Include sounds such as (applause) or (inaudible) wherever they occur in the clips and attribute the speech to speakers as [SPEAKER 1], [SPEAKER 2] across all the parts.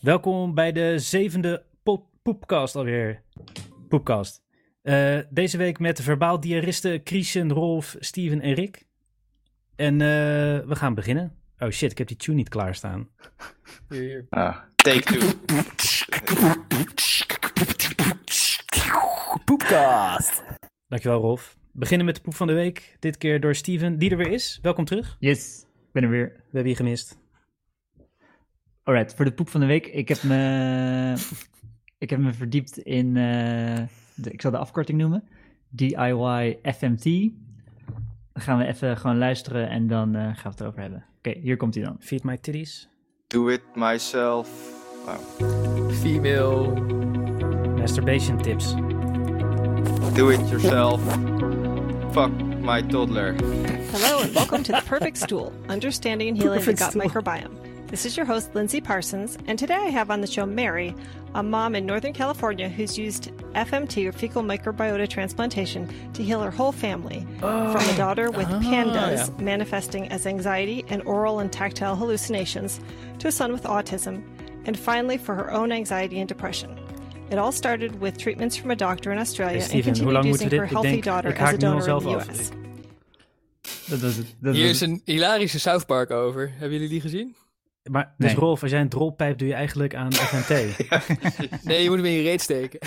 [SPEAKER 1] Welkom bij de zevende po- Poepcast alweer. Poepcast. Eh, deze week met de verbaal diaristen Christian, Rolf, Steven en Rick. En eh, we gaan beginnen. Oh shit, ik heb die tune niet klaarstaan.
[SPEAKER 2] Hier, hier.
[SPEAKER 3] Ah, take two.
[SPEAKER 4] Poepcast.
[SPEAKER 1] Dankjewel Rolf. We beginnen met de poep van de week. Dit keer door Steven, die er weer is. Welkom terug.
[SPEAKER 4] Yes, ik ben er weer.
[SPEAKER 1] We hebben je gemist.
[SPEAKER 4] Alright, voor de poep van de week. Ik heb me, (laughs) ik heb me verdiept in, eh, de, ik zal de afkorting noemen, DIY FMT. Dan gaan we even gewoon luisteren en dan eh, gaan we het erover hebben. Oké, hier komt hij dan.
[SPEAKER 1] Feed my titties.
[SPEAKER 3] Do it myself. Wow.
[SPEAKER 2] Female.
[SPEAKER 1] Masturbation tips.
[SPEAKER 3] Do it yourself. Fuck my toddler.
[SPEAKER 5] Hello and welcome to The Perfect Stool, Understanding and Healing the Gut Microbiome. This is your host, Lindsay Parsons, and today I have on the show Mary, a mom in Northern California who's used FMT or fecal microbiota transplantation to heal her whole family from a daughter with pandas manifesting as anxiety and oral and tactile hallucinations to a son with autism, and finally for her own anxiety and depression. It all started with treatments from a doctor in Australia
[SPEAKER 1] Hey, Steven,
[SPEAKER 5] and
[SPEAKER 1] hoe
[SPEAKER 5] continued
[SPEAKER 1] lang
[SPEAKER 5] using
[SPEAKER 1] moeten we
[SPEAKER 5] her
[SPEAKER 1] dit? Ik
[SPEAKER 5] healthy
[SPEAKER 1] denk,
[SPEAKER 5] daughter
[SPEAKER 1] ik
[SPEAKER 5] as
[SPEAKER 1] haak
[SPEAKER 5] a
[SPEAKER 1] nu
[SPEAKER 5] donor in
[SPEAKER 1] onszelf
[SPEAKER 5] the
[SPEAKER 1] af.
[SPEAKER 5] US.
[SPEAKER 4] Dat was het. Dat
[SPEAKER 2] Hier
[SPEAKER 4] was
[SPEAKER 2] is
[SPEAKER 4] het.
[SPEAKER 2] een hilarische South Park over. Hebben jullie die gezien?
[SPEAKER 1] Maar dus
[SPEAKER 4] Nee.
[SPEAKER 1] Rolf, als jij een drolpijp doe je eigenlijk aan FMT.
[SPEAKER 4] (laughs)
[SPEAKER 1] (laughs)
[SPEAKER 2] Nee, je moet hem in je reet steken.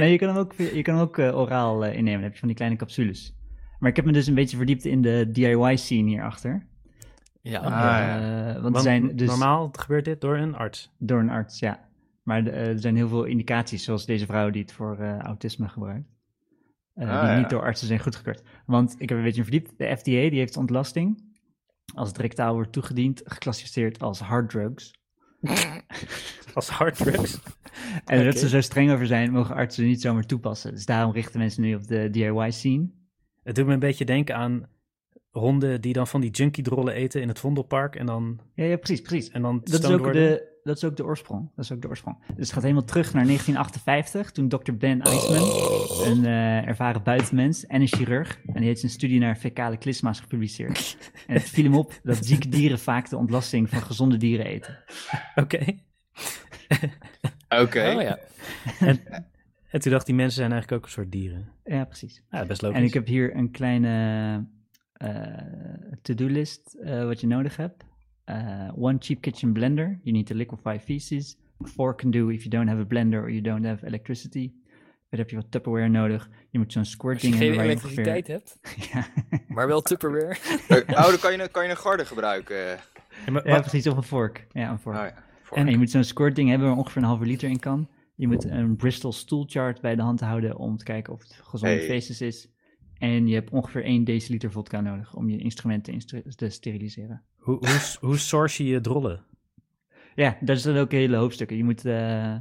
[SPEAKER 4] Nee, je kan hem ook, je kan hem ook eh, oraal eh, innemen. Dan heb je van die kleine capsules. Maar ik heb me dus een beetje verdiept in de DIY scene hierachter.
[SPEAKER 2] Ja.
[SPEAKER 3] Ah, ja.
[SPEAKER 4] Eh, want, er
[SPEAKER 1] Want
[SPEAKER 4] zijn dus...
[SPEAKER 1] normaal gebeurt dit door een arts.
[SPEAKER 4] Door een arts, ja. Maar de- eh, er zijn heel veel indicaties, zoals deze vrouw die het voor eh, autisme gebruikt. eh,
[SPEAKER 3] Ah,
[SPEAKER 4] die
[SPEAKER 3] ja.
[SPEAKER 4] niet door artsen zijn goedgekeurd. Want ik heb een beetje verdiept. De FDA die heeft ontlasting als directaal wordt toegediend, geclassificeerd als hard drugs.
[SPEAKER 1] Als harddrugs.
[SPEAKER 4] En dat ze zo streng over zijn, mogen artsen niet zomaar toepassen. Dus daarom richten mensen nu op de DIY-scene.
[SPEAKER 1] Het doet me een beetje denken aan honden die dan van die junkiedrollen eten in het Vondelpark en dan,
[SPEAKER 4] Ja, ja, precies, precies.
[SPEAKER 1] en dan
[SPEAKER 4] Dat is,
[SPEAKER 1] stoned
[SPEAKER 4] ook
[SPEAKER 1] worden.
[SPEAKER 4] de, dat is ook de oorsprong. Dat is ook de oorsprong. Dus het gaat helemaal terug naar 1958, toen Dr. Ben Eisman, een eh, ervaren buitenmens en een chirurg, en die heeft zijn studie naar fecale klisma's gepubliceerd. En het viel hem op dat zieke dieren vaak de ontlasting van gezonde dieren eten.
[SPEAKER 1] Oké. (laughs)
[SPEAKER 3] Oké.
[SPEAKER 2] Oh ja.
[SPEAKER 1] En toen dacht die mensen zijn eigenlijk ook een soort dieren.
[SPEAKER 4] Ja, precies.
[SPEAKER 1] Ja, best logisch.
[SPEAKER 4] En ik heb hier een kleine eh, to-do-list eh, wat je nodig hebt. Eh, one cheap kitchen blender. You need to liquefy feces. Four can do if you don't have a blender or you don't have electricity. Verder heb je wat Tupperware nodig. Je moet zo'n squirt
[SPEAKER 2] Als je
[SPEAKER 4] ding
[SPEAKER 2] geen
[SPEAKER 4] hebben waar je ongeveer-
[SPEAKER 2] elektriciteit hebt,
[SPEAKER 4] Ja,
[SPEAKER 2] maar wel Tupperware.
[SPEAKER 3] Eh, Oh, dan kan je, kan je een garde gebruiken.
[SPEAKER 1] Ja, maar
[SPEAKER 4] ja,
[SPEAKER 1] wat-
[SPEAKER 4] precies. Of een vork. Ja, een vork.
[SPEAKER 3] Oh, ja.
[SPEAKER 4] En je moet zo'n squirt ding hebben waar ongeveer een halve liter in kan. Je moet een Bristol stool chart bij de hand houden om te kijken of het gezonde
[SPEAKER 3] Hey.
[SPEAKER 4] feces is. En je hebt ongeveer 1 deciliter vodka nodig om je instrumenten instru- te steriliseren.
[SPEAKER 1] hoe, hoe, hoe source je je drollen?
[SPEAKER 4] Ja, daar zijn ook hele hoofdstukken. Je moet, eh,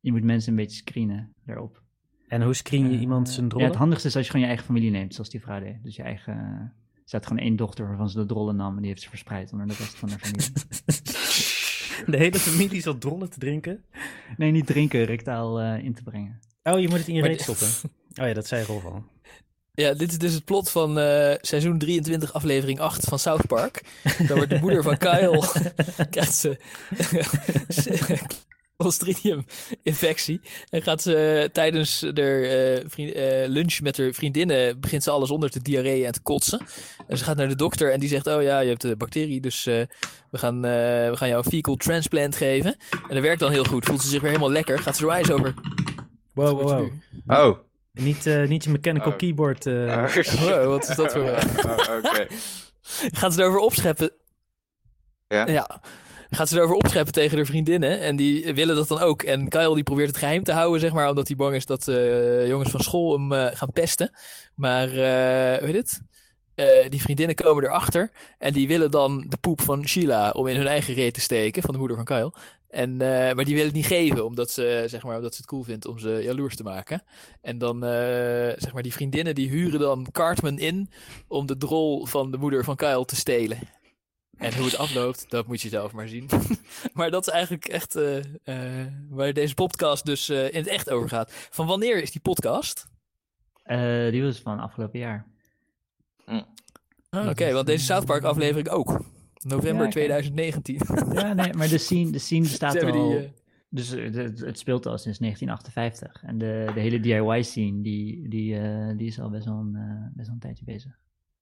[SPEAKER 4] je moet mensen een beetje screenen daarop.
[SPEAKER 1] En hoe screen je iemand zijn
[SPEAKER 4] Ja,
[SPEAKER 1] drollen?
[SPEAKER 4] het handigste is als je gewoon je eigen familie neemt, zoals die vrouw deed. Dus je eigen... Er staat gewoon één dochter waarvan ze de drollen nam en die heeft ze verspreid onder de rest van haar familie.
[SPEAKER 1] (laughs) De hele familie zat drollen te drinken.
[SPEAKER 4] nee, niet drinken, rectaal eh, in te brengen.
[SPEAKER 1] Oh, je moet het in je
[SPEAKER 2] Maar
[SPEAKER 1] reet
[SPEAKER 2] die-
[SPEAKER 1] stoppen. (laughs) Oh ja, dat zei Rolf al.
[SPEAKER 2] Ja, dit is dus het plot van eh, seizoen 23, aflevering 8 van South Park. Dan wordt de moeder van Kyle,
[SPEAKER 1] (laughs)
[SPEAKER 2] krijgt ze (laughs) Clostridium-infectie. En gaat ze tijdens haar eh, vriend- eh, lunch met haar vriendinnen, begint ze alles onder te diarree en te kotsen. En ze gaat naar de dokter en die zegt, oh ja, je hebt de bacterie, dus eh, we, gaan, eh, we gaan jou een fecal transplant geven. En dat werkt dan heel goed, voelt ze zich weer helemaal lekker, gaat ze haar eyes over.
[SPEAKER 1] Wow, wow,
[SPEAKER 2] Wat
[SPEAKER 1] wow.
[SPEAKER 2] nu?
[SPEAKER 3] Oh.
[SPEAKER 1] Niet, eh, niet je mechanical
[SPEAKER 3] Oh.
[SPEAKER 1] keyboard. eh,
[SPEAKER 2] Wow, wat is dat voor...
[SPEAKER 1] (laughs)
[SPEAKER 2] eh?
[SPEAKER 3] (laughs) Oh, Oké.
[SPEAKER 2] Gaat ze erover opscheppen?
[SPEAKER 3] Ja.
[SPEAKER 2] ja. Gaat ze erover opscheppen tegen haar vriendinnen. En die willen dat dan ook. En Kyle die probeert het geheim te houden, zeg maar. Omdat hij bang is dat eh, jongens van school hem eh, gaan pesten. Maar, eh hoe heet het? Eh, die vriendinnen komen erachter. En die willen dan de poep van Sheila om in hun eigen reet te steken. Van de moeder van Kyle. En, eh, maar die willen het niet geven, omdat ze, zeg maar, omdat ze het cool vindt om ze jaloers te maken. En dan, eh, zeg maar, die vriendinnen die huren dan Cartman in om de drol van de moeder van Kyle te stelen. En hoe het afloopt, dat moet je zelf maar zien. (laughs) maar dat is eigenlijk echt eh, eh, waar deze podcast dus eh, in het echt over gaat. Van wanneer is die podcast?
[SPEAKER 4] Eh, die was van afgelopen jaar.
[SPEAKER 2] Oké,
[SPEAKER 4] Dat is,
[SPEAKER 2] want deze South Park aflevering ook. November
[SPEAKER 4] Oh, dus, eh, Ja, kijk. (laughs)
[SPEAKER 2] 2019.
[SPEAKER 4] Ja, nee, maar de scene, de
[SPEAKER 2] (laughs)
[SPEAKER 4] scene
[SPEAKER 2] Ze
[SPEAKER 4] bestaat al...
[SPEAKER 2] hebben die, eh,
[SPEAKER 4] Dus eh, de- het, het speelt al sinds 1958. En de, de hele DIY-scene, die, die, eh, die is al best wel, een, eh, best wel een tijdje bezig.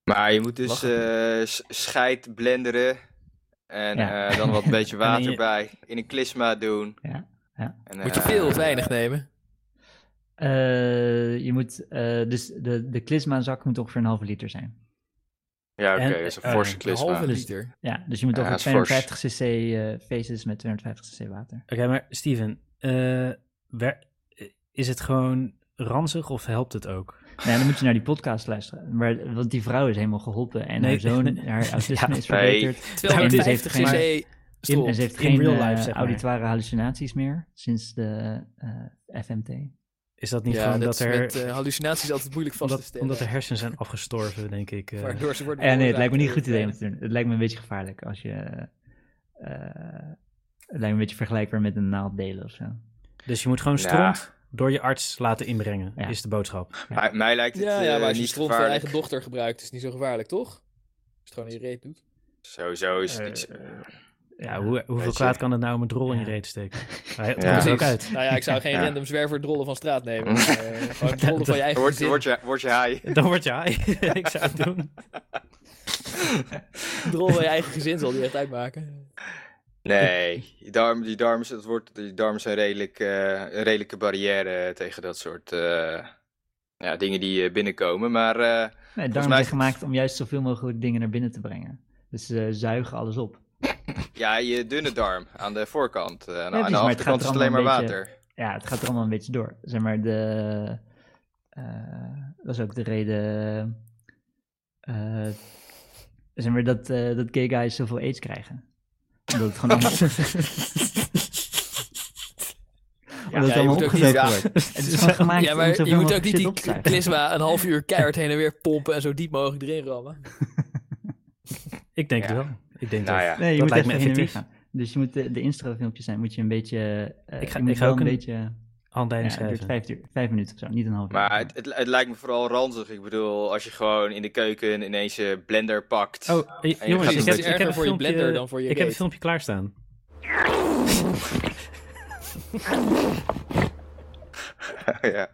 [SPEAKER 3] Maar je moet dus
[SPEAKER 2] Lachen.
[SPEAKER 3] eh, s- scheid blenderen. En
[SPEAKER 4] Ja.
[SPEAKER 3] eh, dan
[SPEAKER 2] (laughs)
[SPEAKER 3] wat beetje
[SPEAKER 1] dan
[SPEAKER 3] water
[SPEAKER 1] je-
[SPEAKER 3] bij. In een klisma doen.
[SPEAKER 4] Ja, ja.
[SPEAKER 3] En,
[SPEAKER 2] moet je
[SPEAKER 3] eh,
[SPEAKER 2] veel of weinig nemen?
[SPEAKER 4] Eh, je moet, eh, dus de, de klisma-zak moet ongeveer een halve liter zijn.
[SPEAKER 3] Ja, oké,
[SPEAKER 1] En,
[SPEAKER 3] dat is een
[SPEAKER 1] eh,
[SPEAKER 3] forse
[SPEAKER 2] Een
[SPEAKER 3] klisma.
[SPEAKER 2] halve liter.
[SPEAKER 4] Ja, dus je moet
[SPEAKER 3] Ja, dat
[SPEAKER 4] ongeveer
[SPEAKER 3] is fors.
[SPEAKER 4] 250 cc eh faces met 250 cc water.
[SPEAKER 1] Oké, maar Steven, eh, wer- is het gewoon ranzig of helpt het ook?
[SPEAKER 4] Nee, Nou dan moet je naar die podcast luisteren. Maar, want die vrouw is helemaal geholpen. En
[SPEAKER 1] Nee,
[SPEAKER 4] haar
[SPEAKER 1] (laughs)
[SPEAKER 4] zoon,
[SPEAKER 1] nee.
[SPEAKER 4] haar autisme
[SPEAKER 1] Ja.
[SPEAKER 4] is verbeterd.
[SPEAKER 1] maar dit
[SPEAKER 2] 250
[SPEAKER 4] heeft geen- In,
[SPEAKER 2] cc stoel.
[SPEAKER 4] en ze heeft
[SPEAKER 1] in
[SPEAKER 4] geen
[SPEAKER 1] real
[SPEAKER 4] eh,
[SPEAKER 1] life, zeg maar.
[SPEAKER 4] auditoire hallucinaties meer sinds de eh, FMT.
[SPEAKER 1] Is dat niet
[SPEAKER 2] Ja,
[SPEAKER 1] gewoon
[SPEAKER 2] dat,
[SPEAKER 1] dat,
[SPEAKER 2] is
[SPEAKER 1] er...
[SPEAKER 2] met eh, hallucinaties altijd moeilijk vast te
[SPEAKER 1] omdat,
[SPEAKER 2] stellen.
[SPEAKER 1] omdat de hersenen zijn afgestorven, denk ik. eh.
[SPEAKER 2] Waardoor ze worden eh,
[SPEAKER 4] Ja, nee, het lijkt me niet een goed
[SPEAKER 2] veroorzaakt
[SPEAKER 4] idee om te
[SPEAKER 2] door-
[SPEAKER 4] doen. Het lijkt me een beetje gevaarlijk als je... eh, het lijkt me een beetje vergelijkbaar met een naald delen of zo.
[SPEAKER 1] Dus je moet gewoon
[SPEAKER 3] Ja.
[SPEAKER 1] stront door je arts laten inbrengen,
[SPEAKER 4] Ja.
[SPEAKER 1] is de boodschap.
[SPEAKER 3] Mij, mij lijkt het
[SPEAKER 2] Ja, ja,
[SPEAKER 3] eh,
[SPEAKER 2] maar als je
[SPEAKER 3] niet
[SPEAKER 2] stront van je
[SPEAKER 3] gevaarlijk.
[SPEAKER 2] eigen dochter gebruikt, is het niet zo gevaarlijk, toch? Als je het gewoon in je reet doet.
[SPEAKER 3] Sowieso is het
[SPEAKER 1] Eh,
[SPEAKER 3] iets...
[SPEAKER 1] Ja, hoe, hoeveel
[SPEAKER 3] Weet je.
[SPEAKER 1] kwaad kan het nou om een drol in je
[SPEAKER 4] Ja.
[SPEAKER 1] reet te steken? Maar het
[SPEAKER 3] Ja.
[SPEAKER 1] komt er ook
[SPEAKER 2] Precies.
[SPEAKER 1] uit.
[SPEAKER 2] Nou ja, ik zou geen
[SPEAKER 3] Ja.
[SPEAKER 2] random zwerver drollen van straat
[SPEAKER 3] (laughs)
[SPEAKER 2] nemen. Eh, gewoon drollen van je eigen
[SPEAKER 3] Word,
[SPEAKER 2] gezin.
[SPEAKER 3] word, je, word je haai.
[SPEAKER 1] Dan word je haai. (laughs) ik zou het doen.
[SPEAKER 2] Drollen van je eigen gezin zal die echt uitmaken.
[SPEAKER 3] Nee, die darmen, die darmen, dat wordt, die darmen zijn redelijk, eh, een redelijke barrière tegen dat soort eh, ja, dingen die eh, binnenkomen. Maar eh,
[SPEAKER 4] Nee,
[SPEAKER 3] mij
[SPEAKER 4] daarom
[SPEAKER 3] is
[SPEAKER 4] zijn
[SPEAKER 3] het-
[SPEAKER 4] gemaakt om juist zoveel mogelijk dingen naar binnen te brengen. Dus ze zuigen alles op.
[SPEAKER 3] ja, je dunne darm aan de voorkant. eh, en
[SPEAKER 4] precies,
[SPEAKER 3] aan
[SPEAKER 4] maar
[SPEAKER 3] de
[SPEAKER 4] het gaat
[SPEAKER 3] achterkant is
[SPEAKER 4] er
[SPEAKER 3] het alleen maar
[SPEAKER 4] allemaal een
[SPEAKER 3] water.
[SPEAKER 4] Ja, het gaat er allemaal een beetje door. Zeg maar, de, eh, dat is ook de reden eh, zeg maar, dat, eh, dat gay guys zoveel aids krijgen. Omdat het gewoon
[SPEAKER 2] (laughs)
[SPEAKER 4] allemaal, omdat het
[SPEAKER 2] je
[SPEAKER 4] allemaal
[SPEAKER 2] moet ook
[SPEAKER 4] opgezogen
[SPEAKER 3] niet- ja.
[SPEAKER 4] wordt.
[SPEAKER 2] (laughs)
[SPEAKER 4] Het is gewoon gemaakt
[SPEAKER 2] Ja,
[SPEAKER 4] om
[SPEAKER 2] maar
[SPEAKER 4] zoveel
[SPEAKER 2] je moet ook
[SPEAKER 4] mogelijk
[SPEAKER 2] niet
[SPEAKER 4] shit
[SPEAKER 2] die
[SPEAKER 4] op te zuigen.
[SPEAKER 2] klisma een half uur keihard heen en weer pompen en zo diep mogelijk erin rammen.
[SPEAKER 1] Ik denk
[SPEAKER 3] Ja.
[SPEAKER 1] het wel. Ik denk
[SPEAKER 3] Nou
[SPEAKER 1] dat.
[SPEAKER 3] ja,
[SPEAKER 4] Nee, je
[SPEAKER 1] Dat
[SPEAKER 4] moet
[SPEAKER 1] lijkt
[SPEAKER 4] echt
[SPEAKER 1] me
[SPEAKER 4] heen en weer
[SPEAKER 1] effectief.
[SPEAKER 4] gaan. Dus je moet de, de instrofilmpjes zijn, moet je een beetje... eh,
[SPEAKER 1] Ik ga-
[SPEAKER 4] je moet
[SPEAKER 1] ik ga
[SPEAKER 4] wel
[SPEAKER 1] ook
[SPEAKER 4] een
[SPEAKER 1] een-
[SPEAKER 4] beetje... Ja,
[SPEAKER 1] Handleiding
[SPEAKER 4] het duurt
[SPEAKER 1] schrijven.
[SPEAKER 4] vijf, uur- vijf minuten of zo, niet een half uur.
[SPEAKER 3] maar het, het, het lijkt me vooral ranzig. Ik bedoel, als je gewoon in de keuken ineens je blender pakt.
[SPEAKER 1] Oh, eh,
[SPEAKER 3] gaat
[SPEAKER 1] jongens,
[SPEAKER 3] een
[SPEAKER 1] ik
[SPEAKER 3] beetje-
[SPEAKER 1] heb,
[SPEAKER 3] Het is
[SPEAKER 1] ik heb
[SPEAKER 2] erger
[SPEAKER 1] een
[SPEAKER 2] voor je
[SPEAKER 1] filmpje,
[SPEAKER 2] blender dan voor je
[SPEAKER 1] ik heb
[SPEAKER 2] reet.
[SPEAKER 1] een filmpje klaarstaan.
[SPEAKER 3] (laughs) ja.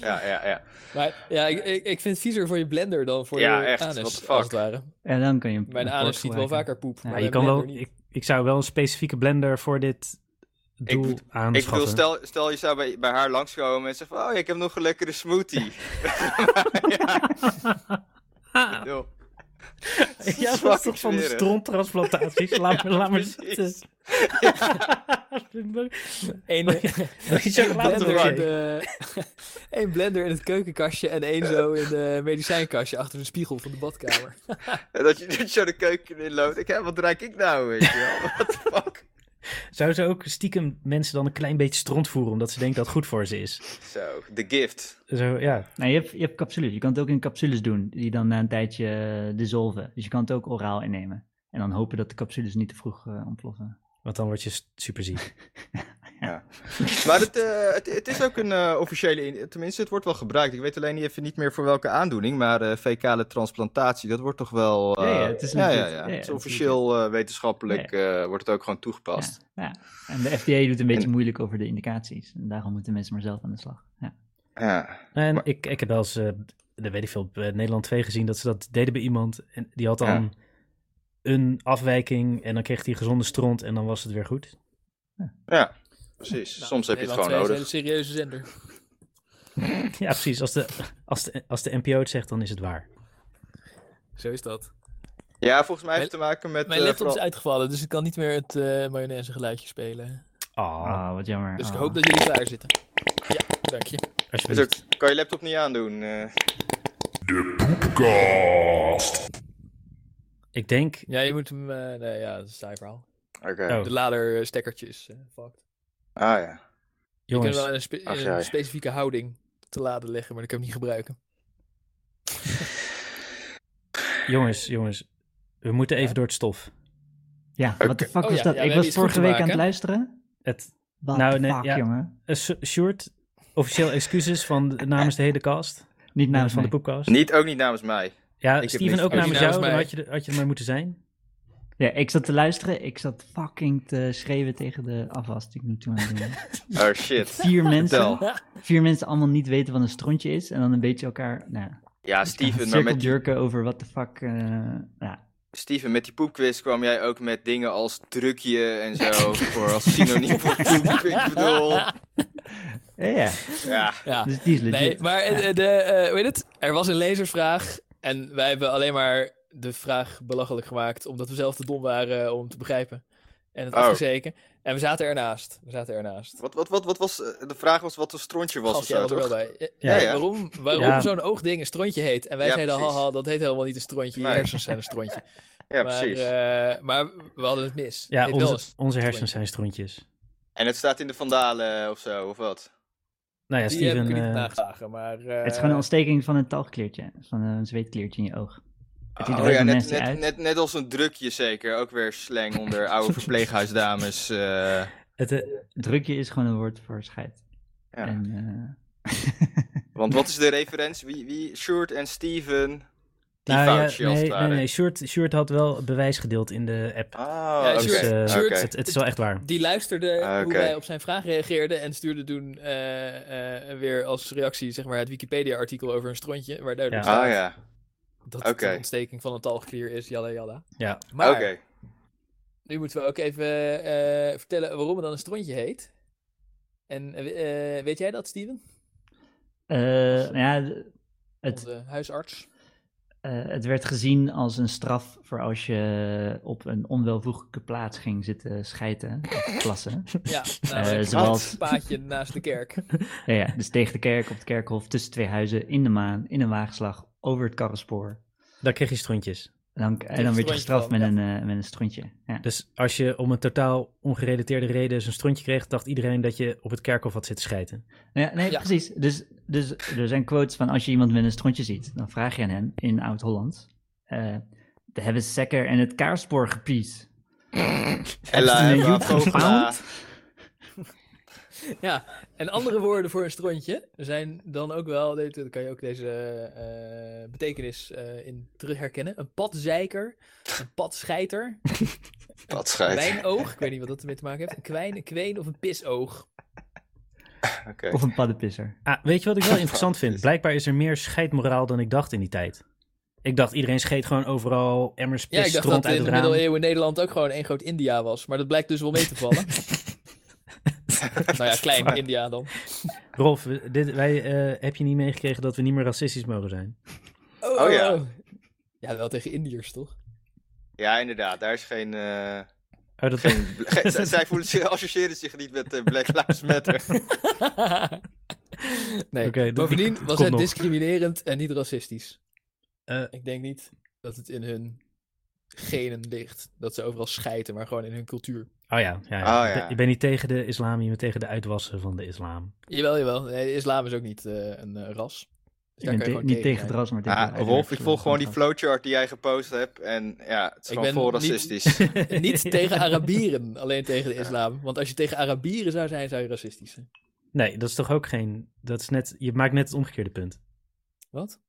[SPEAKER 3] ja, ja, ja.
[SPEAKER 2] Maar ja, ik, ik, ik vind het viezer voor je blender dan voor
[SPEAKER 3] Ja,
[SPEAKER 2] je
[SPEAKER 3] echt,
[SPEAKER 2] anus,
[SPEAKER 3] what the fuck.
[SPEAKER 2] als het ware.
[SPEAKER 4] en dan kan je hem
[SPEAKER 2] Mijn
[SPEAKER 4] hem
[SPEAKER 2] anus ziet wel
[SPEAKER 4] voorgebruiken.
[SPEAKER 2] vaker poep,
[SPEAKER 4] Ja,
[SPEAKER 2] maar
[SPEAKER 1] Maar je
[SPEAKER 2] mijn
[SPEAKER 1] kan wel,
[SPEAKER 2] blender niet.
[SPEAKER 1] ik, ik zou wel een specifieke blender voor dit doel
[SPEAKER 3] bedo-
[SPEAKER 1] aanschaffen.
[SPEAKER 3] Ik bedoel, stel, stel je zou bij, bij haar langskomen en zegt van, oh, ik heb nog een lekkere
[SPEAKER 4] (laughs)
[SPEAKER 3] smoothie. (laughs) ja. Ik bedoel,
[SPEAKER 1] Ja, dat is
[SPEAKER 3] fucking
[SPEAKER 1] toch van de
[SPEAKER 3] smerig.
[SPEAKER 1] stronttransplantaties?
[SPEAKER 3] (laughs)
[SPEAKER 1] Laat, me, laat maar zitten. (laughs)
[SPEAKER 3] precies.
[SPEAKER 2] Eén
[SPEAKER 1] (laughs)
[SPEAKER 2] (laughs)
[SPEAKER 1] je
[SPEAKER 2] één
[SPEAKER 1] chocolade
[SPEAKER 2] blender,
[SPEAKER 1] erbij.
[SPEAKER 2] in de, (laughs) één blender in het keukenkastje en één zo in de medicijnkastje achter de spiegel van de badkamer.
[SPEAKER 3] En dat je, dat je zo de keuken in loopt. Ik, hè, wat ruik ik nou, weet je wel? (laughs) What the fuck?
[SPEAKER 1] Zou ze ook stiekem mensen dan een klein beetje stront voeren, omdat ze denkt dat het goed voor ze is?
[SPEAKER 3] Zo, de gift.
[SPEAKER 1] Zo, ja.
[SPEAKER 4] Nee, je hebt, je hebt capsules. Je kan het ook in capsules doen, die dan na een tijdje eh, dissolven. Dus je kan het ook oraal innemen. En dan hopen dat de capsules niet te vroeg eh, ontploffen.
[SPEAKER 1] Want dan word je super ziek.
[SPEAKER 3] Maar het, eh, het, het is ook een eh, officiële... in- Tenminste, het wordt wel gebruikt. Ik weet alleen niet even niet meer voor welke aandoening. Maar eh fecale transplantatie, dat wordt toch wel... eh,
[SPEAKER 4] Ja, ja, het is
[SPEAKER 3] ja, ja,
[SPEAKER 4] legit.
[SPEAKER 3] ja.
[SPEAKER 4] Ja,
[SPEAKER 3] Het
[SPEAKER 4] ja,
[SPEAKER 3] is
[SPEAKER 4] het is
[SPEAKER 3] officieel eh, wetenschappelijk eh, wordt het ook gewoon toegepast.
[SPEAKER 4] Ja. En de FDA doet een beetje moeilijk over de indicaties. En daarom moeten mensen maar zelf aan de slag. Ja.
[SPEAKER 3] Ja.
[SPEAKER 1] En
[SPEAKER 3] Maar-
[SPEAKER 1] ik, ik heb wel eens, eh dat weet ik veel, op eh, Nederland 2 gezien dat ze dat deden bij iemand. En die had dan
[SPEAKER 3] Ja.
[SPEAKER 1] een afwijking en dan kreeg hij gezonde stront en dan was het weer goed. (laughs)
[SPEAKER 3] Ja, precies. (laughs) Soms heb je het gewoon
[SPEAKER 2] Nou, Nederland
[SPEAKER 3] nodig.
[SPEAKER 2] is een hele serieuze zender.
[SPEAKER 1] Ja, precies. Als de, als de, als de NPO het zegt, dan is het waar.
[SPEAKER 2] Zo is dat.
[SPEAKER 3] Ja, volgens mij heeft het te maken met...
[SPEAKER 2] Mijn
[SPEAKER 3] eh,
[SPEAKER 2] laptop is
[SPEAKER 3] vooral-
[SPEAKER 2] uitgevallen, dus ik kan niet meer het eh mayonaise geluidje spelen.
[SPEAKER 1] Ah,
[SPEAKER 4] Oh, wat jammer.
[SPEAKER 2] Dus ik
[SPEAKER 4] Ah.
[SPEAKER 2] hoop dat jullie klaar zitten. Ja, dank je.
[SPEAKER 3] is
[SPEAKER 1] alsjeblieft.
[SPEAKER 3] ook- kan je laptop niet aandoen. eh.
[SPEAKER 1] Ik denk,
[SPEAKER 2] Ja, je moet hem... eh, nee, ja, dat is een saai verhaal.
[SPEAKER 3] Oké.
[SPEAKER 1] Oh.
[SPEAKER 2] De lader eh, stekkertjes. eh fucked.
[SPEAKER 3] Ah ja.
[SPEAKER 2] Je kunt
[SPEAKER 1] jongens,
[SPEAKER 2] wel in een, spe-
[SPEAKER 3] Ach,
[SPEAKER 2] in
[SPEAKER 3] jij.
[SPEAKER 2] een specifieke houding te laden leggen, maar dat kan ik hem niet gebruiken.
[SPEAKER 1] jongens, jongens. We moeten even door het stof.
[SPEAKER 4] Ja, wat de fuck
[SPEAKER 2] Oh
[SPEAKER 4] was
[SPEAKER 2] ja,
[SPEAKER 4] dat?
[SPEAKER 2] ja, we
[SPEAKER 4] ik
[SPEAKER 2] hebben
[SPEAKER 4] was
[SPEAKER 2] iets goed
[SPEAKER 4] vorige
[SPEAKER 2] te
[SPEAKER 4] week
[SPEAKER 2] maken,
[SPEAKER 4] aan het
[SPEAKER 2] hè?
[SPEAKER 4] luisteren.
[SPEAKER 1] Het
[SPEAKER 4] Wat
[SPEAKER 1] Nou,
[SPEAKER 4] de
[SPEAKER 1] nee,
[SPEAKER 4] fuck,
[SPEAKER 1] ja.
[SPEAKER 4] jongen?
[SPEAKER 1] eh, Sj- Sjoerd, officieel excuses van, namens de hele cast.
[SPEAKER 4] Niet
[SPEAKER 1] Namens
[SPEAKER 4] namens
[SPEAKER 1] van de
[SPEAKER 4] mij.
[SPEAKER 1] podcast.
[SPEAKER 3] Niet, ook niet namens mij.
[SPEAKER 1] Ja,
[SPEAKER 3] heb
[SPEAKER 1] Steven
[SPEAKER 3] niks-
[SPEAKER 1] ook
[SPEAKER 3] ook
[SPEAKER 1] namens
[SPEAKER 2] niet
[SPEAKER 1] jou,
[SPEAKER 2] namens
[SPEAKER 1] dan
[SPEAKER 2] mij.
[SPEAKER 1] had je, er- had je er maar moeten zijn.
[SPEAKER 4] Ja, ik zat te luisteren. Ik zat fucking te schreeuwen tegen de afwas die ik nu toen aan het doen
[SPEAKER 2] (laughs)
[SPEAKER 4] was.
[SPEAKER 3] Oh shit.
[SPEAKER 4] Vier mensen,
[SPEAKER 3] Vertel.
[SPEAKER 4] vier mensen allemaal niet weten wat een strontje is. En dan een beetje elkaar, nou,
[SPEAKER 3] Ja,
[SPEAKER 4] (laughs)
[SPEAKER 3] Steven, maar met die,
[SPEAKER 4] cirkeljurken over wat de fuck. eh, nou,
[SPEAKER 3] Steven, met die poepquiz kwam jij ook met dingen als drukje en zo. voor als synoniem voor poep. Ik bedoel.
[SPEAKER 4] ja, ja,
[SPEAKER 3] Ja.
[SPEAKER 2] Ja.
[SPEAKER 4] dus die is legit.
[SPEAKER 2] Ah, Nee, maar eh, de, eh, hoe heet het? Er was een lezersvraag en wij hebben alleen maar de vraag belachelijk gemaakt, omdat we zelf te dom waren om te begrijpen. En het
[SPEAKER 3] Oh.
[SPEAKER 2] afgezeken. En we zaten ernaast. We zaten ernaast.
[SPEAKER 3] Wat, wat, wat, wat was. eh, De vraag was wat een strontje was
[SPEAKER 2] Gast,
[SPEAKER 3] of
[SPEAKER 2] jij
[SPEAKER 3] zo.
[SPEAKER 2] was er wel
[SPEAKER 3] Toch?
[SPEAKER 2] bij. Eh,
[SPEAKER 3] Ja, ja.
[SPEAKER 2] Waarom, waarom
[SPEAKER 1] Ja.
[SPEAKER 2] zo'n oogding een strontje heet? En wij
[SPEAKER 3] Ja,
[SPEAKER 2] zeiden,
[SPEAKER 3] precies.
[SPEAKER 2] haha, dat heet helemaal niet een strontje. Je
[SPEAKER 3] Nee.
[SPEAKER 2] hersens zijn een strontje.
[SPEAKER 3] (laughs) Ja,
[SPEAKER 2] maar,
[SPEAKER 3] precies.
[SPEAKER 2] eh, maar we hadden het mis. Het
[SPEAKER 1] Ja,
[SPEAKER 2] heet wel een
[SPEAKER 1] onze, onze
[SPEAKER 2] strontje.
[SPEAKER 1] hersens zijn strontjes.
[SPEAKER 3] En het staat in de vandalen eh, of zo, of wat?
[SPEAKER 1] Nou ja,
[SPEAKER 2] Die heb
[SPEAKER 1] Steven,
[SPEAKER 2] ik er
[SPEAKER 1] eh,
[SPEAKER 2] niet nageslagen, maar... eh,
[SPEAKER 4] het is gewoon een ontsteking van een talgkleertje, van een zweetkleertje in je oog. Het ziet er
[SPEAKER 3] Oh ja,
[SPEAKER 4] ook
[SPEAKER 3] net,
[SPEAKER 4] nasty
[SPEAKER 3] net,
[SPEAKER 4] uit.
[SPEAKER 3] net, net als een drukje zeker. Ook weer slang onder oude verpleeghuisdames. eh.
[SPEAKER 1] het, eh,
[SPEAKER 4] Drukje is gewoon een woord voor scheid.
[SPEAKER 3] Ja.
[SPEAKER 4] En, eh,
[SPEAKER 3] (laughs) Want wat is de referentie? Wie, wie? Sjoerd en Steven. Die
[SPEAKER 1] nou ja,
[SPEAKER 3] foutje
[SPEAKER 1] nee,
[SPEAKER 3] als het
[SPEAKER 1] nee,
[SPEAKER 3] ware.
[SPEAKER 1] nee, Sjoerd, Sjoerd had wel bewijs gedeeld in de app.
[SPEAKER 3] Oh,
[SPEAKER 2] Ja,
[SPEAKER 3] oké.
[SPEAKER 1] Dus, eh,
[SPEAKER 2] Sjoerd-
[SPEAKER 3] oké.
[SPEAKER 1] het, het is wel echt waar.
[SPEAKER 2] Die luisterde
[SPEAKER 3] Ah,
[SPEAKER 2] hoe
[SPEAKER 3] oké.
[SPEAKER 2] wij op zijn vraag reageerden en stuurde toen eh, eh, weer als reactie zeg maar, het Wikipedia-artikel over een strontje, waar duidelijk
[SPEAKER 1] Ja.
[SPEAKER 2] staat
[SPEAKER 3] Ah ja,
[SPEAKER 2] dat het
[SPEAKER 3] oké.
[SPEAKER 2] een ontsteking van een talgklier is, jalla jalla.
[SPEAKER 1] Ja.
[SPEAKER 2] Maar
[SPEAKER 3] oké.
[SPEAKER 2] nu moeten we ook even eh, vertellen waarom het dan een strontje heet. En eh, eh, weet jij dat, Steven?
[SPEAKER 4] eh, nou ja, het,
[SPEAKER 2] Onze
[SPEAKER 4] (laughs)
[SPEAKER 2] huisarts.
[SPEAKER 4] Eh, het werd gezien als een straf voor als je op een onwelvoeglijke plaats ging zitten schijten of
[SPEAKER 3] (laughs)
[SPEAKER 4] plassen.
[SPEAKER 2] Ja, namelijk
[SPEAKER 4] Eh, zoals-
[SPEAKER 2] het paadje naast de kerk.
[SPEAKER 4] ja, ja, dus tegen de kerk, op het kerkhof, tussen twee huizen, in de maan, in een waagslag, over het karrenspoor.
[SPEAKER 1] Daar kreeg je strontjes.
[SPEAKER 4] En dan, en dan werd je
[SPEAKER 2] strontje
[SPEAKER 4] gestraft
[SPEAKER 2] dan,
[SPEAKER 4] met een, eh, met een strontje. Ja.
[SPEAKER 1] Dus als je om een totaal ongerelateerde reden zo'n strontje kreeg, dacht iedereen dat je op het kerkhof had zitten schijten.
[SPEAKER 4] Ja, nee,
[SPEAKER 2] Ja.
[SPEAKER 4] precies. Dus, dus er zijn quotes van als je iemand met een strontje ziet, dan vraag je aan hem in Oud-Holland. eh, de hebben sekker en het kaarspoor gepies.
[SPEAKER 3] Ella
[SPEAKER 4] Hebben
[SPEAKER 3] en
[SPEAKER 4] ze een
[SPEAKER 3] Bafo
[SPEAKER 4] youth
[SPEAKER 3] Vla.
[SPEAKER 4] gefound?
[SPEAKER 2] Ja, en andere woorden voor een strontje zijn dan ook wel, dit- daar kan je ook deze eh, betekenis eh, in terug herkennen. Een padzeiker, een padscheiter,
[SPEAKER 3] Wat
[SPEAKER 2] een
[SPEAKER 3] schijt.
[SPEAKER 2] wijnoog, ik weet niet wat dat ermee te maken heeft, een kwijn, een kween of een pisoog.
[SPEAKER 3] (laughs) Oké.
[SPEAKER 4] Of een paddenpisser.
[SPEAKER 1] Ah, weet je wat ik
[SPEAKER 2] (laughs)
[SPEAKER 1] wel interessant vind? Blijkbaar is er meer scheidmoraal dan ik dacht in die tijd. Ik dacht iedereen scheet gewoon overal emmers
[SPEAKER 2] Ja,
[SPEAKER 1] pis,
[SPEAKER 2] ik dacht
[SPEAKER 1] stront
[SPEAKER 2] dat
[SPEAKER 1] uit
[SPEAKER 2] in de
[SPEAKER 1] het raam.
[SPEAKER 2] middeleeuwen Nederland ook gewoon één groot India was, maar dat blijkt dus wel mee te
[SPEAKER 1] (laughs)
[SPEAKER 2] vallen. nou ja, klein India dan.
[SPEAKER 1] Rolf, we- dit, wij, eh, heb je niet meegekregen dat we niet meer racistisch mogen zijn?
[SPEAKER 3] Oh ja.
[SPEAKER 2] Ja, wel tegen Indiërs toch?
[SPEAKER 3] Ja, inderdaad. Daar is geen... eh,
[SPEAKER 2] (laughs)
[SPEAKER 1] Oh, dat
[SPEAKER 3] geen ge- z- (laughs) zij voelen zich, associëren zich niet met eh, Black Lives
[SPEAKER 2] (laughs)
[SPEAKER 3] Matter.
[SPEAKER 2] nee,
[SPEAKER 1] Oké, dat-
[SPEAKER 2] bovendien
[SPEAKER 1] dat
[SPEAKER 2] was
[SPEAKER 1] komt
[SPEAKER 2] het
[SPEAKER 1] nog.
[SPEAKER 2] discriminerend en niet racistisch.
[SPEAKER 1] Eh.
[SPEAKER 2] Ik denk niet dat het in hun genen ligt. Dat ze overal schijten, maar gewoon in hun cultuur.
[SPEAKER 1] Oh ja, ja,
[SPEAKER 3] Oh ja.
[SPEAKER 1] Ik ben niet tegen de islam, je bent tegen de uitwassen van de islam.
[SPEAKER 2] Jawel, jawel. Nee, de islam is ook niet eh, een eh, ras. Dus daar
[SPEAKER 4] ik ben
[SPEAKER 2] kan je
[SPEAKER 4] te-
[SPEAKER 2] gewoon
[SPEAKER 4] niet tegen het
[SPEAKER 2] zijn.
[SPEAKER 4] ras, maar tegen
[SPEAKER 3] Ah,
[SPEAKER 4] de
[SPEAKER 3] Rolf, ik
[SPEAKER 4] uitwerkselen
[SPEAKER 3] volg gewoon die
[SPEAKER 4] van
[SPEAKER 3] flowchart die jij gepost hebt. En ja, het is
[SPEAKER 2] Ik
[SPEAKER 3] gewoon
[SPEAKER 2] ben
[SPEAKER 3] vol
[SPEAKER 2] niet-
[SPEAKER 3] racistisch.
[SPEAKER 2] (laughs)
[SPEAKER 1] (laughs)
[SPEAKER 2] Niet tegen Arabieren, alleen tegen de islam. Want als je tegen Arabieren zou zijn, zou je racistisch zijn.
[SPEAKER 1] Nee, dat is toch ook geen... Dat is net, je maakt net het omgekeerde punt.
[SPEAKER 2] Wat?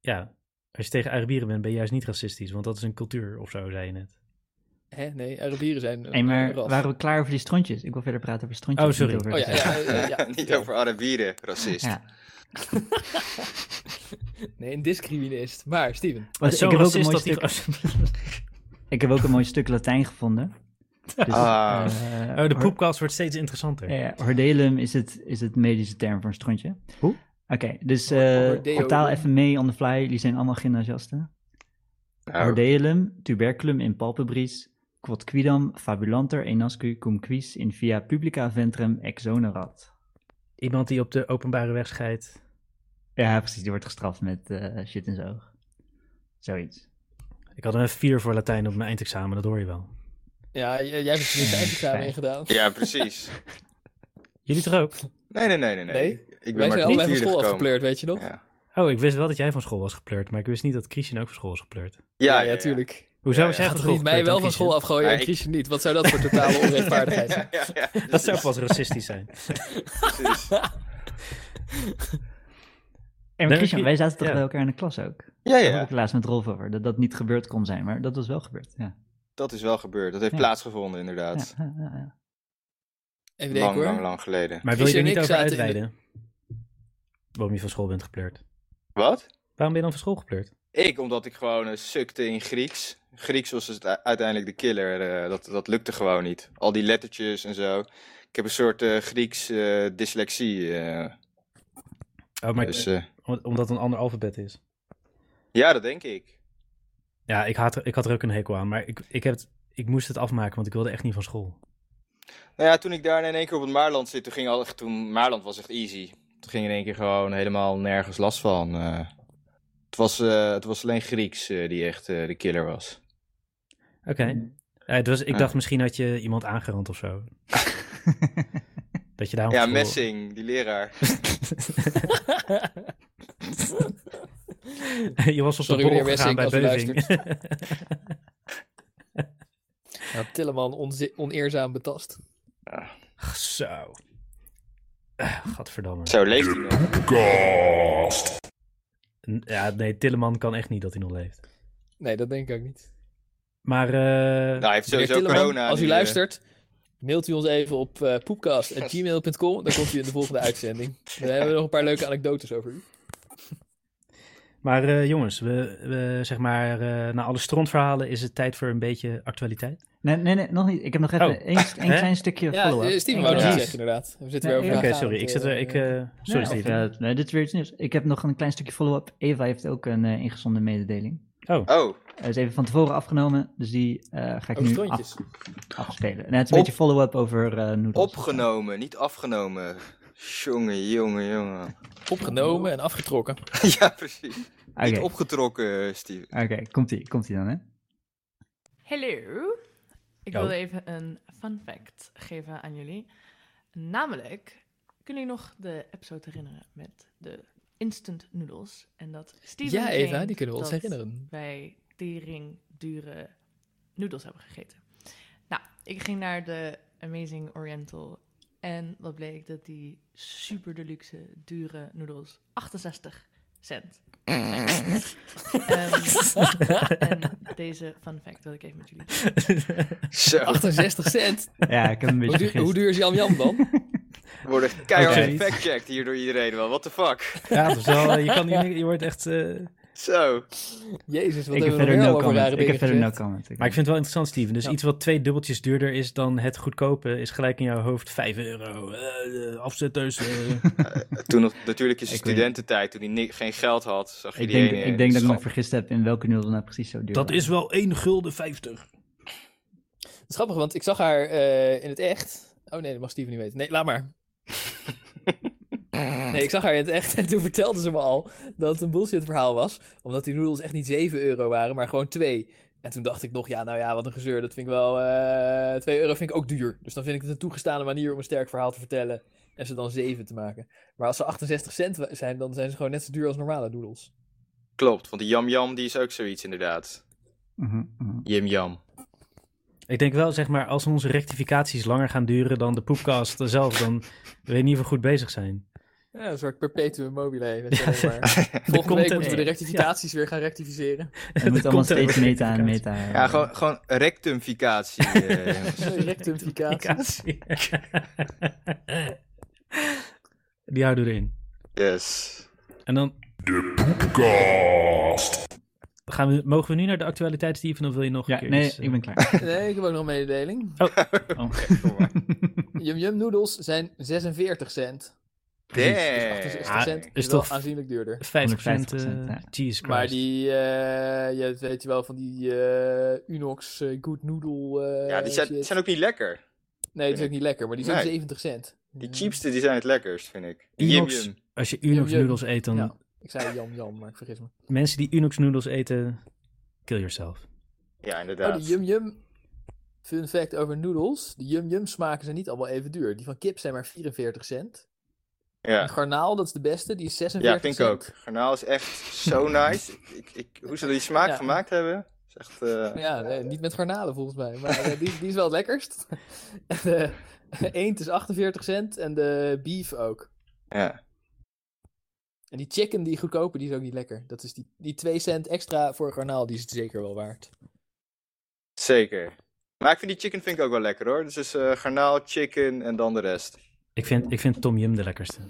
[SPEAKER 1] Ja, als je tegen Arabieren bent, ben je juist niet racistisch, want dat is een cultuur of zo, zei je net.
[SPEAKER 2] Hè? Nee, Arabieren zijn een
[SPEAKER 4] Hé, maar
[SPEAKER 2] een ras.
[SPEAKER 4] waren we klaar over die strontjes? Ik wil verder praten over strontjes.
[SPEAKER 1] Oh,
[SPEAKER 4] niet
[SPEAKER 1] sorry.
[SPEAKER 4] over
[SPEAKER 2] Oh ja,
[SPEAKER 4] het-
[SPEAKER 2] (laughs) ja,
[SPEAKER 3] (laughs)
[SPEAKER 2] ja, ja.
[SPEAKER 3] niet over Arabieren, racist.
[SPEAKER 4] Ja.
[SPEAKER 2] Nee, een discriminist. Maar, Steven.
[SPEAKER 1] Het is
[SPEAKER 4] Want ik,
[SPEAKER 1] zo'n
[SPEAKER 4] heb ook een
[SPEAKER 1] racist
[SPEAKER 4] mooi
[SPEAKER 1] dat
[SPEAKER 4] stuk,
[SPEAKER 1] hij-
[SPEAKER 4] (laughs) ik heb ook een mooi stuk Latijn gevonden. Dus,
[SPEAKER 3] Ah.
[SPEAKER 4] eh,
[SPEAKER 1] Oh, de
[SPEAKER 4] or-
[SPEAKER 1] poepkast wordt steeds interessanter.
[SPEAKER 4] Ja, ja, ordelum is het, is het medische term voor een strontje.
[SPEAKER 1] Hoe?
[SPEAKER 4] Oké, dus eh,
[SPEAKER 2] Ordeum.
[SPEAKER 4] op taal even mee on the fly. Jullie zijn allemaal gymnasiasten.
[SPEAKER 3] Oh. Nou,
[SPEAKER 4] Ordeelum, tuberculum in palpebris, quod quidam fabulanter enascu cum quis in via publica ventrum exonerat.
[SPEAKER 1] Iemand die op de openbare weg scheidt.
[SPEAKER 4] Ja, precies, die wordt gestraft met eh, shit in zijn oog. Zoiets.
[SPEAKER 1] Ik had een 4 voor Latijn op mijn eindexamen, dat hoor je wel.
[SPEAKER 2] Ja, j- jij hebt het niet eindexamen
[SPEAKER 4] fijn.
[SPEAKER 2] ingedaan.
[SPEAKER 3] Ja, precies.
[SPEAKER 1] Jullie toch ook?
[SPEAKER 3] Nee, nee, nee, nee. nee.
[SPEAKER 2] Nee?
[SPEAKER 3] Ik
[SPEAKER 2] Wij
[SPEAKER 3] ben maar
[SPEAKER 2] zijn
[SPEAKER 3] tot
[SPEAKER 2] allebei van
[SPEAKER 3] vierde
[SPEAKER 2] school
[SPEAKER 3] gekomen.
[SPEAKER 2] afgepleurd, weet je nog?
[SPEAKER 3] Ja.
[SPEAKER 1] Oh, ik wist wel dat jij van school was gepleurd, maar ik wist niet dat Christian ook van school was gepleurd.
[SPEAKER 3] Ja,
[SPEAKER 2] ja, tuurlijk.
[SPEAKER 1] Hoezo
[SPEAKER 3] Ja,
[SPEAKER 1] was
[SPEAKER 3] ja.
[SPEAKER 1] jij
[SPEAKER 2] Gaat
[SPEAKER 1] van
[SPEAKER 2] toch
[SPEAKER 1] school
[SPEAKER 2] niet mij
[SPEAKER 1] gepleurd dan,
[SPEAKER 2] wel van
[SPEAKER 1] Christian?
[SPEAKER 2] school afgooien
[SPEAKER 3] Ja,
[SPEAKER 2] en
[SPEAKER 3] ik-
[SPEAKER 2] Christian niet? Wat zou dat voor
[SPEAKER 3] (laughs)
[SPEAKER 2] totale onrechtvaardigheid zijn?
[SPEAKER 3] Ja, ja, ja.
[SPEAKER 1] Dat zou ook wel eens racistisch
[SPEAKER 2] (laughs)
[SPEAKER 1] zijn.
[SPEAKER 3] Precies.
[SPEAKER 4] En
[SPEAKER 1] Nee,
[SPEAKER 4] Christian,
[SPEAKER 1] misschien-
[SPEAKER 4] wij zaten toch
[SPEAKER 1] ja.
[SPEAKER 4] bij elkaar in de klas ook?
[SPEAKER 3] Ja,
[SPEAKER 4] Daar had
[SPEAKER 3] ja.
[SPEAKER 4] ik het laatst met Rolf over, dat dat niet gebeurd kon zijn, maar dat was wel gebeurd. Ja.
[SPEAKER 3] dat is wel gebeurd. Dat heeft
[SPEAKER 4] Ja.
[SPEAKER 3] plaatsgevonden, inderdaad.
[SPEAKER 4] Ja, ja, ja.
[SPEAKER 2] Even denken
[SPEAKER 3] Lang,
[SPEAKER 2] hoor.
[SPEAKER 3] lang, lang geleden.
[SPEAKER 1] Maar wil je
[SPEAKER 2] Chris
[SPEAKER 1] er
[SPEAKER 2] en
[SPEAKER 1] niet
[SPEAKER 2] ik
[SPEAKER 1] over
[SPEAKER 2] zaten in de-
[SPEAKER 1] uitweiden? Waarom je van school bent gepleurd?
[SPEAKER 3] Wat?
[SPEAKER 1] Waarom ben je dan van school gepleurd?
[SPEAKER 3] Ik, omdat ik gewoon eh, sukte in Grieks. Grieks was het u- uiteindelijk de killer. eh, dat, dat lukte gewoon niet. Al die lettertjes en zo. Ik heb een soort eh, Grieks eh, dyslexie. eh,
[SPEAKER 1] Oh, maar
[SPEAKER 3] dus, eh,
[SPEAKER 1] om- omdat het een ander alfabet is.
[SPEAKER 3] ja, dat denk ik.
[SPEAKER 1] Ja, ik had, er- ik had er ook een hekel aan, maar ik, ik, heb het, ik moest het afmaken, want ik wilde echt niet van school.
[SPEAKER 3] Nou ja, toen ik daar in één keer op het Maarland zit, toen ging al, toen Maarland was echt easy. Toen ging in één keer gewoon helemaal nergens last van. eh. het, was, eh, het was alleen Grieks eh, die echt eh, de killer was.
[SPEAKER 1] Oké. Eh, het was, ik
[SPEAKER 3] Mm. Ja.
[SPEAKER 1] dacht misschien had je iemand aangerand of
[SPEAKER 3] (laughs)
[SPEAKER 1] zo. dat je daarom
[SPEAKER 3] Ja,
[SPEAKER 1] van school-
[SPEAKER 3] Messing, die leraar.
[SPEAKER 2] (laughs)
[SPEAKER 1] (laughs) je was op de
[SPEAKER 2] Sorry,
[SPEAKER 1] borrel
[SPEAKER 2] meneer
[SPEAKER 1] gegaan
[SPEAKER 2] Wessing,
[SPEAKER 1] bij
[SPEAKER 2] als u
[SPEAKER 1] Beuving.
[SPEAKER 2] Ja, Tilleman onzi- oneerzaam betast.
[SPEAKER 1] (laughs) Ach, zo. Eh, Gadverdamme.
[SPEAKER 3] Zo leeft hij nog.
[SPEAKER 1] N- Ja, nee, Tilleman kan echt niet dat hij nog leeft.
[SPEAKER 2] Nee, dat denk ik ook niet.
[SPEAKER 1] Maar eh,
[SPEAKER 3] Nou, hij heeft
[SPEAKER 2] Meneer
[SPEAKER 3] sowieso
[SPEAKER 2] Tilleman,
[SPEAKER 3] corona.
[SPEAKER 2] als u
[SPEAKER 3] nu, eh.
[SPEAKER 2] luistert, mailt u ons even op eh poepcast.gmail.com. Dan komt u in de
[SPEAKER 3] (laughs)
[SPEAKER 2] volgende uitzending. Dan hebben we nog een paar leuke anekdotes over u.
[SPEAKER 1] Maar eh, jongens, we, we, zeg maar, eh, na alle strontverhalen is het tijd voor een beetje actualiteit.
[SPEAKER 4] Nee, nee, nee, nog niet. Ik heb nog even
[SPEAKER 1] Oh.
[SPEAKER 4] één één
[SPEAKER 1] Hè?
[SPEAKER 4] klein stukje
[SPEAKER 2] Ja,
[SPEAKER 4] follow-up.
[SPEAKER 2] eh, Steven
[SPEAKER 4] Eén
[SPEAKER 2] wou nog
[SPEAKER 4] klein
[SPEAKER 2] iets
[SPEAKER 3] Ja.
[SPEAKER 2] zeggen, inderdaad. We zitten
[SPEAKER 4] Nee,
[SPEAKER 2] weer
[SPEAKER 1] Oké,
[SPEAKER 2] over
[SPEAKER 4] Oké,
[SPEAKER 1] sorry. Ik zit er. Ik, eh, sorry,
[SPEAKER 4] Nee,
[SPEAKER 1] Steven.
[SPEAKER 4] of, eh, nee, dit is weer iets nieuws. Ik heb nog een klein stukje follow-up. Eva heeft ook een eh, ingezonde mededeling. Eh,
[SPEAKER 1] Oh,
[SPEAKER 3] Oh,
[SPEAKER 4] Hij is even van tevoren afgenomen, dus die eh, ga ik
[SPEAKER 2] Over
[SPEAKER 4] nu
[SPEAKER 2] strontjes.
[SPEAKER 4] af, afspelen. Nee, het is een
[SPEAKER 3] Op-
[SPEAKER 4] beetje follow-up over eh noedels.
[SPEAKER 3] opgenomen, niet afgenomen. Jongen, jongen,
[SPEAKER 4] (laughs)
[SPEAKER 3] jongen.
[SPEAKER 2] Opgenomen en afgetrokken.
[SPEAKER 3] ja, precies.
[SPEAKER 4] Oké,
[SPEAKER 3] Niet opgetrokken, eh, Steven.
[SPEAKER 4] oké, komt-ie komt ie dan, hè?
[SPEAKER 6] Hallo. Ik
[SPEAKER 1] Yo.
[SPEAKER 6] wilde even een fun fact geven aan jullie. Namelijk, kunnen jullie nog de episode herinneren met de instant noodles? En dat Steven
[SPEAKER 2] Ja, Eva,
[SPEAKER 6] claimt
[SPEAKER 2] die kunnen we ons
[SPEAKER 6] dat
[SPEAKER 2] herinneren. (laughs)
[SPEAKER 6] wij tering dure noedels hebben gegeten. Nou, ik ging naar de Amazing Oriental en wat bleek dat die super deluxe dure noedels 68 cent. zijn. Ehm, en deze fun fact wil ik even met jullie delen.
[SPEAKER 3] Zo,
[SPEAKER 4] (laughs)
[SPEAKER 2] 68 cent.
[SPEAKER 4] Ja, ik heb een
[SPEAKER 2] Hoe
[SPEAKER 4] beetje
[SPEAKER 2] duur,
[SPEAKER 4] vergist.
[SPEAKER 2] hoe duur is Jan Jan
[SPEAKER 4] (laughs)
[SPEAKER 2] dan?
[SPEAKER 3] we worden keihard
[SPEAKER 1] Oké.
[SPEAKER 3] fact-checked hier door iedereen wel. What the fuck?
[SPEAKER 1] ja, dat is dus wel, je, kan, niet- je wordt echt... eh,
[SPEAKER 3] Zo.
[SPEAKER 2] Jezus, wat
[SPEAKER 4] ik heb
[SPEAKER 2] hebben we
[SPEAKER 4] verder
[SPEAKER 2] nog
[SPEAKER 4] no
[SPEAKER 2] over
[SPEAKER 4] comment.
[SPEAKER 2] rare
[SPEAKER 4] Ik
[SPEAKER 2] dingen
[SPEAKER 4] heb verder no
[SPEAKER 2] gezegd.
[SPEAKER 4] comment. Ik-
[SPEAKER 1] Maar ik vind het wel interessant, Steven. Dus
[SPEAKER 2] Ja.
[SPEAKER 1] iets wat twee dubbeltjes duurder is dan het goedkope, is gelijk in jouw hoofd 5 euro. eh, eh, afzetters. eh.
[SPEAKER 3] Toen nog, natuurlijk is
[SPEAKER 4] Ik
[SPEAKER 3] zijn
[SPEAKER 4] weet-
[SPEAKER 3] studententijd, toen hij ni- geen geld had, zag eh, je
[SPEAKER 4] ik
[SPEAKER 3] die
[SPEAKER 4] denk,
[SPEAKER 3] ene
[SPEAKER 4] ik denk dat ik me
[SPEAKER 3] schap.
[SPEAKER 4] vergist heb in welke noedel nou precies zo duur
[SPEAKER 1] eh, dat
[SPEAKER 4] waren.
[SPEAKER 1] is wel 1 gulden 50.
[SPEAKER 2] Het is grappig, want ik zag haar eh, in het echt. Oh nee, dat mag Steven niet weten. Nee,
[SPEAKER 4] (laughs)
[SPEAKER 2] laat maar. Nee, ik zag haar in het echt en toen vertelde ze me al dat het een bullshit verhaal was. Omdat die noedels echt niet 7 euro waren, maar gewoon 2. En toen dacht ik nog, ja, nou ja, wat een gezeur. Dat vind ik wel, eh 2 euro vind ik ook duur. Dus dan vind ik het een toegestane manier om een sterk verhaal te vertellen. En ze dan 7 te maken. Maar als ze 68 cent wa- zijn, dan zijn ze gewoon net zo duur als normale noedels.
[SPEAKER 3] Klopt, want die Yam Yam die is ook zoiets inderdaad.
[SPEAKER 1] (laughs)
[SPEAKER 4] Mhm, mhm.
[SPEAKER 3] Yim Yam.
[SPEAKER 1] Ik denk wel, zeg maar, als onze rectificaties langer gaan duren dan de poepcast zelf, dan weet je niet of we goed bezig zijn.
[SPEAKER 2] Ja, een soort perpetuum mobile. Weet je, alleen maar. Volgende
[SPEAKER 1] content-
[SPEAKER 2] week moeten we de rectificaties weer gaan rectificeren.
[SPEAKER 4] Het moet allemaal
[SPEAKER 1] komt er
[SPEAKER 4] steeds
[SPEAKER 1] weer
[SPEAKER 4] meta en
[SPEAKER 1] uit.
[SPEAKER 4] meta.
[SPEAKER 3] Ja, gewoon, gewoon rectumficatie.
[SPEAKER 4] (laughs)
[SPEAKER 3] eh, jongens.
[SPEAKER 2] Rectificaties.
[SPEAKER 1] Die houden we erin.
[SPEAKER 3] yes.
[SPEAKER 1] En dan. De poepcast. Gaan we, mogen we nu naar de actualiteit, Steven, of wil je nog een
[SPEAKER 4] Ja,
[SPEAKER 1] keer
[SPEAKER 4] nee,
[SPEAKER 1] iets, eh,
[SPEAKER 4] ik ben klaar.
[SPEAKER 1] (laughs)
[SPEAKER 2] Nee, ik heb ook nog een mededeling.
[SPEAKER 4] Oh.
[SPEAKER 2] Yum Yum noedels zijn 46 cent. Dus
[SPEAKER 3] Damn.
[SPEAKER 2] 68 cent is
[SPEAKER 1] is
[SPEAKER 2] wel
[SPEAKER 1] toch-
[SPEAKER 2] aanzienlijk duurder.
[SPEAKER 1] 50%?
[SPEAKER 4] 150%,
[SPEAKER 1] eh,
[SPEAKER 4] ja.
[SPEAKER 1] Jesus Christ.
[SPEAKER 2] Maar die, eh, je weet je wel, van die eh, Unox eh, Good Noodle. eh,
[SPEAKER 3] Ja, die zijn, die
[SPEAKER 2] shit.
[SPEAKER 3] zijn ook niet lekker.
[SPEAKER 2] Nee, die zijn ook niet lekker, maar die zijn
[SPEAKER 3] Nee.
[SPEAKER 2] 70 cent.
[SPEAKER 3] Die
[SPEAKER 2] Ja.
[SPEAKER 3] cheapste die zijn het lekkerst, vind ik. Yum
[SPEAKER 1] Unox.
[SPEAKER 3] Yum.
[SPEAKER 1] Als je Unox
[SPEAKER 2] Yum, yum.
[SPEAKER 1] noedels eet, dan...
[SPEAKER 2] Ja, ik zei Yum Yum, maar ik vergis me.
[SPEAKER 1] Mensen die Unox noedels eten, kill yourself.
[SPEAKER 3] Ja,
[SPEAKER 2] Oh,
[SPEAKER 3] inderdaad.
[SPEAKER 2] de Yum Yum. Fun fact over noedels. De Yum Yum smaken zijn niet allemaal even duur. Die van kip zijn maar 44 cent.
[SPEAKER 3] ja.
[SPEAKER 2] En garnaal, dat is de beste, die is
[SPEAKER 3] Ja,
[SPEAKER 2] 46
[SPEAKER 3] vind
[SPEAKER 2] cent.
[SPEAKER 3] ik ook. Garnaal is echt
[SPEAKER 2] (laughs)
[SPEAKER 3] zo nice. Ik, ik, hoe ze die smaak
[SPEAKER 2] Ja.
[SPEAKER 3] gemaakt hebben, is echt... eh,
[SPEAKER 2] Ja, nee, niet met garnalen volgens mij. Maar eh, die, die is wel het lekkerst. (laughs) En de eend is 48 cent en de beef ook.
[SPEAKER 3] ja.
[SPEAKER 2] En die chicken, die goedkope, die is ook niet lekker. Dat is die, die 2 cent extra voor garnaal, die is het zeker wel waard.
[SPEAKER 3] Zeker. Maar ik vind die chicken vind ik ook wel lekker hoor. Dus is eh, garnaal, chicken en dan de rest.
[SPEAKER 1] Ik vind, ik vind Tom Yum de lekkerste.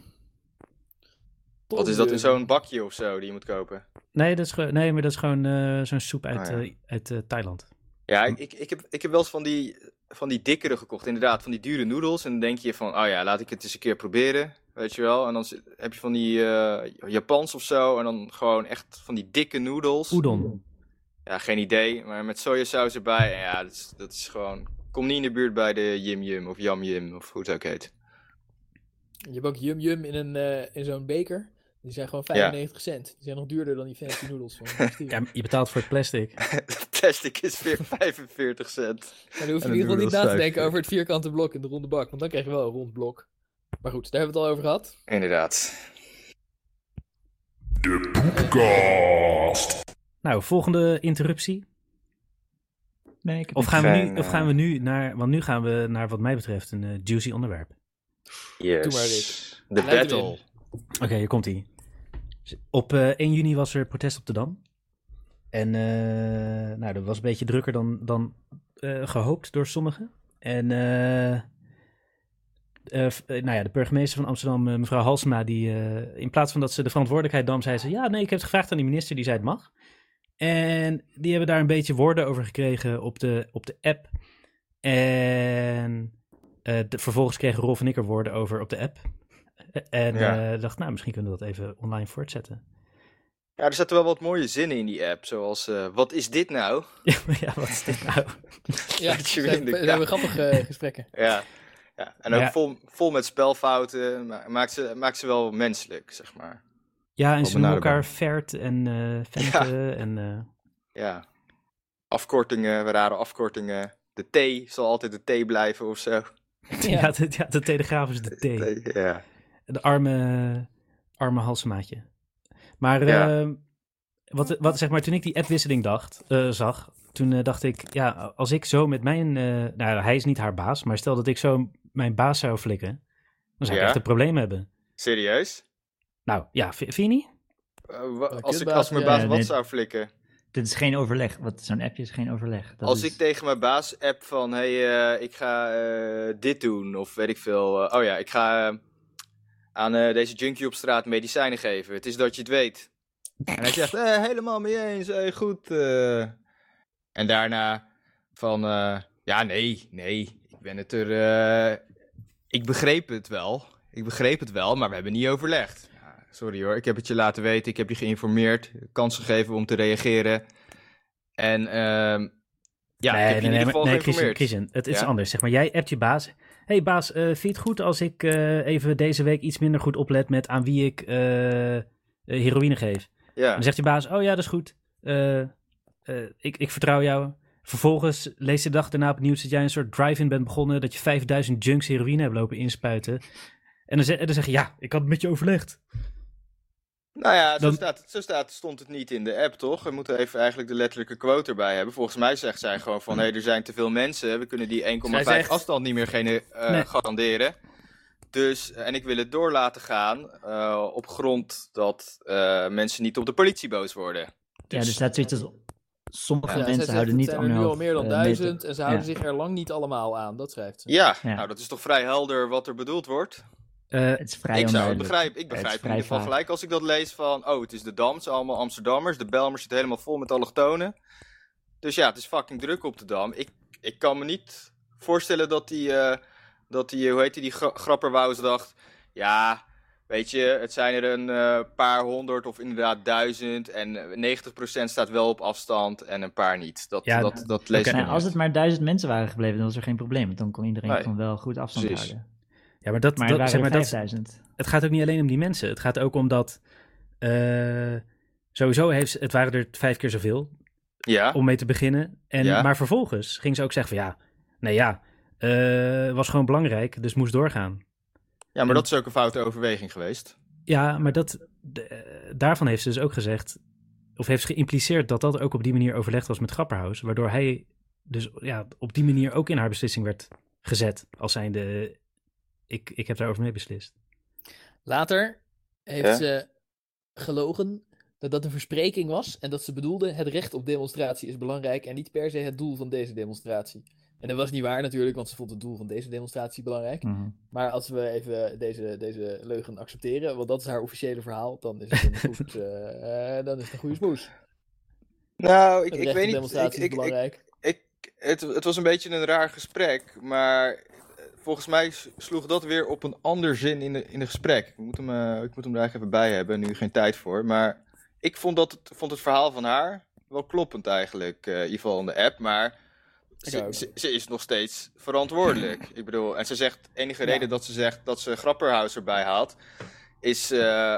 [SPEAKER 3] Wat is dat in zo'n bakje of zo die je moet kopen?
[SPEAKER 1] Nee, dat is, gewoon- nee maar dat is gewoon eh, zo'n soep
[SPEAKER 2] Oh,
[SPEAKER 1] uit,
[SPEAKER 3] Ah, ja.
[SPEAKER 1] eh, uit eh, Thailand.
[SPEAKER 3] Ja, ik, ik, ik, heb, ik heb wel eens van die, van die dikkere gekocht. Inderdaad, van die dure noedels. En dan denk je van, oh ja, laat ik het eens een keer proberen. Weet je wel. En dan zit- heb je van die eh, Japans of zo. En dan gewoon echt van die dikke noedels.
[SPEAKER 1] Udon.
[SPEAKER 3] Ja, geen idee. Maar met sojasaus erbij. En ja, dat is, dat is gewoon... Kom niet in de buurt bij de Yim Yum of Yam Yum of hoe het ook heet. (laughs)
[SPEAKER 2] Je hebt ook Yum Yum in, een, eh, in zo'n beker. Die zijn gewoon 95 cent. Die zijn nog duurder dan die fancy noodles van Steven.
[SPEAKER 1] Ja, je betaalt voor het plastic.
[SPEAKER 3] Plastic is (laughs) weer 45 cent.
[SPEAKER 2] Maar dan hoef
[SPEAKER 3] En
[SPEAKER 2] je in
[SPEAKER 3] een
[SPEAKER 2] ieder geval niet
[SPEAKER 3] noodles
[SPEAKER 2] na te
[SPEAKER 3] vijf
[SPEAKER 2] denken
[SPEAKER 3] keer.
[SPEAKER 2] over het vierkante blok in de ronde bak. Want dan krijg je wel een rond blok. Maar goed, daar hebben we het al over gehad.
[SPEAKER 3] Inderdaad.
[SPEAKER 1] Nou, volgende interruptie.
[SPEAKER 4] Nee, ik heb
[SPEAKER 1] Of gaan, we
[SPEAKER 3] Fijn,
[SPEAKER 1] nu, of
[SPEAKER 3] eh.
[SPEAKER 1] gaan we nu naar... Want nu gaan we naar wat mij betreft een eh, juicy onderwerp.
[SPEAKER 3] Yes.
[SPEAKER 2] Doe maar, Rick.
[SPEAKER 3] The
[SPEAKER 2] Leid hem
[SPEAKER 3] battle.
[SPEAKER 1] Oké, hier komt hij. Op eh, 1 juni was er protest op de Dam. En eh, nou, dat was een beetje drukker dan, dan eh, gehoopt door sommigen. En eh, eh, f- eh, nou ja, de burgemeester van Amsterdam, eh, mevrouw Halsema, die eh, in plaats van dat ze de verantwoordelijkheid nam, zei ze: Ja, nee, ik heb het gevraagd aan die minister, die zei het mag. En die hebben daar een beetje woorden over gekregen op de, op de app. En eh, de, vervolgens kregen Rolf en ik er woorden over op de app. Eh, En
[SPEAKER 3] Ja.
[SPEAKER 1] eh, dacht, nou, misschien kunnen we dat even online voortzetten.
[SPEAKER 3] Ja, er zaten wel wat mooie zinnen in die app. Zoals, eh, wat is dit nou?
[SPEAKER 1] (laughs) ja, maar ja, wat is dit nou?
[SPEAKER 2] Ja,
[SPEAKER 3] (laughs) Dat
[SPEAKER 2] dat
[SPEAKER 3] je weer in
[SPEAKER 2] zijn,
[SPEAKER 3] de
[SPEAKER 2] zijn
[SPEAKER 3] kamer-
[SPEAKER 2] we grappige eh, gesprekken.
[SPEAKER 3] Ja. ja. En ook
[SPEAKER 1] Ja.
[SPEAKER 3] Vol, vol met spelfouten. ma- Maakt ze, maakt ze wel menselijk, zeg maar.
[SPEAKER 1] Ja, en
[SPEAKER 3] Wat
[SPEAKER 1] ze noemen
[SPEAKER 3] benaderbaar.
[SPEAKER 1] elkaar vert en eh vente en... eh,
[SPEAKER 3] Ja. Afkortingen, rare afkortingen. De T zal altijd de T blijven of zo.
[SPEAKER 1] (laughs) ja. de, ja, de Telegraaf is de T.
[SPEAKER 3] Ja.
[SPEAKER 1] De arme, arme halsmaatje. Maar
[SPEAKER 3] Ja.
[SPEAKER 1] eh, wat, wat, zeg maar, toen ik die appwisseling dacht, eh, zag, toen eh, dacht ik, ja, als ik zo met mijn, eh, nou hij is niet haar baas, maar stel dat ik zo mijn baas zou flikken, dan zou ik
[SPEAKER 3] Ja.
[SPEAKER 1] echt een probleem hebben.
[SPEAKER 3] Serieus?
[SPEAKER 1] Nou, ja, vind vind je niet?
[SPEAKER 3] Eh, wa- als, ik,
[SPEAKER 2] kutbaas,
[SPEAKER 3] als mijn
[SPEAKER 2] ja.
[SPEAKER 3] baas
[SPEAKER 4] Ja,
[SPEAKER 3] wat
[SPEAKER 4] nee.
[SPEAKER 3] zou flikken?
[SPEAKER 4] Dit is geen overleg, want zo'n appje is geen overleg. Dat
[SPEAKER 3] als
[SPEAKER 4] is-
[SPEAKER 3] ik tegen mijn baas app van... Hé, hey, eh, ik ga eh, dit doen. Of weet ik veel. eh, oh ja, ik ga eh, aan eh, deze junkie op straat medicijnen geven. Het is dat je het weet. En hij zegt, eh, helemaal mee eens. eh, goed. eh. En daarna van... eh, ja, nee, nee. Ik ben het er... eh, ik begreep het wel. Ik begreep het wel, maar we hebben niet overlegd. Ja, sorry hoor, ik heb het je laten weten. Ik heb je geïnformeerd. Kans gegeven om te reageren. En... ehm, ja, ik heb je in ieder geval
[SPEAKER 1] nee, Christian,
[SPEAKER 3] geïnformeerd.
[SPEAKER 1] Christian, het is
[SPEAKER 3] Ja?
[SPEAKER 1] anders. Zeg maar, jij appt je baas. hey baas, eh, vind je het goed als ik eh, even deze week iets minder goed oplet met aan wie ik eh, eh, heroïne geef?
[SPEAKER 3] Ja.
[SPEAKER 1] Dan zegt je baas, oh ja, dat is goed. Eh, eh, ik, ik vertrouw jou. Vervolgens leest de dag daarna op het nieuws dat jij een soort drive-in bent begonnen. Dat je 5000 junks heroïne hebt lopen inspuiten. En dan, ze- en dan zeg je, ja, ik had het met je overlegd.
[SPEAKER 3] Nou ja, zo,
[SPEAKER 1] Dan-
[SPEAKER 3] staat, het- zo staat, stond het niet in de app, toch? We moeten even eigenlijk de letterlijke quote erbij hebben. Volgens mij zegt zij gewoon van... hé, hey, er zijn te veel mensen. We kunnen die 1,5
[SPEAKER 2] Zij zegt-
[SPEAKER 3] afstand niet meer gene- eh,
[SPEAKER 1] Nee.
[SPEAKER 3] garanderen. Dus, eh, en ik wil het door laten gaan... eh, op grond dat eh, mensen niet op de politie boos worden.
[SPEAKER 4] Ja,
[SPEAKER 3] dus-
[SPEAKER 4] er staat zoiets als... Sommige
[SPEAKER 2] Ja, zij
[SPEAKER 4] mensen
[SPEAKER 2] zegt,
[SPEAKER 4] houden niet
[SPEAKER 2] Het zijn er nu al
[SPEAKER 4] anderhalf
[SPEAKER 2] meer dan
[SPEAKER 4] eh,
[SPEAKER 2] duizend
[SPEAKER 4] meter.
[SPEAKER 2] en ze houden
[SPEAKER 4] Ja.
[SPEAKER 2] zich er lang niet allemaal aan. Dat schrijft ze.
[SPEAKER 3] Ja,
[SPEAKER 4] Ja.
[SPEAKER 3] nou dat is toch vrij helder wat er bedoeld wordt?
[SPEAKER 1] Eh,
[SPEAKER 4] Het is vrij
[SPEAKER 3] ik zou het
[SPEAKER 4] onduidelijk.
[SPEAKER 3] begrijpen. Ik
[SPEAKER 4] is
[SPEAKER 3] begrijp in
[SPEAKER 4] vrij
[SPEAKER 3] ieder geval
[SPEAKER 4] vaag.
[SPEAKER 3] gelijk als ik dat lees van... oh, het is de Dam, het zijn allemaal Amsterdammers. De Belmer zit helemaal vol met allochtonen. Dus ja, het is fucking druk op de Dam. Ik, ik kan me niet voorstellen dat die... eh, dat die hoe heet die, die gra- grapperwous dacht... ja, weet je, het zijn er een eh, paar honderd of inderdaad duizend... en eh, 90% staat wel op afstand en een paar niet. Dat,
[SPEAKER 1] Ja,
[SPEAKER 3] dat, dat lees ik
[SPEAKER 1] oké.
[SPEAKER 4] Nou,
[SPEAKER 3] niet.
[SPEAKER 4] als het maar duizend mensen waren gebleven, dan was er geen probleem. want Dan kon iedereen
[SPEAKER 3] Nee.
[SPEAKER 4] gewoon wel goed afstand
[SPEAKER 3] Precies.
[SPEAKER 4] houden.
[SPEAKER 1] ja, maar dat,
[SPEAKER 4] Maar er
[SPEAKER 1] dat,
[SPEAKER 4] waren
[SPEAKER 1] zeg maar,
[SPEAKER 4] er
[SPEAKER 1] dat,
[SPEAKER 4] 5000.
[SPEAKER 1] het gaat ook niet alleen om die mensen. Het gaat ook om dat. eh, sowieso heeft, ze- het waren er vijf keer zoveel
[SPEAKER 3] Ja,
[SPEAKER 1] om mee te beginnen. En,
[SPEAKER 3] Ja.
[SPEAKER 1] Maar vervolgens ging ze ook zeggen van ja, nee ja, eh, was gewoon belangrijk, dus moest doorgaan.
[SPEAKER 3] ja, maar dat is ook een foute overweging geweest.
[SPEAKER 1] Ja, maar dat, de- eh, daarvan heeft ze dus ook gezegd, of heeft ze geïmpliceerd dat dat ook op die manier overlegd was met Grapperhaus. Waardoor hij dus ja, op die manier ook in haar beslissing werd gezet. Als zijnde, ik, ik heb daarover mee beslist.
[SPEAKER 2] Later heeft
[SPEAKER 3] Ja.
[SPEAKER 2] ze gelogen dat dat een verspreking was en dat ze bedoelde het recht op demonstratie is belangrijk en niet per se het doel van deze demonstratie. En dat was niet waar natuurlijk, want ze vond het doel van deze demonstratie belangrijk.
[SPEAKER 4] Mhm.
[SPEAKER 2] Maar als we even deze, deze leugen accepteren, want dat is haar officiële verhaal, dan is het een, (laughs) goed, eh, eh, dan is het een goede smoes.
[SPEAKER 3] Nou, ik,
[SPEAKER 2] Het
[SPEAKER 3] ik weet
[SPEAKER 2] recht op
[SPEAKER 3] niet. Ik,
[SPEAKER 2] demonstratie
[SPEAKER 3] ik,
[SPEAKER 2] is
[SPEAKER 3] ik,
[SPEAKER 2] belangrijk.
[SPEAKER 3] ik, het, het was een beetje een raar gesprek, maar eh, volgens mij s- sloeg dat weer op een ander zin in, de, in het gesprek. Ik moet, hem, eh, ik moet hem er eigenlijk even bij hebben, nu geen tijd voor. Maar ik vond, dat het, vond het verhaal van haar wel kloppend eigenlijk, eh in ieder geval in de app. Maar ze,
[SPEAKER 2] ook.
[SPEAKER 3] ze, ze is nog steeds verantwoordelijk. ik bedoel, en ze zegt, enige reden dat ze zegt dat ze Grapperhaus erbij haalt, is... eh,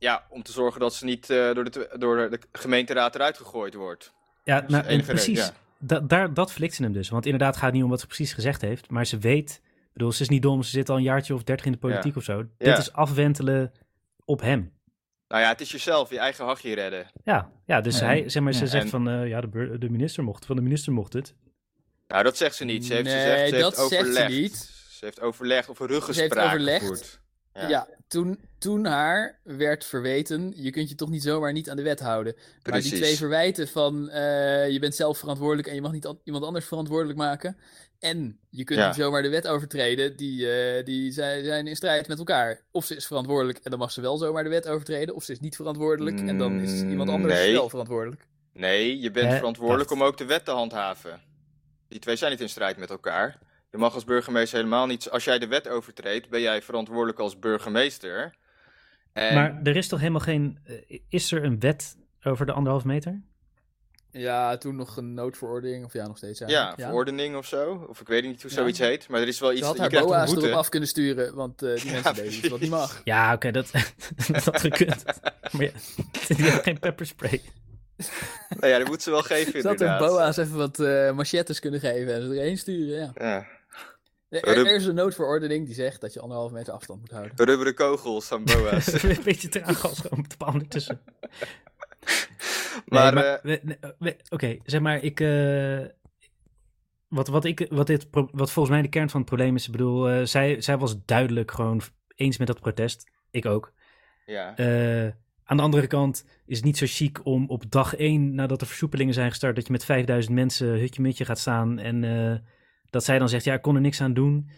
[SPEAKER 3] ja, om te zorgen dat ze niet eh, door, de, twe- door de gemeenteraad eruit gegooid wordt.
[SPEAKER 1] Ja, nou, en
[SPEAKER 3] enige reden,
[SPEAKER 1] precies.
[SPEAKER 3] Dus ja.
[SPEAKER 1] da- daar, dat flikt ze hem dus. Want inderdaad gaat het niet om wat ze precies gezegd heeft. Maar ze weet, ik bedoel, ze is niet dom. Ze zit al een jaartje of dertig in de politiek of zo. Dit
[SPEAKER 3] Ja.
[SPEAKER 1] is afwentelen op hem.
[SPEAKER 3] Nou ja, het is jezelf, je eigen hachje redden.
[SPEAKER 1] Ja, ja dus
[SPEAKER 4] Ja.
[SPEAKER 1] hij, zeg maar, ze
[SPEAKER 4] Ja.
[SPEAKER 1] zegt
[SPEAKER 3] En-
[SPEAKER 1] van, eh, ja, de, bur- de minister mocht, van de minister mocht het.
[SPEAKER 3] Nou, dat zegt ze niet. Ze heeft,
[SPEAKER 2] Nee,
[SPEAKER 3] ze zegt, ze
[SPEAKER 2] dat
[SPEAKER 3] heeft
[SPEAKER 2] zegt ze
[SPEAKER 3] overlegd.
[SPEAKER 2] niet.
[SPEAKER 3] Ze heeft overlegd of ruggespraak
[SPEAKER 2] Ze heeft overlegd.
[SPEAKER 3] gevoerd.
[SPEAKER 2] Ja,
[SPEAKER 3] Ja.
[SPEAKER 2] toen, toen haar werd verweten, je kunt je toch niet zomaar niet aan de wet houden. Maar die
[SPEAKER 3] Precies.
[SPEAKER 2] twee verwijten van eh, je bent zelf verantwoordelijk en je mag niet an- iemand anders verantwoordelijk maken. En je kunt
[SPEAKER 3] Ja.
[SPEAKER 2] niet zomaar de wet overtreden, die, eh, die zijn, zijn in strijd met elkaar. Of ze is verantwoordelijk en dan mag ze wel zomaar de wet overtreden. Of ze is niet verantwoordelijk en dan is
[SPEAKER 3] Mm,
[SPEAKER 2] iemand anders
[SPEAKER 3] nee.
[SPEAKER 2] wel verantwoordelijk.
[SPEAKER 3] Nee, je bent
[SPEAKER 1] Hè,
[SPEAKER 3] verantwoordelijk
[SPEAKER 1] wacht.
[SPEAKER 3] om ook de wet te handhaven. Die twee zijn niet in strijd met elkaar. Je mag als burgemeester helemaal niet... Als jij de wet overtreedt, ben jij verantwoordelijk als burgemeester. En
[SPEAKER 1] Maar er is toch helemaal geen, eh, is er een wet over de anderhalf meter?
[SPEAKER 2] Ja, toen nog een noodverordening, of ja, nog steeds.
[SPEAKER 3] ja,
[SPEAKER 2] eigenlijk.
[SPEAKER 3] verordening of zo. Of ik weet niet hoe
[SPEAKER 2] Ja.
[SPEAKER 3] zoiets heet. Maar er is wel
[SPEAKER 2] Ze
[SPEAKER 3] iets...
[SPEAKER 2] had
[SPEAKER 3] dat
[SPEAKER 2] haar
[SPEAKER 3] je krijgt een
[SPEAKER 2] boa's erop
[SPEAKER 3] boete.
[SPEAKER 2] af kunnen sturen, want eh, die
[SPEAKER 3] Ja,
[SPEAKER 2] mensen deden iets wat niet
[SPEAKER 3] precies.
[SPEAKER 2] mag.
[SPEAKER 1] Ja, oké, dat, (laughs) dat had gekund. (laughs) Maar ja, die heeft geen pepperspray. (laughs)
[SPEAKER 3] Nou ja, dat moet ze wel geven
[SPEAKER 2] (laughs) Ze had de
[SPEAKER 3] inderdaad.
[SPEAKER 2] boa's even wat eh machettes kunnen geven en ze erheen sturen, ja.
[SPEAKER 3] Ja.
[SPEAKER 2] Er,
[SPEAKER 3] Rup.
[SPEAKER 2] er is een noodverordening die zegt dat je anderhalve meter afstand moet houden.
[SPEAKER 3] Rubberen kogels aan boa's.
[SPEAKER 1] een beetje traangas gewoon op de paal ertussen. Nee,
[SPEAKER 3] maar...
[SPEAKER 1] maar,
[SPEAKER 3] eh,
[SPEAKER 1] we- nee, we- oké, zeg maar, ik, eh, wat, wat, ik, wat, dit, pro- wat volgens mij de kern van het probleem is, ik bedoel, eh, zij, zij was duidelijk gewoon eens met dat protest. Ik ook.
[SPEAKER 3] ja.
[SPEAKER 1] Eh, aan de andere kant is het niet zo chic om op dag één, nadat de versoepelingen zijn gestart, dat je met 5000 mensen hutje-mutje gaat staan en eh, dat zij dan zegt, ja, ik kon er niks aan doen.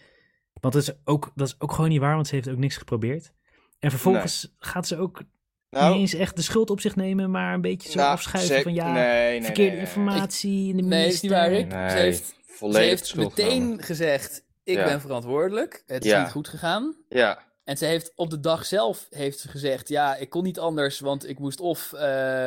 [SPEAKER 1] Want dat is, ook, dat is ook gewoon niet waar, want ze heeft ook niks geprobeerd. En vervolgens gaat ze ook
[SPEAKER 3] Nou,
[SPEAKER 1] niet eens echt de schuld op zich nemen, maar een beetje zo
[SPEAKER 3] nou,
[SPEAKER 1] afschuiven
[SPEAKER 3] ze-
[SPEAKER 1] van ja,
[SPEAKER 3] nee, nee, nee,
[SPEAKER 1] verkeerde
[SPEAKER 3] nee, nee.
[SPEAKER 1] informatie in de
[SPEAKER 2] Nee, is niet waar,
[SPEAKER 1] minister.
[SPEAKER 2] Rick. Ze heeft, ze
[SPEAKER 3] Volledig de
[SPEAKER 2] heeft
[SPEAKER 3] schuld
[SPEAKER 2] meteen
[SPEAKER 3] genomen.
[SPEAKER 2] gezegd, ik
[SPEAKER 3] Ja.
[SPEAKER 2] ben verantwoordelijk, het is
[SPEAKER 3] Ja.
[SPEAKER 2] niet goed gegaan.
[SPEAKER 3] Ja,
[SPEAKER 2] En ze heeft op de dag zelf heeft ze gezegd, ja, ik kon niet anders, want ik moest of... eh,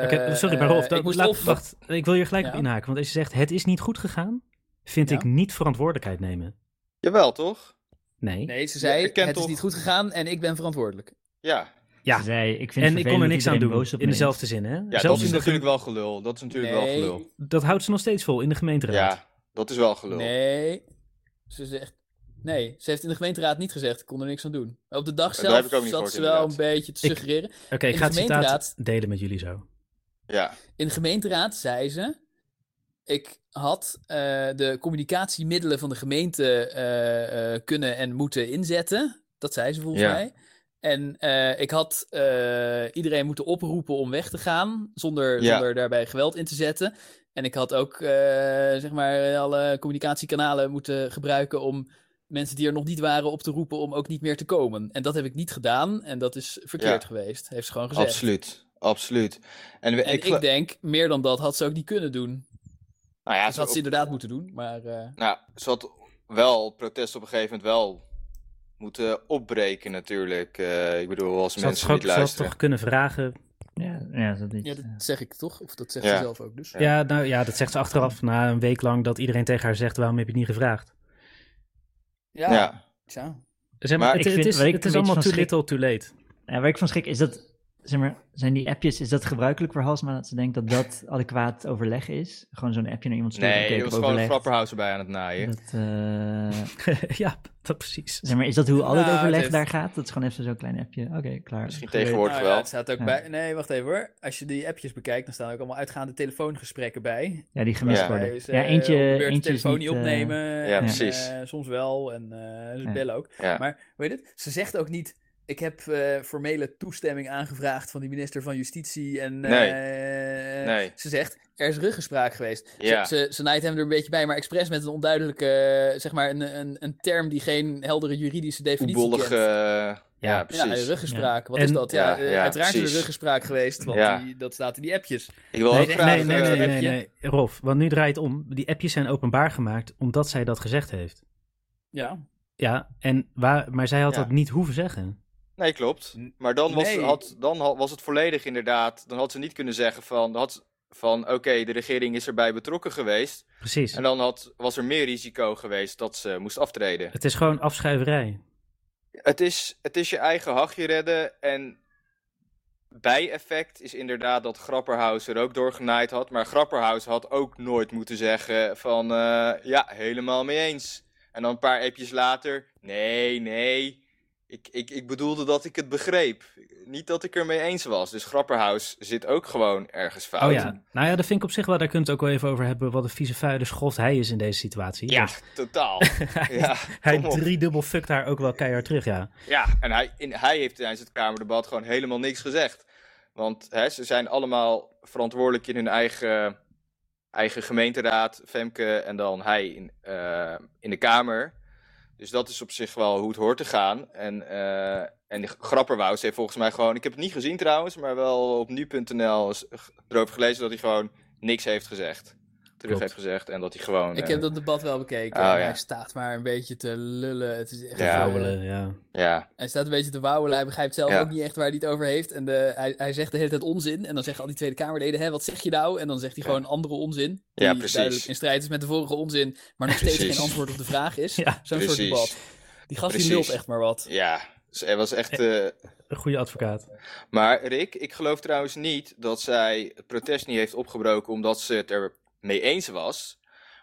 [SPEAKER 1] Oké, oh, sorry,
[SPEAKER 2] eh,
[SPEAKER 1] maar Rolf,
[SPEAKER 2] ik
[SPEAKER 1] dat,
[SPEAKER 2] moest
[SPEAKER 1] laat-
[SPEAKER 2] of...
[SPEAKER 1] wacht, ik wil hier gelijk op
[SPEAKER 2] Ja.
[SPEAKER 1] inhaken. Want als je zegt, het is niet goed gegaan, vind
[SPEAKER 2] Ja.
[SPEAKER 1] ik niet verantwoordelijkheid nemen.
[SPEAKER 3] jawel toch?
[SPEAKER 1] Nee.
[SPEAKER 2] Nee, ze
[SPEAKER 3] Je
[SPEAKER 2] zei,
[SPEAKER 3] erkent
[SPEAKER 2] het is
[SPEAKER 3] toch-
[SPEAKER 2] niet goed gegaan en ik ben verantwoordelijk.
[SPEAKER 3] Ja,
[SPEAKER 1] Ja.
[SPEAKER 4] Ze zei, ik vind
[SPEAKER 1] En ik kon er niks aan doen, in
[SPEAKER 4] dezelfde.
[SPEAKER 1] dezelfde zin, hè?
[SPEAKER 3] ja dat
[SPEAKER 1] Zelfs
[SPEAKER 3] is
[SPEAKER 1] in de-
[SPEAKER 3] natuurlijk wel gelul. Dat is natuurlijk wel
[SPEAKER 2] Nee.
[SPEAKER 3] gelul.
[SPEAKER 1] dat houdt ze nog steeds vol in de gemeenteraad.
[SPEAKER 3] Ja, dat is wel gelul.
[SPEAKER 2] Nee, ze zegt... Nee, ze heeft in de gemeenteraad niet gezegd, ik kon er niks aan doen. Op de dag
[SPEAKER 3] Daar heb
[SPEAKER 2] zelf
[SPEAKER 3] ik ook niet
[SPEAKER 2] zat
[SPEAKER 3] gehoord,
[SPEAKER 2] ze wel een
[SPEAKER 3] inderdaad.
[SPEAKER 2] beetje te
[SPEAKER 1] Ik-
[SPEAKER 2] suggereren.
[SPEAKER 1] Oké, ik
[SPEAKER 2] In
[SPEAKER 1] ga het citaat
[SPEAKER 2] de gemeenteraad-
[SPEAKER 1] delen met jullie zo.
[SPEAKER 3] Ja,
[SPEAKER 2] In de gemeenteraad zei ze: Ik had eh, de communicatiemiddelen van de gemeente eh, eh, kunnen en moeten inzetten. Dat zei ze volgens
[SPEAKER 3] Ja.
[SPEAKER 2] mij. En eh, ik had eh, iedereen moeten oproepen om weg te gaan, zonder,
[SPEAKER 3] Ja.
[SPEAKER 2] zonder daarbij geweld in te zetten. En ik had ook eh, zeg maar alle communicatiekanalen moeten gebruiken om mensen die er nog niet waren op te roepen om ook niet meer te komen. En dat heb ik niet gedaan en dat is verkeerd
[SPEAKER 3] Ja.
[SPEAKER 2] geweest, heeft ze gewoon gezegd.
[SPEAKER 3] absoluut. Absoluut. En, we-
[SPEAKER 2] En ik,
[SPEAKER 3] gel-
[SPEAKER 2] denk, meer dan dat had ze ook niet kunnen doen.
[SPEAKER 3] nou ja,
[SPEAKER 2] dat
[SPEAKER 3] ze,
[SPEAKER 2] had ze inderdaad moeten doen, maar... eh,
[SPEAKER 3] nou, ze had wel protest op een gegeven moment wel moeten opbreken natuurlijk. Eh, ik bedoel, als
[SPEAKER 1] Ze had,
[SPEAKER 3] mensen
[SPEAKER 1] toch-
[SPEAKER 3] niet
[SPEAKER 1] ze had
[SPEAKER 3] luisteren.
[SPEAKER 1] toch kunnen vragen.
[SPEAKER 4] Ja, ja, dat niet.
[SPEAKER 2] ja, dat zeg ik toch? Of dat zegt
[SPEAKER 3] Ja.
[SPEAKER 2] ze zelf ook dus.
[SPEAKER 1] Ja. nou ja, dat zegt ze achteraf na een week lang dat iedereen tegen haar zegt: waarom heb je het niet gevraagd?
[SPEAKER 2] Ja.
[SPEAKER 3] Ja.
[SPEAKER 2] tja.
[SPEAKER 1] Zeg maar,
[SPEAKER 3] Maar
[SPEAKER 1] het,
[SPEAKER 4] ik
[SPEAKER 1] het
[SPEAKER 4] vind-
[SPEAKER 1] is,
[SPEAKER 4] waar ik
[SPEAKER 1] het
[SPEAKER 4] een
[SPEAKER 1] is
[SPEAKER 4] beetje
[SPEAKER 1] allemaal
[SPEAKER 4] van
[SPEAKER 1] too
[SPEAKER 4] schrik-
[SPEAKER 1] little, too late.
[SPEAKER 4] Ja, waar ik van schrik is dat, zeg maar, zijn die appjes, is dat gebruikelijk voor Halsma dat ze denkt dat dat adequaat overleg is? Gewoon zo'n appje naar iemand sturen, oké,
[SPEAKER 3] Nee,
[SPEAKER 4] ik
[SPEAKER 3] er
[SPEAKER 4] heb
[SPEAKER 3] was gewoon een
[SPEAKER 4] overlegd.
[SPEAKER 3] frapperhuis erbij aan het naaien.
[SPEAKER 4] Dat, eh,
[SPEAKER 1] (laughs) ja, dat precies.
[SPEAKER 4] zeg maar, is dat hoe al het
[SPEAKER 2] Nou, het
[SPEAKER 4] overleg
[SPEAKER 2] heeft-
[SPEAKER 4] daar gaat? Dat is gewoon even zo'n klein appje. Oké, klaar.
[SPEAKER 3] Misschien
[SPEAKER 4] Gebeurd.
[SPEAKER 3] tegenwoordig. Wordt
[SPEAKER 2] Nou
[SPEAKER 3] wel.
[SPEAKER 2] ja, het staat ook
[SPEAKER 4] Ja.
[SPEAKER 2] bij... Nee, wacht even hoor. Als je die appjes bekijkt, dan staan ook allemaal uitgaande telefoongesprekken bij.
[SPEAKER 4] Ja, die gemist
[SPEAKER 3] Ja.
[SPEAKER 4] worden.
[SPEAKER 2] Waarbij ze,
[SPEAKER 4] ja,
[SPEAKER 2] eh,
[SPEAKER 4] eentje,
[SPEAKER 2] op de beurt de
[SPEAKER 4] eentje is
[SPEAKER 2] telefoon niet
[SPEAKER 4] eh,
[SPEAKER 2] opnemen. en,
[SPEAKER 3] precies.
[SPEAKER 2] eh, soms wel, en eh, ze
[SPEAKER 4] Ja.
[SPEAKER 2] bellen ook.
[SPEAKER 3] Ja.
[SPEAKER 2] Maar, weet je het? Ze zegt ook niet, ik heb eh, formele toestemming aangevraagd van die minister van Justitie. En eh,
[SPEAKER 3] Nee.
[SPEAKER 2] ze zegt, er is ruggespraak geweest. Ze-
[SPEAKER 3] Ja.
[SPEAKER 2] Ze, ze, naait hem er een beetje bij, maar expres met een onduidelijke, eh, zeg maar, een, een, een term die geen heldere juridische definitie
[SPEAKER 3] Oebollig,
[SPEAKER 2] kent.
[SPEAKER 3] eh, ja,
[SPEAKER 2] Ja,
[SPEAKER 3] precies.
[SPEAKER 2] ruggespraak. Wat
[SPEAKER 1] En-
[SPEAKER 2] is dat? Ja,
[SPEAKER 3] Ja,
[SPEAKER 2] eh,
[SPEAKER 3] ja,
[SPEAKER 2] uiteraard is er
[SPEAKER 3] precies.
[SPEAKER 2] ruggespraak geweest, want
[SPEAKER 3] Ja.
[SPEAKER 2] die, dat staat in die appjes.
[SPEAKER 3] ik wil
[SPEAKER 1] Nee,
[SPEAKER 3] ook graag...
[SPEAKER 1] nee, nee, nee,
[SPEAKER 3] eh,
[SPEAKER 1] nee, nee, nee. Rolf, want nu draait het om. Die appjes zijn openbaar gemaakt omdat zij dat gezegd heeft.
[SPEAKER 2] Ja.
[SPEAKER 1] Ja, en waar, maar zij had
[SPEAKER 3] Ja.
[SPEAKER 1] dat niet hoeven zeggen.
[SPEAKER 3] Nee, klopt. Maar dan was,
[SPEAKER 2] Nee.
[SPEAKER 3] had, dan ha- was het volledig inderdaad. Dan had ze niet kunnen zeggen van, dan had, ze- van oké, de regering is erbij betrokken geweest.
[SPEAKER 1] Precies.
[SPEAKER 3] En dan had, was er meer risico geweest dat ze moest aftreden.
[SPEAKER 1] Het is gewoon afschuiverij.
[SPEAKER 3] Het is, het is je eigen hachje redden en bijeffect is inderdaad dat Grapperhaus er ook doorgenaaid had. Maar Grapperhaus had ook nooit moeten zeggen van eh, ja, helemaal mee eens. En dan een paar appjes later, nee, nee, ik, ik, ik bedoelde dat ik het begreep. Niet dat ik er mee eens was. Dus Grapperhaus zit ook gewoon ergens fout.
[SPEAKER 1] Oh ja. Nou ja, dat vind ik op zich wel. Daar kunt het ook wel even over hebben. Wat een vieze vuile schoft hij is in deze situatie.
[SPEAKER 3] Ja,
[SPEAKER 1] Want
[SPEAKER 3] totaal.
[SPEAKER 1] (laughs)
[SPEAKER 3] ja,
[SPEAKER 1] Hij
[SPEAKER 3] kom op.
[SPEAKER 1] driedubbel fuckt haar ook wel keihard terug, ja.
[SPEAKER 3] Ja, en hij, in, hij heeft tijdens het Kamerdebat gewoon helemaal niks gezegd. Want hè, ze zijn allemaal verantwoordelijk in hun eigen, eigen gemeenteraad, Femke, en dan hij in, eh, in de Kamer. Dus dat is op zich wel hoe het hoort te gaan. En, eh, en die Grapperwous heeft volgens mij gewoon, ik heb het niet gezien trouwens, maar wel op nu.nl is erover gelezen dat hij gewoon niks heeft gezegd. Terug
[SPEAKER 1] Klopt.
[SPEAKER 3] heeft gezegd en dat hij gewoon...
[SPEAKER 2] Ik
[SPEAKER 3] eh,
[SPEAKER 2] heb dat debat wel bekeken.
[SPEAKER 3] Oh,
[SPEAKER 2] en
[SPEAKER 3] ja.
[SPEAKER 2] Hij staat maar een beetje te lullen. Het is echt
[SPEAKER 3] Ja.
[SPEAKER 2] een-
[SPEAKER 1] Vrouwelen, Eh, ja.
[SPEAKER 3] Ja,
[SPEAKER 2] Hij staat een beetje te wauwelen. Hij begrijpt zelf
[SPEAKER 3] Ja.
[SPEAKER 2] ook niet echt waar hij het over heeft. En de, hij, hij zegt de hele tijd onzin. En dan zeggen al die Tweede Kamerleden, hè, wat zeg je nou? En dan zegt hij
[SPEAKER 3] Ja.
[SPEAKER 2] gewoon andere onzin.
[SPEAKER 3] Ja,
[SPEAKER 2] die
[SPEAKER 3] precies.
[SPEAKER 2] duidelijk in strijd is met de vorige onzin, maar nog steeds
[SPEAKER 3] Precies.
[SPEAKER 2] geen antwoord op de vraag
[SPEAKER 1] (laughs)
[SPEAKER 2] is.
[SPEAKER 1] Ja,
[SPEAKER 2] Zo'n soort
[SPEAKER 3] precies.
[SPEAKER 2] debat. Die gast die
[SPEAKER 3] Precies.
[SPEAKER 2] lult echt maar wat.
[SPEAKER 3] ja. Dus hij was echt... eh,
[SPEAKER 1] Een goede advocaat.
[SPEAKER 3] Maar Rick, ik geloof trouwens niet dat zij het protest niet heeft opgebroken omdat ze het er mee eens was.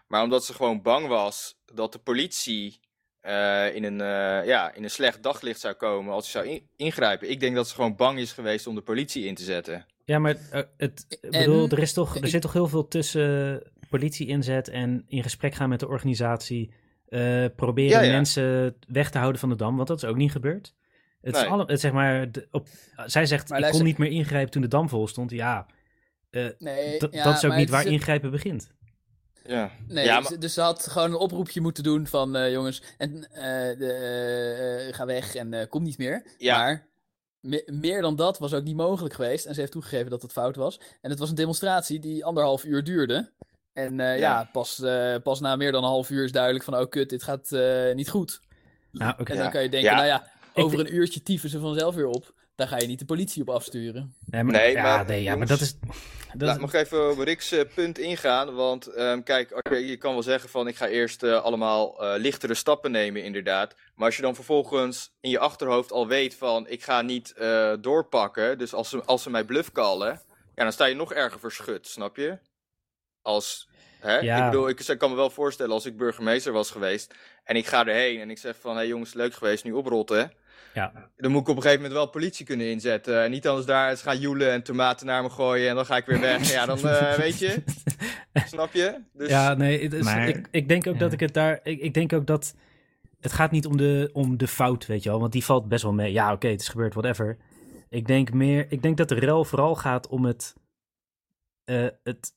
[SPEAKER 3] Maar omdat ze gewoon bang was dat de politie eh, in, een, eh, ja, in een slecht daglicht zou komen als ze zou in- ingrijpen. Ik denk dat ze gewoon bang is geweest om de politie in te zetten.
[SPEAKER 1] Ja, maar eh, het, ik
[SPEAKER 2] En-
[SPEAKER 1] bedoel, er, is toch, er
[SPEAKER 2] ik-
[SPEAKER 1] zit toch heel veel tussen politie inzet en in gesprek gaan met de organisatie. eh, proberen
[SPEAKER 3] Ja, ja.
[SPEAKER 1] mensen weg te houden van de dam, want dat is ook niet gebeurd. Het is
[SPEAKER 3] Nee.
[SPEAKER 1] alle, het, zeg maar, de- op, zij zegt,
[SPEAKER 2] Maar
[SPEAKER 1] ik
[SPEAKER 2] luister-
[SPEAKER 1] kon niet meer ingrijpen toen de dam vol stond. Ja,
[SPEAKER 2] Nee,
[SPEAKER 1] dat-
[SPEAKER 2] ja,
[SPEAKER 1] dat is ook
[SPEAKER 2] maar
[SPEAKER 1] niet
[SPEAKER 2] het
[SPEAKER 1] waar
[SPEAKER 2] een-
[SPEAKER 1] ingrijpen begint.
[SPEAKER 3] Ja,
[SPEAKER 2] Nee,
[SPEAKER 3] ja,
[SPEAKER 2] dus-
[SPEAKER 3] maar-
[SPEAKER 2] dus ze had gewoon een oproepje moeten doen van eh, jongens, en, eh, de, eh, eh, ga weg en eh, kom niet meer.
[SPEAKER 3] Ja.
[SPEAKER 2] Maar me- meer dan dat was ook niet mogelijk geweest. En ze heeft toegegeven dat het fout was. En het was een demonstratie die anderhalf uur duurde. En eh, ja,
[SPEAKER 3] Ja.
[SPEAKER 2] pas, eh, pas na meer dan een half uur is duidelijk van oh kut, dit gaat eh, niet goed.
[SPEAKER 1] Nou, oké.
[SPEAKER 2] En
[SPEAKER 3] Ja.
[SPEAKER 2] dan kan je denken,
[SPEAKER 3] Ja.
[SPEAKER 2] nou ja,
[SPEAKER 1] Ik
[SPEAKER 2] over een uurtje tieven ze vanzelf weer op. Daar ga je niet de politie op afsturen.
[SPEAKER 1] Nee, maar,
[SPEAKER 3] Nee,
[SPEAKER 1] ja,
[SPEAKER 3] maar
[SPEAKER 1] nee, ja, maar dat
[SPEAKER 3] jongens,
[SPEAKER 1] is... Dat,
[SPEAKER 3] Laat mag ik even op Rick's eh, punt ingaan. Want ehm, kijk, oké, je kan wel zeggen van ik ga eerst eh, allemaal eh, lichtere stappen nemen, inderdaad. Maar als je dan vervolgens in je achterhoofd al weet van ik ga niet eh, doorpakken. Dus als ze, als ze mij bluff callen, ja, dan sta je nog erger verschut, snap je? Als, hè?
[SPEAKER 1] Ja.
[SPEAKER 3] Ik bedoel, ik kan me wel voorstellen als ik burgemeester was geweest en ik ga erheen en ik zeg van hé hey, jongens, leuk geweest, nu oprotten.
[SPEAKER 1] Ja.
[SPEAKER 3] Dan moet ik op een gegeven moment wel politie kunnen inzetten. En niet anders daar eens gaan joelen en tomaten naar me gooien en dan ga ik weer weg. Ja, dan eh, weet
[SPEAKER 1] (laughs)
[SPEAKER 3] je. Snap je? Dus,
[SPEAKER 1] Ja, nee, het is-
[SPEAKER 4] Maar-
[SPEAKER 1] ik, ik denk ook
[SPEAKER 4] ja.
[SPEAKER 1] dat ik het daar. Ik, ik denk ook dat. Het gaat niet om de, om de fout, weet je wel. Want die valt best wel mee. Ja, oké, het is gebeurd, whatever. Ik denk meer. Ik denk dat de rel vooral gaat om het. eh, het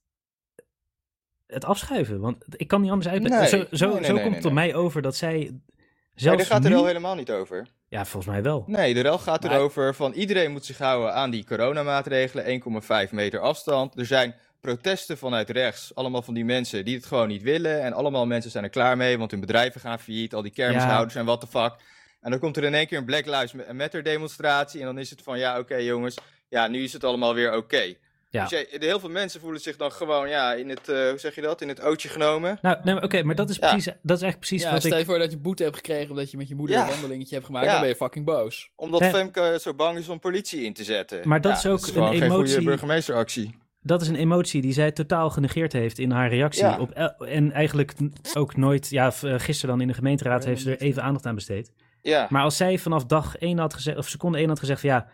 [SPEAKER 1] het afschuiven. Want ik kan niet anders uit.
[SPEAKER 3] Nee,
[SPEAKER 1] zo zo,
[SPEAKER 3] nee, nee,
[SPEAKER 1] zo
[SPEAKER 3] nee,
[SPEAKER 1] komt
[SPEAKER 3] nee,
[SPEAKER 1] het op
[SPEAKER 3] nee.
[SPEAKER 1] mij over dat zij.
[SPEAKER 3] maar
[SPEAKER 1] Zelfs
[SPEAKER 3] daar gaat de
[SPEAKER 1] nu-
[SPEAKER 3] rel helemaal niet over.
[SPEAKER 1] Ja, volgens mij wel.
[SPEAKER 3] Nee, de rel gaat
[SPEAKER 2] Maar-
[SPEAKER 3] erover van iedereen moet zich houden aan die coronamaatregelen. 1,5 meter afstand. Er zijn protesten vanuit rechts. Allemaal van die mensen die het gewoon niet willen. En allemaal mensen zijn er klaar mee, want hun bedrijven gaan failliet. Al die kermishouders en what the fuck. En dan komt er in één keer een Black Lives Matter demonstratie. En dan is het van, ja, oké jongens. Ja, nu is het allemaal weer oké.
[SPEAKER 1] Ja.
[SPEAKER 3] Dus jij- heel veel mensen voelen zich dan gewoon, ja, in het, eh, hoe zeg je dat? In het ootje genomen.
[SPEAKER 1] Nou, nee, maar oké, maar dat is,
[SPEAKER 3] Ja.
[SPEAKER 1] precies, dat is echt precies
[SPEAKER 2] Ja,
[SPEAKER 1] wat
[SPEAKER 2] stel
[SPEAKER 1] ik.
[SPEAKER 2] je voor dat je boete hebt gekregen omdat je met je moeder
[SPEAKER 3] Ja.
[SPEAKER 2] een wandelingetje hebt gemaakt.
[SPEAKER 3] Ja.
[SPEAKER 2] Dan ben je fucking boos.
[SPEAKER 3] Omdat
[SPEAKER 1] Ja.
[SPEAKER 3] Femke zo bang is om politie in te zetten.
[SPEAKER 1] Maar dat
[SPEAKER 3] Ja,
[SPEAKER 1] is ook
[SPEAKER 3] gewoon
[SPEAKER 1] een
[SPEAKER 3] geen goede
[SPEAKER 1] emotie-
[SPEAKER 3] burgemeesteractie.
[SPEAKER 1] dat is een emotie die zij totaal genegeerd heeft in haar reactie.
[SPEAKER 3] Ja.
[SPEAKER 1] Op el- en eigenlijk n- ook nooit, ja, v- eh, gisteren dan in de gemeenteraad heeft ze er even aandacht aan besteed.
[SPEAKER 3] Ja.
[SPEAKER 1] Maar als zij vanaf dag 1 had gezegd, of seconde 1 had gezegd van ja,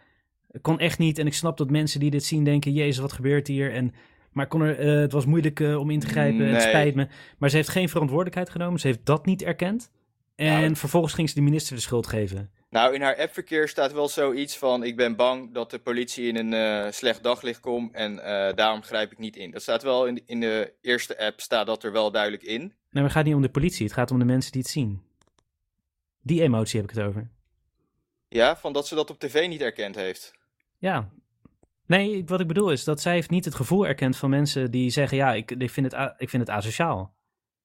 [SPEAKER 1] het kon echt niet. En ik snap dat mensen die dit zien denken, jezus, wat gebeurt hier? En, maar kon er, eh, het was moeilijk eh, om in te grijpen, het
[SPEAKER 3] Nee.
[SPEAKER 1] spijt me. Maar ze heeft geen verantwoordelijkheid genomen, ze heeft dat niet erkend. En
[SPEAKER 3] Ja, dat-
[SPEAKER 1] vervolgens ging ze de minister de schuld geven.
[SPEAKER 3] Nou, in haar appverkeer staat wel zoiets van: Ik ben bang dat de politie in een eh, slecht daglicht komt en eh, daarom grijp ik niet in. Dat staat wel in, de- in de eerste app, staat dat er wel duidelijk in.
[SPEAKER 1] Nee, maar het gaat niet om de politie. Het gaat om de mensen die het zien. Die emotie heb ik het over.
[SPEAKER 3] Ja, van dat ze dat op tv niet erkend heeft.
[SPEAKER 1] Ja. Nee, ik- wat ik bedoel is dat zij heeft niet het gevoel erkend van mensen die zeggen... ja, ik, ik, vind, het a- ik vind het asociaal.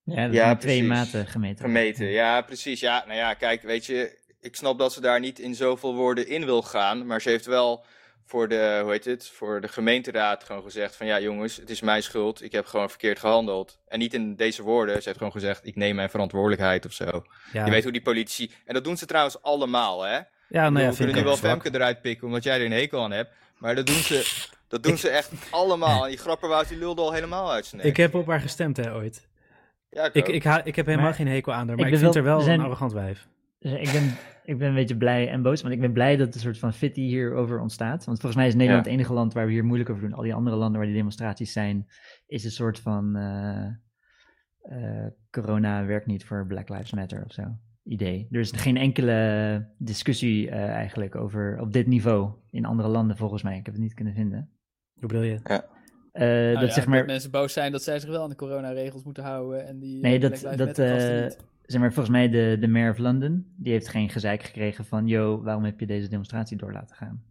[SPEAKER 4] Ja, dat
[SPEAKER 3] Ja,
[SPEAKER 4] zijn twee
[SPEAKER 3] precies.
[SPEAKER 4] maten gemeten.
[SPEAKER 3] Gemeten, ja, precies. Ja, nou ja, kijk, weet je, ik snap dat ze daar niet in zoveel woorden in wil gaan, maar ze heeft wel voor de, hoe heet het, voor de gemeenteraad gewoon gezegd van ja jongens, het is mijn schuld, ik heb gewoon verkeerd gehandeld. En niet in deze woorden, ze heeft gewoon gezegd, ik neem mijn verantwoordelijkheid of zo.
[SPEAKER 1] Ja,
[SPEAKER 3] Je weet hoe die politici, en dat doen ze trouwens allemaal hè.
[SPEAKER 1] ja nou ja,
[SPEAKER 3] we
[SPEAKER 1] vind
[SPEAKER 3] kunnen
[SPEAKER 1] ik
[SPEAKER 3] nu
[SPEAKER 1] ook
[SPEAKER 3] wel
[SPEAKER 1] zwak.
[SPEAKER 3] Femke eruit pikken, omdat jij er een hekel aan hebt, maar dat doen ze, dat doen ze echt allemaal. En die grapperwoud die lulde al helemaal uit zijn nek.
[SPEAKER 1] Ik heb op haar gestemd, hè, ooit.
[SPEAKER 3] Ja, ik,
[SPEAKER 1] Ik,
[SPEAKER 3] ook.
[SPEAKER 1] ik, ha- ik heb helemaal
[SPEAKER 4] Maar
[SPEAKER 1] geen hekel aan haar,
[SPEAKER 4] ik
[SPEAKER 1] maar ik,
[SPEAKER 4] ben
[SPEAKER 1] vind
[SPEAKER 4] wel-
[SPEAKER 1] haar wel
[SPEAKER 4] we zijn-
[SPEAKER 1] een arrogant wijf.
[SPEAKER 4] Dus ik ben, ik ben een beetje blij en boos, want ik ben blij dat er een soort van fitty hierover ontstaat. Want volgens mij is Nederland
[SPEAKER 3] Ja.
[SPEAKER 4] het enige land waar we hier moeilijk over doen. Al die andere landen waar die demonstraties zijn, is een soort van eh, eh, corona werkt niet voor Black Lives Matter of zo idee. Er is geen enkele discussie eh, eigenlijk over op dit niveau in andere landen volgens mij. Ik heb het niet kunnen vinden.
[SPEAKER 1] Hoe bedoel je?
[SPEAKER 4] Eh, dat
[SPEAKER 2] Nou ja,
[SPEAKER 4] zeg maar,
[SPEAKER 2] mensen boos zijn dat zij zich wel aan de coronaregels moeten houden. En die,
[SPEAKER 4] Nee,
[SPEAKER 2] eh,
[SPEAKER 4] dat-
[SPEAKER 2] Black Lives
[SPEAKER 4] dat,
[SPEAKER 2] Matter gasten
[SPEAKER 4] eh,
[SPEAKER 2] niet.
[SPEAKER 4] zeg maar volgens mij de, de mayor of London, die heeft geen gezeik gekregen van, yo, waarom heb je deze demonstratie door laten gaan?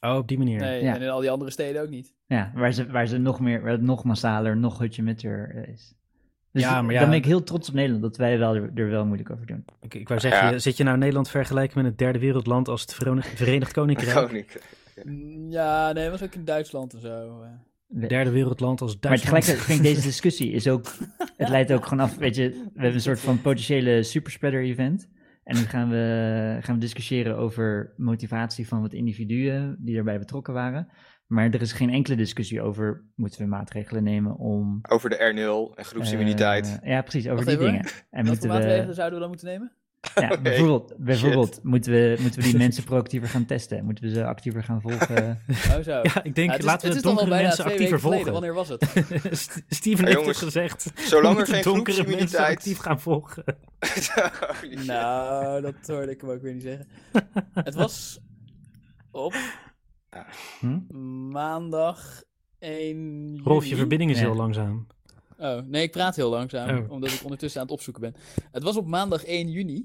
[SPEAKER 1] Oh, op die manier.
[SPEAKER 2] Nee,
[SPEAKER 4] ja.
[SPEAKER 2] en in al die andere steden ook niet.
[SPEAKER 4] Ja, waar ze, waar ze nog meer, waar het nog massaler, nog hutje met er is. Dus
[SPEAKER 1] Ja, maar ja-
[SPEAKER 4] dan ben ik heel trots op Nederland dat wij wel, er, er wel moeilijk over doen.
[SPEAKER 1] Ik, ik wou zeggen,
[SPEAKER 3] Ja.
[SPEAKER 1] je- zit je nou Nederland vergelijken met een derde wereldland als het Veronig- Verenigd Koninkrijk?
[SPEAKER 3] Koninkrijk.
[SPEAKER 2] Mm, Ja, nee, was ook in Duitsland en zo. eh.
[SPEAKER 4] We-
[SPEAKER 1] Derde wereldland als
[SPEAKER 4] maar
[SPEAKER 1] Duitsland?
[SPEAKER 4] tegelijkertijd vind ik deze discussie is ook, het leidt ook gewoon af, weet je, we hebben een soort van potentiële superspreader event. En dan gaan we, gaan we discussiëren over motivatie van wat individuen die daarbij betrokken waren. Maar er is geen enkele discussie over, moeten we maatregelen nemen om...
[SPEAKER 3] Over de R0 en groepsimmuniteit.
[SPEAKER 4] eh, ja, precies, over
[SPEAKER 2] Wacht
[SPEAKER 4] die
[SPEAKER 2] even hoor.
[SPEAKER 4] dingen. En
[SPEAKER 2] Welke
[SPEAKER 4] moeten
[SPEAKER 2] maatregelen
[SPEAKER 4] we...
[SPEAKER 2] zouden we dan moeten nemen?
[SPEAKER 4] Ja,
[SPEAKER 3] Oké.
[SPEAKER 4] bijvoorbeeld, bijvoorbeeld moeten, we, moeten we die mensen proactiever gaan testen? Moeten we ze actiever gaan volgen?
[SPEAKER 2] Oh, zo.
[SPEAKER 1] (laughs) Ja, ik denk,
[SPEAKER 2] Ja, het is-
[SPEAKER 1] laten
[SPEAKER 2] het
[SPEAKER 1] we
[SPEAKER 2] is
[SPEAKER 1] de
[SPEAKER 2] toch al
[SPEAKER 1] donkere
[SPEAKER 2] bijna
[SPEAKER 1] mensen
[SPEAKER 2] twee
[SPEAKER 1] actiever
[SPEAKER 2] weken geleden.
[SPEAKER 1] volgen.
[SPEAKER 2] Wanneer was
[SPEAKER 1] (laughs)
[SPEAKER 2] het?
[SPEAKER 1] St- Steven heeft het
[SPEAKER 3] jongens,
[SPEAKER 1] gezegd.
[SPEAKER 3] Zolang
[SPEAKER 1] we
[SPEAKER 3] er geen
[SPEAKER 1] moeten donkere mensen
[SPEAKER 3] (laughs)
[SPEAKER 1] actief
[SPEAKER 3] groepsimmuniteit...
[SPEAKER 1] gaan volgen.
[SPEAKER 3] Holy shit.
[SPEAKER 2] nou, dat hoorde ik hem ook weer niet zeggen. het was op
[SPEAKER 4] Hm?
[SPEAKER 2] maandag 1 juni.
[SPEAKER 1] Rolf, je verbinding is
[SPEAKER 4] Ja.
[SPEAKER 1] heel langzaam.
[SPEAKER 2] Oh, nee, ik praat heel langzaam,
[SPEAKER 1] Oh.
[SPEAKER 2] omdat ik ondertussen aan het opzoeken ben. Het was op maandag 1 juni.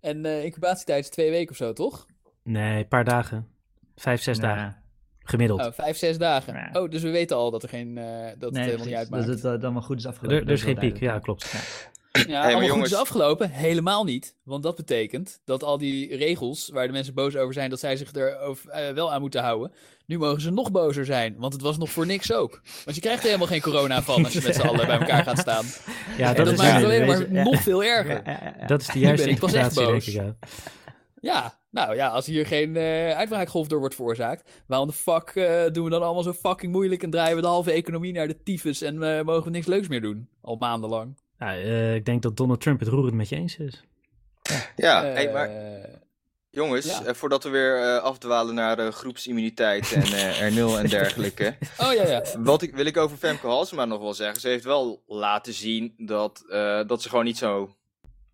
[SPEAKER 2] En eh incubatietijd is twee weken of zo, toch?
[SPEAKER 1] Nee, een paar dagen. Vijf,
[SPEAKER 4] Dus
[SPEAKER 1] zes dagen.
[SPEAKER 4] Ja.
[SPEAKER 1] Gemiddeld.
[SPEAKER 2] Oh, vijf, zes dagen.
[SPEAKER 4] Ja.
[SPEAKER 2] Oh, dus we weten al dat, er geen, eh, dat
[SPEAKER 4] Nee,
[SPEAKER 2] het helemaal niet
[SPEAKER 4] precies,
[SPEAKER 2] uitmaakt.
[SPEAKER 4] dat het eh, allemaal goed is
[SPEAKER 1] er,
[SPEAKER 4] afgelopen.
[SPEAKER 1] er
[SPEAKER 4] dat
[SPEAKER 1] is geen
[SPEAKER 4] wel
[SPEAKER 1] piek. Ja,
[SPEAKER 4] duidelijk.
[SPEAKER 1] klopt.
[SPEAKER 2] Ja,
[SPEAKER 3] maar
[SPEAKER 2] allemaal goed
[SPEAKER 3] jongens-
[SPEAKER 2] is afgelopen? Helemaal niet. Want dat betekent dat al die regels waar de mensen boos over zijn, dat zij zich er over- eh, wel aan moeten houden. Nu mogen ze nog bozer zijn, want het was nog voor niks ook. Want je krijgt er helemaal geen corona van als je met z'n allen bij elkaar gaat staan.
[SPEAKER 1] Ja,
[SPEAKER 2] en
[SPEAKER 1] dat,
[SPEAKER 2] dat
[SPEAKER 1] is, dus
[SPEAKER 2] maakt het
[SPEAKER 4] ja,
[SPEAKER 2] alleen maar
[SPEAKER 4] wezen- ja.
[SPEAKER 2] nog veel erger.
[SPEAKER 4] Ja, ja, ja.
[SPEAKER 1] dat is de
[SPEAKER 2] Nu ben
[SPEAKER 1] juiste
[SPEAKER 2] ik pas echt
[SPEAKER 1] interpretatie, denk
[SPEAKER 2] boos.
[SPEAKER 1] ik. ja.
[SPEAKER 2] Ja, nou ja, als hier geen eh uitbraakgolf door wordt veroorzaakt, waarom de fuck eh, doen we dan allemaal zo fucking moeilijk en draaien we de halve economie naar de tyfus en eh, mogen we niks leuks meer doen? Al maandenlang.
[SPEAKER 1] Nou, eh, ik denk dat Donald Trump het roerend met je eens is.
[SPEAKER 3] Ja,
[SPEAKER 2] Eh,
[SPEAKER 3] hey, Ah, maar jongens,
[SPEAKER 2] ja.
[SPEAKER 3] eh, voordat we weer eh, afdwalen naar eh, groepsimmuniteit en eh, R0 en dergelijke.
[SPEAKER 2] Oh ja, ja.
[SPEAKER 3] Eh, Wat ik, wil ik over Femke Halsema nog wel zeggen. Ze heeft wel laten zien dat, eh, dat ze gewoon niet zo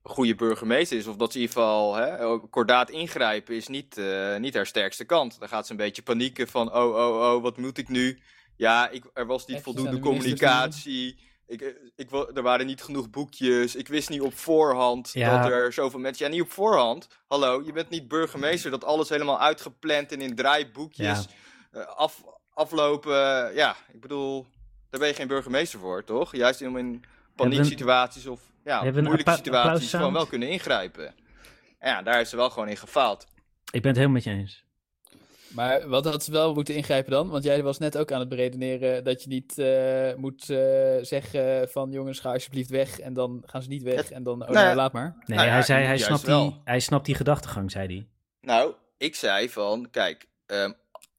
[SPEAKER 3] goede burgemeester is. Of dat ze in ieder geval hè, ook kordaat ingrijpen is niet, eh, niet haar sterkste kant. Dan gaat ze een beetje panieken van oh, oh, oh, wat moet ik nu? Ja, ik, er was niet
[SPEAKER 2] Even aan
[SPEAKER 3] voldoende
[SPEAKER 2] de ministers
[SPEAKER 3] communicatie. Ik, eh, ik, wa- er waren niet genoeg boekjes. Ik wist niet op voorhand
[SPEAKER 1] Ja.
[SPEAKER 3] dat er zoveel mensen... Ja, niet op voorhand. Hallo, je bent niet burgemeester. Dat alles helemaal uitgepland en in draaiboekjes
[SPEAKER 1] Ja.
[SPEAKER 3] eh, af, aflopen. eh, ja, ik bedoel, daar ben je geen burgemeester voor, toch? Juist om in panieksituaties of ja,
[SPEAKER 1] Hebben we een
[SPEAKER 3] moeilijke
[SPEAKER 1] appla-
[SPEAKER 3] situaties
[SPEAKER 1] applaussound?
[SPEAKER 3] gewoon wel kunnen ingrijpen. En ja, daar heeft ze wel gewoon in gefaald.
[SPEAKER 1] Ik ben het helemaal met je eens.
[SPEAKER 2] Maar wat had ze wel moeten ingrijpen dan? Want jij was net ook aan het beredeneren dat je niet eh, moet eh, zeggen van jongens, ga alsjeblieft weg. En dan gaan ze niet weg. En dan, oh,
[SPEAKER 3] nou ja.
[SPEAKER 2] nou, laat maar.
[SPEAKER 1] Nee,
[SPEAKER 3] Nou ja,
[SPEAKER 1] hij zei, hij
[SPEAKER 3] juist
[SPEAKER 1] snapt, die,
[SPEAKER 3] wel.
[SPEAKER 1] hij snapt die gedachtegang, zei hij.
[SPEAKER 3] Nou, ik zei van, kijk, ehm,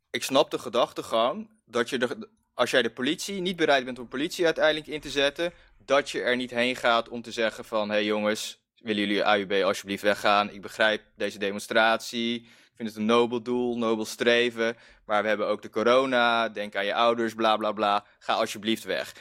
[SPEAKER 3] ik snap de gedachtegang dat je de, als jij de politie niet bereid bent om politie uiteindelijk in te zetten, dat je er niet heen gaat om te zeggen van, hé hey jongens, willen jullie AUB alsjeblieft weggaan? Ik begrijp deze demonstratie, ik vind het een nobel doel, nobel streven, maar we hebben ook de corona, denk aan je ouders, bla bla bla, ga alsjeblieft weg.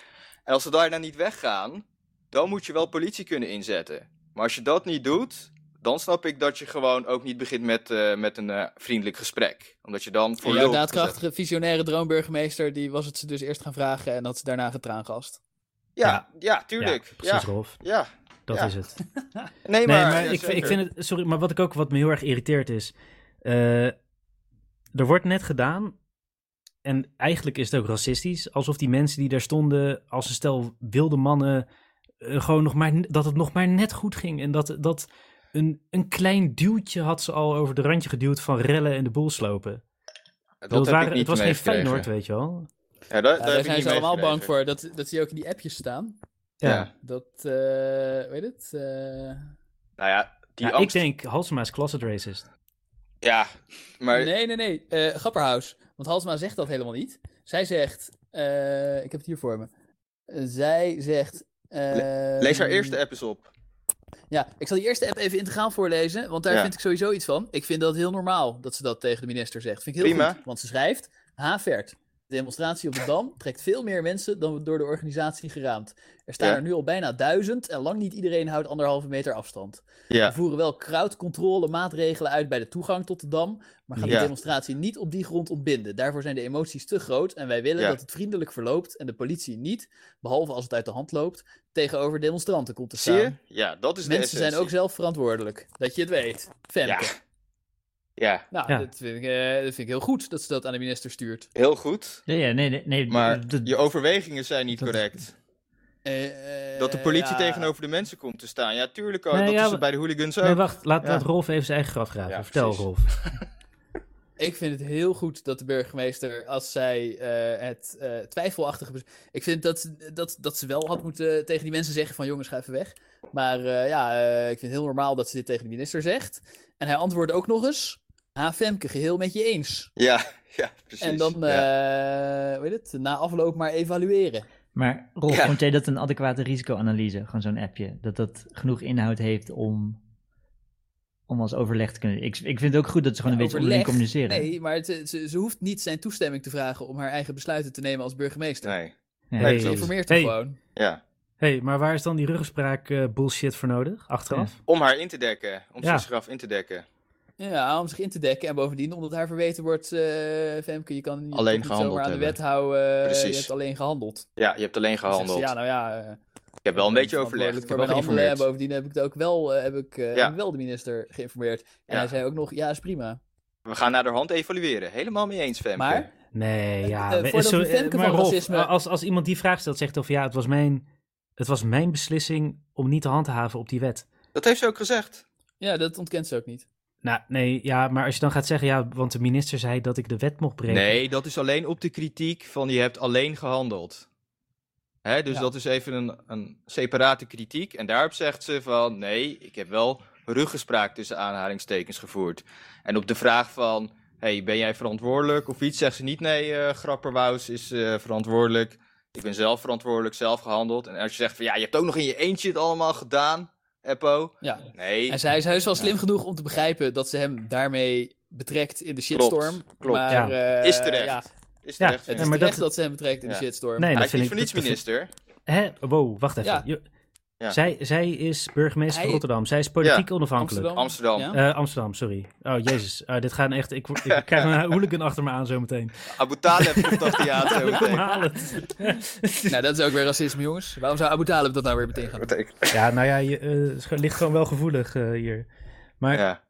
[SPEAKER 3] En als ze daar dan niet weggaan, dan moet je wel politie kunnen inzetten. Maar als je dat niet doet, dan snap ik dat je gewoon ook niet begint met, eh, met een eh, vriendelijk gesprek. Omdat je dan voor
[SPEAKER 2] En
[SPEAKER 3] lul
[SPEAKER 2] jouw
[SPEAKER 3] wordt gezet.
[SPEAKER 2] daadkrachtige, visionaire droomburgemeester, die was het ze dus eerst gaan vragen en had ze daarna getraangast.
[SPEAKER 3] Ja, ja,
[SPEAKER 1] Ja,
[SPEAKER 3] tuurlijk.
[SPEAKER 1] precies,
[SPEAKER 3] Ja,
[SPEAKER 1] Rolf.
[SPEAKER 3] ja.
[SPEAKER 1] Dat
[SPEAKER 3] Ja.
[SPEAKER 1] is het.
[SPEAKER 3] Nee,
[SPEAKER 1] Nee,
[SPEAKER 3] maar,
[SPEAKER 1] maar,
[SPEAKER 3] ja,
[SPEAKER 1] ik, ik
[SPEAKER 3] zeker.
[SPEAKER 1] vind het... Sorry, maar wat, ik ook, wat me heel erg irriteert is... eh, er wordt net gedaan... En eigenlijk is het ook racistisch. Alsof die mensen die daar stonden als een stel wilde mannen... eh, gewoon nog maar... n- Dat het nog maar net goed ging. En dat... dat een, een klein duwtje had ze al over de randje geduwd van rellen en de boel slopen.
[SPEAKER 3] dat
[SPEAKER 1] Dat
[SPEAKER 3] heb
[SPEAKER 1] waren,
[SPEAKER 3] ik niet
[SPEAKER 1] het was geen
[SPEAKER 3] meegekregen.
[SPEAKER 1] Feyenoord, weet je wel.
[SPEAKER 3] Ja, dat,
[SPEAKER 2] Ja,
[SPEAKER 3] daar heb
[SPEAKER 2] daar
[SPEAKER 3] ik
[SPEAKER 2] zijn
[SPEAKER 3] niet
[SPEAKER 2] ze allemaal bang
[SPEAKER 3] meegekregen.
[SPEAKER 2] voor. Dat, dat zie je ook in die appjes staan.
[SPEAKER 3] Ja.
[SPEAKER 2] Dat, eh weet het? eh,
[SPEAKER 3] Nou ja, die
[SPEAKER 1] Ja,
[SPEAKER 3] angst...
[SPEAKER 1] Ik denk, Halsema is closet racist.
[SPEAKER 3] Ja, maar...
[SPEAKER 2] Nee, nee, nee. Eh Grapperhaus. Want Halsma zegt dat helemaal niet. Zij zegt... eh, ik heb het hier voor me. Eh, Zij zegt... eh,
[SPEAKER 3] Lees haar eerste app eens op.
[SPEAKER 2] Ja, ik zal die eerste app even integraal voorlezen, want daar
[SPEAKER 3] Ja.
[SPEAKER 2] vind ik sowieso iets van. Ik vind dat heel normaal dat ze dat tegen de minister zegt. Vind ik heel
[SPEAKER 3] Prima.
[SPEAKER 2] goed, want ze schrijft... Havert, de demonstratie op de Dam trekt veel meer mensen dan door de organisatie geraamd. Er staan
[SPEAKER 3] Ja.
[SPEAKER 2] er nu al bijna duizend en lang niet iedereen houdt anderhalve meter afstand. We
[SPEAKER 3] Ja,
[SPEAKER 2] voeren wel crowdcontrole maatregelen uit bij de toegang tot de dam, maar gaan
[SPEAKER 1] Ja.
[SPEAKER 2] de demonstratie niet op die grond ontbinden. Daarvoor zijn de emoties te groot en wij willen
[SPEAKER 3] Ja.
[SPEAKER 2] dat het vriendelijk verloopt en de politie niet, behalve als het uit de hand loopt, tegenover demonstranten komt te
[SPEAKER 3] zie
[SPEAKER 2] staan.
[SPEAKER 3] je? Ja, dat is
[SPEAKER 2] Mensen
[SPEAKER 3] de
[SPEAKER 2] zijn ook
[SPEAKER 3] essentie.
[SPEAKER 2] zelf verantwoordelijk, dat je het weet. Femke.
[SPEAKER 3] Ja,
[SPEAKER 2] Nou,
[SPEAKER 1] Ja.
[SPEAKER 2] Dat, vind ik, eh, dat vind ik heel goed dat ze dat aan de minister stuurt.
[SPEAKER 3] heel goed.
[SPEAKER 4] Nee, ja, nee, nee. nee
[SPEAKER 3] Maar
[SPEAKER 4] dat-
[SPEAKER 3] je overwegingen zijn niet
[SPEAKER 4] dat-
[SPEAKER 3] correct.
[SPEAKER 2] Eh, eh,
[SPEAKER 3] Dat de politie
[SPEAKER 2] ja.
[SPEAKER 3] tegenover de mensen komt te staan. Ja, tuurlijk. ook.
[SPEAKER 1] Nee,
[SPEAKER 3] dat
[SPEAKER 1] ja,
[SPEAKER 3] is
[SPEAKER 1] maar-
[SPEAKER 3] het bij de hooligans ook.
[SPEAKER 1] Nee, wacht. Laat,
[SPEAKER 3] Ja.
[SPEAKER 1] laat Rolf even zijn eigen graf graven.
[SPEAKER 3] Ja,
[SPEAKER 1] Vertel,
[SPEAKER 3] precies.
[SPEAKER 1] Rolf.
[SPEAKER 2] Ik vind het heel goed dat de burgemeester, als zij eh, het eh, twijfelachtige. bes- Ik vind dat, ze- dat, dat ze wel had moeten tegen die mensen zeggen: van jongens, ga even weg. Maar eh, ja, eh, ik vind het heel normaal dat ze dit tegen de minister zegt. En hij antwoordt ook nog eens: Ha, Femke, geheel met je eens.
[SPEAKER 3] Ja, (laughs) ja, precies.
[SPEAKER 2] En dan,
[SPEAKER 3] ja.
[SPEAKER 2] eh, hoe heet het, na afloop maar evalueren.
[SPEAKER 4] Maar Rolf,
[SPEAKER 3] Ja.
[SPEAKER 4] vond jij dat een adequate risicoanalyse, gewoon zo'n appje, dat dat genoeg inhoud heeft om, om als overleg te kunnen... Ik, ik vind het ook goed dat ze gewoon een beetje onderling
[SPEAKER 2] Overleg?
[SPEAKER 4] communiceren.
[SPEAKER 2] Nee, maar het- ze, ze hoeft niet zijn toestemming te vragen om haar eigen besluiten te nemen als burgemeester.
[SPEAKER 3] Nee,
[SPEAKER 4] Ja.
[SPEAKER 1] Nee.
[SPEAKER 2] Ze
[SPEAKER 1] klopt.
[SPEAKER 2] informeert hem
[SPEAKER 1] Hey.
[SPEAKER 2] gewoon.
[SPEAKER 3] ja.
[SPEAKER 1] hey, maar waar is dan die ruggespraak eh, bullshit voor nodig? Achteraf?
[SPEAKER 3] Om haar in te dekken. Om
[SPEAKER 1] Ja.
[SPEAKER 3] zijn graf in te dekken.
[SPEAKER 2] Ja, om zich in te dekken. En bovendien, omdat haar verweten wordt, eh Femke, je kan je
[SPEAKER 3] Alleen
[SPEAKER 2] toch niet
[SPEAKER 3] gehandeld
[SPEAKER 2] zomaar aan de
[SPEAKER 3] hebben.
[SPEAKER 2] wet houden. eh, Je
[SPEAKER 3] Precies.
[SPEAKER 2] hebt alleen gehandeld.
[SPEAKER 3] Ja, je hebt alleen
[SPEAKER 2] Dan zegt
[SPEAKER 3] gehandeld.
[SPEAKER 2] Ze, ja, nou ja. eh,
[SPEAKER 3] ik heb wel een
[SPEAKER 2] ben
[SPEAKER 3] beetje overlegd. Ik
[SPEAKER 2] verantwoordelijk
[SPEAKER 3] heb
[SPEAKER 2] voor
[SPEAKER 3] wel
[SPEAKER 2] mijn handelen. En
[SPEAKER 3] geïnformeerd.
[SPEAKER 2] bovendien heb ik het ook wel, eh, heb ik, eh,
[SPEAKER 3] Ja.
[SPEAKER 2] heb ik wel de minister geïnformeerd. En
[SPEAKER 3] Ja.
[SPEAKER 2] hij zei ook nog, ja, is prima.
[SPEAKER 3] We gaan naar de hand evalueren. Helemaal mee eens, Femke.
[SPEAKER 2] Maar,
[SPEAKER 1] Nee, ja.
[SPEAKER 2] eh,
[SPEAKER 1] we-
[SPEAKER 2] voordat
[SPEAKER 1] sorry,
[SPEAKER 2] we Femke
[SPEAKER 1] eh, maar
[SPEAKER 2] van
[SPEAKER 1] Rolf,
[SPEAKER 2] racisme-
[SPEAKER 1] als, als iemand die vraag stelt, zegt of ja, het was mijn, het was mijn beslissing om niet te handhaven op die wet.
[SPEAKER 3] Dat heeft ze ook gezegd.
[SPEAKER 2] ja, dat ontkent ze ook niet.
[SPEAKER 1] Nou, nee, ja, maar als je dan gaat zeggen, ja, want de minister zei dat ik de wet mocht breken.
[SPEAKER 3] Nee, dat is alleen op de kritiek van je hebt alleen gehandeld. Hè, dus
[SPEAKER 2] Ja.
[SPEAKER 3] dat is even een, een separate kritiek. En daarop zegt ze van nee, ik heb wel ruggespraak tussen aanhalingstekens gevoerd. En op de vraag van hey, ben jij verantwoordelijk of iets, zegt ze niet nee, eh Grapperwaus is eh, verantwoordelijk. Ik ben zelf verantwoordelijk, zelf gehandeld. En als je zegt van ja, je hebt ook nog in je eentje het allemaal gedaan, Eppo.
[SPEAKER 2] Ja.
[SPEAKER 3] Nee,
[SPEAKER 2] En zij is heus wel slim genoeg om te begrijpen dat ze hem daarmee betrekt in de
[SPEAKER 3] Klopt,
[SPEAKER 2] shitstorm.
[SPEAKER 3] klopt.
[SPEAKER 2] Maar, eh,
[SPEAKER 3] Is terecht.
[SPEAKER 2] Ja,
[SPEAKER 3] is
[SPEAKER 1] Ja,
[SPEAKER 3] terecht.
[SPEAKER 2] het
[SPEAKER 1] Nee,
[SPEAKER 2] is
[SPEAKER 1] maar
[SPEAKER 2] terecht
[SPEAKER 1] dat-
[SPEAKER 2] dat ze hem betrekt in
[SPEAKER 3] Ja.
[SPEAKER 2] de shitstorm.
[SPEAKER 1] nee,
[SPEAKER 3] Hij
[SPEAKER 1] dat
[SPEAKER 3] is
[SPEAKER 1] vind
[SPEAKER 3] niet
[SPEAKER 1] ik
[SPEAKER 3] voor niets
[SPEAKER 1] dat vind-
[SPEAKER 3] minister.
[SPEAKER 1] Hè? Wow, wacht even.
[SPEAKER 2] Ja.
[SPEAKER 1] Je-
[SPEAKER 3] Ja.
[SPEAKER 1] Zij, zij is burgemeester van
[SPEAKER 2] Hij-
[SPEAKER 1] Rotterdam. Zij is politiek onafhankelijk.
[SPEAKER 2] Amsterdam.
[SPEAKER 3] Amsterdam.
[SPEAKER 2] Ja?
[SPEAKER 1] Eh, Amsterdam, sorry. Oh, jezus. Ah, dit gaat echt... Ik,
[SPEAKER 3] (laughs)
[SPEAKER 1] ik krijg een hooligan achter me aan zometeen.
[SPEAKER 3] Abu
[SPEAKER 1] (laughs)
[SPEAKER 3] Taleb komt achter je aan zo
[SPEAKER 1] Kom,
[SPEAKER 3] meteen.
[SPEAKER 1] haal het.
[SPEAKER 2] Nou, dat is ook weer racisme, jongens. Waarom zou Abu Talib dat nou weer meteen gaan doen?
[SPEAKER 1] Ja, nou ja, je eh, is gewoon- ligt gewoon wel gevoelig eh, hier. Maar
[SPEAKER 3] Ja.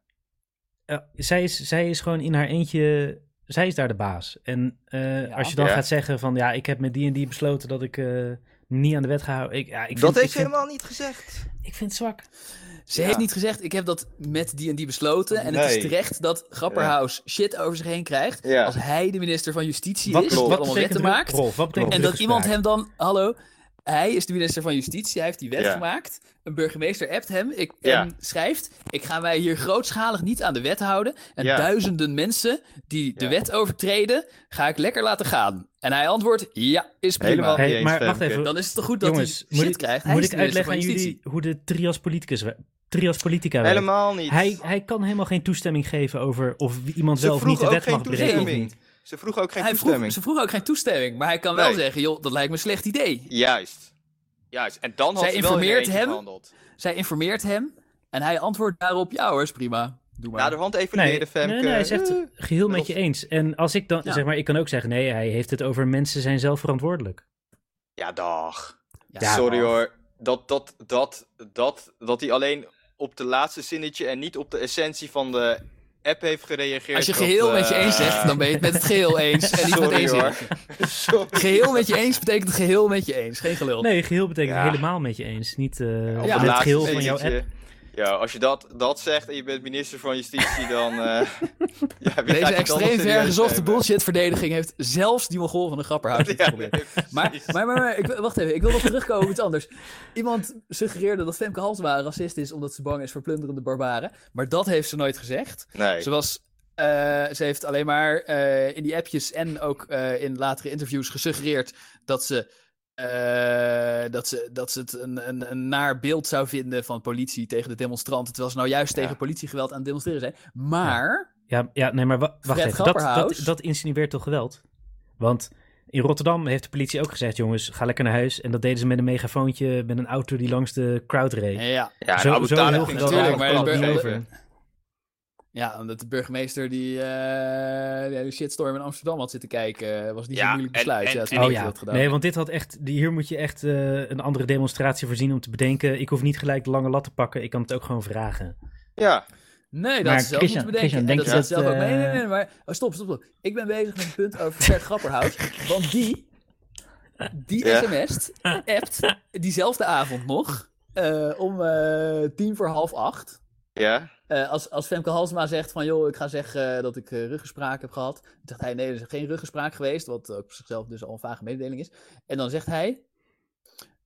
[SPEAKER 1] eh, zij, is, zij is gewoon in haar eentje... Zij is daar de baas. En eh,
[SPEAKER 2] Ja.
[SPEAKER 1] als je dan
[SPEAKER 3] Ja.
[SPEAKER 1] gaat zeggen van... Ja, ik heb met die en die besloten dat ik eh, niet aan de wet ga houden. Ik, ja, ik vind,
[SPEAKER 3] dat heeft
[SPEAKER 1] ik
[SPEAKER 3] ze
[SPEAKER 1] vind,
[SPEAKER 3] helemaal niet gezegd.
[SPEAKER 1] Ik vind het zwak.
[SPEAKER 2] Ze
[SPEAKER 3] Ja.
[SPEAKER 2] heeft niet gezegd, ik heb dat met die en die besloten. En het is
[SPEAKER 3] Nee.
[SPEAKER 2] terecht dat Grapperhaus shit over zich heen krijgt.
[SPEAKER 3] Ja.
[SPEAKER 2] Als hij de minister van Justitie
[SPEAKER 1] Wat,
[SPEAKER 2] is,
[SPEAKER 1] wat
[SPEAKER 2] die allemaal
[SPEAKER 1] betekent
[SPEAKER 2] wetten
[SPEAKER 1] rug-
[SPEAKER 2] maakt.
[SPEAKER 1] Rolf, wat betekent dus
[SPEAKER 2] En dat iemand
[SPEAKER 1] ruggespraak?
[SPEAKER 2] hem dan, hallo, hij is de minister van Justitie, hij heeft die wet
[SPEAKER 3] Ja.
[SPEAKER 2] gemaakt. Een burgemeester appt hem ik,
[SPEAKER 3] Ja.
[SPEAKER 2] en schrijft, ik ga mij hier grootschalig niet aan de wet houden. En
[SPEAKER 3] Ja.
[SPEAKER 2] duizenden mensen die de
[SPEAKER 3] Ja.
[SPEAKER 2] wet overtreden, ga ik lekker laten gaan. En hij antwoordt, ja, is prima.
[SPEAKER 3] Helemaal.
[SPEAKER 1] Hey,
[SPEAKER 3] Niet eens,
[SPEAKER 1] maar wacht
[SPEAKER 3] Femke.
[SPEAKER 1] even.
[SPEAKER 2] Dan is het toch goed dat
[SPEAKER 1] Jongens,
[SPEAKER 2] hij shit
[SPEAKER 1] moet ik,
[SPEAKER 2] krijgt. Hij
[SPEAKER 1] moet
[SPEAKER 2] is
[SPEAKER 1] ik
[SPEAKER 2] de minister
[SPEAKER 1] uitleggen aan
[SPEAKER 2] van Justitie.
[SPEAKER 1] jullie hoe de trias politicus wer- trias politica werkt?
[SPEAKER 3] Helemaal niet.
[SPEAKER 1] Hij, hij kan helemaal geen toestemming geven over of wie- iemand
[SPEAKER 3] ze
[SPEAKER 1] zelf
[SPEAKER 3] vroeg
[SPEAKER 1] niet de
[SPEAKER 3] ook
[SPEAKER 1] wet
[SPEAKER 3] geen
[SPEAKER 1] mag breken of
[SPEAKER 3] toestemming.
[SPEAKER 1] niet.
[SPEAKER 3] Ze vroeg ook geen
[SPEAKER 2] Hij vroeg,
[SPEAKER 3] toestemming.
[SPEAKER 2] ze vroeg ook geen toestemming, maar hij kan wel
[SPEAKER 3] Nee.
[SPEAKER 2] zeggen, joh, dat lijkt me een slecht idee.
[SPEAKER 3] Juist. Juist. En dan had
[SPEAKER 2] Zij
[SPEAKER 3] ze wel in haar
[SPEAKER 2] informeert
[SPEAKER 3] eentje
[SPEAKER 2] hem?
[SPEAKER 3] gehandeld.
[SPEAKER 2] Zij informeert hem, En hij antwoordt daarop, ja hoor, is prima. Doe maar.
[SPEAKER 3] Naderhand evalueren,
[SPEAKER 1] Nee,
[SPEAKER 3] Femke.
[SPEAKER 1] nee, nee, hij zegt
[SPEAKER 3] Eh,
[SPEAKER 1] geheel met
[SPEAKER 3] Of-
[SPEAKER 1] je eens. En als ik dan,
[SPEAKER 2] Ja.
[SPEAKER 1] zeg maar, ik kan ook zeggen, nee, hij heeft het over mensen zijn zelf verantwoordelijk.
[SPEAKER 3] Ja, dag.
[SPEAKER 1] Ja,
[SPEAKER 3] Sorry hoor. Dat, dat, dat, dat, dat hij alleen op de laatste zinnetje en niet op de essentie van de app heeft gereageerd.
[SPEAKER 2] Als je
[SPEAKER 3] dat,
[SPEAKER 2] geheel met je
[SPEAKER 3] eh,
[SPEAKER 2] eens zegt, dan ben je het met het geheel eens. En niet met
[SPEAKER 3] Sorry
[SPEAKER 2] één
[SPEAKER 3] hoor.
[SPEAKER 2] zin. (laughs)
[SPEAKER 3] Sorry.
[SPEAKER 2] Geheel met je eens betekent geheel met je eens. Geen gelul.
[SPEAKER 1] Nee, geheel betekent
[SPEAKER 3] Ja.
[SPEAKER 1] helemaal met je eens. Niet eh
[SPEAKER 3] Op
[SPEAKER 2] Ja,
[SPEAKER 3] het
[SPEAKER 1] het
[SPEAKER 3] laatste
[SPEAKER 1] geheel van jouw
[SPEAKER 3] zinnetje.
[SPEAKER 1] app.
[SPEAKER 3] Ja, als je dat, dat zegt en je bent minister van Justitie, dan... eh, (laughs) ja, wie
[SPEAKER 2] Deze
[SPEAKER 3] gaat je dan nog
[SPEAKER 2] extreem
[SPEAKER 3] serieus
[SPEAKER 2] vergezochte
[SPEAKER 3] nemen?
[SPEAKER 2] bullshit-verdediging heeft zelfs die Mongool van de Grapperhuis
[SPEAKER 3] (laughs) Ja,
[SPEAKER 2] geprobeerd. Maar, maar, maar, maar ik, wacht even, ik wil nog terugkomen op iets anders. Iemand suggereerde dat Femke Halsma een racist is omdat ze bang is voor plunderende barbaren. Maar dat heeft ze nooit gezegd.
[SPEAKER 3] Nee.
[SPEAKER 2] Ze, was, eh, ze heeft alleen maar eh, in die appjes en ook eh, in latere interviews gesuggereerd dat ze, eh, dat ze, dat ze het een, een, een naar beeld zou vinden van politie tegen de demonstranten. Terwijl ze nou juist
[SPEAKER 3] Ja.
[SPEAKER 2] tegen politiegeweld aan het demonstreren zijn. Maar,
[SPEAKER 1] Ja, ja, nee, maar wa- wacht
[SPEAKER 2] Fred
[SPEAKER 1] even. Dat, dat,
[SPEAKER 2] Grapperhaus.
[SPEAKER 1] dat insinueert toch geweld? Want in Rotterdam heeft de politie ook gezegd, jongens, ga lekker naar huis. En dat deden ze met een megafoontje, met een auto die langs de crowd reed.
[SPEAKER 2] ja,
[SPEAKER 3] Ja, en
[SPEAKER 1] Zo-
[SPEAKER 3] Abu
[SPEAKER 1] zo
[SPEAKER 3] Talib
[SPEAKER 1] heel
[SPEAKER 3] ging
[SPEAKER 1] geweldig
[SPEAKER 3] natuurlijk
[SPEAKER 2] maar
[SPEAKER 3] plat
[SPEAKER 2] dat is
[SPEAKER 3] geven.
[SPEAKER 1] over.
[SPEAKER 2] Ja, omdat de burgemeester die, eh, die hele shitstorm in Amsterdam had zitten kijken, eh, was niet
[SPEAKER 3] Ja,
[SPEAKER 2] zo'n moeilijk
[SPEAKER 3] en-
[SPEAKER 2] besluit.
[SPEAKER 3] en-
[SPEAKER 2] ja, toen
[SPEAKER 3] en
[SPEAKER 2] had
[SPEAKER 1] Oh
[SPEAKER 2] ik
[SPEAKER 1] ja,
[SPEAKER 2] dat gedaan.
[SPEAKER 1] nee, want dit had echt, die- hier moet je echt eh, een andere demonstratie voorzien om te bedenken. Ik hoef niet gelijk de lange lat te pakken, ik kan het ook gewoon vragen.
[SPEAKER 3] Ja,
[SPEAKER 2] nee, dat
[SPEAKER 4] Maar
[SPEAKER 2] is zelf
[SPEAKER 4] Christian,
[SPEAKER 2] moeten bedenken.
[SPEAKER 4] Christian,
[SPEAKER 2] en
[SPEAKER 4] denk
[SPEAKER 2] dat
[SPEAKER 4] je
[SPEAKER 2] is dat
[SPEAKER 4] dat,
[SPEAKER 2] zelf ook. Nee, nee,
[SPEAKER 4] eh,
[SPEAKER 2] nee, maar oh, stop, stop, stop. Ik ben bezig met een punt over
[SPEAKER 4] (laughs)
[SPEAKER 2] Bert Grapperhaus, want die, die
[SPEAKER 3] Ja.
[SPEAKER 2] sms't, appt, diezelfde avond nog, eh, om eh, tien voor half acht,
[SPEAKER 3] ja.
[SPEAKER 2] Eh, als, als Femke Halsma zegt van, joh, ik ga zeggen eh, dat ik eh, ruggespraak heb gehad. Dan zegt hij, nee, er is geen ruggespraak geweest, wat ook op zichzelf dus al een vage mededeling is. En dan zegt hij,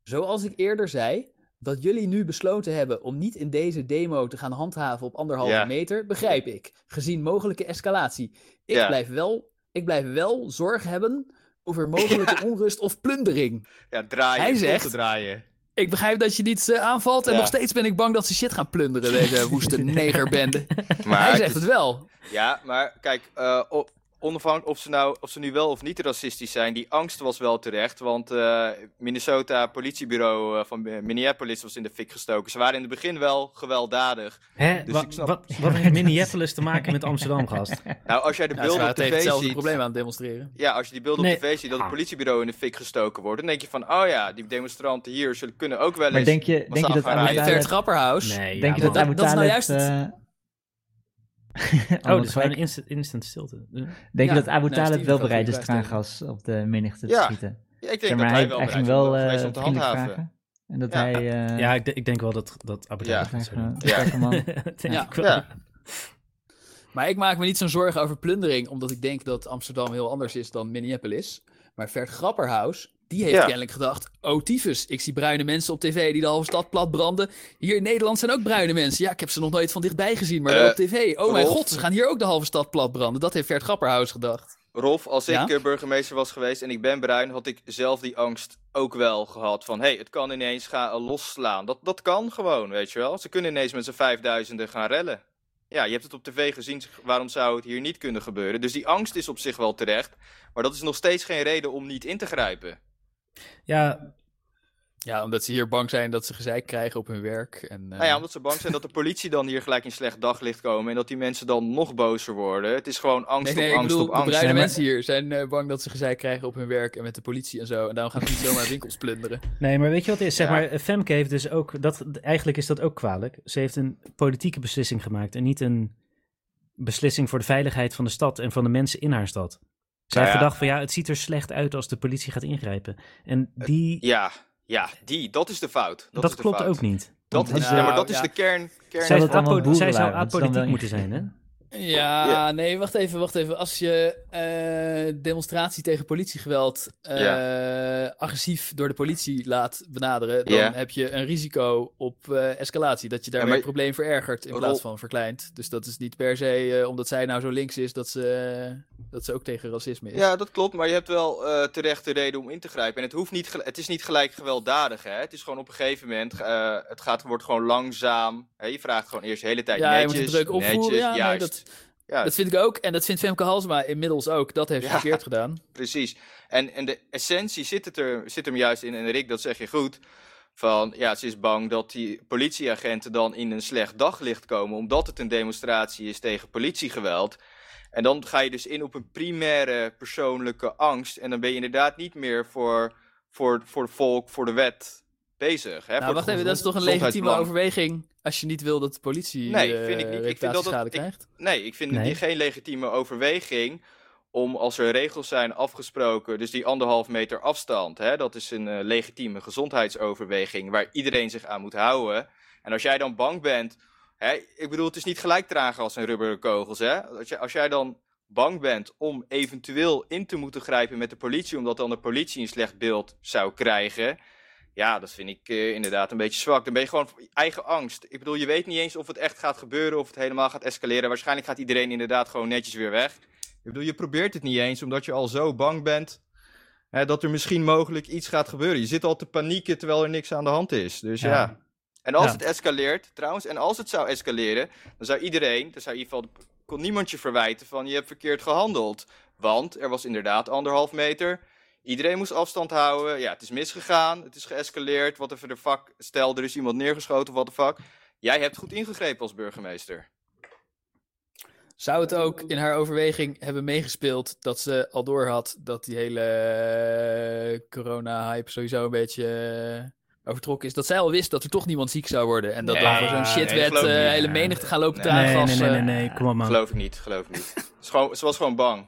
[SPEAKER 2] zoals ik eerder zei, dat jullie nu besloten hebben om niet in deze demo te gaan handhaven op anderhalve
[SPEAKER 3] Ja.
[SPEAKER 2] meter, begrijp ik, gezien mogelijke escalatie. Ik,
[SPEAKER 3] Ja.
[SPEAKER 2] blijf, wel, ik blijf wel zorg hebben over mogelijke
[SPEAKER 3] (laughs)
[SPEAKER 2] onrust of plundering.
[SPEAKER 3] Ja, draaien.
[SPEAKER 2] Hij
[SPEAKER 3] tot
[SPEAKER 2] zegt-
[SPEAKER 3] te draaien.
[SPEAKER 2] Ik begrijp dat je niet eh, aanvalt en
[SPEAKER 3] Ja.
[SPEAKER 2] nog steeds ben ik bang dat ze shit gaan plunderen, deze
[SPEAKER 3] (laughs)
[SPEAKER 2] woeste negerbende.
[SPEAKER 3] Maar
[SPEAKER 2] hij
[SPEAKER 3] het
[SPEAKER 2] zegt
[SPEAKER 3] is-
[SPEAKER 2] het wel.
[SPEAKER 3] Ja, maar kijk, eh, o- onafhankelijk of ze, nou, of ze nu wel of niet racistisch zijn, die angst was wel terecht. Want eh, Minnesota politiebureau eh, van Minneapolis was in de fik gestoken. Ze waren in het begin wel gewelddadig.
[SPEAKER 1] Hè?
[SPEAKER 3] Dus
[SPEAKER 1] Wa-
[SPEAKER 3] ik snap-
[SPEAKER 1] wat, wat heeft Minneapolis te maken met Amsterdam, gast?
[SPEAKER 3] Nou, als jij de
[SPEAKER 2] Ja, ze
[SPEAKER 3] beelden
[SPEAKER 2] waren
[SPEAKER 3] op
[SPEAKER 2] tegen
[SPEAKER 3] tv
[SPEAKER 2] hetzelfde
[SPEAKER 3] ziet...
[SPEAKER 2] probleem aan het demonstreren.
[SPEAKER 3] Ja, als je die beelden
[SPEAKER 1] Nee.
[SPEAKER 3] op tv ziet dat het
[SPEAKER 1] Ah.
[SPEAKER 3] politiebureau in de fik gestoken wordt, dan denk je van, oh ja, die demonstranten hier zullen kunnen ook wel eens...
[SPEAKER 4] Maar denk je, denk
[SPEAKER 3] massaal
[SPEAKER 4] je dat
[SPEAKER 3] gaan
[SPEAKER 4] Abu
[SPEAKER 3] rijden.
[SPEAKER 2] Bert
[SPEAKER 4] Talib...
[SPEAKER 2] Grapperhaus.
[SPEAKER 1] Nee,
[SPEAKER 4] Denk je
[SPEAKER 1] ja, man.
[SPEAKER 4] dat
[SPEAKER 2] man.
[SPEAKER 4] Abu
[SPEAKER 2] Dat is nou
[SPEAKER 4] Talib...
[SPEAKER 2] juist het-
[SPEAKER 4] eh,
[SPEAKER 1] Oh,
[SPEAKER 4] allemaal
[SPEAKER 1] dat is gewoon
[SPEAKER 4] gelijk-
[SPEAKER 1] een instant, instant stilte. Eh,
[SPEAKER 4] Denk je
[SPEAKER 2] Ja,
[SPEAKER 4] dat Abu
[SPEAKER 2] nou,
[SPEAKER 4] Talib
[SPEAKER 2] Steven
[SPEAKER 4] wel
[SPEAKER 2] kan
[SPEAKER 4] bereid
[SPEAKER 2] goed
[SPEAKER 4] is traangas op de menigte te
[SPEAKER 3] Ja,
[SPEAKER 4] schieten?
[SPEAKER 3] Ja, ik denk
[SPEAKER 4] Zeg
[SPEAKER 3] dat
[SPEAKER 4] maar,
[SPEAKER 3] hij,
[SPEAKER 4] hij,
[SPEAKER 3] wel
[SPEAKER 4] hij ging
[SPEAKER 3] bereid
[SPEAKER 4] wel
[SPEAKER 3] is
[SPEAKER 4] eh
[SPEAKER 3] geweest om te
[SPEAKER 4] vriendelijk
[SPEAKER 3] handhaven.
[SPEAKER 4] vragen. En dat
[SPEAKER 3] Ja.
[SPEAKER 4] hij... eh,
[SPEAKER 1] ja, ik, d- ik denk wel dat, dat Abu
[SPEAKER 3] Ja.
[SPEAKER 1] Dhabi
[SPEAKER 4] dat hij
[SPEAKER 1] gaat
[SPEAKER 4] gewoon
[SPEAKER 1] zeggen.
[SPEAKER 4] een
[SPEAKER 3] Ja.
[SPEAKER 4] sterke
[SPEAKER 3] (laughs)
[SPEAKER 4] man...
[SPEAKER 1] (laughs) Dat denk
[SPEAKER 2] Ja.
[SPEAKER 1] ik wel.
[SPEAKER 3] Ja.
[SPEAKER 2] Maar ik maak me niet zo'n zorgen over plundering, omdat ik denk dat Amsterdam heel anders is dan Minneapolis. Maar Vert Grapperhaus, die heeft
[SPEAKER 3] Ja.
[SPEAKER 2] kennelijk gedacht, oh tyfus, ik zie bruine mensen op tv die de halve stad plat branden. Hier in Nederland zijn ook bruine mensen. Ja, ik heb ze nog nooit van dichtbij gezien, maar wel
[SPEAKER 3] Eh,
[SPEAKER 2] op tv. Oh mijn
[SPEAKER 3] Rolf?
[SPEAKER 2] god, ze gaan hier ook de halve stad plat branden. Dat heeft Vert Grapperhaus gedacht.
[SPEAKER 3] Rolf, als
[SPEAKER 2] Ja?
[SPEAKER 3] ik eh, burgemeester was geweest en ik ben bruin, had ik zelf die angst ook wel gehad. Van, hé, hey, het kan ineens gaan eh, losslaan. Dat, dat kan gewoon, weet je wel. Ze kunnen ineens met z'n vijfduizenden gaan rellen. Ja, je hebt het op tv gezien, waarom zou het hier niet kunnen gebeuren? Dus die angst is op zich wel terecht, maar dat is nog steeds geen reden om niet in te grijpen.
[SPEAKER 1] Ja,
[SPEAKER 2] Ja, omdat ze hier bang zijn dat ze gezeik krijgen op hun werk. En, eh,
[SPEAKER 3] Nou ja, omdat ze bang zijn dat de politie dan hier gelijk in slecht daglicht komen en dat die mensen dan nog bozer worden. Het is gewoon angst
[SPEAKER 2] Nee, nee,
[SPEAKER 3] op
[SPEAKER 2] ik
[SPEAKER 3] angst
[SPEAKER 2] bedoel,
[SPEAKER 3] op
[SPEAKER 2] de
[SPEAKER 3] angst.
[SPEAKER 2] bruine
[SPEAKER 1] Nee, maar-
[SPEAKER 2] mensen hier zijn eh, bang dat ze gezeik krijgen op hun werk en met de politie en zo. En daarom gaan ze niet zomaar winkels plunderen.
[SPEAKER 1] nee, maar weet je wat het is? Zeg
[SPEAKER 3] Ja.
[SPEAKER 1] maar, eh, Femke heeft dus ook, dat, eigenlijk is dat ook kwalijk. Ze heeft een politieke beslissing gemaakt en niet een beslissing voor de veiligheid van de stad en van de mensen in haar stad. Zij
[SPEAKER 3] Nou
[SPEAKER 1] heeft
[SPEAKER 3] ja.
[SPEAKER 1] gedacht van ja, het ziet er slecht uit als de politie gaat ingrijpen. En die,
[SPEAKER 3] Ja, ja, die, dat is de fout. Dat,
[SPEAKER 1] dat,
[SPEAKER 3] is de
[SPEAKER 1] klopt
[SPEAKER 3] fout.
[SPEAKER 1] ook niet.
[SPEAKER 3] Dat is, eh,
[SPEAKER 2] Nou,
[SPEAKER 3] ja, maar dat is
[SPEAKER 2] ja.
[SPEAKER 3] de kern. kern
[SPEAKER 1] Zij,
[SPEAKER 4] dat
[SPEAKER 1] is
[SPEAKER 4] het allemaal
[SPEAKER 1] apo-
[SPEAKER 4] boeren
[SPEAKER 1] zij zou
[SPEAKER 4] waren, dat is dan wel
[SPEAKER 1] apolitiek moeten zijn, hè?
[SPEAKER 2] Ja,
[SPEAKER 3] Ja.
[SPEAKER 2] nee, wacht even, wacht even. Als je eh, demonstratie tegen politiegeweld eh, agressief door de politie laat benaderen, dan
[SPEAKER 3] Ja.
[SPEAKER 2] heb je een risico op eh, escalatie. Dat je daarmee
[SPEAKER 3] maar-
[SPEAKER 2] het probleem verergert in
[SPEAKER 3] Rol-
[SPEAKER 2] plaats van verkleint. Dus dat is niet per se eh, omdat zij nou zo links is dat ze, eh, dat ze ook tegen racisme is.
[SPEAKER 3] Ja, dat klopt, maar je hebt wel eh terechte reden om in te grijpen. En het, hoeft niet gel- het is niet gelijk gewelddadig, hè. Het is gewoon op een gegeven moment, eh, het gaat, wordt gewoon langzaam. Hè? Je vraagt gewoon eerst de hele tijd
[SPEAKER 2] Ja, je moet
[SPEAKER 3] netjes,
[SPEAKER 2] het druk opvoeren.
[SPEAKER 3] netjes,
[SPEAKER 2] Ja, nee,
[SPEAKER 3] juist.
[SPEAKER 2] dat-
[SPEAKER 3] Ja,
[SPEAKER 2] Dat vind ik ook. En dat vindt Femke Halsma inmiddels ook. Dat heeft ze
[SPEAKER 3] Ja.
[SPEAKER 2] verkeerd
[SPEAKER 3] (laughs)
[SPEAKER 2] gedaan.
[SPEAKER 3] precies. En, en de essentie zit, het er, zit hem juist in, en Rick, dat zeg je goed, Van ja, ze is bang dat die politieagenten dan in een slecht daglicht komen, omdat het een demonstratie is tegen politiegeweld. En dan ga je dus in op een primaire persoonlijke angst. En dan ben je inderdaad niet meer voor, voor, voor het volk, voor de wet bezig. Hè?
[SPEAKER 2] Nou,
[SPEAKER 3] voor het
[SPEAKER 2] wacht even, dat is toch een legitieme
[SPEAKER 3] gezondheidsbelang.
[SPEAKER 2] overweging als je niet wil dat de politie
[SPEAKER 3] Nee,
[SPEAKER 2] eh,
[SPEAKER 3] vind ik niet. Ik vind dat
[SPEAKER 2] reputatieschade
[SPEAKER 3] het- ik-
[SPEAKER 2] krijgt?
[SPEAKER 3] Nee, ik vind
[SPEAKER 1] Nee.
[SPEAKER 3] die geen legitieme overweging om als er regels zijn afgesproken, dus die anderhalf meter afstand, hè, dat is een eh, legitieme gezondheidsoverweging waar iedereen zich aan moet houden. En als jij dan bang bent, hè, ik bedoel, het is niet gelijk dragen als een rubberen kogels. Hè? Als, jij, als jij dan bang bent om eventueel in te moeten grijpen met de politie, omdat dan de politie een slecht beeld zou krijgen. Ja, dat vind ik eh, inderdaad een beetje zwak. Dan ben je gewoon voor eigen angst. Ik bedoel, je weet niet eens of het echt gaat gebeuren, of het helemaal gaat escaleren. Waarschijnlijk gaat iedereen inderdaad gewoon netjes weer weg. Ik bedoel, je probeert het niet eens, omdat je al zo bang bent hè, dat er misschien mogelijk iets gaat gebeuren. Je zit al te panieken terwijl er niks aan de hand is. Dus ja.
[SPEAKER 1] Ja.
[SPEAKER 3] En als
[SPEAKER 1] Ja.
[SPEAKER 3] het escaleert, trouwens, en als het zou escaleren, dan zou iedereen, dan zou in ieder geval, kon niemand je verwijten van je hebt verkeerd gehandeld. Want er was inderdaad anderhalf meter. Iedereen moest afstand houden. Ja, het is misgegaan. Het is geëscaleerd. Wat even de fuck. Stel, er is iemand neergeschoten. Wat de fuck. Jij hebt goed ingegrepen als burgemeester.
[SPEAKER 2] Zou het ook in haar overweging hebben meegespeeld dat ze al door had dat die hele eh, corona-hype sowieso een beetje eh, overtrokken is? Dat zij al wist dat er toch niemand ziek zou worden en dat
[SPEAKER 3] Nee,
[SPEAKER 2] dan voor zo'n
[SPEAKER 3] nee,
[SPEAKER 2] shitwet
[SPEAKER 3] geloof ik
[SPEAKER 2] eh,
[SPEAKER 3] niet.
[SPEAKER 2] hele menigte gaan lopen
[SPEAKER 3] Nee,
[SPEAKER 2] nee,
[SPEAKER 1] nee, nee,
[SPEAKER 2] traangas.
[SPEAKER 1] nee, nee,
[SPEAKER 2] eh.
[SPEAKER 1] nee, kom op man.
[SPEAKER 3] Geloof ik niet. Geloof ik niet. Het is gewoon, ze was gewoon bang.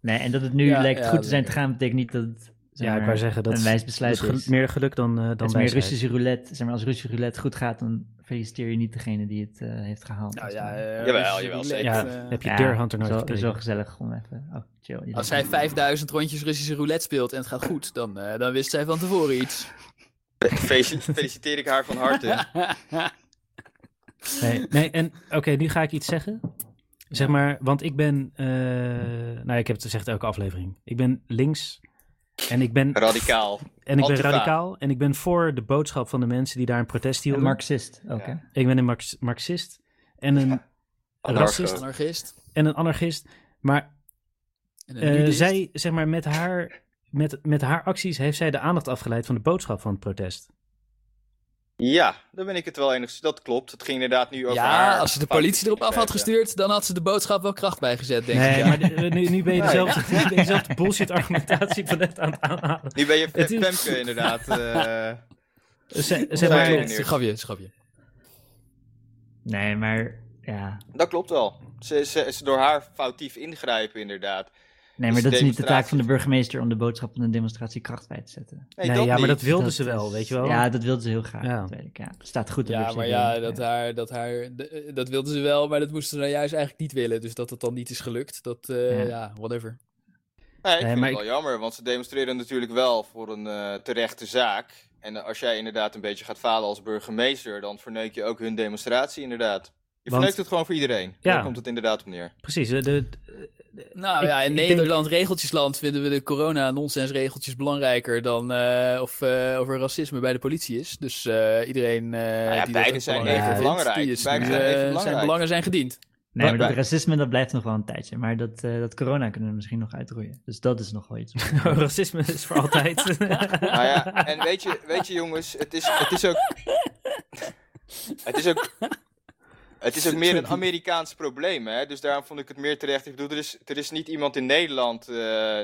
[SPEAKER 4] Nee, en dat het nu
[SPEAKER 2] Ja,
[SPEAKER 4] lijkt
[SPEAKER 2] ja,
[SPEAKER 4] goed te zijn te
[SPEAKER 2] zeker.
[SPEAKER 4] gaan, betekent niet dat het zeg
[SPEAKER 1] Ja, ik
[SPEAKER 4] maar,
[SPEAKER 1] wou zeggen, dat
[SPEAKER 4] een
[SPEAKER 1] is-
[SPEAKER 4] wijs
[SPEAKER 1] Dat
[SPEAKER 4] besluit
[SPEAKER 1] is
[SPEAKER 4] is.
[SPEAKER 1] gel- meer geluk dan, eh,
[SPEAKER 4] het
[SPEAKER 1] dan
[SPEAKER 4] is meer
[SPEAKER 1] wijsheid.
[SPEAKER 4] Russische roulette. Zeg maar, als Russische roulette goed gaat, dan feliciteer je niet degene die het eh, heeft gehaald.
[SPEAKER 2] Nou
[SPEAKER 4] Als
[SPEAKER 2] ja,
[SPEAKER 4] het-
[SPEAKER 2] eh,
[SPEAKER 3] Jawel,
[SPEAKER 2] als je
[SPEAKER 3] jawel,
[SPEAKER 2] die
[SPEAKER 3] zeker.
[SPEAKER 2] leeft,
[SPEAKER 1] Ja,
[SPEAKER 2] eh,
[SPEAKER 1] heb je Deerhunter nooit
[SPEAKER 4] zo,
[SPEAKER 1] gekeken?
[SPEAKER 4] is wel gezellig om even... Oh, chill. je
[SPEAKER 2] als zij
[SPEAKER 4] denkt-
[SPEAKER 2] 5000 rondjes Russische roulette speelt en het gaat goed, dan, eh, dan wist zij van tevoren iets. (laughs)
[SPEAKER 3] Felici- Feliciteer ik haar van harte.
[SPEAKER 1] Nee, nee en oké, nu ga ik iets zeggen. Zeg maar, want ik ben, eh, nou ik heb het gezegd elke aflevering. Ik ben links en ik ben,
[SPEAKER 3] Radicaal.
[SPEAKER 1] en ik ben
[SPEAKER 3] Antifa.
[SPEAKER 1] radicaal en ik ben voor de boodschap van de mensen die daar een protest
[SPEAKER 4] Een
[SPEAKER 1] hielden.
[SPEAKER 4] Marxist, oké.
[SPEAKER 3] Ja.
[SPEAKER 1] Ik ben een marx- marxist en een racist
[SPEAKER 3] Anarcho.
[SPEAKER 2] Anarchist.
[SPEAKER 1] en een anarchist. Maar
[SPEAKER 2] En
[SPEAKER 1] eh,
[SPEAKER 2] een nudist.
[SPEAKER 1] zij, zeg maar, met haar, met, met haar acties heeft zij de aandacht afgeleid van de boodschap van het protest.
[SPEAKER 3] Ja, daar ben ik het wel enigszins. Dat klopt. Het ging inderdaad nu over
[SPEAKER 2] Ja,
[SPEAKER 3] haar
[SPEAKER 2] als ze de
[SPEAKER 3] fouten
[SPEAKER 2] politie
[SPEAKER 3] die
[SPEAKER 2] erop af had
[SPEAKER 3] maakte.
[SPEAKER 2] gestuurd, dan had ze de boodschap wel kracht bijgezet, denk ik.
[SPEAKER 1] Nee,
[SPEAKER 2] ja.
[SPEAKER 1] maar de- nu, nu ben je
[SPEAKER 3] Nee.
[SPEAKER 2] (laughs)
[SPEAKER 1] dezelfde, nu ben je dezelfde bullshit argumentatie van net aan het
[SPEAKER 2] (laughs)
[SPEAKER 1] aanhalen.
[SPEAKER 3] Nu ben je
[SPEAKER 1] Het is-
[SPEAKER 3] Femke inderdaad. eh,
[SPEAKER 1] Ze-
[SPEAKER 2] Zeg
[SPEAKER 1] Zeg
[SPEAKER 3] Nee,
[SPEAKER 2] maar,
[SPEAKER 1] maar,
[SPEAKER 3] nee,
[SPEAKER 2] het is een grapje, het is een grapje.
[SPEAKER 4] Nee, maar... Ja.
[SPEAKER 3] dat klopt wel. Ze, ze, ze door haar foutief ingrijpen inderdaad.
[SPEAKER 4] Nee,
[SPEAKER 3] Dus
[SPEAKER 4] maar dat is niet de taak
[SPEAKER 3] demonstraties.
[SPEAKER 4] van de burgemeester om de boodschap van een demonstratie kracht bij te zetten.
[SPEAKER 3] Nee,
[SPEAKER 1] nee,
[SPEAKER 3] dat
[SPEAKER 1] ja, maar
[SPEAKER 3] niet.
[SPEAKER 1] dat wilden
[SPEAKER 4] Dat
[SPEAKER 1] ze wel,
[SPEAKER 4] is-
[SPEAKER 1] weet je wel.
[SPEAKER 4] Ja, dat wilden ze heel graag.
[SPEAKER 1] Ja.
[SPEAKER 4] Dat weet ik, ja. Staat goed op
[SPEAKER 2] Ja,
[SPEAKER 4] de
[SPEAKER 2] maar
[SPEAKER 4] CD,
[SPEAKER 2] ja, dat, eh, Haar, dat, haar, de- eh, dat wilden ze wel, maar dat moesten ze nou juist eigenlijk niet willen. Dus dat dat dan niet is gelukt, dat, eh,
[SPEAKER 4] Ja.
[SPEAKER 2] ja. whatever.
[SPEAKER 3] Nee, ik
[SPEAKER 1] Nee,
[SPEAKER 3] vind
[SPEAKER 1] maar
[SPEAKER 3] het wel jammer, want ze demonstreren natuurlijk wel voor een eh, terechte zaak. En eh, als jij inderdaad een beetje gaat falen als burgemeester, dan verneuk je ook hun demonstratie inderdaad. Je verneukt het gewoon voor iedereen.
[SPEAKER 1] Ja.
[SPEAKER 3] Daar komt het inderdaad op neer.
[SPEAKER 1] Precies. eh, De,
[SPEAKER 2] Nou
[SPEAKER 1] Ik-
[SPEAKER 2] ja, in
[SPEAKER 1] ik denk-
[SPEAKER 2] Nederland, regeltjesland, vinden we de corona-nonsensregeltjes belangrijker dan eh, of, eh, of er racisme bij de politie is. Dus eh, iedereen eh,
[SPEAKER 3] Nou ja, beide
[SPEAKER 2] die dat ook
[SPEAKER 3] zijn
[SPEAKER 2] belangrijk
[SPEAKER 3] even
[SPEAKER 2] vindt,
[SPEAKER 3] belangrijk.
[SPEAKER 2] die is
[SPEAKER 3] Beide
[SPEAKER 2] nu,
[SPEAKER 3] zijn even
[SPEAKER 2] eh, zijn
[SPEAKER 3] belangrijk.
[SPEAKER 2] belangen zijn gediend.
[SPEAKER 4] Nee, maar
[SPEAKER 3] Wat-
[SPEAKER 4] dat racisme dat blijft nog wel een tijdje. Maar dat, eh, dat corona kunnen we misschien nog uitroeien. Dus dat is nog wel
[SPEAKER 1] (laughs)
[SPEAKER 4] iets.
[SPEAKER 1] de- Oh, racisme is voor altijd.
[SPEAKER 3] Nou ja, en weet je, weet je jongens, het is, het is ook... Het is ook... Het is ook meer een Amerikaans probleem, hè? dus daarom vond ik het meer terecht. Ik bedoel, er is, er is niet iemand in Nederland eh,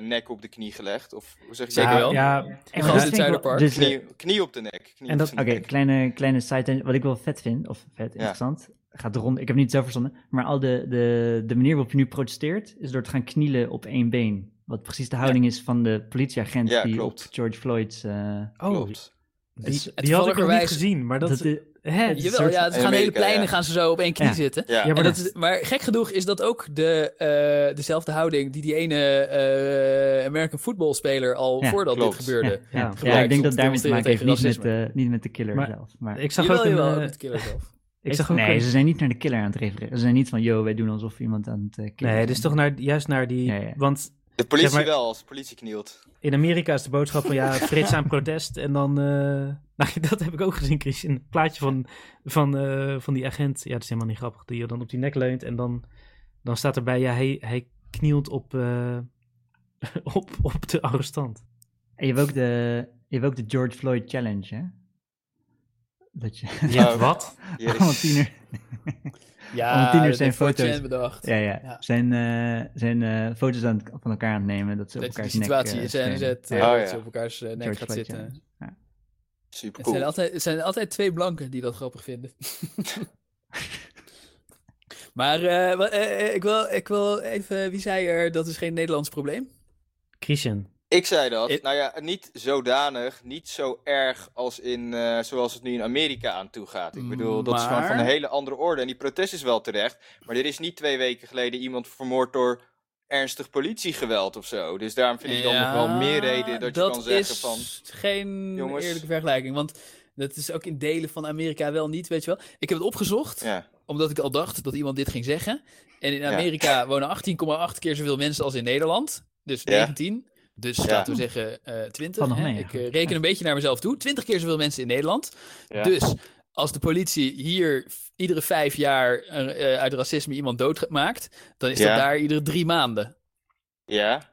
[SPEAKER 3] nek op de knie gelegd. Of hoe zeg je dat?
[SPEAKER 2] Zeker wel.
[SPEAKER 1] Ja,
[SPEAKER 4] En dat
[SPEAKER 2] Gast in
[SPEAKER 4] vind
[SPEAKER 2] het
[SPEAKER 4] ik wel-
[SPEAKER 2] Zuiderpark.
[SPEAKER 4] dus, eh,
[SPEAKER 3] Knie, knie op de nek. Knie
[SPEAKER 1] En
[SPEAKER 3] op
[SPEAKER 1] dat-
[SPEAKER 3] de
[SPEAKER 4] Oké,
[SPEAKER 3] nek.
[SPEAKER 4] kleine, kleine side Wat ik wel vet vind, of vet, interessant, gaat rond. Ik heb het niet zelf verzonnen, maar al de, de, de manier waarop je nu protesteert, is door te gaan knielen op één been. Wat precies de houding is van de politieagent
[SPEAKER 3] Ja,
[SPEAKER 4] die
[SPEAKER 3] klopt.
[SPEAKER 4] op George Floyd's... eh,
[SPEAKER 1] oh,
[SPEAKER 3] Klopt.
[SPEAKER 1] die,
[SPEAKER 4] Het-
[SPEAKER 1] die had ik nog niet
[SPEAKER 2] toevalligerwijs-
[SPEAKER 1] gezien, maar dat...
[SPEAKER 4] dat, de-
[SPEAKER 1] hè?
[SPEAKER 4] het-
[SPEAKER 2] Jawel,
[SPEAKER 4] soort-
[SPEAKER 2] ja,
[SPEAKER 3] In
[SPEAKER 2] ze gaan hele
[SPEAKER 3] Amerika,
[SPEAKER 2] pleinen
[SPEAKER 3] ja.
[SPEAKER 2] gaan ze zo op één knie
[SPEAKER 4] Ja.
[SPEAKER 2] zitten.
[SPEAKER 3] Ja.
[SPEAKER 1] Ja,
[SPEAKER 2] Maar,
[SPEAKER 1] maar
[SPEAKER 2] dat is, maar gek genoeg is dat ook de, eh, dezelfde houding die die ene eh American football speler al
[SPEAKER 4] Ja,
[SPEAKER 2] voordat
[SPEAKER 3] klopt.
[SPEAKER 2] dit
[SPEAKER 4] ja,
[SPEAKER 2] gebeurde.
[SPEAKER 4] ja.
[SPEAKER 1] gebruikt
[SPEAKER 4] Ja, ik denk
[SPEAKER 2] om
[SPEAKER 4] dat
[SPEAKER 2] te
[SPEAKER 4] daarmee te maken heeft,
[SPEAKER 2] demonstreren
[SPEAKER 4] niet
[SPEAKER 2] tegen
[SPEAKER 4] met, de, niet met de killer
[SPEAKER 1] Maar-
[SPEAKER 4] zelf. Maar
[SPEAKER 1] Ik zag
[SPEAKER 2] Jawel,
[SPEAKER 1] ook een...
[SPEAKER 2] jawel,
[SPEAKER 1] eh,
[SPEAKER 2] met de killer
[SPEAKER 1] (laughs)
[SPEAKER 2] zelf.
[SPEAKER 1] ik zag ook eh,
[SPEAKER 4] nee,
[SPEAKER 1] een-
[SPEAKER 4] ze zijn niet naar de killer aan het refereren. Ze zijn niet van, yo, wij doen alsof iemand aan het eh, killen
[SPEAKER 1] Nee, dus toch naar, juist naar die...
[SPEAKER 4] Ja, ja.
[SPEAKER 1] Want
[SPEAKER 3] De politie
[SPEAKER 1] Zeg maar-
[SPEAKER 3] wel, als de politie knielt.
[SPEAKER 1] in Amerika is de boodschap van ja, Frits aan protest en dan... eh, (laughs) Nou, dat heb ik ook gezien, Chris. In het plaatje van, van, eh, van die agent. Ja, dat is helemaal niet grappig. Die je dan op die nek leunt en dan, dan staat erbij... Ja, hij, hij knielt op, eh, (laughs) op, op de arrestant.
[SPEAKER 4] En je hebt ook de, je hebt ook de George Floyd Challenge, hè? Dat je
[SPEAKER 1] Je hebt
[SPEAKER 3] Oh.
[SPEAKER 1] wat?
[SPEAKER 3] Jezus.
[SPEAKER 4] (laughs) allemaal
[SPEAKER 1] (laughs)
[SPEAKER 4] tiener...
[SPEAKER 2] Ja,
[SPEAKER 4] Allemaal tieners
[SPEAKER 2] dat
[SPEAKER 4] zijn
[SPEAKER 2] heeft 4chan
[SPEAKER 4] foto's.
[SPEAKER 2] bedacht.
[SPEAKER 4] Ja, ja.
[SPEAKER 2] Ja.
[SPEAKER 4] Zijn, eh, zijn eh, foto's aan het- van elkaar aan het nemen. Dat ze op
[SPEAKER 2] Dat je die
[SPEAKER 4] elkaar
[SPEAKER 2] situatie is en zet, eh,
[SPEAKER 1] Ah,
[SPEAKER 3] Oh,
[SPEAKER 2] dat
[SPEAKER 3] ja.
[SPEAKER 2] ze op elkaars eh, nek
[SPEAKER 4] George
[SPEAKER 2] gaat
[SPEAKER 4] Floyd,
[SPEAKER 2] zitten.
[SPEAKER 4] ja.
[SPEAKER 3] Super
[SPEAKER 2] Het zijn,
[SPEAKER 3] cool.
[SPEAKER 2] altijd, het zijn altijd twee blanken die dat grappig vinden. (laughs) maar eh, wa- eh, eh, ik, wil, ik wil even, wie zei er, dat is geen Nederlands probleem?
[SPEAKER 1] Christian.
[SPEAKER 3] Ik zei dat.
[SPEAKER 2] Ik-
[SPEAKER 3] Nou ja, niet zodanig, niet zo erg als in, eh, zoals het nu in Amerika aan toe gaat. Ik bedoel, dat is gewoon van een
[SPEAKER 2] Maar-
[SPEAKER 3] hele andere orde. En die protest is wel terecht. Maar er is niet twee weken geleden iemand vermoord door ernstig politiegeweld of zo. Dus daarom vind ik dan nog wel meer reden dat, je kan zeggen
[SPEAKER 2] is
[SPEAKER 3] van...
[SPEAKER 2] geen
[SPEAKER 3] jongens-
[SPEAKER 2] eerlijke vergelijking, want dat is ook in delen van Amerika wel niet, weet je wel. Ik heb het opgezocht,
[SPEAKER 3] Ja,
[SPEAKER 2] omdat ik al dacht dat iemand dit ging zeggen. En in Amerika wonen 18,8 keer zoveel mensen als in Nederland. Dus
[SPEAKER 3] Ja.
[SPEAKER 2] 19. Dus laten we zeggen eh 20.
[SPEAKER 4] Valt nog
[SPEAKER 2] hè.
[SPEAKER 4] mee,
[SPEAKER 2] ik eh,
[SPEAKER 4] eigenlijk.
[SPEAKER 2] reken een beetje naar mezelf toe. 20 keer zoveel mensen in Nederland.
[SPEAKER 3] Ja.
[SPEAKER 2] Dus als de politie hier f- iedere vijf jaar eh, eh, uit racisme iemand doodmaakt, dan is
[SPEAKER 3] Ja.
[SPEAKER 2] dat daar iedere drie maanden.
[SPEAKER 3] ja.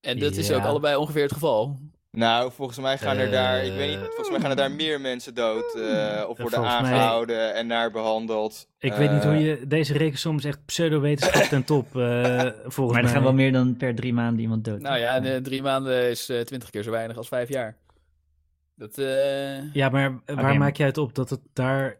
[SPEAKER 2] En dat is
[SPEAKER 1] Ja.
[SPEAKER 2] ook allebei ongeveer het geval.
[SPEAKER 3] Nou, volgens mij gaan er daar, ik weet niet,
[SPEAKER 1] Eh.
[SPEAKER 3] volgens mij gaan er daar meer mensen dood. eh, of
[SPEAKER 1] Eh,
[SPEAKER 3] worden
[SPEAKER 1] volgens mij-
[SPEAKER 3] aangehouden en naar behandeld.
[SPEAKER 1] Ik weet niet
[SPEAKER 3] Eh,
[SPEAKER 1] hoe je deze rekensom is echt pseudowetenschap ten top.
[SPEAKER 3] (laughs)
[SPEAKER 1] eh volgens
[SPEAKER 4] Maar er
[SPEAKER 1] mij.
[SPEAKER 4] gaan wel meer dan per drie maanden iemand dood.
[SPEAKER 2] Nou ja, en, eh, drie maanden is eh, 20 keer zo weinig als vijf jaar. Dat, eh,
[SPEAKER 1] Ja, maar waar
[SPEAKER 4] maar-
[SPEAKER 1] maak jij het op dat het daar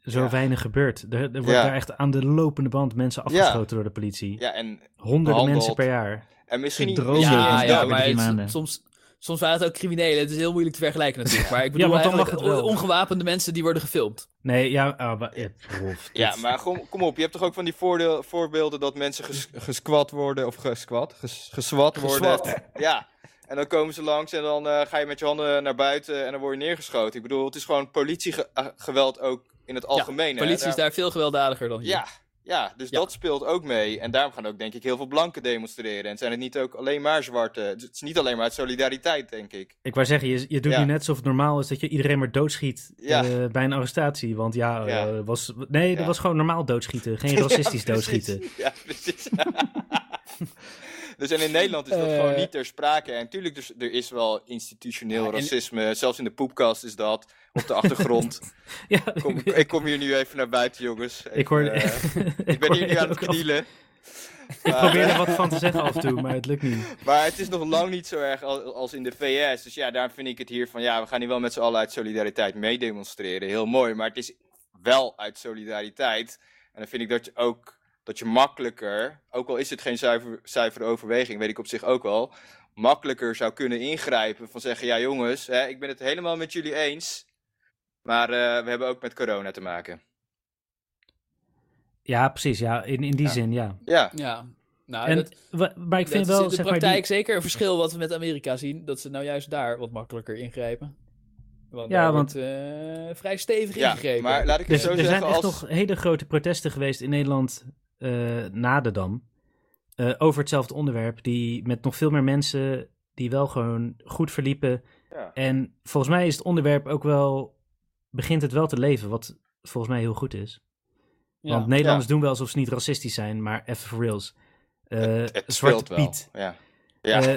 [SPEAKER 1] zo
[SPEAKER 3] Ja.
[SPEAKER 1] weinig gebeurt? Er, er wordt
[SPEAKER 3] Ja.
[SPEAKER 1] daar echt aan de lopende band mensen afgeschoten door de politie.
[SPEAKER 3] Ja, en,
[SPEAKER 1] Honderden
[SPEAKER 3] Behandeld.
[SPEAKER 1] mensen per jaar.
[SPEAKER 3] en misschien
[SPEAKER 4] Ik
[SPEAKER 3] niet...
[SPEAKER 4] droom
[SPEAKER 3] misschien
[SPEAKER 4] niet.
[SPEAKER 3] niet
[SPEAKER 2] Ja,
[SPEAKER 3] eens
[SPEAKER 4] is
[SPEAKER 2] ja,
[SPEAKER 3] dat.
[SPEAKER 4] drie
[SPEAKER 2] maar het-
[SPEAKER 4] maanden.
[SPEAKER 2] soms, soms waren het ook criminelen. Het is heel moeilijk te vergelijken natuurlijk. Maar ik bedoel
[SPEAKER 1] Ja, want dan mag
[SPEAKER 2] eigenlijk
[SPEAKER 1] het wel.
[SPEAKER 2] ongewapende mensen die worden gefilmd.
[SPEAKER 1] Nee, ja, ah, wa- ja, Rolf,
[SPEAKER 3] Ja,
[SPEAKER 1] dit-
[SPEAKER 3] maar kom, kom op. Je hebt toch ook van die voordeel, voorbeelden dat mensen ges, gesquat worden. Of gesquat? Ges, geswat worden.
[SPEAKER 2] Geswat.
[SPEAKER 3] (laughs) Ja. En dan komen ze langs en dan eh, ga je met je handen naar buiten en dan word je neergeschoten. Ik bedoel, het is gewoon politiegeweld ook in het algemeen. hè.
[SPEAKER 2] Politie is
[SPEAKER 3] Daar-
[SPEAKER 2] daar veel gewelddadiger dan hier.
[SPEAKER 3] Ja, ja dus
[SPEAKER 2] Ja.
[SPEAKER 3] dat speelt ook mee. En daarom gaan ook denk ik heel veel blanken demonstreren. En zijn het niet ook alleen maar zwarte. Het is niet alleen maar uit solidariteit, denk ik.
[SPEAKER 1] Ik wou zeggen, je, je doet
[SPEAKER 3] Ja.
[SPEAKER 1] nu net alsof het normaal is dat je iedereen maar doodschiet
[SPEAKER 3] Ja.
[SPEAKER 1] eh, bij een arrestatie. Want ja,
[SPEAKER 3] Ja.
[SPEAKER 1] eh, was, nee, dat
[SPEAKER 3] Ja.
[SPEAKER 1] was gewoon normaal doodschieten. Geen racistisch
[SPEAKER 3] (laughs) Ja, precies.
[SPEAKER 1] doodschieten.
[SPEAKER 3] (laughs) Ja, precies. dus en in Nederland is dat
[SPEAKER 2] Eh.
[SPEAKER 3] gewoon niet ter sprake. En tuurlijk, dus, er is wel institutioneel
[SPEAKER 2] en-
[SPEAKER 3] racisme. Zelfs in de poepkast is dat. Op de
[SPEAKER 1] (laughs)
[SPEAKER 3] achtergrond.
[SPEAKER 1] (laughs) Ja,
[SPEAKER 3] kom,
[SPEAKER 1] ik-
[SPEAKER 3] ik kom hier nu even naar buiten, jongens. Even,
[SPEAKER 1] (laughs) ik hoorde...
[SPEAKER 3] eh, ik ben
[SPEAKER 1] hoorde
[SPEAKER 3] hier nu aan het
[SPEAKER 1] ook af-
[SPEAKER 3] knielen.
[SPEAKER 1] Ik
[SPEAKER 3] Maar,
[SPEAKER 1] probeer
[SPEAKER 3] eh,
[SPEAKER 1] er wat van te zeggen af en toe, maar het lukt niet.
[SPEAKER 3] maar het is nog lang niet zo erg als, als in de VS. Dus ja, daarom vind ik het hier van... Ja, we gaan hier wel met z'n allen uit solidariteit meedemonstreren. Heel mooi, maar het is wel uit solidariteit. En dan vind ik dat je ook... Dat je makkelijker, ook al is het geen zuiver, zuivere overweging, weet ik op zich ook wel, makkelijker zou kunnen ingrijpen. Van zeggen: Ja, jongens, hè, ik ben het helemaal met jullie eens. Maar eh, we hebben ook met corona te maken.
[SPEAKER 1] Ja, precies. Ja, in, in die
[SPEAKER 3] Ja.
[SPEAKER 1] zin, ja.
[SPEAKER 3] Ja,
[SPEAKER 2] Ja. Nou,
[SPEAKER 1] En,
[SPEAKER 2] dat,
[SPEAKER 1] wa- maar ik
[SPEAKER 2] dat
[SPEAKER 1] vind
[SPEAKER 2] is
[SPEAKER 1] wel,
[SPEAKER 2] in de
[SPEAKER 1] zeg maar...
[SPEAKER 2] praktijk
[SPEAKER 1] die-
[SPEAKER 2] zeker een verschil wat we met Amerika zien. Dat ze nou juist daar wat makkelijker ingrijpen. Want
[SPEAKER 1] Ja,
[SPEAKER 2] daar
[SPEAKER 1] want-
[SPEAKER 2] wordt, eh, vrij stevig
[SPEAKER 3] ja
[SPEAKER 2] ingegrepen.
[SPEAKER 3] maar laat ik het
[SPEAKER 1] Dus
[SPEAKER 3] zo
[SPEAKER 1] er
[SPEAKER 3] zeggen.
[SPEAKER 1] zijn echt
[SPEAKER 3] als...
[SPEAKER 1] nog hele grote protesten geweest in Nederland eh, na de Dam. eh, over hetzelfde onderwerp. Die met nog veel meer mensen die wel gewoon goed verliepen.
[SPEAKER 3] Ja.
[SPEAKER 1] En volgens mij is het onderwerp ook wel... Begint het wel te leven, wat volgens mij heel goed is.
[SPEAKER 2] Ja.
[SPEAKER 1] Want Nederlanders doen wel alsof ze niet racistisch zijn, maar even for reals. Eh,
[SPEAKER 3] het speelt
[SPEAKER 1] Zwarte
[SPEAKER 3] wel.
[SPEAKER 1] Piet.
[SPEAKER 3] Ja. Ja.
[SPEAKER 1] Eh,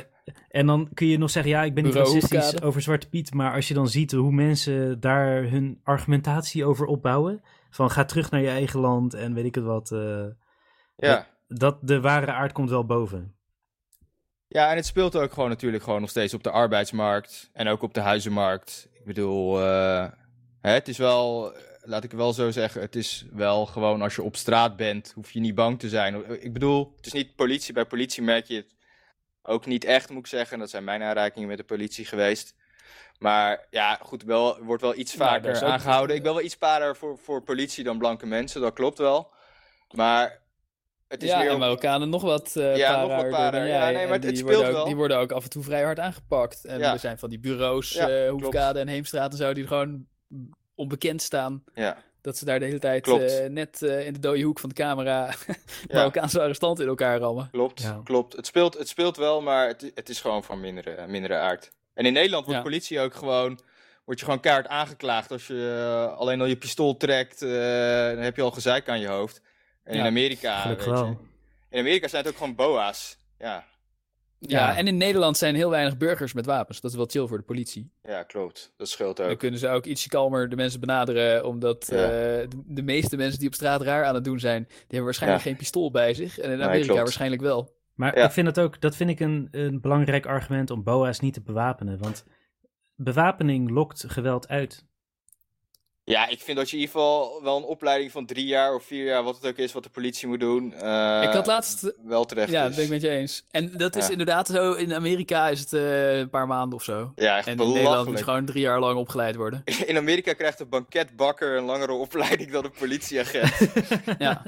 [SPEAKER 1] en dan kun je nog zeggen, ja, ik ben niet
[SPEAKER 2] Bureau
[SPEAKER 1] racistisch
[SPEAKER 2] Hoefkade.
[SPEAKER 1] over Zwarte Piet. Maar als je dan ziet hoe mensen daar hun argumentatie over opbouwen. Van ga terug naar je eigen land en weet ik het wat. eh,
[SPEAKER 3] ja.
[SPEAKER 1] dat de ware aard komt wel boven.
[SPEAKER 3] Ja, en het speelt ook gewoon natuurlijk gewoon nog steeds op de arbeidsmarkt en ook op de huizenmarkt. Ik bedoel, eh, hè, het is wel, eh, laat ik het wel zo zeggen, het is wel gewoon als je op straat bent, hoef je niet bang te zijn. Ik bedoel, het is niet politie, bij politie merk je het ook niet echt, moet ik zeggen. Dat zijn mijn aanrakingen met de politie geweest. Maar ja, goed, wel, er wordt wel iets
[SPEAKER 2] Nou,
[SPEAKER 3] vaker
[SPEAKER 2] daar is ook-
[SPEAKER 3] aangehouden. Ik ben wel iets spaarder voor, voor politie dan blanke mensen, dat klopt wel. Maar het is
[SPEAKER 2] ja,
[SPEAKER 3] meer...
[SPEAKER 2] en
[SPEAKER 3] op-
[SPEAKER 2] Marokkanen nog wat eh
[SPEAKER 3] Ja, nog wat
[SPEAKER 2] paraarder
[SPEAKER 3] paraarder.
[SPEAKER 2] dan
[SPEAKER 3] Ja,
[SPEAKER 2] jij.
[SPEAKER 3] nee, maar
[SPEAKER 2] En
[SPEAKER 3] het-
[SPEAKER 2] die
[SPEAKER 3] het speelt
[SPEAKER 2] worden ook,
[SPEAKER 3] wel.
[SPEAKER 2] Die worden ook af en toe vrij hard aangepakt. En
[SPEAKER 3] Ja.
[SPEAKER 2] er zijn van die bureaus,
[SPEAKER 3] Ja,
[SPEAKER 2] eh Hoefkade en Heemstraat en zo, die er gewoon onbekend staan.
[SPEAKER 3] Ja.
[SPEAKER 2] Dat ze daar de hele tijd
[SPEAKER 3] Klopt.
[SPEAKER 2] eh, net eh, in de dode hoek van de camera (laughs)
[SPEAKER 3] Ja.
[SPEAKER 2] Marokkaanse arrestanten in elkaar rammen.
[SPEAKER 3] Klopt,
[SPEAKER 1] Ja.
[SPEAKER 3] klopt. Het speelt, het speelt wel, maar het, het is gewoon van mindere, mindere aard. En in Nederland wordt
[SPEAKER 2] Ja.
[SPEAKER 3] politie ook gewoon... Word je gewoon kaart aangeklaagd als je eh, alleen al je pistool trekt. eh, dan heb je al gezeik aan je hoofd. En in
[SPEAKER 2] Ja,
[SPEAKER 3] Amerika, weet
[SPEAKER 1] Gelukkig
[SPEAKER 3] je.
[SPEAKER 1] wel.
[SPEAKER 3] In Amerika zijn het ook gewoon boa's. Ja,
[SPEAKER 2] Ja,
[SPEAKER 3] Ja.
[SPEAKER 2] en in Nederland zijn heel weinig burgers met wapens. Dat is wel chill voor de politie.
[SPEAKER 3] Ja, klopt. Dat scheelt
[SPEAKER 2] Dan
[SPEAKER 3] ook.
[SPEAKER 2] kunnen ze ook ietsje kalmer de mensen benaderen, omdat
[SPEAKER 3] Ja.
[SPEAKER 2] eh, de, de meeste mensen die op straat raar aan het doen zijn, die hebben waarschijnlijk
[SPEAKER 3] Ja.
[SPEAKER 2] geen pistool bij zich. En in
[SPEAKER 3] Nee,
[SPEAKER 2] Amerika
[SPEAKER 3] klopt.
[SPEAKER 2] waarschijnlijk wel.
[SPEAKER 1] Maar
[SPEAKER 3] Ja.
[SPEAKER 1] ik vind dat ook, dat vind ik een, een belangrijk argument om BOA's niet te bewapenen. Want bewapening lokt geweld uit.
[SPEAKER 3] Ja, ik vind dat je in ieder geval wel een opleiding van drie jaar of vier jaar, wat het ook is, wat de politie moet doen, eh,
[SPEAKER 2] ik had laatst.
[SPEAKER 3] wel terecht
[SPEAKER 2] Ja,
[SPEAKER 3] is.
[SPEAKER 2] dat ben ik met je eens. En dat is
[SPEAKER 3] Ja.
[SPEAKER 2] inderdaad zo. In Amerika is het eh, een paar maanden of zo.
[SPEAKER 3] Ja, echt
[SPEAKER 2] En in Nederland moet
[SPEAKER 3] belachelijk.
[SPEAKER 2] je gewoon drie jaar lang opgeleid
[SPEAKER 3] (laughs)
[SPEAKER 2] worden.
[SPEAKER 3] In Amerika krijgt een banketbakker een langere opleiding dan een politieagent.
[SPEAKER 2] Ja.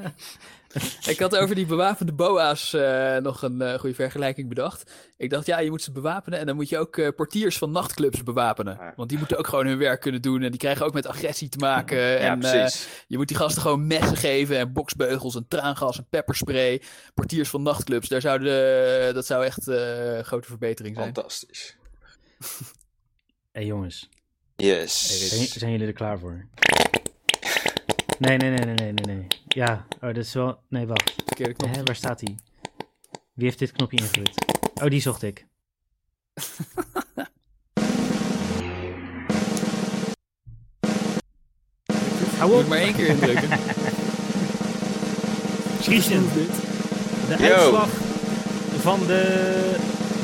[SPEAKER 2] ik had over die bewapende boa's eh, nog een eh, goede vergelijking bedacht. Ik dacht, ja, je moet ze bewapenen en dan moet je ook eh, portiers van nachtclubs bewapenen.
[SPEAKER 3] Ja.
[SPEAKER 2] Want die moeten ook gewoon hun werk kunnen doen en die krijgen ook met agressie te maken.
[SPEAKER 3] ja,
[SPEAKER 2] en, eh,
[SPEAKER 3] precies.
[SPEAKER 2] je moet die gasten gewoon messen geven en boksbeugels en traangas en pepperspray. Portiers van nachtclubs, daar zouden, eh, dat zou echt eh, een grote verbetering zijn.
[SPEAKER 3] Fantastisch.
[SPEAKER 1] Hé jongens, zijn,
[SPEAKER 3] Yes.
[SPEAKER 1] zijn jullie er klaar voor? Nee, nee, nee, nee, nee, nee, nee. Ja, oh, dat is wel... Nee, wacht.
[SPEAKER 2] Verkeerde knop.
[SPEAKER 1] Hè, waar staat hij? Wie heeft dit knopje ingedrukt? Oh, die zocht ik. Hou
[SPEAKER 2] Moet
[SPEAKER 1] op.
[SPEAKER 2] ik maar één keer
[SPEAKER 3] (laughs)
[SPEAKER 2] indrukken.
[SPEAKER 1] Christian, de
[SPEAKER 3] Yo.
[SPEAKER 1] uitslag van de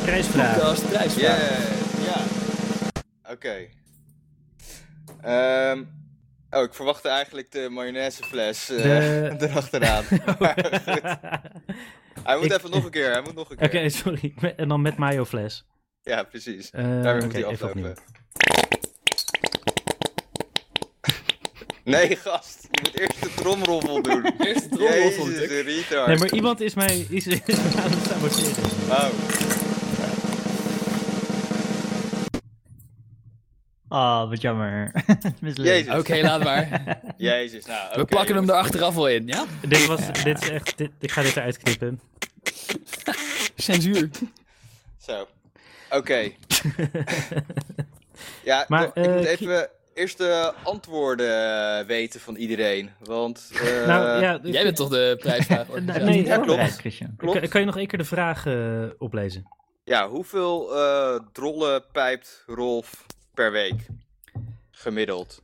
[SPEAKER 1] prijsvraag.
[SPEAKER 2] Podcast, prijsvraag.
[SPEAKER 3] Yeah, ja. Oké. Ehm, oh, ik verwachtte eigenlijk de mayonaisefles eh,
[SPEAKER 1] De-
[SPEAKER 3] (laughs)
[SPEAKER 1] (laughs)
[SPEAKER 3] erachteraan. Maar goed. hij moet
[SPEAKER 1] Ik-
[SPEAKER 3] even nog een keer, hij moet nog een
[SPEAKER 1] Oké,
[SPEAKER 3] keer.
[SPEAKER 1] sorry. Met- En dan met mayo fles.
[SPEAKER 3] Ja, precies.
[SPEAKER 1] Eh,
[SPEAKER 3] Daarmee
[SPEAKER 1] oké,
[SPEAKER 3] moet hij
[SPEAKER 1] even opnieuw.
[SPEAKER 3] aflopen. (laughs) Nee, gast. Je moet eerst de
[SPEAKER 1] (laughs)
[SPEAKER 3] tromroffel doen.
[SPEAKER 2] Eerst de trommel
[SPEAKER 3] Jezus,
[SPEAKER 2] vond ik.
[SPEAKER 3] de retard.
[SPEAKER 1] Nee, maar iemand is mij, is, is mij aan het saboteren.
[SPEAKER 3] Oh,
[SPEAKER 4] Ah, wat jammer. (laughs) Mislukt.
[SPEAKER 3] jezus.
[SPEAKER 2] Oké, laat maar.
[SPEAKER 3] (laughs) Jezus, nou,
[SPEAKER 2] We
[SPEAKER 3] oké,
[SPEAKER 2] plakken hem
[SPEAKER 3] jongens.
[SPEAKER 2] er achteraf wel in, ja?
[SPEAKER 1] Dit, was, dit is echt, dit, ik ga dit eruit knippen.
[SPEAKER 2] Censuur.
[SPEAKER 3] Zo. Oké.
[SPEAKER 1] (laughs)
[SPEAKER 3] ja,
[SPEAKER 1] Maar,
[SPEAKER 3] toch, ik
[SPEAKER 1] eh,
[SPEAKER 3] moet
[SPEAKER 1] Ki-
[SPEAKER 3] even eerst de antwoorden eh, weten van iedereen. Want, eh,
[SPEAKER 1] nou, ja,
[SPEAKER 2] Jij bent toch de prijsvraagorganisator?
[SPEAKER 1] (laughs) Nee,
[SPEAKER 3] Ja,
[SPEAKER 1] ja,
[SPEAKER 3] klopt.
[SPEAKER 4] Bereid, Christian.
[SPEAKER 3] klopt.
[SPEAKER 1] Kan, kan je nog één keer de vraag eh, oplezen?
[SPEAKER 3] Ja, hoeveel eh, drollen pijpt Rolf per week? Gemiddeld.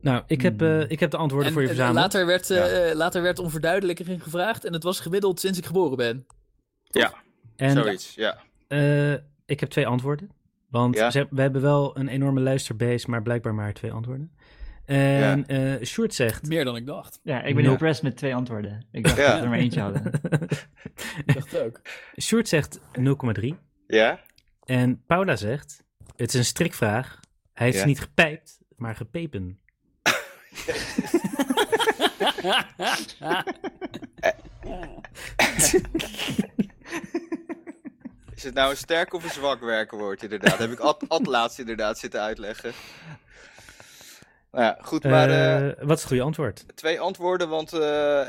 [SPEAKER 1] Nou, ik heb, eh, ik heb de antwoorden
[SPEAKER 2] En,
[SPEAKER 1] voor je
[SPEAKER 2] en
[SPEAKER 1] verzameld.
[SPEAKER 2] later, werd, eh, eh, later werd onverduidelijker in gevraagd en het was gemiddeld sinds ik geboren ben.
[SPEAKER 1] en
[SPEAKER 3] Zoiets, ja.
[SPEAKER 1] eh, ik heb twee antwoorden. Want
[SPEAKER 3] Ja.
[SPEAKER 1] ze- we hebben wel een enorme luisterbase, maar blijkbaar maar twee antwoorden. En eh Sjoerd zegt...
[SPEAKER 2] Meer dan ik dacht.
[SPEAKER 4] Ja, ik ben
[SPEAKER 1] Ja.
[SPEAKER 4] impressed met twee antwoorden. Ik dacht
[SPEAKER 3] Ja.
[SPEAKER 4] dat we er maar eentje hadden.
[SPEAKER 2] Ik dacht het
[SPEAKER 3] (laughs)
[SPEAKER 2] ook.
[SPEAKER 1] Sjoerd zegt 0,3.
[SPEAKER 3] Ja?
[SPEAKER 1] En Paula zegt, het is een strikvraag. Hij heeft
[SPEAKER 3] Ja.
[SPEAKER 1] ze niet gepijpt, maar gepepen.
[SPEAKER 3] Is het nou een sterk of een zwak werkenwoord, inderdaad? Heb ik Ad, (laughs) Ad laatst inderdaad zitten uitleggen. Nou ja, goed, maar eh,
[SPEAKER 1] Eh, wat is het goede antwoord?
[SPEAKER 3] twee antwoorden, want eh,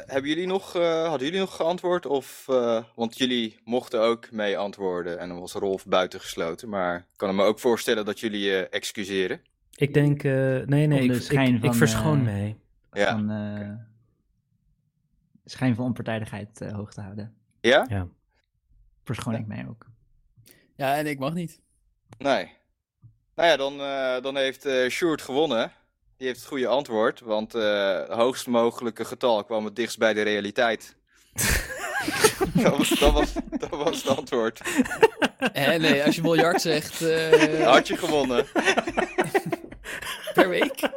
[SPEAKER 3] hebben jullie nog, eh, hadden jullie nog geantwoord? Of, eh, want jullie mochten ook mee antwoorden en dan was Rolf buitengesloten. Maar ik kan me ook voorstellen dat jullie je excuseren.
[SPEAKER 1] Ik denk, eh, nee, nee,
[SPEAKER 4] Om
[SPEAKER 1] ik,
[SPEAKER 4] de
[SPEAKER 1] ik,
[SPEAKER 4] schijn
[SPEAKER 1] ik
[SPEAKER 4] van,
[SPEAKER 1] verschoon
[SPEAKER 4] eh,
[SPEAKER 1] mee.
[SPEAKER 3] Ja.
[SPEAKER 4] Van, eh, schijn van onpartijdigheid eh, hoog te houden.
[SPEAKER 3] Ja?
[SPEAKER 4] Verschoon ik mij ook.
[SPEAKER 2] Ja, en ik mag niet.
[SPEAKER 3] Nee. Nou ja, dan, eh, dan heeft eh Sjoerd gewonnen. Die heeft het goede antwoord, want eh, het hoogst mogelijke getal kwam het dichtst bij de realiteit. dat, was, dat, was, dat was het antwoord.
[SPEAKER 2] (laughs) Eh, nee, als je miljard zegt eh,
[SPEAKER 3] Had je gewonnen.
[SPEAKER 2] per week.
[SPEAKER 1] (laughs)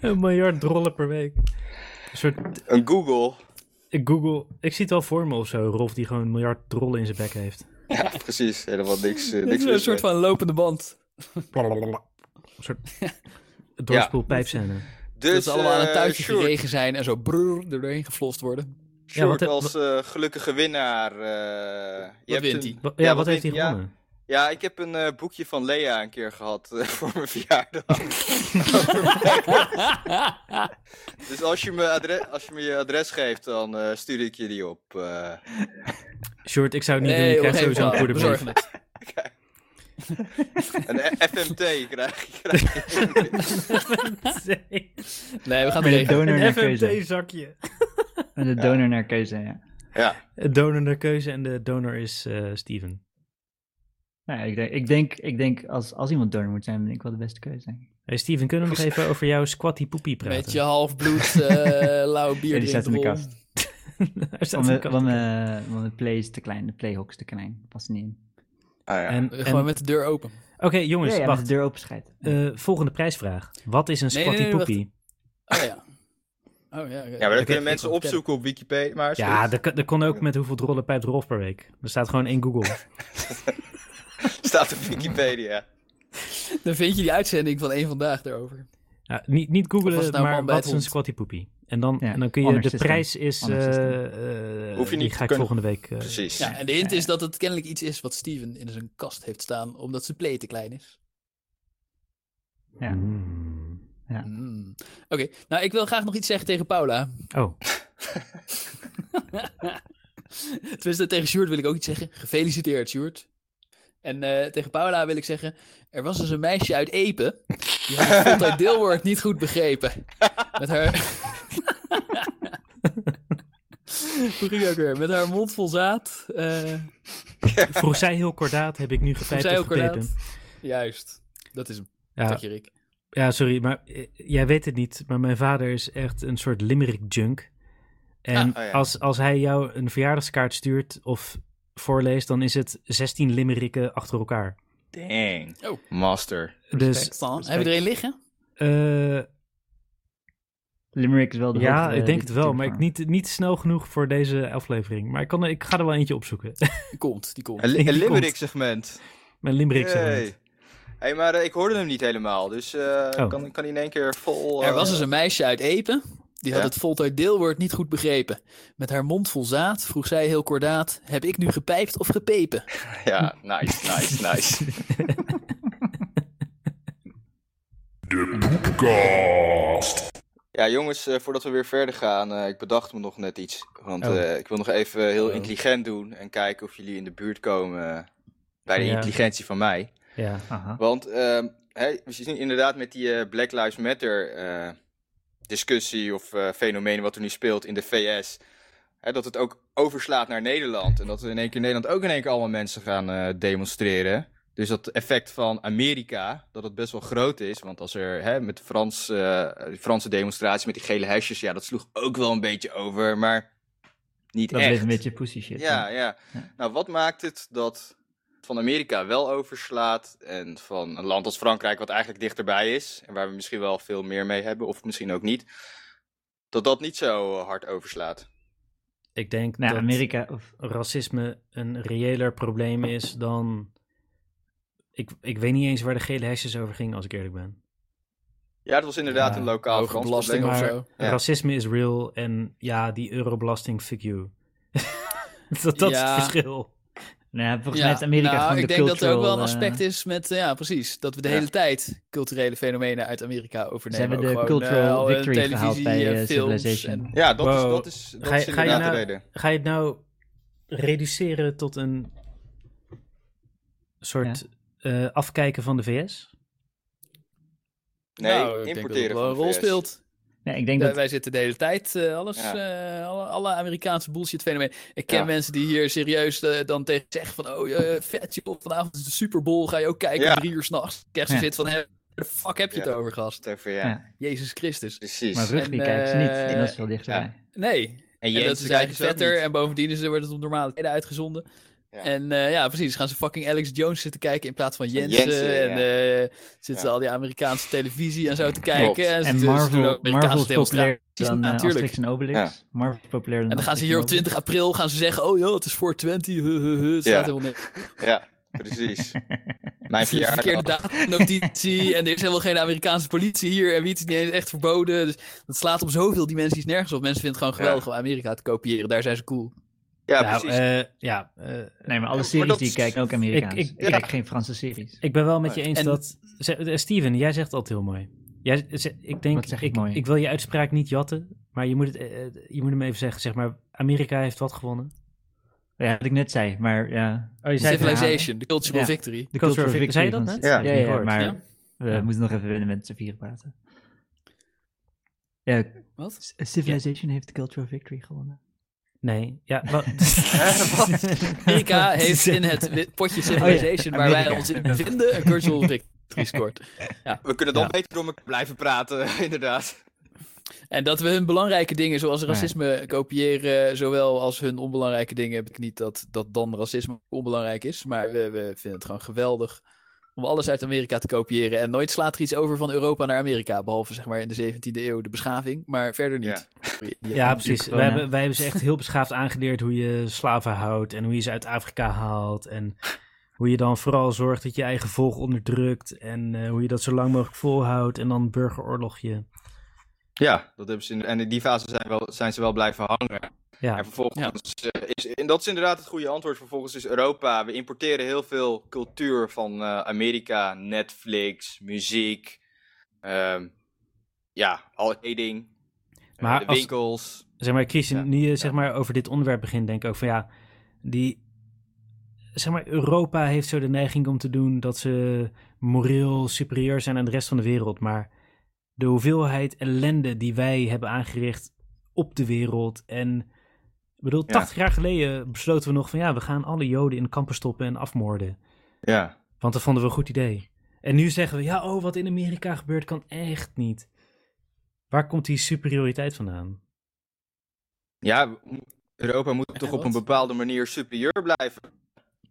[SPEAKER 1] Een miljard dollar per week. Een soort
[SPEAKER 3] Een Google.
[SPEAKER 1] eh, Google. Ik zie het wel voor me of zo, Rolf, die gewoon een miljard drollen in zijn bek heeft.
[SPEAKER 3] Ja, precies. Helemaal niks. eh,
[SPEAKER 2] Dat
[SPEAKER 3] niks
[SPEAKER 2] is een
[SPEAKER 3] mis
[SPEAKER 2] soort
[SPEAKER 3] mee.
[SPEAKER 2] van lopende band.
[SPEAKER 1] Een
[SPEAKER 3] (laughs)
[SPEAKER 1] soort doorspoelpijpscène.
[SPEAKER 2] dat
[SPEAKER 3] Dus
[SPEAKER 2] ze allemaal aan
[SPEAKER 3] eh,
[SPEAKER 2] een tuitje
[SPEAKER 3] Sjoerd,
[SPEAKER 2] geregen zijn en zo brrr, er doorheen geflost worden.
[SPEAKER 1] Ja, wat
[SPEAKER 3] Sjoerd
[SPEAKER 1] heb-
[SPEAKER 3] als eh, gelukkige winnaar. eh, je hebt
[SPEAKER 2] wint
[SPEAKER 3] een-
[SPEAKER 2] hij?
[SPEAKER 1] Wa- Ja,
[SPEAKER 3] Ja,
[SPEAKER 1] wat
[SPEAKER 3] wat
[SPEAKER 1] heeft hij
[SPEAKER 3] denk- ja.
[SPEAKER 1] gewonnen?
[SPEAKER 3] Ja, ik heb een eh, boekje van Lea een keer gehad eh, (laughs) voor mijn verjaardag.
[SPEAKER 2] (laughs)
[SPEAKER 3] Over mij. dus als je, me adre- als je me je adres geeft, dan eh, stuur ik je die op. eh.
[SPEAKER 1] Sjoerd, ik zou het niet doen.
[SPEAKER 2] Nee,
[SPEAKER 1] Je
[SPEAKER 2] joh,
[SPEAKER 1] krijgt
[SPEAKER 2] geen
[SPEAKER 1] sowieso een
[SPEAKER 2] verhaal.
[SPEAKER 1] goede
[SPEAKER 2] We
[SPEAKER 1] brief.
[SPEAKER 2] zorgen het.
[SPEAKER 3] een
[SPEAKER 2] (laughs)
[SPEAKER 3] F- FMT krijg je. Krijg je.
[SPEAKER 2] Nee, we
[SPEAKER 4] Met
[SPEAKER 2] gaan het
[SPEAKER 4] een
[SPEAKER 2] (laughs) regelen.
[SPEAKER 4] donor
[SPEAKER 1] Een
[SPEAKER 4] naar keuze.
[SPEAKER 1] FMT-zakje.
[SPEAKER 4] Met een donor naar keuze, ja.
[SPEAKER 3] Ja.
[SPEAKER 1] Een donor naar keuze en de donor is eh, Steven.
[SPEAKER 4] Nou, ja, ik denk, ik denk, ik denk als, als iemand donor moet zijn, ben ik wel de beste keuze. Denk ik.
[SPEAKER 1] Hey Steven, kunnen we nog even over jouw squatty poepie praten?
[SPEAKER 2] Met je halfbloed eh lauw bier
[SPEAKER 4] Ja, die staat in de
[SPEAKER 2] drinkend
[SPEAKER 4] kast.
[SPEAKER 1] (laughs) Hij staat
[SPEAKER 4] Want
[SPEAKER 1] in
[SPEAKER 4] mijn-
[SPEAKER 1] de kast.
[SPEAKER 4] Want mijn- want mijn play is te klein, de playhok is te klein. Past niet in.
[SPEAKER 3] Ah, ja.
[SPEAKER 1] En-
[SPEAKER 2] rond.
[SPEAKER 1] en-
[SPEAKER 2] Gewoon met de deur open.
[SPEAKER 1] Oké, jongens,
[SPEAKER 4] ja, ja,
[SPEAKER 1] Dus wacht.
[SPEAKER 4] met de deur open schijt.
[SPEAKER 1] Eh, volgende prijsvraag. Wat is een
[SPEAKER 2] Nee,
[SPEAKER 1] squatty
[SPEAKER 2] nee, nee, wacht.
[SPEAKER 1] poepie?
[SPEAKER 2] Oh ja. Oh ja. oké.
[SPEAKER 3] ja, maar dat kunnen mensen
[SPEAKER 2] ik-
[SPEAKER 3] opzoeken op Wikipedia. Maar is
[SPEAKER 1] Ja,
[SPEAKER 3] goed.
[SPEAKER 1] dat, kan- dat kon ook met hoeveel rollen pijpt Rolf per week. Er staat gewoon één Google.
[SPEAKER 2] (laughs)
[SPEAKER 3] staat op Wikipedia.
[SPEAKER 2] Dan vind je die uitzending van één vandaag daarover.
[SPEAKER 1] Ja, niet, niet
[SPEAKER 2] Of was
[SPEAKER 1] googlen,
[SPEAKER 2] het nou
[SPEAKER 1] maar
[SPEAKER 2] man bij
[SPEAKER 1] wat is
[SPEAKER 2] het
[SPEAKER 1] een
[SPEAKER 2] hond?
[SPEAKER 1] squatty poepie? En dan,
[SPEAKER 4] Ja,
[SPEAKER 1] en dan kun je, de
[SPEAKER 4] honor system.
[SPEAKER 1] prijs is,
[SPEAKER 4] Honor
[SPEAKER 1] eh,
[SPEAKER 4] system.
[SPEAKER 1] eh,
[SPEAKER 3] Hoef je niet
[SPEAKER 1] die
[SPEAKER 3] te
[SPEAKER 1] ga ik
[SPEAKER 3] kunnen.
[SPEAKER 1] volgende week... eh,
[SPEAKER 3] Precies.
[SPEAKER 2] Ja, en de hint is dat het kennelijk iets is wat Steven in zijn kast heeft staan, omdat zijn play te klein is.
[SPEAKER 4] Ja.
[SPEAKER 1] mm.
[SPEAKER 2] Hmm. Oké, nou ik wil graag nog iets zeggen tegen Paula.
[SPEAKER 1] Oh,
[SPEAKER 2] (laughs) Tenminste, tegen Sjoerd wil ik ook iets zeggen. Gefeliciteerd, Sjoerd. En eh, tegen Paula wil ik zeggen, er was dus een meisje uit Epe, die had het voltijd deelwoord niet goed begrepen. Met haar... (laughs) Hoe ging dat ook weer? Met haar mond vol zaad. eh,
[SPEAKER 1] vroeg zij heel kordaat, heb ik nu
[SPEAKER 2] Toen
[SPEAKER 1] gepijpt
[SPEAKER 2] zei
[SPEAKER 1] of
[SPEAKER 2] ook inderdaad-
[SPEAKER 1] gepijpen?
[SPEAKER 2] Juist. Dat is hem.
[SPEAKER 1] Ja,
[SPEAKER 2] Dank je, Rick.
[SPEAKER 1] ja, sorry, maar eh, jij weet het niet, maar mijn vader is echt een soort limerick junk. En
[SPEAKER 3] Ah, oh ja.
[SPEAKER 1] als, als hij jou een verjaardagskaart stuurt of voorleest, dan is het 16 limericken achter elkaar.
[SPEAKER 3] Dang.
[SPEAKER 2] Oh.
[SPEAKER 3] Master.
[SPEAKER 1] Dus
[SPEAKER 2] Stan, hebben we er een liggen?
[SPEAKER 1] eh,
[SPEAKER 4] Limerick is wel de
[SPEAKER 1] ja,
[SPEAKER 4] hoogte, eh,
[SPEAKER 1] ik denk
[SPEAKER 4] dit
[SPEAKER 1] het wel, maar ik
[SPEAKER 4] vorm.
[SPEAKER 1] niet, niet snel genoeg voor deze aflevering. Maar ik, kan, er- ik ga er wel eentje opzoeken. (laughs)
[SPEAKER 2] Die komt, die komt.
[SPEAKER 3] Een, li-
[SPEAKER 1] Die
[SPEAKER 3] een
[SPEAKER 1] komt.
[SPEAKER 3] limerick segment.
[SPEAKER 1] Mijn limerick
[SPEAKER 3] Yay.
[SPEAKER 1] segment.
[SPEAKER 3] hey, maar eh, ik hoorde hem niet helemaal. Dus eh kan, kan hij in één keer vol... eh,
[SPEAKER 2] Er was dus een meisje uit Epen. Die had
[SPEAKER 3] Ja.
[SPEAKER 2] het voltooid deelwoord niet goed begrepen. Met haar mond vol zaad vroeg zij heel kordaat: Heb ik nu gepijpt of gepepen?
[SPEAKER 3] (laughs) Ja, nice, nice, nice. Ja, jongens, eh, voordat we weer verder gaan, eh, ik bedacht me nog net iets. Want
[SPEAKER 1] Oh.
[SPEAKER 3] eh, ik wil nog even eh, heel
[SPEAKER 2] Oh.
[SPEAKER 3] intelligent doen en kijken of jullie in de buurt komen eh, bij de
[SPEAKER 1] Ja.
[SPEAKER 3] intelligentie van mij.
[SPEAKER 1] Ja.
[SPEAKER 4] Aha.
[SPEAKER 3] Want ehm, hè, we zien inderdaad met die eh, Black Lives Matter eh, discussie of eh, fenomeen wat er nu speelt in de VS. hè, dat het ook overslaat naar Nederland. En dat we in één keer in Nederland ook in één keer allemaal mensen gaan eh, demonstreren. Dus dat effect van Amerika, dat het best wel groot is. Want als er hè, met de Frans, eh, die Franse demonstraties met die gele hesjes, ja, dat sloeg ook wel een beetje over. Maar niet
[SPEAKER 4] Dat
[SPEAKER 3] echt.
[SPEAKER 4] bleef een beetje pussy shit.
[SPEAKER 3] Ja, ja,
[SPEAKER 4] Ja.
[SPEAKER 3] Nou, wat maakt het dat het van Amerika wel overslaat en van een land als Frankrijk, wat eigenlijk dichterbij is en waar we misschien wel veel meer mee hebben, of misschien ook niet, dat dat niet zo eh, hard overslaat?
[SPEAKER 1] Ik denk
[SPEAKER 4] Nou,
[SPEAKER 1] dat
[SPEAKER 4] Amerika of
[SPEAKER 1] racisme een reëler probleem is dan... Ik, ik weet niet eens waar de gele hesjes over ging, als ik eerlijk ben.
[SPEAKER 3] Ja, dat was inderdaad
[SPEAKER 1] Ja,
[SPEAKER 3] een lokaal
[SPEAKER 2] Hoge
[SPEAKER 3] Frans
[SPEAKER 2] belasting
[SPEAKER 3] probleem.
[SPEAKER 2] of
[SPEAKER 1] maar-
[SPEAKER 2] zo.
[SPEAKER 3] Ja.
[SPEAKER 1] Racisme is real en ja, die eurobelasting, fuck you. (laughs) dat dat is
[SPEAKER 2] Ja.
[SPEAKER 1] het verschil.
[SPEAKER 4] Nou, ja, volgens
[SPEAKER 2] Ja,
[SPEAKER 4] mij is Amerika
[SPEAKER 2] nou,
[SPEAKER 4] gewoon de
[SPEAKER 2] ik denk dat er ook wel een
[SPEAKER 4] cultural,
[SPEAKER 2] aspect is met, eh, ja, precies. Dat we de
[SPEAKER 3] Ja.
[SPEAKER 2] hele tijd culturele fenomenen uit Amerika
[SPEAKER 4] Ze
[SPEAKER 2] overnemen.
[SPEAKER 4] hebben
[SPEAKER 2] Ook
[SPEAKER 4] de
[SPEAKER 2] gewoon, eh,
[SPEAKER 4] cultural
[SPEAKER 2] al een
[SPEAKER 4] victory gehaald bij
[SPEAKER 2] televisie, eh,
[SPEAKER 4] eh,
[SPEAKER 2] films
[SPEAKER 4] Civilization.
[SPEAKER 2] en-
[SPEAKER 3] Ja, dat
[SPEAKER 1] Wow.
[SPEAKER 3] is, dat is, dat
[SPEAKER 1] Ga je-
[SPEAKER 3] is
[SPEAKER 1] ga je
[SPEAKER 3] inderdaad de
[SPEAKER 1] nou-
[SPEAKER 3] reden.
[SPEAKER 1] Ga je het nou reduceren tot een soort eh, afkijken van de VS?
[SPEAKER 3] Nee,
[SPEAKER 2] Nou, ik denk dat het
[SPEAKER 3] importeren
[SPEAKER 2] wel
[SPEAKER 3] van
[SPEAKER 2] een rol
[SPEAKER 3] vers.
[SPEAKER 2] speelt.
[SPEAKER 4] Nee, ik denk
[SPEAKER 2] Wij-
[SPEAKER 4] dat...
[SPEAKER 2] Wij zitten de hele tijd, eh, alles,
[SPEAKER 3] Ja.
[SPEAKER 2] eh, alle, alle Amerikaanse bullshit fenomeen. Ik ken
[SPEAKER 3] Ja.
[SPEAKER 2] mensen die hier serieus eh, dan tegen zeggen van, oh eh, vet joh, vanavond is de Super Bowl, ga je ook kijken
[SPEAKER 3] Ja.
[SPEAKER 2] om drie uur s'nachts. Ik echt zo
[SPEAKER 4] Ja.
[SPEAKER 2] zit van, hè, waar de fuck heb je
[SPEAKER 3] Ja.
[SPEAKER 2] het over gast?
[SPEAKER 3] Over, ja.
[SPEAKER 4] Ja.
[SPEAKER 2] Jezus Christus.
[SPEAKER 3] Precies.
[SPEAKER 4] Maar rugby
[SPEAKER 2] En,
[SPEAKER 4] kijken ze niet,
[SPEAKER 2] eh,
[SPEAKER 4] en dat is wel dichterbij.
[SPEAKER 2] Nee, en dat is eigenlijk vetter en bovendien is, er- wordt het op normale tijden uitgezonden.
[SPEAKER 3] Ja.
[SPEAKER 2] En eh, ja, precies, gaan ze fucking Alex Jones zitten kijken in plaats van Jensen.
[SPEAKER 3] Jensen, ja.
[SPEAKER 2] en eh, zitten ze
[SPEAKER 3] Ja.
[SPEAKER 2] al die Amerikaanse televisie en zo te
[SPEAKER 3] Klopt.
[SPEAKER 2] kijken. En, ze-
[SPEAKER 4] En
[SPEAKER 2] ze doen
[SPEAKER 4] Marvel,
[SPEAKER 2] ook
[SPEAKER 4] Marvel
[SPEAKER 2] Amerikaanse
[SPEAKER 4] is populairder
[SPEAKER 2] demonstraties.
[SPEAKER 4] dan eh,
[SPEAKER 2] Natuurlijk.
[SPEAKER 4] Asterix en Obelix. Marvel is populairder
[SPEAKER 2] En
[SPEAKER 4] dan
[SPEAKER 2] dan gaan
[SPEAKER 4] Asterix
[SPEAKER 2] ze hier op
[SPEAKER 4] Obelix.
[SPEAKER 2] 20 april gaan ze zeggen: Oh joh, het is 420. Huh, huh, huh. Het
[SPEAKER 3] Ja.
[SPEAKER 2] staat helemaal niks.
[SPEAKER 3] Ja,
[SPEAKER 2] (laughs)
[SPEAKER 3] precies. Mijn
[SPEAKER 2] Het is een verkeerde
[SPEAKER 3] verjaardag.
[SPEAKER 2] datumnotitie. en er is helemaal geen Amerikaanse politie hier. En wie het is niet eens echt verboden. Dus dat slaat op zoveel dimensies nergens op. Mensen vinden het gewoon geweldig om Amerika te kopiëren. Daar zijn ze cool.
[SPEAKER 3] Ja,
[SPEAKER 1] nou,
[SPEAKER 3] precies.
[SPEAKER 1] eh, ja, eh,
[SPEAKER 4] Nee, maar alle
[SPEAKER 3] Maar
[SPEAKER 4] series
[SPEAKER 3] dat
[SPEAKER 4] die ik
[SPEAKER 3] is-
[SPEAKER 4] kijk, ook Amerikaans.
[SPEAKER 1] Ik-
[SPEAKER 4] Ik,
[SPEAKER 1] ik-
[SPEAKER 4] kijk geen Franse series.
[SPEAKER 1] Ik ben wel met je eens
[SPEAKER 2] En-
[SPEAKER 1] dat. Ze- eh, Steven, jij zegt altijd heel mooi. Jij, eh, ze- ik denk,
[SPEAKER 4] Wat zeg ik
[SPEAKER 1] ik,
[SPEAKER 4] mooi?
[SPEAKER 1] ik wil je uitspraak niet jatten, maar je moet, het, eh, eh, je moet hem even zeggen. Zeg maar, Amerika heeft wat gewonnen?
[SPEAKER 4] Oh, Ja, wat ik net zei, maar ja.
[SPEAKER 1] Oh, je
[SPEAKER 2] Civilization, de cultural
[SPEAKER 4] Ja.
[SPEAKER 2] victory.
[SPEAKER 4] De
[SPEAKER 1] Cultural Vic- zei je dat
[SPEAKER 4] van-
[SPEAKER 1] net?
[SPEAKER 3] Ja.
[SPEAKER 4] Ja,
[SPEAKER 1] Niet
[SPEAKER 4] ja,
[SPEAKER 1] gehoord.
[SPEAKER 4] maar
[SPEAKER 2] Ja.
[SPEAKER 4] we
[SPEAKER 1] Ja.
[SPEAKER 4] moeten nog even winnen met z'n vier praten. Ja,
[SPEAKER 2] Wat?
[SPEAKER 4] C- Civilization heeft de Cultural Victory gewonnen.
[SPEAKER 1] Nee,
[SPEAKER 4] (laughs)
[SPEAKER 1] ja. wa-
[SPEAKER 2] Erika heeft in het wi- potje Civilization waar wij ons in bevinden een virtual victory scored.
[SPEAKER 3] We kunnen dan
[SPEAKER 1] Ja.
[SPEAKER 3] beter door elkaar blijven praten, (laughs) inderdaad.
[SPEAKER 2] En dat we hun belangrijke dingen zoals
[SPEAKER 1] Nee.
[SPEAKER 2] racisme kopiëren, zowel als hun onbelangrijke dingen, heb ik niet dat, dat dan racisme onbelangrijk is. Maar we, we vinden het gewoon geweldig om alles uit Amerika te kopiëren. En nooit slaat er iets over van Europa naar Amerika, behalve zeg maar in de 17e eeuw de beschaving, maar verder niet. Ja,
[SPEAKER 1] ja, precies.
[SPEAKER 4] corona.
[SPEAKER 1] Wij hebben, wij hebben ze echt heel beschaafd aangeleerd hoe je slaven houdt en hoe je ze uit Afrika haalt. En hoe je dan vooral zorgt dat je eigen volk onderdrukt. En eh, hoe je dat zo lang mogelijk volhoudt. En dan burgeroorlogje.
[SPEAKER 3] Ja, dat hebben ze in, en in die fase zijn, wel, zijn ze wel blijven hangen.
[SPEAKER 1] Ja,
[SPEAKER 3] En vervolgens eh, is, en dat is inderdaad het goede antwoord. Vervolgens is Europa, we importeren heel veel cultuur van eh, Amerika, Netflix, muziek, ehm, ja, al kleding, eh,
[SPEAKER 1] Maar
[SPEAKER 3] de
[SPEAKER 1] als-
[SPEAKER 3] winkels.
[SPEAKER 1] zeg maar, Christian,
[SPEAKER 3] Ja,
[SPEAKER 1] nu je zeg maar over dit onderwerp begint, denk ik ook van ja, die, zeg maar, Europa heeft zo de neiging om te doen dat ze moreel superieur zijn aan de rest van de wereld, maar de hoeveelheid ellende die wij hebben aangericht op de wereld en ik bedoel,
[SPEAKER 3] Ja.
[SPEAKER 1] 80 jaar geleden besloten we nog van ja, we gaan alle Joden in kampen stoppen en afmoorden,
[SPEAKER 3] Ja,
[SPEAKER 1] want dat vonden we een goed idee. En nu zeggen we ja, oh, wat in Amerika gebeurt kan echt niet. Waar komt die superioriteit vandaan?
[SPEAKER 3] ja we- Europa moet toch op
[SPEAKER 2] wat?
[SPEAKER 3] een bepaalde manier superieur blijven.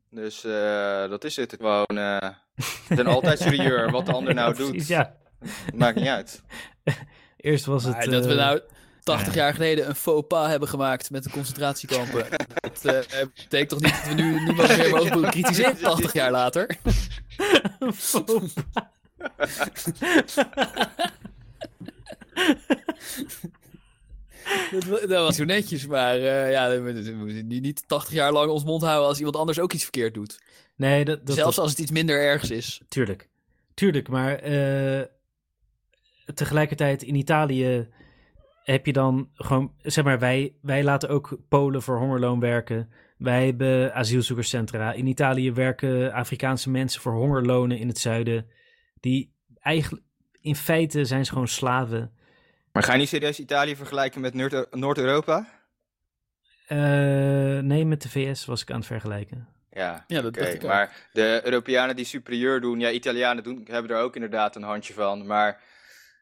[SPEAKER 3] Dus eh, dat is het gewoon. eh we zijn altijd superieur wat de ander nou
[SPEAKER 1] (laughs) Ja, precies,
[SPEAKER 3] doet.
[SPEAKER 1] ja.
[SPEAKER 3] Maakt
[SPEAKER 1] (laughs)
[SPEAKER 3] niet uit.
[SPEAKER 1] Eerst was het.
[SPEAKER 2] Maar dat we
[SPEAKER 1] eh,
[SPEAKER 2] nou 80 jaar geleden een faux pas hebben gemaakt met de concentratiekampen. (laughs) dat eh, betekent toch niet dat we nu niemand meer mogen be- kritiseren 80 jaar later? Dat, wa- dat was zo netjes, maar eh, ja, we moeten- we moeten nu niet 80 jaar lang ons mond houden als iemand anders ook iets verkeerd doet.
[SPEAKER 1] Nee, dat, dat,
[SPEAKER 2] Zelfs
[SPEAKER 1] dat-
[SPEAKER 2] als het iets minder ergs is.
[SPEAKER 1] tuurlijk. Tuurlijk, maar eh, tegelijkertijd in Italië heb je dan gewoon. Zeg maar, wij, wij laten ook Polen voor hongerloon werken. Wij hebben asielzoekerscentra. In Italië werken Afrikaanse mensen voor hongerlonen in het zuiden. Die eigenlijk. In feite zijn ze gewoon slaven.
[SPEAKER 3] Maar ga je niet serieus Italië vergelijken met Noord- Noord-Europa?
[SPEAKER 1] Eh, nee, met de VS was ik aan het vergelijken.
[SPEAKER 3] Ja,
[SPEAKER 2] Ja, dat
[SPEAKER 3] Oké,
[SPEAKER 2] dacht ik ook.
[SPEAKER 3] maar de Europeanen die superieur doen, ja, Italianen doen, hebben er ook inderdaad een handje van. Maar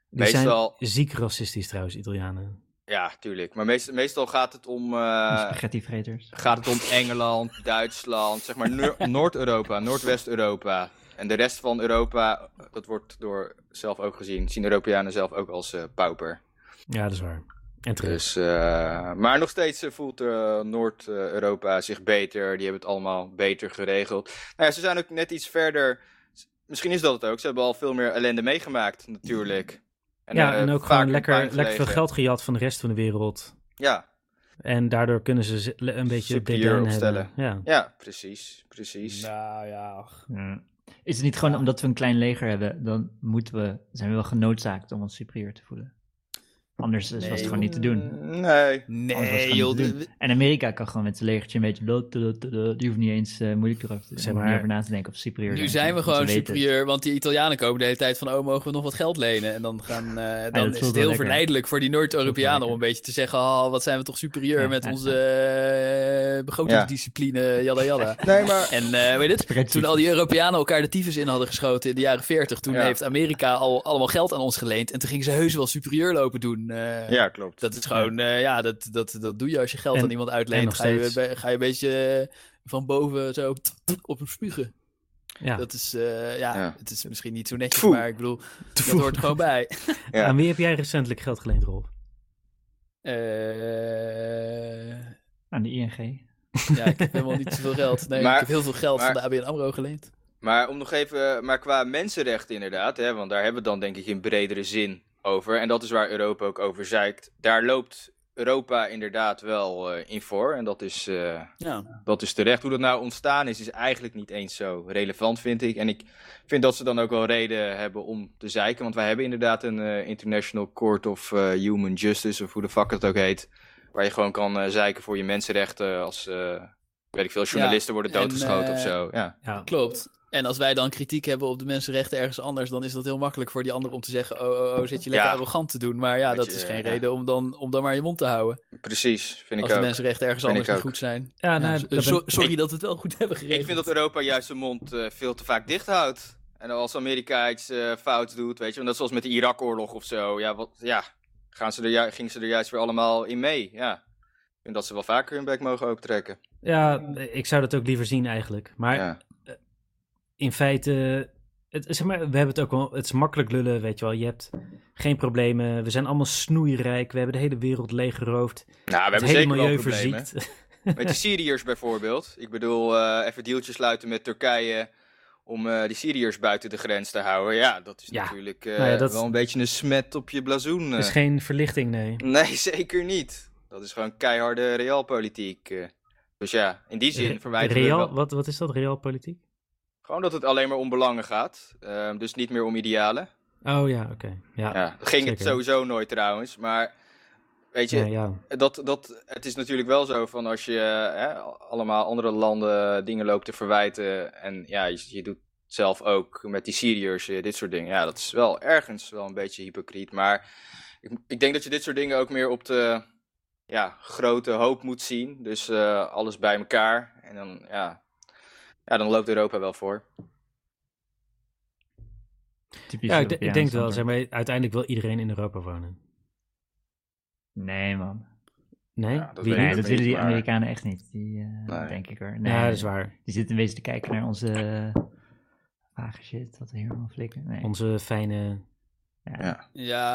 [SPEAKER 1] Die
[SPEAKER 3] meestal,
[SPEAKER 1] zijn ziek racistisch trouwens, Italianen.
[SPEAKER 3] ja, tuurlijk. Maar meest- meestal gaat het om,
[SPEAKER 4] Die
[SPEAKER 3] eh,
[SPEAKER 4] spaghettivreters.
[SPEAKER 3] gaat het om Engeland, Duitsland, zeg maar Noor-
[SPEAKER 2] (laughs)
[SPEAKER 3] Noord-Europa, Noordwest-Europa. En de rest van Europa, dat wordt door zelf ook gezien, zien Europeanen zelf ook als eh, pauper.
[SPEAKER 1] Ja, dat is waar. En terug.
[SPEAKER 3] Dus, eh, maar nog steeds eh, voelt eh, Noord-Europa zich beter. Die hebben het allemaal beter geregeld. Nou ja, ze zijn ook net iets verder. S- Misschien is dat het ook. Ze hebben al veel meer ellende meegemaakt, natuurlijk.
[SPEAKER 1] ja,
[SPEAKER 3] eh,
[SPEAKER 1] en ook
[SPEAKER 3] vaak
[SPEAKER 1] gewoon
[SPEAKER 3] in
[SPEAKER 1] lekker,
[SPEAKER 3] puin
[SPEAKER 1] lekker veel
[SPEAKER 3] gelegen.
[SPEAKER 1] geld gejat van de rest van de wereld.
[SPEAKER 3] Ja,
[SPEAKER 1] En daardoor kunnen ze ze- le- een beetje
[SPEAKER 3] Superieur
[SPEAKER 1] dédain
[SPEAKER 3] opstellen.
[SPEAKER 1] Hebben. Ja.
[SPEAKER 3] ja precies. precies.
[SPEAKER 2] Nou ja.
[SPEAKER 4] Ja. Is het niet gewoon omdat we een klein leger hebben, dan moeten we, zijn we wel genoodzaakt om ons superieur te voelen? Anders is- was het gewoon niet te doen.
[SPEAKER 3] Nee.
[SPEAKER 4] Anders was het
[SPEAKER 2] eh, Nee,
[SPEAKER 4] gewoon
[SPEAKER 2] joh.
[SPEAKER 4] niet te
[SPEAKER 2] de-
[SPEAKER 4] doen. En Amerika kan gewoon met zijn legertje een beetje... lo- lo- lo- lo- Die hoeft niet eens eh, moeilijk erover te
[SPEAKER 1] Zeg
[SPEAKER 4] doen.
[SPEAKER 1] maar,
[SPEAKER 4] over na te denken of ze superieur
[SPEAKER 2] Nu
[SPEAKER 4] zijn.
[SPEAKER 2] zijn we
[SPEAKER 4] Ze
[SPEAKER 2] gewoon
[SPEAKER 4] weten het.
[SPEAKER 2] superieur, want die Italianen komen de hele tijd van, oh, mogen we nog wat geld lenen? En dan, gaan, eh, dan
[SPEAKER 4] voelt
[SPEAKER 2] is
[SPEAKER 4] wel
[SPEAKER 2] het heel
[SPEAKER 4] lekker.
[SPEAKER 2] verleidelijk voor die
[SPEAKER 4] Voelt
[SPEAKER 2] Noord-Europeanen
[SPEAKER 4] wel
[SPEAKER 2] om een beetje te zeggen, oh, wat zijn we toch superieur
[SPEAKER 4] Ja,
[SPEAKER 2] met
[SPEAKER 4] ja,
[SPEAKER 2] onze eh, begrotingsdiscipline, jada
[SPEAKER 4] (laughs)
[SPEAKER 2] jada.
[SPEAKER 3] Nee, maar.
[SPEAKER 2] (laughs) En eh, weet je dit?
[SPEAKER 4] Spreadsheet.
[SPEAKER 2] Toen al die Europeanen elkaar de tyfus in hadden geschoten in de jaren 40, toen
[SPEAKER 3] Ja.
[SPEAKER 2] heeft Amerika al allemaal geld aan ons geleend en toen gingen ze heus wel superieur lopen doen. eh.
[SPEAKER 3] Ja, klopt.
[SPEAKER 2] Dat is gewoon, eh, ja, dat, dat, dat doe je als je geld
[SPEAKER 1] En-
[SPEAKER 2] aan iemand
[SPEAKER 1] en
[SPEAKER 2] uitleent.
[SPEAKER 1] nog
[SPEAKER 2] Ga je,
[SPEAKER 1] steeds.
[SPEAKER 2] be- ga je een beetje eh, van boven zo t- t- op hem spugen.
[SPEAKER 1] Ja.
[SPEAKER 2] Dat is, eh, ja,
[SPEAKER 3] Ja.
[SPEAKER 2] het is misschien niet zo netjes,
[SPEAKER 3] Tfoe.
[SPEAKER 2] maar ik bedoel, dat hoort er gewoon bij.
[SPEAKER 3] Ja.
[SPEAKER 1] Aan wie heb jij recentelijk geld geleend, Rolf?
[SPEAKER 2] Eh,
[SPEAKER 4] Aan de ING.
[SPEAKER 2] ja, ik heb helemaal niet zoveel geld. Nee,
[SPEAKER 3] Maar-
[SPEAKER 2] ik heb heel veel geld
[SPEAKER 3] maar-
[SPEAKER 2] van de ABN AMRO geleend.
[SPEAKER 3] Maar om nog even, eh, maar qua mensenrechten inderdaad, hè, want daar hebben we het dan denk ik in bredere zin over. En dat is waar Europa ook over zeikt. Daar loopt Europa inderdaad wel eh, in voor. En dat is, eh,
[SPEAKER 2] Ja.
[SPEAKER 3] dat is terecht. Hoe dat nou ontstaan is, is eigenlijk niet eens zo relevant, vind ik. En ik vind dat ze dan ook wel reden hebben om te zeiken. Want wij hebben inderdaad een eh, International Court of eh, Human Justice, of hoe de fuck het ook heet. Waar je gewoon kan eh, zeiken voor je mensenrechten als, eh, weet ik veel, journalisten worden
[SPEAKER 2] en,
[SPEAKER 3] doodgeschoten
[SPEAKER 2] eh,
[SPEAKER 3] of zo. Ja.
[SPEAKER 1] Ja.
[SPEAKER 2] Klopt. En als wij dan kritiek hebben op de mensenrechten ergens anders, dan is dat heel makkelijk voor die ander om te zeggen, oh, oh, oh zit je lekker
[SPEAKER 3] Ja.
[SPEAKER 2] arrogant te doen. Maar ja,
[SPEAKER 3] Dat
[SPEAKER 2] dat
[SPEAKER 3] je,
[SPEAKER 2] is geen
[SPEAKER 3] ja.
[SPEAKER 2] reden om dan, om dan maar je mond te houden.
[SPEAKER 3] Precies, vind
[SPEAKER 2] Als
[SPEAKER 3] ik
[SPEAKER 2] de
[SPEAKER 3] ook.
[SPEAKER 2] mensenrechten ergens
[SPEAKER 3] Vind
[SPEAKER 2] anders
[SPEAKER 3] ik
[SPEAKER 2] niet
[SPEAKER 3] ook.
[SPEAKER 2] goed zijn.
[SPEAKER 1] Ja, nou,
[SPEAKER 2] Ja,
[SPEAKER 1] dat ben-
[SPEAKER 2] so- sorry dat we het wel goed hebben geregeld.
[SPEAKER 3] Ik vind dat Europa juist zijn mond eh, veel te vaak dicht houdt. En als Amerika iets eh, fouts doet, weet je, want dat is zoals met de Irak-oorlog of zo. Ja, wat, ja gaan ze er, ju- gingen ze er juist weer allemaal in mee. Ja. En dat ze wel vaker hun bek mogen opentrekken. Nou,
[SPEAKER 1] ja, ik zou dat ook liever zien eigenlijk. Maar
[SPEAKER 3] Ja.
[SPEAKER 1] in feite, het, zeg maar, we hebben het ook wel, het is makkelijk lullen, weet je wel. Je hebt geen problemen, we zijn allemaal snoeirijk, we hebben de hele wereld leeggeroofd.
[SPEAKER 3] Nou, we
[SPEAKER 1] het
[SPEAKER 3] hebben
[SPEAKER 1] hele
[SPEAKER 3] zeker wel
[SPEAKER 1] milieu
[SPEAKER 3] problemen.
[SPEAKER 1] (laughs) verziekt.
[SPEAKER 3] Met de
[SPEAKER 1] (laughs)
[SPEAKER 3] Syriërs bijvoorbeeld. Ik bedoel, eh, even deeltjes sluiten met Turkije om eh, die Syriërs buiten de grens te houden. Ja, dat is
[SPEAKER 1] Ja.
[SPEAKER 3] natuurlijk eh,
[SPEAKER 1] Nou ja, dat-
[SPEAKER 3] wel een beetje een smet op je blazoen.
[SPEAKER 1] Het is
[SPEAKER 3] eh.
[SPEAKER 1] geen verlichting, nee.
[SPEAKER 3] (laughs) Nee, zeker niet. Dat is gewoon keiharde realpolitiek. eh. Dus ja, in die zin verwijder we
[SPEAKER 1] Eh, Real,
[SPEAKER 3] wel-
[SPEAKER 1] wat, wat is dat, realpolitiek?
[SPEAKER 3] Gewoon dat het alleen maar om belangen gaat. Ehm, dus niet meer om idealen.
[SPEAKER 1] Oh ja, oké. Ja, ja.
[SPEAKER 3] Ja, dat ging het
[SPEAKER 1] zeker.
[SPEAKER 3] sowieso nooit trouwens. Maar weet je,
[SPEAKER 1] Ja, ja.
[SPEAKER 3] Dat, dat, het is natuurlijk wel zo van als je eh, hè, allemaal andere landen dingen loopt te verwijten. En ja, je, je doet zelf ook met die Syriërs eh, dit soort dingen. Ja, dat is wel ergens wel een beetje hypocriet. Maar ik, ik denk dat je dit soort dingen ook meer op de ja, grote hoop moet zien. Dus eh, alles bij elkaar. En dan, ja, ja, dan loopt Europa wel voor.
[SPEAKER 4] Typisch
[SPEAKER 1] ik, d- ik denk wel, zeg
[SPEAKER 4] Europeaans
[SPEAKER 1] maar, uiteindelijk wil iedereen in Europa wonen.
[SPEAKER 4] antwoord. Nee, man.
[SPEAKER 1] Nee?
[SPEAKER 3] Ja, dat
[SPEAKER 1] Wie niet?
[SPEAKER 3] weet ik
[SPEAKER 4] Nee, dat
[SPEAKER 3] niet,
[SPEAKER 4] willen die
[SPEAKER 3] maar-
[SPEAKER 4] Amerikanen echt niet. Die, eh,
[SPEAKER 3] Nee.
[SPEAKER 4] Denk ik hoor. Nee,
[SPEAKER 1] Ja, dat is waar.
[SPEAKER 4] Die zitten een beetje te kijken naar onze eh, vage shit, wat we hier allemaal flikken. Nee.
[SPEAKER 1] Onze fijne...
[SPEAKER 2] Ja,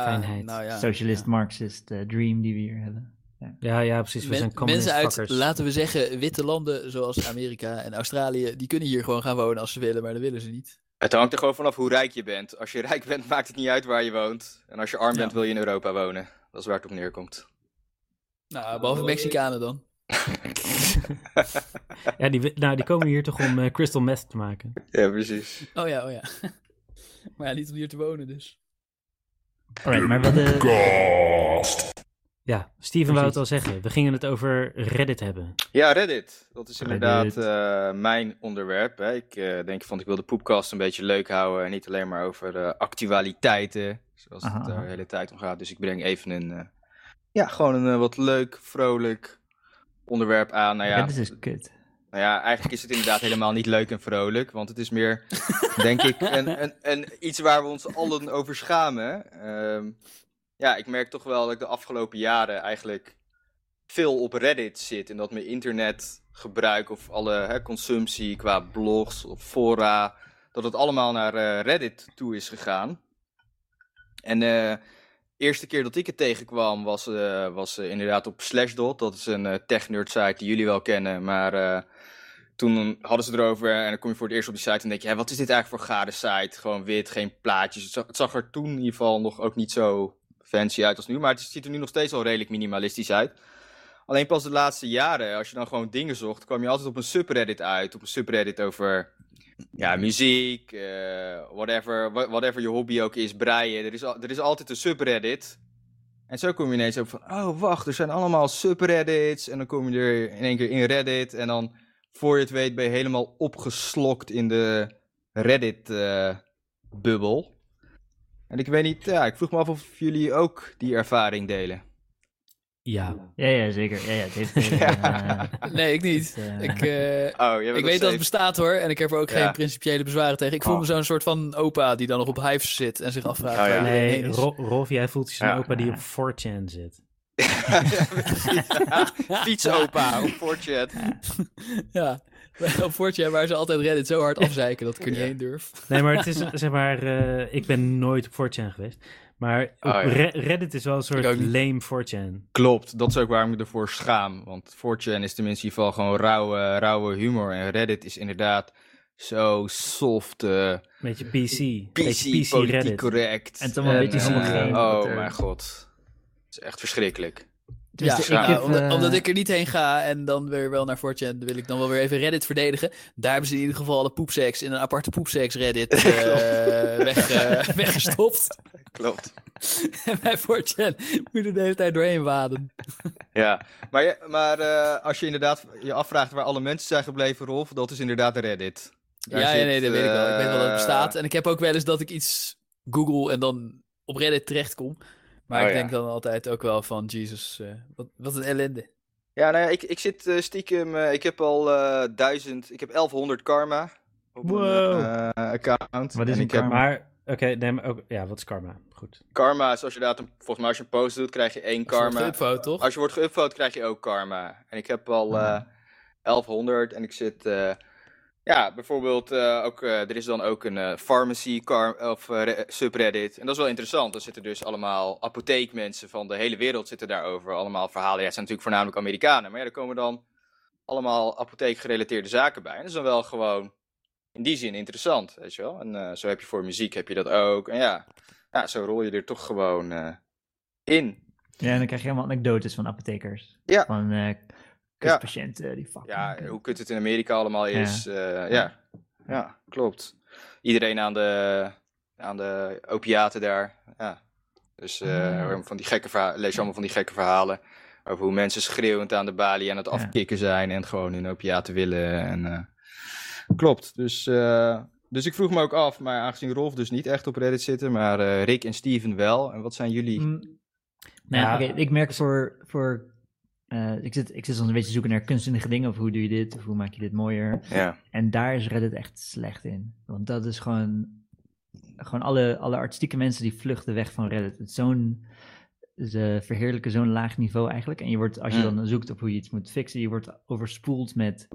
[SPEAKER 1] Fijnheid.
[SPEAKER 2] nou ja.
[SPEAKER 4] Socialist, Marxist, eh, dream die we hier hebben.
[SPEAKER 1] Ja, ja, precies. We
[SPEAKER 2] Men-
[SPEAKER 1] zijn communist
[SPEAKER 2] mensen uit,
[SPEAKER 1] fuckers.
[SPEAKER 2] laten we zeggen, witte landen zoals Amerika en Australië, die kunnen hier gewoon gaan wonen als ze willen, maar dat willen ze niet.
[SPEAKER 3] Het hangt er gewoon vanaf hoe rijk je bent. Als je rijk bent, (laughs) maakt het niet uit waar je woont. En als je arm
[SPEAKER 2] Ja.
[SPEAKER 3] bent, wil je in Europa wonen. Dat is waar het op neerkomt.
[SPEAKER 2] Nou, behalve Mexicanen dan.
[SPEAKER 1] Ja, die, wi- nou, die komen hier toch om eh, crystal meth te maken.
[SPEAKER 3] (laughs) Ja, precies.
[SPEAKER 2] Oh ja, oh ja. (laughs) Maar ja, niet om hier te wonen dus.
[SPEAKER 4] Alright, maar wat eh, de...
[SPEAKER 1] Ja, Steven wou het al zeggen. We gingen het over Reddit hebben.
[SPEAKER 3] Ja, Reddit. Dat is
[SPEAKER 4] Reddit.
[SPEAKER 3] inderdaad eh, mijn onderwerp. Hè. Ik eh, denk van, ik wil de poepkast een beetje leuk houden. En niet alleen maar over eh, actualiteiten, zoals
[SPEAKER 4] Aha,
[SPEAKER 3] het daar
[SPEAKER 4] aha.
[SPEAKER 3] de hele tijd om gaat. Dus ik breng even een, eh, ja, gewoon een eh, wat leuk, vrolijk onderwerp aan. Nou ja,
[SPEAKER 4] Reddit is dus kut.
[SPEAKER 3] nou ja, eigenlijk is het inderdaad helemaal niet leuk en vrolijk. Want het is meer, denk ik, een, een, een, iets waar we ons allen over schamen. Ehm, ja, ik merk toch wel dat ik de afgelopen jaren eigenlijk veel op Reddit zit. En dat mijn internetgebruik of alle hè, consumptie qua blogs of fora... dat het allemaal naar eh, Reddit toe is gegaan. En eh, eerste keer dat ik het tegenkwam was, eh, was eh, inderdaad op Slashdot. Dat is een eh tech-nerd site die jullie wel kennen. Maar eh, toen hadden ze het erover en dan kom je voor het eerst op die site en denk je... Hé, wat is dit eigenlijk voor gare site? Gewoon wit, geen plaatjes. Het zag, het zag er toen in ieder geval nog ook niet zo fancy uit als nu. Maar het ziet er nu nog steeds al redelijk minimalistisch uit. Alleen pas de laatste jaren, als je dan gewoon dingen zocht... kwam je altijd op een subreddit uit. Op een subreddit over... Ja, muziek, eh, whatever, wha- whatever je hobby ook is, breien. Er is, al- er is altijd een subreddit. En zo kom je ineens ook van, oh wacht, er zijn allemaal subreddits. En dan kom je er in één keer in Reddit. En dan, voor je het weet, ben je helemaal opgeslokt in de Reddit-bubbel. en ik weet niet, ja, ik vroeg me af of jullie ook die ervaring delen.
[SPEAKER 1] Ja.
[SPEAKER 4] Ja, ja, zeker. Ja, ja, het
[SPEAKER 2] (laughs)
[SPEAKER 4] heeft... eh,
[SPEAKER 3] Ja.
[SPEAKER 4] eh,
[SPEAKER 2] Nee, ik
[SPEAKER 3] (laughs)
[SPEAKER 2] niet.
[SPEAKER 4] eh,
[SPEAKER 2] Ik, eh,
[SPEAKER 3] Oh,
[SPEAKER 2] ik weet dat het
[SPEAKER 3] (laughs)
[SPEAKER 2] (laughs) bestaat hoor, en ik heb er ook
[SPEAKER 3] Ja.
[SPEAKER 2] geen principiële bezwaren tegen. Ik voel
[SPEAKER 3] Oh.
[SPEAKER 2] me zo'n soort van opa die dan nog op hives zit en zich afvraagt.
[SPEAKER 3] Oh, ja.
[SPEAKER 2] waar iedereen
[SPEAKER 1] Nee,
[SPEAKER 2] heen is.
[SPEAKER 1] Ro- Rolf, jij voelt je zo'n
[SPEAKER 3] Ja.
[SPEAKER 1] opa die op 4chan zit.
[SPEAKER 3] Fietsopa op 4chan.
[SPEAKER 2] (laughs) Ja, (laughs) op Fortje waar ze altijd Reddit zo
[SPEAKER 3] (laughs)
[SPEAKER 2] hard afzeiken dat ik er niet heen durf.
[SPEAKER 1] Nee, maar het is, zeg maar, eh, ik ben nooit op 4chan geweest. Maar op
[SPEAKER 3] Oh, ja.
[SPEAKER 1] Re- Reddit is wel een soort
[SPEAKER 2] ook niet.
[SPEAKER 1] lame 4chan.
[SPEAKER 3] Klopt, dat is ook waar ik me ervoor schaam. Want 4chan is tenminste in ieder geval gewoon rauwe, rauwe humor. En Reddit is inderdaad zo soft, eh,
[SPEAKER 1] Beetje PC.
[SPEAKER 3] PC,
[SPEAKER 1] Beetje PC
[SPEAKER 3] politiek
[SPEAKER 1] Reddit.
[SPEAKER 3] correct.
[SPEAKER 4] En het is allemaal een beetje
[SPEAKER 3] eh,
[SPEAKER 4] homogeen, wat
[SPEAKER 3] Oh
[SPEAKER 4] er-
[SPEAKER 3] mijn god. Het is echt verschrikkelijk.
[SPEAKER 2] Ja,
[SPEAKER 4] tenminste,
[SPEAKER 2] nou,
[SPEAKER 4] ik heb,
[SPEAKER 2] omdat,
[SPEAKER 4] eh,
[SPEAKER 2] omdat ik er niet heen ga en dan weer wel naar Fortje wil ik dan wel weer even Reddit verdedigen. Daar hebben ze in ieder geval alle poepseks in een aparte poepseks
[SPEAKER 3] (laughs)
[SPEAKER 2] Reddit eh, weg, eh, weggestopt. (laughs)
[SPEAKER 3] Klopt.
[SPEAKER 2] en bij Fortje moet je de hele tijd doorheen waden.
[SPEAKER 3] Ja, maar, je- maar eh, als je inderdaad je afvraagt waar alle mensen zijn gebleven, Rolf, dat is inderdaad Reddit. Daar
[SPEAKER 2] ja, ja,
[SPEAKER 3] zit,
[SPEAKER 2] nee, dat weet ik wel. Ik weet wel dat het
[SPEAKER 3] eh,
[SPEAKER 2] bestaat. En ik heb ook wel eens dat ik iets google en dan op Reddit terechtkom. Maar
[SPEAKER 3] Oh,
[SPEAKER 2] ik
[SPEAKER 3] ja.
[SPEAKER 2] denk dan altijd ook wel van, Jezus, eh, wat, wat een ellende.
[SPEAKER 3] Ja, nou ja, ik, ik zit eh, stiekem. eh, ik heb al eh, duizend. Ik heb 1100 karma. Op
[SPEAKER 1] Wow.
[SPEAKER 3] mijn eh, account.
[SPEAKER 4] Wat is
[SPEAKER 3] en
[SPEAKER 4] een
[SPEAKER 3] ik heb-
[SPEAKER 4] karma?
[SPEAKER 1] Maar, oké, nee, maar ook, ja, wat is karma? Goed.
[SPEAKER 3] karma is als je dat, volgens mij als je een post doet, krijg je één karma.
[SPEAKER 2] Een fout, toch?
[SPEAKER 3] Als je wordt geüpvoed, krijg je ook karma. En ik heb al eh, 1100 en ik zit. eh, ja, bijvoorbeeld eh, ook, eh, er is dan ook een eh, pharmacy kar- of eh, re- subreddit. En dat is wel interessant. Daar zitten dus allemaal apotheekmensen van de hele wereld zitten daarover. Allemaal verhalen. Ja, het zijn natuurlijk voornamelijk Amerikanen. Maar ja, er komen dan allemaal apotheekgerelateerde zaken bij. En dat is dan wel gewoon in die zin interessant, weet je wel. En eh, zo heb je voor muziek heb je dat ook. En ja, ja zo rol je er toch gewoon eh, in.
[SPEAKER 4] Ja, en dan krijg je helemaal anekdotes van apothekers.
[SPEAKER 3] Ja.
[SPEAKER 4] Van eh kutpatiënten die fucking...
[SPEAKER 3] Ja, hoe kut het in Amerika allemaal
[SPEAKER 4] Ja.
[SPEAKER 3] is. eh, Ja, ja. klopt. Iedereen aan de, aan de opiaten daar. Ja. Dus
[SPEAKER 4] Ah,
[SPEAKER 3] eh, van die gekke verha- lees je allemaal van die gekke verhalen. Over hoe mensen schreeuwend aan de balie aan het
[SPEAKER 4] Ja.
[SPEAKER 3] afkicken zijn. En gewoon hun opiaten willen. En, eh, klopt. Dus, eh, dus ik vroeg me ook af. Maar aangezien Rolf dus niet echt op Reddit zitten. Maar eh, Rick en Steven wel. En wat zijn jullie?
[SPEAKER 4] Mm. Nou,
[SPEAKER 1] Ja.
[SPEAKER 4] oké, ik merk voor... voor eh, ik, zit, ik zit soms een beetje te zoeken naar kunstzinnige dingen. Of hoe doe je dit? Of hoe maak je dit mooier?
[SPEAKER 3] Ja.
[SPEAKER 4] En daar is Reddit echt slecht in. Want dat is gewoon... Gewoon alle, alle artistieke mensen die vluchten weg van Reddit. Het is zo'n... Ze verheerlijken zo'n laag niveau eigenlijk. En je wordt, als je
[SPEAKER 3] Mm.
[SPEAKER 4] dan zoekt op hoe je iets moet fixen... Je wordt overspoeld met...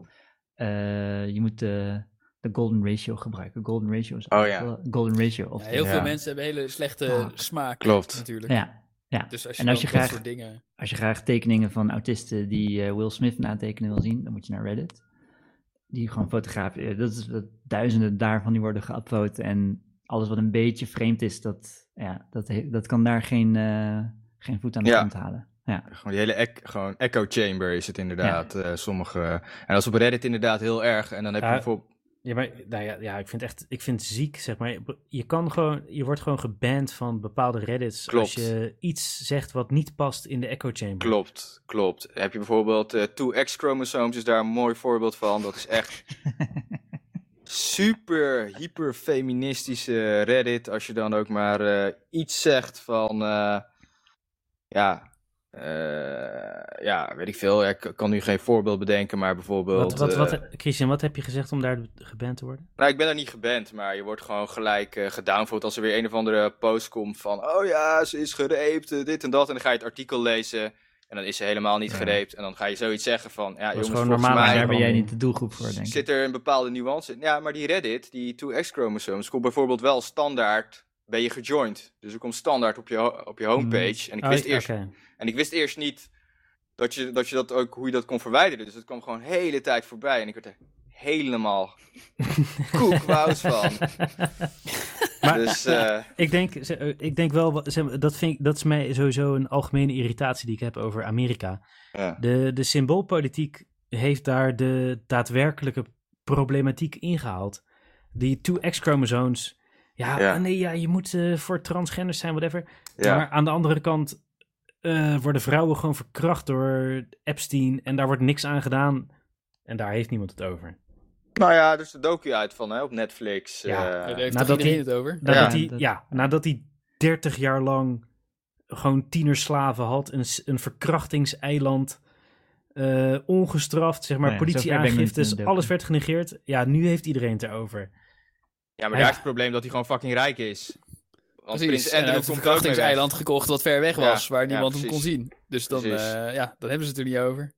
[SPEAKER 4] eh, je moet de, de golden ratio gebruiken. Golden ratio is...
[SPEAKER 3] Oh ja.
[SPEAKER 4] Golden ratio. Of
[SPEAKER 2] Ja, heel
[SPEAKER 3] Ja.
[SPEAKER 2] veel mensen hebben hele slechte
[SPEAKER 4] Fuck.
[SPEAKER 2] smaak.
[SPEAKER 3] Klopt.
[SPEAKER 2] Natuurlijk.
[SPEAKER 4] ja, ja.
[SPEAKER 2] Dus als je,
[SPEAKER 4] En als
[SPEAKER 2] dan
[SPEAKER 4] je
[SPEAKER 2] dat
[SPEAKER 4] graag-
[SPEAKER 2] soort dingen...
[SPEAKER 4] als je graag tekeningen van autisten die eh, Will Smith natekenen wil zien, dan moet je naar Reddit. Die gewoon fotograaf, eh, dat is dat duizenden daarvan die worden geüpload. En alles wat een beetje vreemd is, dat, ja, dat, he- dat kan daar geen, eh, geen voet aan de
[SPEAKER 3] Ja.
[SPEAKER 4] grond halen. Ja.
[SPEAKER 3] Gewoon die hele ec- gewoon echo chamber is het inderdaad. eh, sommige. En dat is op Reddit inderdaad heel erg. En dan heb je
[SPEAKER 1] Ja.
[SPEAKER 3] bijvoorbeeld.
[SPEAKER 1] Ja, maar nou ja, ja, ik vind echt, ik vind het ziek, zeg maar. Je kan gewoon, je wordt gewoon geband van bepaalde reddits
[SPEAKER 3] Klopt.
[SPEAKER 1] als je iets zegt wat niet past in de echo chamber.
[SPEAKER 3] Klopt, klopt. Heb je bijvoorbeeld eh 2X-chromosomes is daar een mooi voorbeeld van. Dat is
[SPEAKER 1] (laughs)
[SPEAKER 3] echt super hyper feministische Reddit. Als je dan ook maar eh, iets zegt van eh, ja, eh, ja, weet ik veel. Ja, Ik kan nu geen voorbeeld bedenken, maar bijvoorbeeld.
[SPEAKER 1] Wat, wat,
[SPEAKER 3] eh,
[SPEAKER 1] wat, Christian, wat heb je gezegd om daar geband te worden?
[SPEAKER 3] Nou, ik ben er niet geband, maar je wordt gewoon gelijk eh gedownvoed als er weer een of andere post komt van... Oh ja, ze is gereept, eh, dit en dat. En dan ga je het artikel lezen en dan is ze helemaal niet
[SPEAKER 4] Ja.
[SPEAKER 3] gereept. En dan ga je zoiets zeggen van...
[SPEAKER 1] Dat
[SPEAKER 3] Ja,
[SPEAKER 1] is
[SPEAKER 3] jongens,
[SPEAKER 1] gewoon
[SPEAKER 3] volgens
[SPEAKER 1] normale
[SPEAKER 4] Maar
[SPEAKER 1] Maar
[SPEAKER 3] mij
[SPEAKER 4] daar ben
[SPEAKER 1] gewoon-
[SPEAKER 4] jij niet de
[SPEAKER 3] (laughs)
[SPEAKER 4] doelgroep voor, denk ik.
[SPEAKER 3] zit er een bepaalde nuance in. Ja, maar die Reddit, die 2X-chromosomes, komt bijvoorbeeld wel standaard... Ben je gejoind. Dus er komt standaard op je, ho- op je
[SPEAKER 4] Mm.
[SPEAKER 3] homepage. En ik
[SPEAKER 1] Oh,
[SPEAKER 3] wist eerst
[SPEAKER 1] oké.
[SPEAKER 3] en ik wist eerst niet dat je, dat je dat ook, hoe je dat kon verwijderen. Dus het kwam gewoon de hele tijd voorbij. En ik werd er helemaal koekwoud van.
[SPEAKER 1] Maar-
[SPEAKER 3] dus eh,
[SPEAKER 1] (laughs) Ik denk, ze- eh, ik denk wel, wat- zeg maar, dat, vind ik, dat is mij sowieso een algemene irritatie die ik heb over Amerika.
[SPEAKER 3] ja.
[SPEAKER 1] De, de symboolpolitiek heeft daar de daadwerkelijke problematiek ingehaald. Die 2X-chromosoons. Ja,
[SPEAKER 3] Ja.
[SPEAKER 1] ah nee, ja, je moet eh, voor transgenders zijn, whatever.
[SPEAKER 3] Ja.
[SPEAKER 1] Maar aan de andere kant eh, worden vrouwen gewoon verkracht door Epstein. En daar wordt niks aan gedaan. En daar heeft niemand het over.
[SPEAKER 3] Nou ja, er is de docu uit van hè, op Netflix.
[SPEAKER 1] Ja.
[SPEAKER 3] eh.
[SPEAKER 2] daar heeft
[SPEAKER 4] Nou,
[SPEAKER 1] nadat
[SPEAKER 2] toch iedereen
[SPEAKER 1] die-
[SPEAKER 2] het over?
[SPEAKER 1] Nadat,
[SPEAKER 4] Ja,
[SPEAKER 1] hij,
[SPEAKER 4] dat-
[SPEAKER 1] ja, nadat hij 30 jaar lang gewoon tienerslaven had, een, s- een verkrachtingseiland, eh, ongestraft, zeg maar,
[SPEAKER 4] Nee, zover ben ik niet in
[SPEAKER 1] politieaangiftes,
[SPEAKER 4] de
[SPEAKER 1] alles
[SPEAKER 4] docu.
[SPEAKER 1] werd genegeerd. Ja, nu heeft iedereen het erover.
[SPEAKER 3] ja, maar
[SPEAKER 1] Hij-
[SPEAKER 3] daar is het probleem dat hij gewoon fucking rijk is. Want
[SPEAKER 2] Precies.
[SPEAKER 3] Prins
[SPEAKER 2] En hij
[SPEAKER 3] Andrew
[SPEAKER 2] heeft een
[SPEAKER 3] komt er ook mee weg.
[SPEAKER 2] verkrachtingseiland gekocht wat ver weg
[SPEAKER 3] Ja,
[SPEAKER 2] was, waar
[SPEAKER 3] ja,
[SPEAKER 2] niemand hem kon
[SPEAKER 3] precies.
[SPEAKER 2] zien. Dus dan,
[SPEAKER 3] Precies.
[SPEAKER 2] eh, ja, dan hebben ze het er niet over.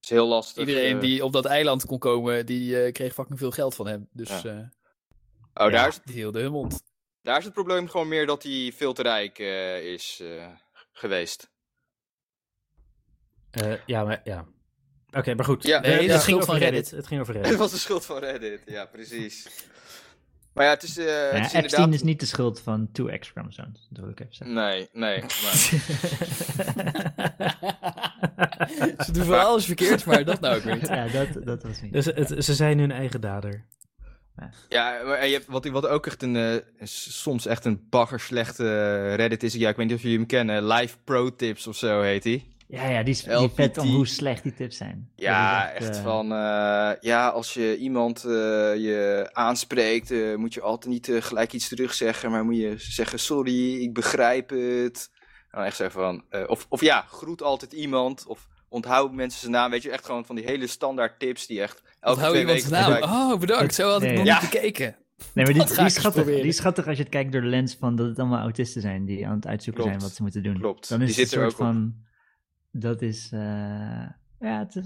[SPEAKER 3] is heel lastig.
[SPEAKER 2] Iedereen
[SPEAKER 3] eh.
[SPEAKER 2] die op dat eiland kon komen, die eh, kreeg fucking veel geld van hem. Dus
[SPEAKER 3] Ja.
[SPEAKER 2] eh
[SPEAKER 3] Oh,
[SPEAKER 2] ja,
[SPEAKER 3] daar, is,
[SPEAKER 2] die hielden hun mond.
[SPEAKER 4] (laughs)
[SPEAKER 3] daar is het probleem gewoon meer dat hij veel te rijk eh, is eh, geweest. (laughs)
[SPEAKER 1] Eh, ja, maar ja. Oké, maar goed.
[SPEAKER 3] Ja,
[SPEAKER 1] We-
[SPEAKER 3] nee,
[SPEAKER 1] het
[SPEAKER 3] ja.
[SPEAKER 2] schuld
[SPEAKER 1] ging over
[SPEAKER 2] van
[SPEAKER 1] Reddit.
[SPEAKER 2] Reddit.
[SPEAKER 1] Het ging over
[SPEAKER 3] Het
[SPEAKER 1] Reddit.
[SPEAKER 3] was de schuld van Reddit, ja, precies. Maar ja, het is, eh,
[SPEAKER 4] Ja,
[SPEAKER 3] het is
[SPEAKER 4] Epstein
[SPEAKER 3] inderdaad...
[SPEAKER 4] is niet de schuld van 2X-chromosomes, dat wil ik
[SPEAKER 3] (laughs)
[SPEAKER 4] even zeggen.
[SPEAKER 3] Nee, nee. Maar...
[SPEAKER 4] (laughs)
[SPEAKER 2] Ze doen wel alles verkeerd, maar dat nou ook weer niet.
[SPEAKER 4] ja, dat, dat was niet.
[SPEAKER 1] Dus het, ze zijn hun eigen dader.
[SPEAKER 3] Ja, maar en je hebt, wat, wat ook echt een, eh, s- soms echt een baggerslechte Reddit is. Ja, ik weet niet of jullie hem kennen. Live Pro Tips of zo heet hij.
[SPEAKER 4] Ja, ja, die is die
[SPEAKER 3] LPT.
[SPEAKER 4] vet om hoe slecht die tips zijn.
[SPEAKER 3] Ja,
[SPEAKER 4] Dat is
[SPEAKER 3] echt,
[SPEAKER 4] eh,
[SPEAKER 3] van... eh, ja, als je iemand eh, je aanspreekt, eh, moet je altijd niet eh, gelijk iets terugzeggen. Maar moet je zeggen, sorry, ik begrijp het. En dan echt zo van, eh, of, of ja, groet altijd iemand. Of onthoud mensen zijn naam. Weet je, echt gewoon van die hele standaard tips die echt (laughs) elke
[SPEAKER 2] Onthoud
[SPEAKER 3] twee
[SPEAKER 2] iemands
[SPEAKER 3] weken...
[SPEAKER 2] naam.
[SPEAKER 3] gebruikt-
[SPEAKER 2] Oh, bedankt. Zo had ik
[SPEAKER 4] Nee.
[SPEAKER 2] nog
[SPEAKER 3] Ja.
[SPEAKER 2] niet gekeken.
[SPEAKER 4] Nee, maar die, die
[SPEAKER 2] Dat ga
[SPEAKER 4] is
[SPEAKER 2] ik eens
[SPEAKER 4] schattig.
[SPEAKER 2] proberen.
[SPEAKER 4] die is schattig als je het kijkt door de lens van dat het allemaal autisten zijn die aan het uitzoeken
[SPEAKER 3] Klopt.
[SPEAKER 4] zijn wat ze moeten doen.
[SPEAKER 3] Klopt.
[SPEAKER 4] Dan is
[SPEAKER 3] Die
[SPEAKER 4] het
[SPEAKER 3] zit
[SPEAKER 4] een
[SPEAKER 3] er
[SPEAKER 4] soort
[SPEAKER 3] ook op.
[SPEAKER 4] van. Dat is. eh, ja, het is.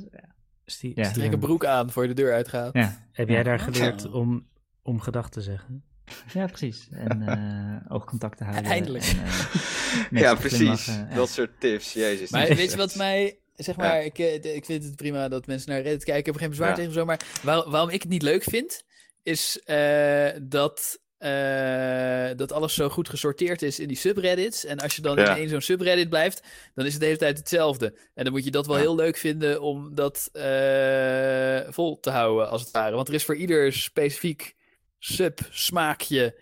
[SPEAKER 1] Stie-
[SPEAKER 4] Ja.
[SPEAKER 1] Steven,
[SPEAKER 2] Trek een broek aan voor je de deur uitgaat.
[SPEAKER 4] Ja,
[SPEAKER 1] Heb jij daar
[SPEAKER 4] Ja.
[SPEAKER 1] geleerd om, om gedachten te zeggen?
[SPEAKER 4] ja precies. En eh, oogcontact te houden.
[SPEAKER 2] Eindelijk.
[SPEAKER 4] en, eh,
[SPEAKER 3] Ja,
[SPEAKER 4] mensen
[SPEAKER 3] precies.
[SPEAKER 4] glimlachen. Ja.
[SPEAKER 3] Dat soort tips. Jezus.
[SPEAKER 2] Maar
[SPEAKER 3] dat is
[SPEAKER 2] weet je
[SPEAKER 3] echt-
[SPEAKER 2] wat mij... Zeg maar, ik, eh, de- ik vind het prima dat mensen naar Reddit kijken. Ik heb er geen bezwaar
[SPEAKER 3] Ja.
[SPEAKER 2] tegen zo. Maar waar- waarom ik het niet leuk vind, is eh, dat, eh, dat alles zo goed gesorteerd is in die subreddits. En als je dan
[SPEAKER 3] Ja.
[SPEAKER 2] in één zo'n subreddit blijft, dan is het de hele tijd hetzelfde. En dan moet je dat wel
[SPEAKER 3] Ja.
[SPEAKER 2] heel leuk vinden om dat eh, vol te houden, als het ware. Want er is voor ieder specifiek sub-smaakje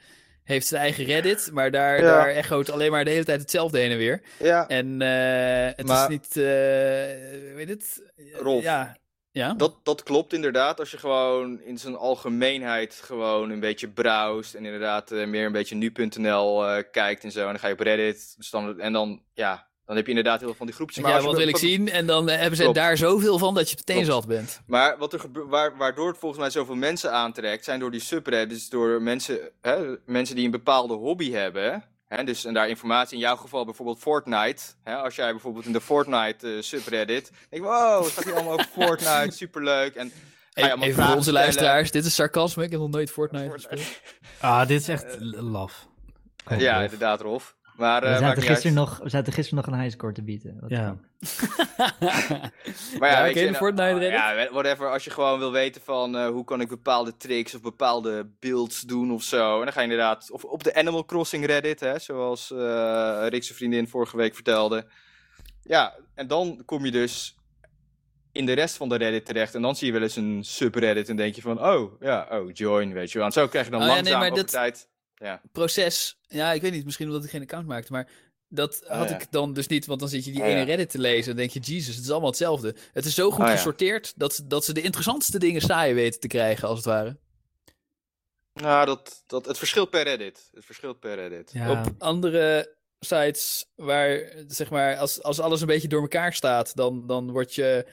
[SPEAKER 2] heeft zijn eigen Reddit. Maar daar,
[SPEAKER 3] Ja.
[SPEAKER 2] daar echoot alleen maar de hele tijd hetzelfde heen en weer.
[SPEAKER 3] Ja,
[SPEAKER 2] En eh, het
[SPEAKER 3] Maar-
[SPEAKER 2] is niet, eh, weet het?
[SPEAKER 3] Rolf.
[SPEAKER 2] Ja. ja?
[SPEAKER 3] dat, dat klopt inderdaad. Als je gewoon in zijn algemeenheid gewoon een beetje browst. En inderdaad eh, meer een beetje nu.nl eh, kijkt en zo. En dan ga je op Reddit. Dus dan, en dan, ja, dan heb je inderdaad heel veel van die groepjes.
[SPEAKER 2] ja,
[SPEAKER 3] als je
[SPEAKER 2] wat
[SPEAKER 3] be-
[SPEAKER 2] wil ik
[SPEAKER 3] be-
[SPEAKER 2] zien? En dan eh, hebben ze
[SPEAKER 3] Klopt.
[SPEAKER 2] daar zoveel van dat je meteen
[SPEAKER 3] Klopt.
[SPEAKER 2] zat bent.
[SPEAKER 3] Maar wat er gebe- waar, waardoor het volgens mij zoveel mensen aantrekt, zijn door die subreddits, dus door mensen, hè, mensen die een bepaalde hobby hebben. Hè, dus en daar informatie, in jouw geval bijvoorbeeld Fortnite. Hè, als jij bijvoorbeeld in de Fortnite eh, subreddit, denk je, wow, het gaat hier allemaal over Fortnite, superleuk. En, nou ga je
[SPEAKER 2] Even
[SPEAKER 3] allemaal
[SPEAKER 2] voor onze
[SPEAKER 3] Ah, vragen stellen.
[SPEAKER 2] luisteraars, dit is sarcasme. Ik heb nog nooit Fortnite
[SPEAKER 3] Fortnite.
[SPEAKER 2] gespeeld.
[SPEAKER 1] Ah, dit is echt l- laf. Oh,
[SPEAKER 3] ja,
[SPEAKER 1] Rolf.
[SPEAKER 3] inderdaad, Rolf. Maar, eh,
[SPEAKER 4] We
[SPEAKER 3] maakt
[SPEAKER 4] zaten,
[SPEAKER 3] niet
[SPEAKER 4] gisteren
[SPEAKER 3] uit.
[SPEAKER 4] nog, we zaten gisteren nog een highscore te bieden. Wat
[SPEAKER 1] Ja.
[SPEAKER 4] dan?
[SPEAKER 3] Maar ja,
[SPEAKER 2] Ja,
[SPEAKER 3] weet
[SPEAKER 2] oké,
[SPEAKER 3] je,
[SPEAKER 2] de
[SPEAKER 3] en-
[SPEAKER 2] Fortnite Reddit.
[SPEAKER 3] Ja, whatever. Als je gewoon wil weten van eh, hoe kan ik bepaalde tricks of bepaalde builds doen of zo. En dan ga je inderdaad of op de Animal Crossing Reddit, hè, zoals eh Rick zijn vriendin vorige week vertelde. Ja, en dan kom je dus in de rest van de Reddit terecht. En dan zie je wel eens een subreddit en denk je van, oh, ja, oh, join, weet je wel. En zo krijg je dan
[SPEAKER 2] Oh ja, nee,
[SPEAKER 3] langzaam
[SPEAKER 2] maar
[SPEAKER 3] over
[SPEAKER 2] dat-
[SPEAKER 3] tijd...
[SPEAKER 2] Proces. Ja, ik weet niet. Misschien omdat ik geen account maakte. Maar dat
[SPEAKER 3] Oh,
[SPEAKER 2] had
[SPEAKER 3] ja.
[SPEAKER 2] ik dan dus niet. Want dan zit je die
[SPEAKER 3] Oh,
[SPEAKER 2] ene
[SPEAKER 3] ja.
[SPEAKER 2] Reddit te lezen. En denk je, Jesus, het is allemaal hetzelfde. Het is zo goed
[SPEAKER 3] Oh, ja.
[SPEAKER 2] gesorteerd dat, ze- dat ze de interessantste dingen saai weten te krijgen, als het ware.
[SPEAKER 3] Nou, dat, dat, het verschilt per Reddit. Het verschilt per Reddit.
[SPEAKER 1] Ja.
[SPEAKER 2] Op andere sites waar, zeg maar, als, als alles een beetje door elkaar staat, dan, dan word je.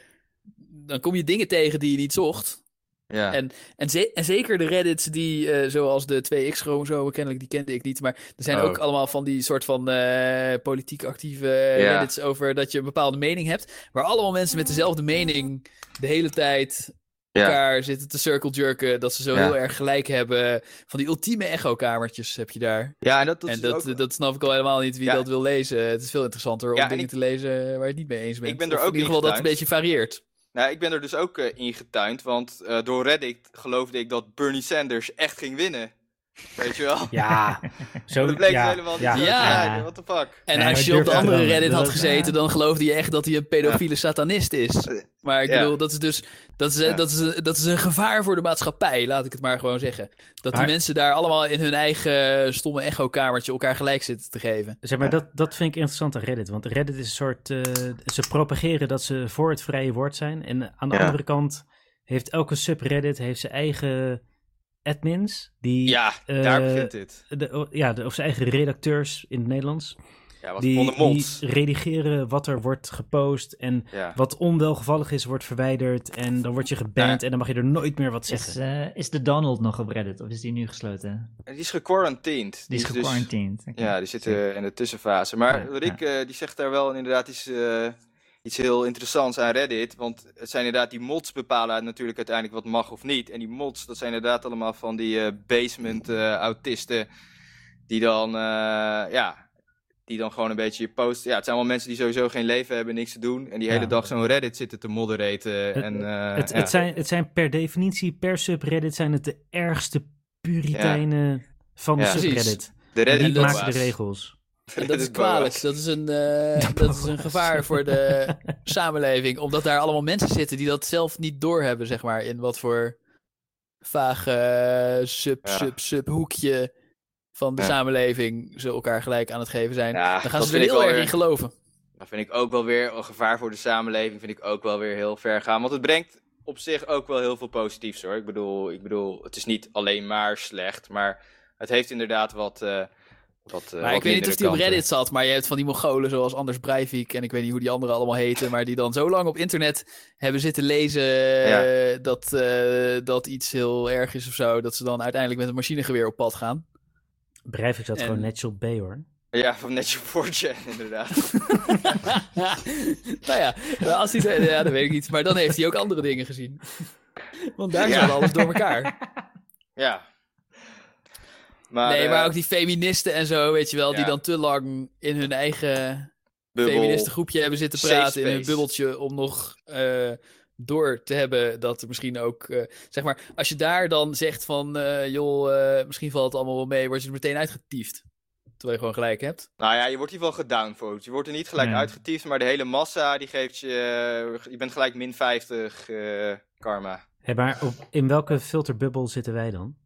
[SPEAKER 2] Dan kom je dingen tegen die je niet zocht.
[SPEAKER 3] Ja.
[SPEAKER 2] En, ze- en zeker de Reddits die, eh, zoals de 2X-chromosomen, kennelijk, die kende ik niet. Maar er zijn
[SPEAKER 3] Oh.
[SPEAKER 2] ook allemaal van die soort van eh, politiek actieve
[SPEAKER 3] Ja.
[SPEAKER 2] Reddits over dat je een bepaalde mening hebt. Waar allemaal mensen met dezelfde mening de hele tijd
[SPEAKER 3] Ja.
[SPEAKER 2] elkaar zitten te circle-jerken. Dat ze zo
[SPEAKER 3] Ja.
[SPEAKER 2] heel erg gelijk hebben. Van die ultieme echo-kamertjes heb je daar
[SPEAKER 3] Ja, en dat, dat
[SPEAKER 2] en
[SPEAKER 3] is
[SPEAKER 2] dat,
[SPEAKER 3] ook-
[SPEAKER 2] dat snap ik al helemaal niet wie
[SPEAKER 3] Ja.
[SPEAKER 2] dat wil lezen. Het is veel interessanter om
[SPEAKER 3] Ja, en
[SPEAKER 2] dingen
[SPEAKER 3] ik-
[SPEAKER 2] te lezen waar je het niet mee eens bent.
[SPEAKER 3] ben er
[SPEAKER 2] Of
[SPEAKER 3] ook
[SPEAKER 2] in ieder geval dat het een beetje varieert.
[SPEAKER 3] Nou, ik ben er dus ook eh, in getuind, want eh, door Reddit geloofde ik dat Bernie Sanders echt ging winnen. Weet je wel?
[SPEAKER 1] (laughs) Ja, zo,
[SPEAKER 3] Maar (laughs) dat bleek
[SPEAKER 1] ja,
[SPEAKER 3] helemaal niet
[SPEAKER 1] ja.
[SPEAKER 3] zo te
[SPEAKER 2] Ja.
[SPEAKER 3] zijn. What the fuck?
[SPEAKER 2] En
[SPEAKER 1] Nee, maar
[SPEAKER 2] als je op
[SPEAKER 1] durf
[SPEAKER 2] de
[SPEAKER 1] dat
[SPEAKER 2] andere
[SPEAKER 1] dan.
[SPEAKER 2] Reddit
[SPEAKER 4] Dat
[SPEAKER 2] had
[SPEAKER 4] is-
[SPEAKER 2] gezeten, dan geloofde je echt dat hij een pedofiele satanist is. Maar ik
[SPEAKER 3] Ja.
[SPEAKER 2] bedoel, dat is dus dat is,
[SPEAKER 3] Ja.
[SPEAKER 2] dat, is, een- dat is een gevaar voor de maatschappij, laat ik het maar gewoon zeggen. Dat
[SPEAKER 1] Maar-
[SPEAKER 2] die mensen daar allemaal in hun eigen stomme echo-kamertje elkaar gelijk zitten te geven.
[SPEAKER 1] Zeg maar, dat, dat vind ik interessant aan Reddit. Want Reddit is een soort. eh, ze propageren dat ze voor het vrije woord zijn. En aan de
[SPEAKER 3] Ja.
[SPEAKER 1] andere kant heeft elke subreddit heeft zijn eigen admins. Die,
[SPEAKER 3] Ja,
[SPEAKER 1] eh,
[SPEAKER 3] daar begint dit.
[SPEAKER 1] de, o- ja, de, of zijn eigen redacteurs in het Nederlands.
[SPEAKER 3] Ja, wat
[SPEAKER 1] Die,
[SPEAKER 3] onder mond.
[SPEAKER 1] die redigeren wat er wordt gepost. En
[SPEAKER 3] Ja.
[SPEAKER 1] wat onwelgevallig is, wordt verwijderd. En dan word je geband.
[SPEAKER 3] Ja.
[SPEAKER 1] En dan mag je er nooit meer wat
[SPEAKER 4] Is,
[SPEAKER 1] zeggen.
[SPEAKER 4] eh, is de Donald nog op Reddit of is die nu gesloten?
[SPEAKER 3] Die is gequarantined.
[SPEAKER 4] Die is
[SPEAKER 3] dus-
[SPEAKER 4] gequarantined. Oké.
[SPEAKER 3] ja, die zit eh, in de tussenfase. Maar
[SPEAKER 4] Ja,
[SPEAKER 3] Rick, eh, die zegt daar wel inderdaad iets, eh, iets heel interessants aan Reddit. Want het zijn inderdaad die mods bepalen natuurlijk uiteindelijk wat mag of niet. En die mods, dat zijn inderdaad allemaal van die eh, basement eh, autisten. Die dan, eh, ja, die dan gewoon een beetje je post... Ja, het zijn allemaal mensen die sowieso geen leven hebben, niks te doen. En die
[SPEAKER 1] Ja.
[SPEAKER 3] hele dag zo'n Reddit zitten te moderaten. en, eh,
[SPEAKER 1] het,
[SPEAKER 3] ja.
[SPEAKER 1] het, zijn, het zijn per definitie, per subreddit, zijn het de ergste puriteinen van de
[SPEAKER 3] Ja.
[SPEAKER 2] Precies.
[SPEAKER 1] subreddit.
[SPEAKER 3] de
[SPEAKER 1] En
[SPEAKER 3] Reddit
[SPEAKER 1] die
[SPEAKER 2] Reddit-boa's.
[SPEAKER 1] maken de
[SPEAKER 3] (laughs)
[SPEAKER 1] regels.
[SPEAKER 2] En dat is
[SPEAKER 3] Reddit-boa's.
[SPEAKER 2] kwalijk. Dat is een, eh, dat is een gevaar voor de samenleving. Omdat daar allemaal mensen zitten die dat zelf niet doorhebben, zeg maar. In wat voor vaag eh, sub,
[SPEAKER 3] Ja.
[SPEAKER 2] sub, sub hoekje van de
[SPEAKER 3] Ja.
[SPEAKER 2] samenleving ze elkaar gelijk aan het geven zijn.
[SPEAKER 3] Ja,
[SPEAKER 2] Dan gaan
[SPEAKER 3] dat
[SPEAKER 2] ze er
[SPEAKER 3] vind ik
[SPEAKER 2] heel
[SPEAKER 3] wel
[SPEAKER 2] erg
[SPEAKER 3] weer-
[SPEAKER 2] in geloven.
[SPEAKER 3] Dat vind ik ook wel weer een gevaar voor de samenleving. Vind ik ook wel weer heel ver gaan. Want het brengt op zich ook wel heel veel positiefs hoor. Ik bedoel, ik bedoel het is niet alleen maar slecht. Maar het heeft inderdaad wat, eh, Wat, eh,
[SPEAKER 2] maar
[SPEAKER 3] wat
[SPEAKER 2] ik weet niet
[SPEAKER 3] mindere
[SPEAKER 2] of die op
[SPEAKER 3] kanten.
[SPEAKER 2] Reddit zat, maar je hebt van die Mongolen zoals Anders Breivik en ik weet niet hoe die anderen allemaal heten, maar die dan zo lang op internet hebben zitten lezen eh, dat, eh, dat iets heel erg is of zo, dat ze dan uiteindelijk met een machinegeweer op pad gaan.
[SPEAKER 1] Bedrijf ik zat
[SPEAKER 2] En-
[SPEAKER 1] gewoon Natural Bay hoor.
[SPEAKER 3] Ja, van Netje Fortje, (laughs) inderdaad.
[SPEAKER 2] (laughs) nou ja, als die, ja, dat weet ik niet, maar dan heeft hij ook andere dingen gezien. Want daar
[SPEAKER 3] Ja.
[SPEAKER 2] zat alles door (laughs) elkaar.
[SPEAKER 3] ja. Maar,
[SPEAKER 2] nee,
[SPEAKER 3] eh,
[SPEAKER 2] maar ook die feministen en zo, weet je wel, die
[SPEAKER 3] ja.
[SPEAKER 2] dan te lang in hun eigen...
[SPEAKER 3] bubbel.
[SPEAKER 2] feministen groepje hebben zitten
[SPEAKER 3] Safe
[SPEAKER 2] praten in een
[SPEAKER 3] space.
[SPEAKER 2] bubbeltje om nog eh, door te hebben dat er misschien ook, eh, zeg maar, als je daar dan zegt van, eh, joh, eh, misschien valt het allemaal wel mee, word je er meteen uitgetiefd. Terwijl je gewoon gelijk hebt.
[SPEAKER 3] Nou ja, je wordt in ieder geval gedownvote. Je wordt er niet gelijk
[SPEAKER 4] Ja.
[SPEAKER 3] uitgetiefd, maar de hele massa die geeft je... eh, je bent gelijk min 50 eh, karma.
[SPEAKER 1] Hé, maar op- in welke filterbubbel zitten wij dan? (laughs)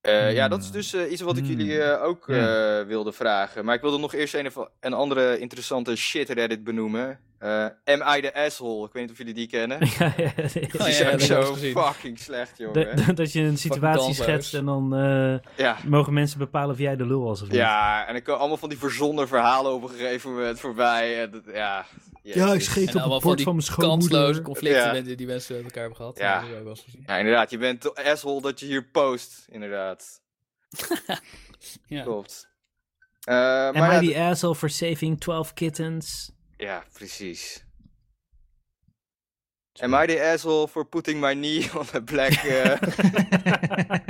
[SPEAKER 3] Eh, Ja,
[SPEAKER 4] Hmm.
[SPEAKER 3] dat is dus eh, iets wat ik
[SPEAKER 4] Hmm.
[SPEAKER 3] jullie eh, ook
[SPEAKER 4] Ja.
[SPEAKER 3] eh, wilde vragen. Maar ik wilde nog eerst een, of- een andere interessante shit Reddit benoemen. Eh, Am I the asshole? Ik weet niet of jullie die
[SPEAKER 1] (laughs)
[SPEAKER 3] kennen.
[SPEAKER 1] ja, ja,
[SPEAKER 2] Oh,
[SPEAKER 3] Die
[SPEAKER 2] ja,
[SPEAKER 3] is ook
[SPEAKER 2] dat heb ik
[SPEAKER 3] zo
[SPEAKER 2] wel gezien.
[SPEAKER 3] fucking slecht, jongen.
[SPEAKER 1] Dat, dat je een situatie
[SPEAKER 2] kansloos.
[SPEAKER 1] schetst en dan eh,
[SPEAKER 3] ja.
[SPEAKER 1] mogen mensen bepalen of jij de lul was of niet.
[SPEAKER 3] ja, en dan komen allemaal van die verzonnen verhalen op een gegeven moment voorbij. En dat, ja, Jezus.
[SPEAKER 1] scheet
[SPEAKER 2] en allemaal van die kansloze conflicten
[SPEAKER 3] Ja.
[SPEAKER 2] met die- die mensen met elkaar hebben gehad.
[SPEAKER 3] Ja.
[SPEAKER 2] Dat heb ik ook wel eens gezien.
[SPEAKER 3] Ja, inderdaad. Je bent de asshole dat je hier post, inderdaad.
[SPEAKER 2] Ja.
[SPEAKER 3] Klopt. Eh, maar
[SPEAKER 1] Am
[SPEAKER 3] ja,
[SPEAKER 1] I the asshole for saving 12 kittens?
[SPEAKER 3] Ja, precies. Am I the asshole for putting my knee (laughs) on the black... eh, ja,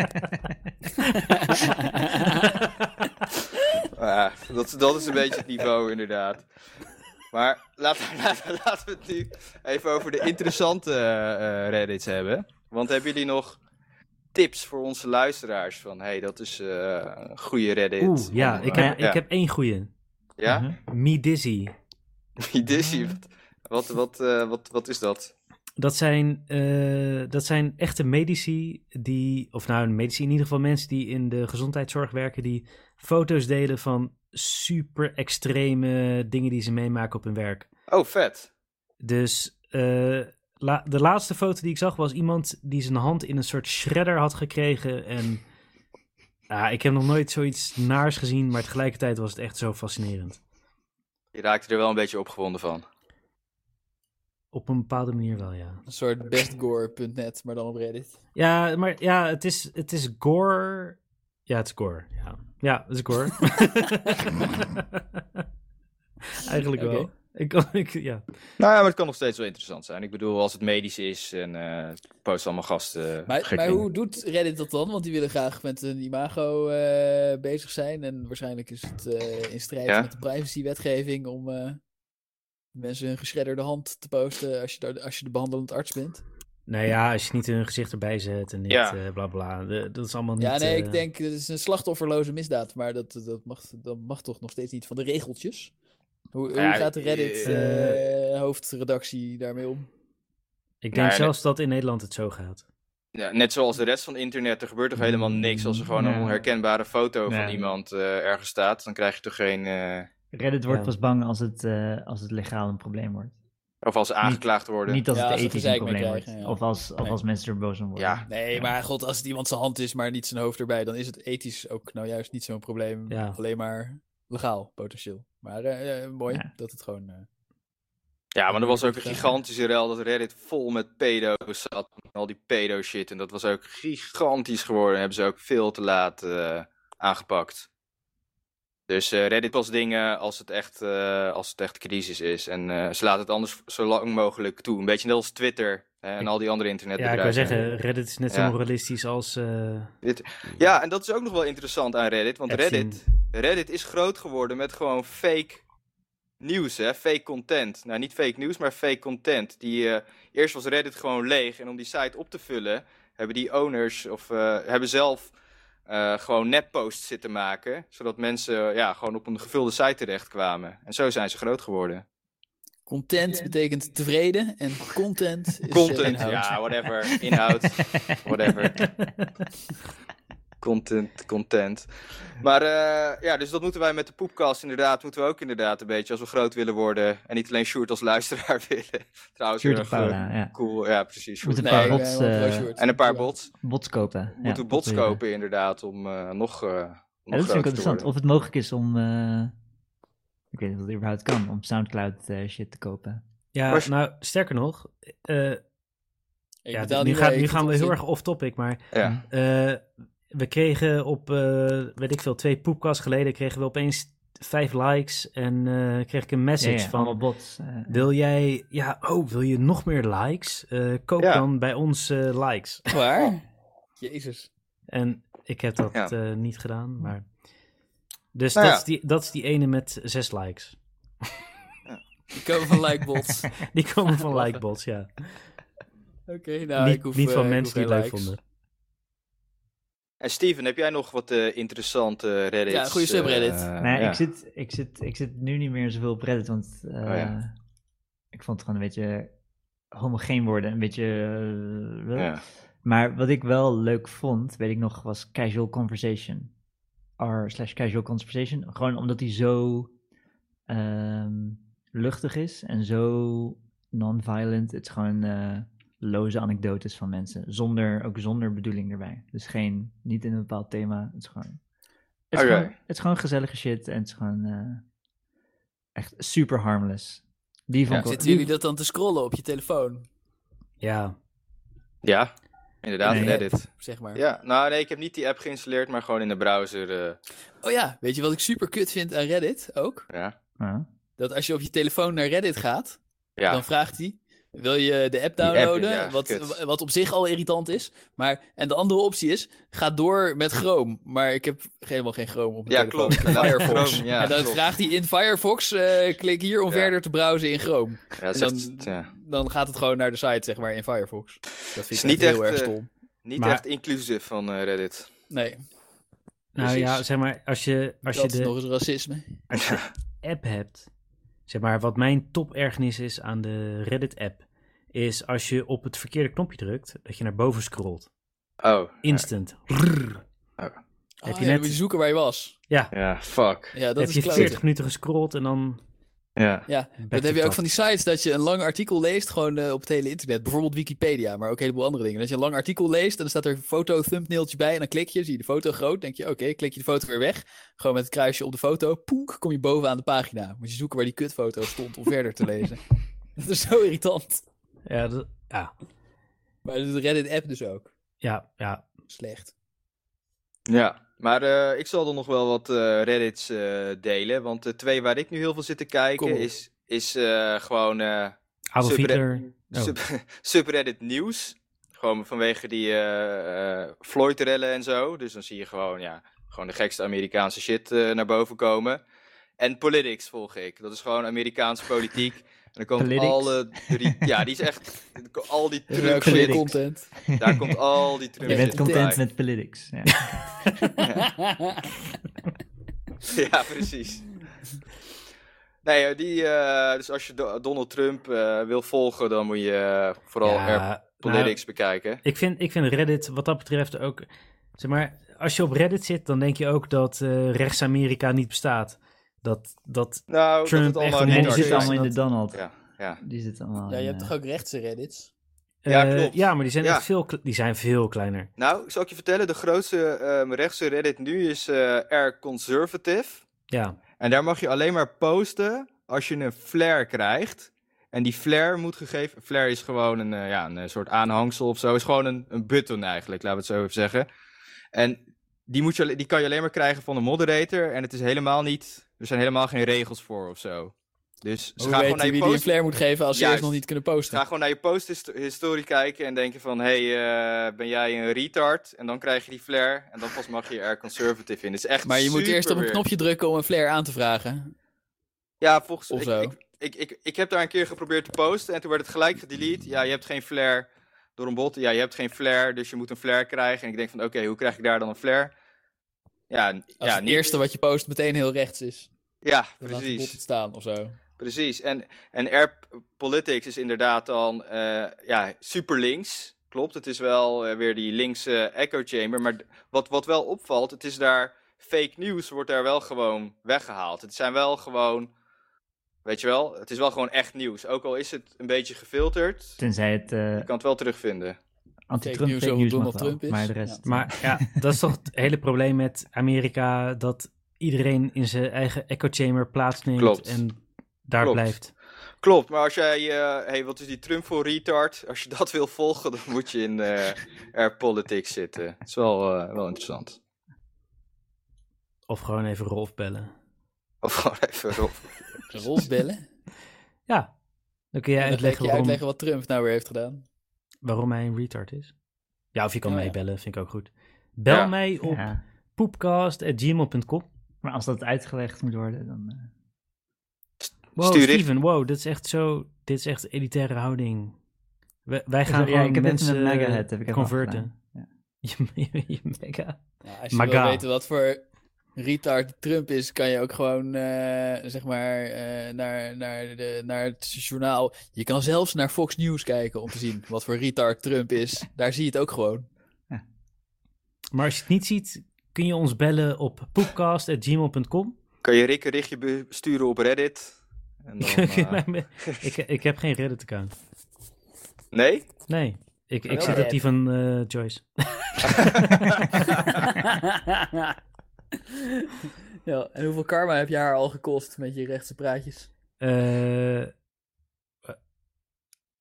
[SPEAKER 3] Ah, dat, dat is een beetje het niveau, inderdaad. Maar laten, (laughs) laten, laten we het nu even over de interessante eh, eh, reddits hebben. Want hebben jullie nog tips voor onze luisteraars? Van, hey, dat is eh, een goede reddit.
[SPEAKER 1] Oeh, ja,
[SPEAKER 3] Om,
[SPEAKER 1] ik
[SPEAKER 3] eh,
[SPEAKER 1] heb, ik heb één goeie.
[SPEAKER 3] Ja? (laughs)
[SPEAKER 4] Mhm.
[SPEAKER 1] Me Dizzy.
[SPEAKER 3] Die Dizzy, wat, wat, wat, eh, wat, wat is dat?
[SPEAKER 1] Dat zijn, eh, dat zijn echte medici die, of nou medici, in ieder geval mensen die in de gezondheidszorg werken, die foto's delen van super extreme dingen die ze meemaken op hun werk.
[SPEAKER 3] Oh, vet.
[SPEAKER 1] Dus eh, la- de laatste foto die ik zag was iemand die zijn hand in een soort shredder had gekregen. En ah, ik heb nog nooit zoiets naars gezien, maar tegelijkertijd was het echt zo fascinerend.
[SPEAKER 3] Je raakte er wel een beetje opgewonden van.
[SPEAKER 1] Op een bepaalde manier wel, ja.
[SPEAKER 2] Een soort bestgore.net, maar dan op Reddit.
[SPEAKER 1] Ja, maar ja, het is, het is gore. Ja, het is gore. Ja, ja het is gore.
[SPEAKER 2] (laughs)
[SPEAKER 1] Eigenlijk
[SPEAKER 2] Oké.
[SPEAKER 1] wel. Ik, ik, ja.
[SPEAKER 3] Nou ja, maar het kan nog steeds wel interessant zijn. Ik bedoel, als het medisch is en eh post allemaal gasten.
[SPEAKER 2] Maar,
[SPEAKER 3] gekke
[SPEAKER 2] maar
[SPEAKER 3] dingen.
[SPEAKER 2] hoe doet Reddit dat dan? Want die willen graag met een imago eh, bezig zijn. En waarschijnlijk is het eh, in strijd
[SPEAKER 3] Ja.
[SPEAKER 2] met de privacywetgeving om eh, mensen hun geschredderde hand te posten als je, daar, als je de behandelend arts bent.
[SPEAKER 1] Nou ja, als je niet hun gezicht erbij zet en niet
[SPEAKER 3] Ja.
[SPEAKER 1] eh, bla bla. eh, Dat is allemaal niet...
[SPEAKER 2] ja, nee,
[SPEAKER 1] eh,
[SPEAKER 2] ik denk dat is een slachtofferloze misdaad. Maar dat, dat, mag, dat mag toch nog steeds niet van de regeltjes. Hoe, hoe
[SPEAKER 3] Ja,
[SPEAKER 2] gaat de Reddit
[SPEAKER 1] eh,
[SPEAKER 2] eh, hoofdredactie daarmee om?
[SPEAKER 1] Ik
[SPEAKER 3] Nee,
[SPEAKER 1] denk
[SPEAKER 3] nee.
[SPEAKER 1] zelfs dat in Nederland het zo gaat.
[SPEAKER 3] Ja, net zoals de rest van internet, er gebeurt toch helemaal niks als er gewoon een
[SPEAKER 4] Nee.
[SPEAKER 3] onherkenbare foto van
[SPEAKER 4] Nee.
[SPEAKER 3] iemand eh, ergens staat. Dan krijg je toch geen. eh,
[SPEAKER 4] (laughs) Reddit wordt
[SPEAKER 1] Ja.
[SPEAKER 4] pas bang als het, eh, als het legaal een probleem wordt.
[SPEAKER 3] of als ze aangeklaagd worden.
[SPEAKER 4] Niet als
[SPEAKER 2] Ja,
[SPEAKER 4] het
[SPEAKER 2] als we
[SPEAKER 4] ethisch een
[SPEAKER 2] gezeik mee
[SPEAKER 4] probleem wordt.
[SPEAKER 2] krijgen, ja.
[SPEAKER 4] Of, als, of
[SPEAKER 2] Nee.
[SPEAKER 4] als mensen er boos om worden.
[SPEAKER 3] Ja.
[SPEAKER 2] Nee,
[SPEAKER 4] Ja.
[SPEAKER 2] maar god, als het iemand zijn hand is, maar niet zijn hoofd erbij, dan is het ethisch ook nou juist niet zo'n probleem.
[SPEAKER 1] Ja.
[SPEAKER 2] Alleen maar legaal, potentieel. Maar eh, eh, mooi
[SPEAKER 4] Ja.
[SPEAKER 2] dat het gewoon. eh,
[SPEAKER 3] Ja, maar er was ook een gigantische rel dat Reddit vol met pedo's zat. Al die pedo shit. En dat was ook gigantisch geworden. Hebben ze ook veel te laat eh, aangepakt. Dus eh, Reddit pas dingen als het echt, eh, als het echt crisis is. En eh, ze laten het anders zo lang mogelijk toe. Een beetje net als Twitter eh, en al die andere
[SPEAKER 1] Ja, ik wou
[SPEAKER 3] internetbedrijven.
[SPEAKER 1] zeggen, Reddit is net zo
[SPEAKER 3] Ja.
[SPEAKER 1] moralistisch als... eh,
[SPEAKER 3] Ja, en dat is ook nog wel interessant aan Reddit. Want
[SPEAKER 1] Epstein.
[SPEAKER 3] Reddit, Reddit is groot geworden met gewoon fake nieuws, hè? Fake content. Nou, niet fake nieuws, maar fake content. Die, eh, eerst was Reddit gewoon leeg. En om die site op te vullen, hebben die owners of eh, hebben zelf eh, gewoon nepposts zitten maken. Zodat mensen eh, ja, gewoon op een gevulde site terechtkwamen. En zo zijn ze groot geworden.
[SPEAKER 2] Content betekent tevreden en content is eh,
[SPEAKER 3] (laughs) Content,
[SPEAKER 2] inhoud.
[SPEAKER 3] ja, whatever.
[SPEAKER 2] (laughs)
[SPEAKER 3] Inhoud, whatever. Content, content. Maar eh, ja, dus dat moeten wij met de poepkast inderdaad, moeten we ook inderdaad een beetje, als we groot willen worden. En niet alleen Sjoerd als luisteraar (laughs) willen.
[SPEAKER 4] (laughs)
[SPEAKER 3] Trouwens,
[SPEAKER 4] Sjoerd
[SPEAKER 3] heel
[SPEAKER 4] en
[SPEAKER 3] erg, eh,
[SPEAKER 4] Paula, ja.
[SPEAKER 3] Cool, ja precies. Sjoerd.
[SPEAKER 4] Moet een
[SPEAKER 2] Nee,
[SPEAKER 4] paar
[SPEAKER 2] eh,
[SPEAKER 4] bots,
[SPEAKER 2] want
[SPEAKER 4] eh,
[SPEAKER 2] Roosjoerd.
[SPEAKER 3] En een paar bots.
[SPEAKER 4] Bots kopen. ja,
[SPEAKER 3] moeten we
[SPEAKER 4] dat
[SPEAKER 3] bots
[SPEAKER 4] wil je.
[SPEAKER 3] kopen inderdaad, om eh, nog eh,
[SPEAKER 4] Ja, dat
[SPEAKER 3] groter
[SPEAKER 4] vind ik
[SPEAKER 3] te
[SPEAKER 4] interessant.
[SPEAKER 3] worden.
[SPEAKER 4] Of het mogelijk is om. eh, ik weet niet of dat überhaupt kan, om Soundcloud eh, shit te kopen.
[SPEAKER 1] Ja,
[SPEAKER 3] Maar-
[SPEAKER 1] nou, sterker nog. eh,
[SPEAKER 2] Ik
[SPEAKER 1] ja,
[SPEAKER 2] betaal
[SPEAKER 1] nu,
[SPEAKER 2] niet
[SPEAKER 1] gaat-
[SPEAKER 2] mee,
[SPEAKER 1] nu
[SPEAKER 2] ik
[SPEAKER 1] gaan we
[SPEAKER 2] vind het
[SPEAKER 1] heel
[SPEAKER 2] niet.
[SPEAKER 1] erg off-topic, maar
[SPEAKER 3] Ja.
[SPEAKER 1] eh, we kregen op, eh, weet ik veel, twee poepkast geleden kregen we opeens vijf likes en eh, kreeg ik een message
[SPEAKER 4] allemaal
[SPEAKER 1] van...
[SPEAKER 4] bots. eh.
[SPEAKER 1] Wil jij, ja, oh, wil je nog meer likes? Eh, koop
[SPEAKER 3] Ja.
[SPEAKER 1] dan bij ons eh, likes. Oh.
[SPEAKER 2] Waar? Jezus.
[SPEAKER 1] En ik heb dat
[SPEAKER 3] Ja.
[SPEAKER 1] eh, niet gedaan, maar... Dus
[SPEAKER 3] Nou
[SPEAKER 1] dat,
[SPEAKER 3] ja.
[SPEAKER 1] is die, dat is die ene met zes likes. (laughs)
[SPEAKER 2] Ik komen van Likebots. Oké,
[SPEAKER 1] Die komen van
[SPEAKER 2] Lachen.
[SPEAKER 1] likebots, ja.
[SPEAKER 2] nou,
[SPEAKER 1] niet
[SPEAKER 2] ik hoef,
[SPEAKER 1] niet
[SPEAKER 2] eh,
[SPEAKER 1] van
[SPEAKER 2] ik
[SPEAKER 1] mensen die
[SPEAKER 2] hoef
[SPEAKER 1] het leuk
[SPEAKER 2] geen likes.
[SPEAKER 1] vonden.
[SPEAKER 3] En Steven, heb jij nog wat eh, interessante Reddit?
[SPEAKER 2] Ja, goede subreddit.
[SPEAKER 4] nee, ik, zit, ik, zit, ik zit nu niet meer zoveel op Reddit, want eh,
[SPEAKER 3] Oh, ja.
[SPEAKER 4] ik vond het gewoon een beetje homogeen worden. Een beetje. eh,
[SPEAKER 3] Ja.
[SPEAKER 4] Maar wat ik wel leuk vond, weet ik nog, was casual conversation. R slash casual conversation. Gewoon omdat die zo ehm, luchtig is en zo non-violent. Het is gewoon eh, loze anekdotes van mensen. Zonder, ook zonder bedoeling erbij. Dus geen, niet in een bepaald thema. Het is gewoon, het is
[SPEAKER 3] Oké.
[SPEAKER 4] gewoon, het is gewoon gezellige shit en het is gewoon eh, echt super harmless. Die vond
[SPEAKER 3] Ja,
[SPEAKER 4] ik wel-
[SPEAKER 2] Zitten
[SPEAKER 4] die-
[SPEAKER 2] jullie dat dan te scrollen op je telefoon?
[SPEAKER 1] Ja,
[SPEAKER 3] Ja, inderdaad,
[SPEAKER 4] Nee.
[SPEAKER 3] Reddit.
[SPEAKER 2] Zeg maar.
[SPEAKER 3] Ja, nou nee, ik heb niet die app geïnstalleerd, maar gewoon in de browser. eh,
[SPEAKER 2] Oh ja, weet je wat ik super kut vind aan Reddit ook?
[SPEAKER 3] ja.
[SPEAKER 4] Ja.
[SPEAKER 2] Dat als je op je telefoon naar Reddit gaat,
[SPEAKER 3] Ja.
[SPEAKER 2] Dan vraagt hij: wil je de app
[SPEAKER 3] app,
[SPEAKER 2] downloaden?
[SPEAKER 3] ja,
[SPEAKER 2] wat,
[SPEAKER 3] kut.
[SPEAKER 2] wat op zich al irritant is. Maar, en de andere optie is: ga door
[SPEAKER 3] (laughs)
[SPEAKER 2] met Chrome. Maar ik heb helemaal geen Chrome op. mijn
[SPEAKER 3] Ja,
[SPEAKER 2] telefoon.
[SPEAKER 3] klopt.
[SPEAKER 2] Ik heb
[SPEAKER 3] Ja,
[SPEAKER 2] Firefox.
[SPEAKER 3] Chrome, ja,
[SPEAKER 2] en dan
[SPEAKER 3] klopt.
[SPEAKER 2] vraagt hij in Firefox: eh, klik hier om
[SPEAKER 3] Ja.
[SPEAKER 2] verder te browsen in Chrome.
[SPEAKER 3] Ja, het is
[SPEAKER 2] En
[SPEAKER 3] echt,
[SPEAKER 2] dan-
[SPEAKER 3] ja,
[SPEAKER 2] Dan gaat het gewoon naar de site, zeg maar, in Firefox. Dat vind
[SPEAKER 3] Is
[SPEAKER 2] ik
[SPEAKER 3] niet
[SPEAKER 2] echt heel
[SPEAKER 3] echt,
[SPEAKER 2] erg
[SPEAKER 3] eh,
[SPEAKER 2] stom.
[SPEAKER 3] niet
[SPEAKER 1] Maar-
[SPEAKER 3] echt inclusief van eh, Reddit.
[SPEAKER 2] Nee,
[SPEAKER 1] nou
[SPEAKER 3] Precies.
[SPEAKER 1] ja, zeg maar, als je, als je
[SPEAKER 2] dat is
[SPEAKER 1] de
[SPEAKER 2] nog eens racisme.
[SPEAKER 1] als je app hebt, zeg maar, wat mijn topergernis is aan de Reddit-app, is als je op het verkeerde knopje drukt, dat je naar boven scrolt.
[SPEAKER 3] Oh,
[SPEAKER 1] Instant. Rrr.
[SPEAKER 2] Heb
[SPEAKER 1] je
[SPEAKER 2] je
[SPEAKER 1] net-
[SPEAKER 2] Ah, moet je zoeken waar je was.
[SPEAKER 3] ja, fuck.
[SPEAKER 2] Ja, dat
[SPEAKER 1] Heb
[SPEAKER 2] is
[SPEAKER 1] je
[SPEAKER 2] kloten.
[SPEAKER 1] 40 minuten gescrold en dan...
[SPEAKER 3] Ja,
[SPEAKER 2] Ja,
[SPEAKER 1] back
[SPEAKER 2] Dat heb
[SPEAKER 1] to
[SPEAKER 2] je ook
[SPEAKER 1] top.
[SPEAKER 2] van die sites dat je een lang artikel leest, gewoon eh, op het hele internet. Bijvoorbeeld Wikipedia, maar ook een heleboel andere dingen. Dat je een lang artikel leest en dan staat er een foto thumbnailtje bij. En dan klik je, zie je de foto groot. Denk je, oké, klik je de foto weer weg. Gewoon met het kruisje op de foto. Poenk, kom je bovenaan de pagina. Moet je zoeken waar die kutfoto stond om verder
[SPEAKER 1] (laughs)
[SPEAKER 2] te lezen. Dat is zo irritant.
[SPEAKER 1] Ja, dat- ja,
[SPEAKER 2] Maar de Reddit-app dus ook.
[SPEAKER 1] ja, ja.
[SPEAKER 2] Slecht.
[SPEAKER 3] ja. Maar eh, ik zal er nog wel wat eh, Reddits eh, delen, want de twee waar ik nu heel veel zit te
[SPEAKER 2] Kom
[SPEAKER 3] kijken
[SPEAKER 2] op.
[SPEAKER 3] is, is eh, gewoon eh,
[SPEAKER 1] Adolf
[SPEAKER 3] Super-
[SPEAKER 1] Hitler. Oh.
[SPEAKER 3] sub- (laughs) subreddit nieuws. Gewoon vanwege die eh, eh, Floyd-rellen en zo. Dus dan zie je gewoon, ja, gewoon de gekste Amerikaanse shit eh, naar boven komen. En politics volg ik. Dat is gewoon Amerikaanse politiek. En dan komt
[SPEAKER 4] Politics?
[SPEAKER 3] alle drie... Ja, die is echt... Al die
[SPEAKER 2] Er is ook
[SPEAKER 3] Trump
[SPEAKER 2] goede
[SPEAKER 3] shit.
[SPEAKER 2] content.
[SPEAKER 3] Daar komt al die Trump
[SPEAKER 4] (laughs) Je bent
[SPEAKER 3] shit
[SPEAKER 4] content
[SPEAKER 3] bij.
[SPEAKER 4] met politics. Ja.
[SPEAKER 3] (laughs) Ja, precies. Nee, eh, die, eh, dus als je Do- Donald Trump eh, wil volgen, dan moet je eh, vooral
[SPEAKER 1] Ja,
[SPEAKER 3] er
[SPEAKER 1] nou,
[SPEAKER 3] politics bekijken.
[SPEAKER 1] ik, vind, ik vind Reddit wat dat betreft ook... Zeg maar, als je op Reddit zit, dan denk je ook dat eh, rechts-Amerika niet bestaat. Dat, dat...
[SPEAKER 3] Nou,
[SPEAKER 1] Trump
[SPEAKER 3] dat het allemaal
[SPEAKER 1] echt
[SPEAKER 3] niet
[SPEAKER 1] een Donald
[SPEAKER 3] hard is.
[SPEAKER 4] Nee, die zitten
[SPEAKER 1] Trump.
[SPEAKER 4] allemaal in de Donald.
[SPEAKER 3] Ja, ja.
[SPEAKER 4] Die zitten allemaal.
[SPEAKER 1] Oh,
[SPEAKER 2] Ja, je
[SPEAKER 4] in,
[SPEAKER 2] hebt
[SPEAKER 4] eh,
[SPEAKER 2] toch ook rechtse Reddits?
[SPEAKER 3] Dus Ja,
[SPEAKER 1] eh,
[SPEAKER 3] klopt.
[SPEAKER 1] ja, maar die zijn
[SPEAKER 3] Ja.
[SPEAKER 1] echt veel, kle- die zijn veel kleiner.
[SPEAKER 3] Nou, ik zal ik je vertellen, de grootste ehm, rechtse Reddit nu is eh R Conservative.
[SPEAKER 1] Ja,
[SPEAKER 3] En daar mag je alleen maar posten als je een flare krijgt. En die flare moet gegeven... Flare is gewoon een, eh, ja, een eh, soort aanhangsel of zo. Is gewoon een, een button eigenlijk, laten we het zo even zeggen. En die, moet je, alle- die kan je alleen maar krijgen van de moderator. En het is helemaal niet... Er zijn helemaal geen regels voor of zo. Dus ze
[SPEAKER 2] Hoe
[SPEAKER 3] gaan
[SPEAKER 2] weet
[SPEAKER 3] gewoon naar
[SPEAKER 2] je
[SPEAKER 3] je
[SPEAKER 2] wie die een
[SPEAKER 3] post...
[SPEAKER 2] flare moet geven als ze eerst
[SPEAKER 3] Juist.
[SPEAKER 2] nog niet kunnen
[SPEAKER 3] Dus Ga
[SPEAKER 2] posten?
[SPEAKER 3] gewoon naar je posthistorie kijken en denken van... hey, eh, ben jij een retard? En dan krijg je die flare. En dan pas mag je er conservative in. Het is echt
[SPEAKER 2] Maar je moet eerst op een
[SPEAKER 3] superweird.
[SPEAKER 2] knopje drukken om een flare aan te vragen.
[SPEAKER 3] Ja, volgens
[SPEAKER 2] Of
[SPEAKER 3] ik,
[SPEAKER 2] zo.
[SPEAKER 3] Ik, ik, ik, ik heb daar een keer geprobeerd te posten en toen werd het gelijk gedelete. Ja, je hebt geen flare door een bot. Ja, je hebt geen flare, dus je moet een flare krijgen. En ik denk van, oké, hoe krijg ik daar dan een flare? Ja, n-
[SPEAKER 2] Als
[SPEAKER 3] ja,
[SPEAKER 2] het
[SPEAKER 3] niet-
[SPEAKER 2] eerste wat je post meteen heel rechts is.
[SPEAKER 3] ja
[SPEAKER 2] Dan laat de bot het
[SPEAKER 3] precies.
[SPEAKER 2] staan of zo.
[SPEAKER 3] precies. En, en R Politics is inderdaad dan eh, ja, super links. Klopt, het is wel eh, weer die linkse echo chamber. Maar d- wat, wat wel opvalt, het is daar fake news wordt daar wel gewoon weggehaald. Het zijn wel gewoon, weet je wel, het is wel gewoon echt nieuws. Ook al is het een beetje gefilterd,
[SPEAKER 4] Tenzij het eh,
[SPEAKER 3] je kan het wel terugvinden.
[SPEAKER 4] anti-Trump
[SPEAKER 2] news
[SPEAKER 4] fake
[SPEAKER 2] over
[SPEAKER 4] news mag
[SPEAKER 2] Donald
[SPEAKER 4] wel,
[SPEAKER 2] Trump is.
[SPEAKER 4] maar de rest...
[SPEAKER 1] Maar ja, (laughs) dat is toch het hele probleem met Amerika, dat iedereen in zijn eigen echo chamber plaatsneemt
[SPEAKER 3] Klopt.
[SPEAKER 1] en daar
[SPEAKER 3] Klopt.
[SPEAKER 1] blijft.
[SPEAKER 3] Klopt, maar als jij, eh, hey, wat is die Trump voor retard? Als je dat wil volgen, dan moet je in eh, Air Politics zitten. Het is wel, eh, wel interessant.
[SPEAKER 1] Of gewoon even Rolf bellen.
[SPEAKER 3] Of gewoon even op.
[SPEAKER 1] (laughs)
[SPEAKER 2] Rolf bellen.
[SPEAKER 1] Ja, dan kun jij
[SPEAKER 2] En dan leg
[SPEAKER 1] uitleggen
[SPEAKER 2] je
[SPEAKER 1] waarom,
[SPEAKER 2] uitleggen wat Trump nou weer heeft gedaan.
[SPEAKER 1] waarom hij een retard is. Ja, of je kan
[SPEAKER 2] Oh, ja.
[SPEAKER 1] meebellen, vind ik ook goed. Bel
[SPEAKER 3] Ja.
[SPEAKER 1] mij op
[SPEAKER 4] (laughs) Ja,
[SPEAKER 1] poepcast.gmail.com.
[SPEAKER 4] maar als dat uitgelegd moet worden, dan... eh,
[SPEAKER 1] Wow,
[SPEAKER 3] Stuur dit.
[SPEAKER 1] Steven, wow, dit is echt zo, dit is echt elitaire houding. Wij, wij gaan
[SPEAKER 4] ja,
[SPEAKER 1] gewoon
[SPEAKER 4] ik heb net
[SPEAKER 1] mensen
[SPEAKER 4] met MAGA het, heb ik even
[SPEAKER 1] converten.
[SPEAKER 4] afgedaan.
[SPEAKER 1] Je, (laughs) je, je mega.
[SPEAKER 2] Nou, als je
[SPEAKER 1] Maar
[SPEAKER 2] wil
[SPEAKER 1] ga.
[SPEAKER 2] weten wat voor retard Trump is, kan je ook gewoon eh, zeg maar eh, naar, naar, de, naar het journaal. Je kan zelfs naar Fox News kijken om te zien wat voor retard Trump is. Daar zie je het ook
[SPEAKER 1] (laughs)
[SPEAKER 2] gewoon.
[SPEAKER 1] Maar als je het niet ziet, kun je ons bellen op poepcast.gmail.com.
[SPEAKER 3] Kan je Rick een richtje be- sturen op Reddit? En
[SPEAKER 4] (laughs)
[SPEAKER 3] dan, eh,
[SPEAKER 1] ik, ik heb geen Reddit-account.
[SPEAKER 3] Nee?
[SPEAKER 1] Nee, ik, ik
[SPEAKER 2] Wel
[SPEAKER 1] zit op die van eh, Joyce.
[SPEAKER 2] Ja, en hoeveel karma heb je haar al gekost met je rechtse praatjes?
[SPEAKER 1] Eh, eh,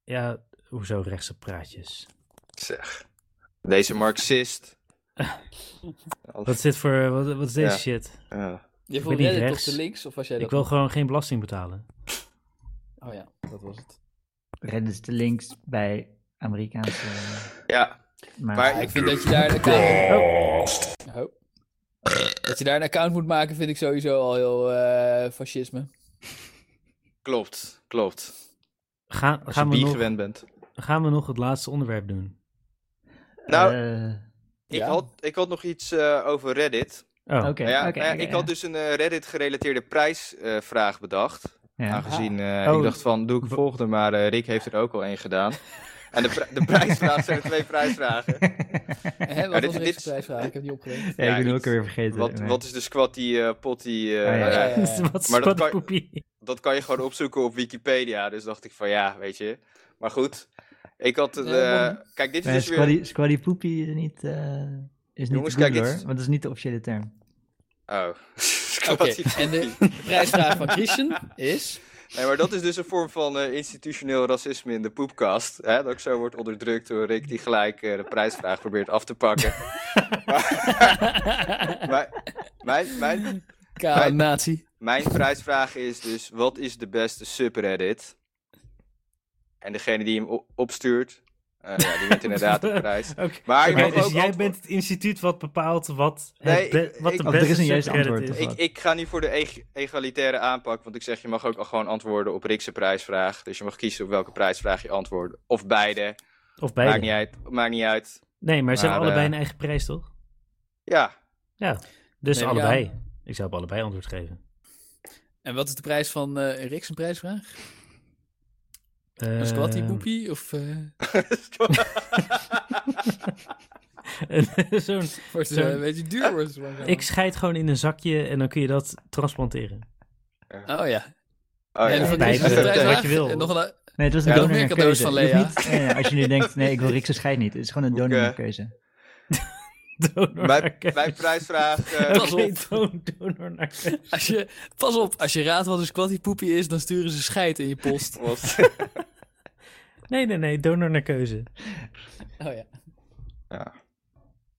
[SPEAKER 1] ja, hoezo rechtse praatjes?
[SPEAKER 3] Zeg. Deze Marxist.
[SPEAKER 1] Wat is dit voor, wat, wat is deze
[SPEAKER 3] Ja.
[SPEAKER 1] shit?
[SPEAKER 3] Ja.
[SPEAKER 2] Je
[SPEAKER 1] ben
[SPEAKER 2] vond
[SPEAKER 1] niet
[SPEAKER 2] Reddit
[SPEAKER 1] rechts.
[SPEAKER 2] toch de links? Of was jij dat?
[SPEAKER 1] Ik wil gewoon geen belasting betalen.
[SPEAKER 2] Oh ja, dat was het.
[SPEAKER 4] Reddit is de links bij Amerikaanse... eh,
[SPEAKER 3] ja.
[SPEAKER 4] Maar,
[SPEAKER 3] Maar-
[SPEAKER 2] Ja, ik vind dat je daar een account... Oh. Oh. Dat je daar een account moet maken vind ik sowieso al heel eh, fascisme.
[SPEAKER 3] Klopt, klopt.
[SPEAKER 1] Ga,
[SPEAKER 3] Als je
[SPEAKER 1] gaan, we
[SPEAKER 3] bi
[SPEAKER 1] nog,
[SPEAKER 3] gewend bent.
[SPEAKER 1] gaan we nog het laatste onderwerp doen?
[SPEAKER 3] Nou,
[SPEAKER 4] eh,
[SPEAKER 3] ik,
[SPEAKER 2] ja.
[SPEAKER 3] had, ik had nog iets eh, over Reddit.
[SPEAKER 1] Oh,
[SPEAKER 4] Oké,
[SPEAKER 3] Nou ja,
[SPEAKER 4] oké,
[SPEAKER 3] nou ja,
[SPEAKER 4] oké,
[SPEAKER 3] ik
[SPEAKER 4] ja.
[SPEAKER 3] had dus een eh, Reddit-gerelateerde prijsvraag bedacht.
[SPEAKER 4] Ja. (laughs)
[SPEAKER 3] Aangezien eh,
[SPEAKER 1] Oh.
[SPEAKER 3] ik dacht van, doe ik een volgende, maar eh, Rick heeft er ook al één
[SPEAKER 4] (laughs)
[SPEAKER 3] gedaan. En de, pri- de prijsvraag zijn er twee prijsvragen.
[SPEAKER 2] Hè, wat
[SPEAKER 3] Maar
[SPEAKER 2] was
[SPEAKER 3] dit-
[SPEAKER 2] de
[SPEAKER 3] dit-
[SPEAKER 2] prijsvraag? Ik heb die opgelegd.
[SPEAKER 4] Ja,
[SPEAKER 3] Ja,
[SPEAKER 4] ik ben hem ook
[SPEAKER 3] iets-
[SPEAKER 4] alweer vergeten.
[SPEAKER 3] Wat,
[SPEAKER 4] maar-
[SPEAKER 3] wat is de squat die eh, pot die... eh,
[SPEAKER 4] eh, Ah, ja.
[SPEAKER 3] ja,
[SPEAKER 1] wat (laughs) is
[SPEAKER 3] maar dat
[SPEAKER 1] wat een
[SPEAKER 3] kan-
[SPEAKER 1] poepie?
[SPEAKER 3] dat kan je gewoon opzoeken op Wikipedia. Dus dacht ik van, ja, weet je. Maar goed, ik had... een,
[SPEAKER 2] Ja,
[SPEAKER 3] eh, kijk, dit is
[SPEAKER 4] Nee,
[SPEAKER 3] dus weer...
[SPEAKER 4] Squally, squally poepie is niet, eh, is niet
[SPEAKER 3] Jongens,
[SPEAKER 4] te googlen,
[SPEAKER 3] kijk, dit is-
[SPEAKER 4] hoor, want dat is niet de officiële term.
[SPEAKER 3] Oh. (laughs)
[SPEAKER 2] Oké,
[SPEAKER 3] Squatty
[SPEAKER 2] en de
[SPEAKER 3] Potty.
[SPEAKER 2] prijsvraag van Christian
[SPEAKER 1] (laughs)
[SPEAKER 2] is...
[SPEAKER 3] Nee, maar dat is dus een vorm van eh, institutioneel racisme in de poepkast. Hè? Dat ik zo wordt onderdrukt door Rick die gelijk eh, de prijsvraag probeert af te
[SPEAKER 2] (laughs)
[SPEAKER 3] pakken. maar, (laughs) maar- mijn, mijn,
[SPEAKER 2] Kale nazi.
[SPEAKER 3] mijn prijsvraag is dus, wat is de beste subreddit? En degene die hem o- opstuurt, eh, ja, die
[SPEAKER 1] (laughs)
[SPEAKER 3] wint inderdaad de prijs.
[SPEAKER 1] Oké.
[SPEAKER 3] Maar je
[SPEAKER 1] Oké,
[SPEAKER 3] mag
[SPEAKER 1] dus
[SPEAKER 3] ook
[SPEAKER 1] jij
[SPEAKER 3] antwo-
[SPEAKER 1] bent het instituut wat bepaalt wat, het
[SPEAKER 3] Nee,
[SPEAKER 1] be-
[SPEAKER 3] ik-
[SPEAKER 1] wat de
[SPEAKER 3] ik-
[SPEAKER 4] Oh, er
[SPEAKER 1] beste
[SPEAKER 4] is een juist
[SPEAKER 1] subreddit
[SPEAKER 4] antwoord,
[SPEAKER 1] is.
[SPEAKER 4] of
[SPEAKER 3] Ik, ik ga nu voor de eg- egalitaire aanpak, want ik zeg, je mag ook al gewoon antwoorden op Rick's prijsvraag. Dus je mag kiezen op welke prijsvraag je antwoordt. Of beide.
[SPEAKER 1] Of
[SPEAKER 3] Maakt
[SPEAKER 1] beide.
[SPEAKER 3] niet uit. Maakt niet uit.
[SPEAKER 1] Nee, maar ze
[SPEAKER 3] Maar,
[SPEAKER 1] hebben allebei
[SPEAKER 3] eh,
[SPEAKER 1] een eigen prijs, toch?
[SPEAKER 3] Ja,
[SPEAKER 1] Ja, dus
[SPEAKER 2] Nee,
[SPEAKER 1] allebei. Ik zou op allebei antwoord geven.
[SPEAKER 2] En wat is de prijs van eh Rick zijn prijsvraag?
[SPEAKER 1] Eh,
[SPEAKER 2] Een squatty poepie? Of eh, (laughs)
[SPEAKER 1] (laughs) zo'n-
[SPEAKER 2] wordt het
[SPEAKER 1] Zo'n-
[SPEAKER 2] eh, een beetje duur? Wordt het wel?
[SPEAKER 1] ik scheid gewoon in een zakje en dan kun je dat transplanteren. (laughs)
[SPEAKER 3] Oh,
[SPEAKER 2] Oh ja. En
[SPEAKER 3] ja.
[SPEAKER 2] van
[SPEAKER 1] Nee,
[SPEAKER 2] Christian
[SPEAKER 1] dat-
[SPEAKER 2] zijn prijsvraag
[SPEAKER 1] (laughs) wat je wil.
[SPEAKER 2] en nog een,
[SPEAKER 4] Nee, het was een
[SPEAKER 3] Ja,
[SPEAKER 2] nog meer cadeaus
[SPEAKER 4] donorkeuze.
[SPEAKER 2] van
[SPEAKER 4] Je hoeft
[SPEAKER 2] Lea.
[SPEAKER 4] niet- nee, nee, als je nu denkt, nee, ik wil Rickse scheid niet. Het is gewoon een
[SPEAKER 3] (laughs) Boeken.
[SPEAKER 4] donorkeuze.
[SPEAKER 1] Donor naar
[SPEAKER 3] Mijn,
[SPEAKER 1] keus.
[SPEAKER 3] mijn prijsvraag. eh,
[SPEAKER 2] Pas
[SPEAKER 1] Oké,
[SPEAKER 2] op.
[SPEAKER 1] don- donor naar keus.
[SPEAKER 2] Als je, pas op, als je raadt wat een squatty poepie is, dan sturen ze scheid in je post.
[SPEAKER 3] (laughs) was-
[SPEAKER 1] Nee, nee, nee, donor naar keuze.
[SPEAKER 2] Oh ja.
[SPEAKER 3] Ja.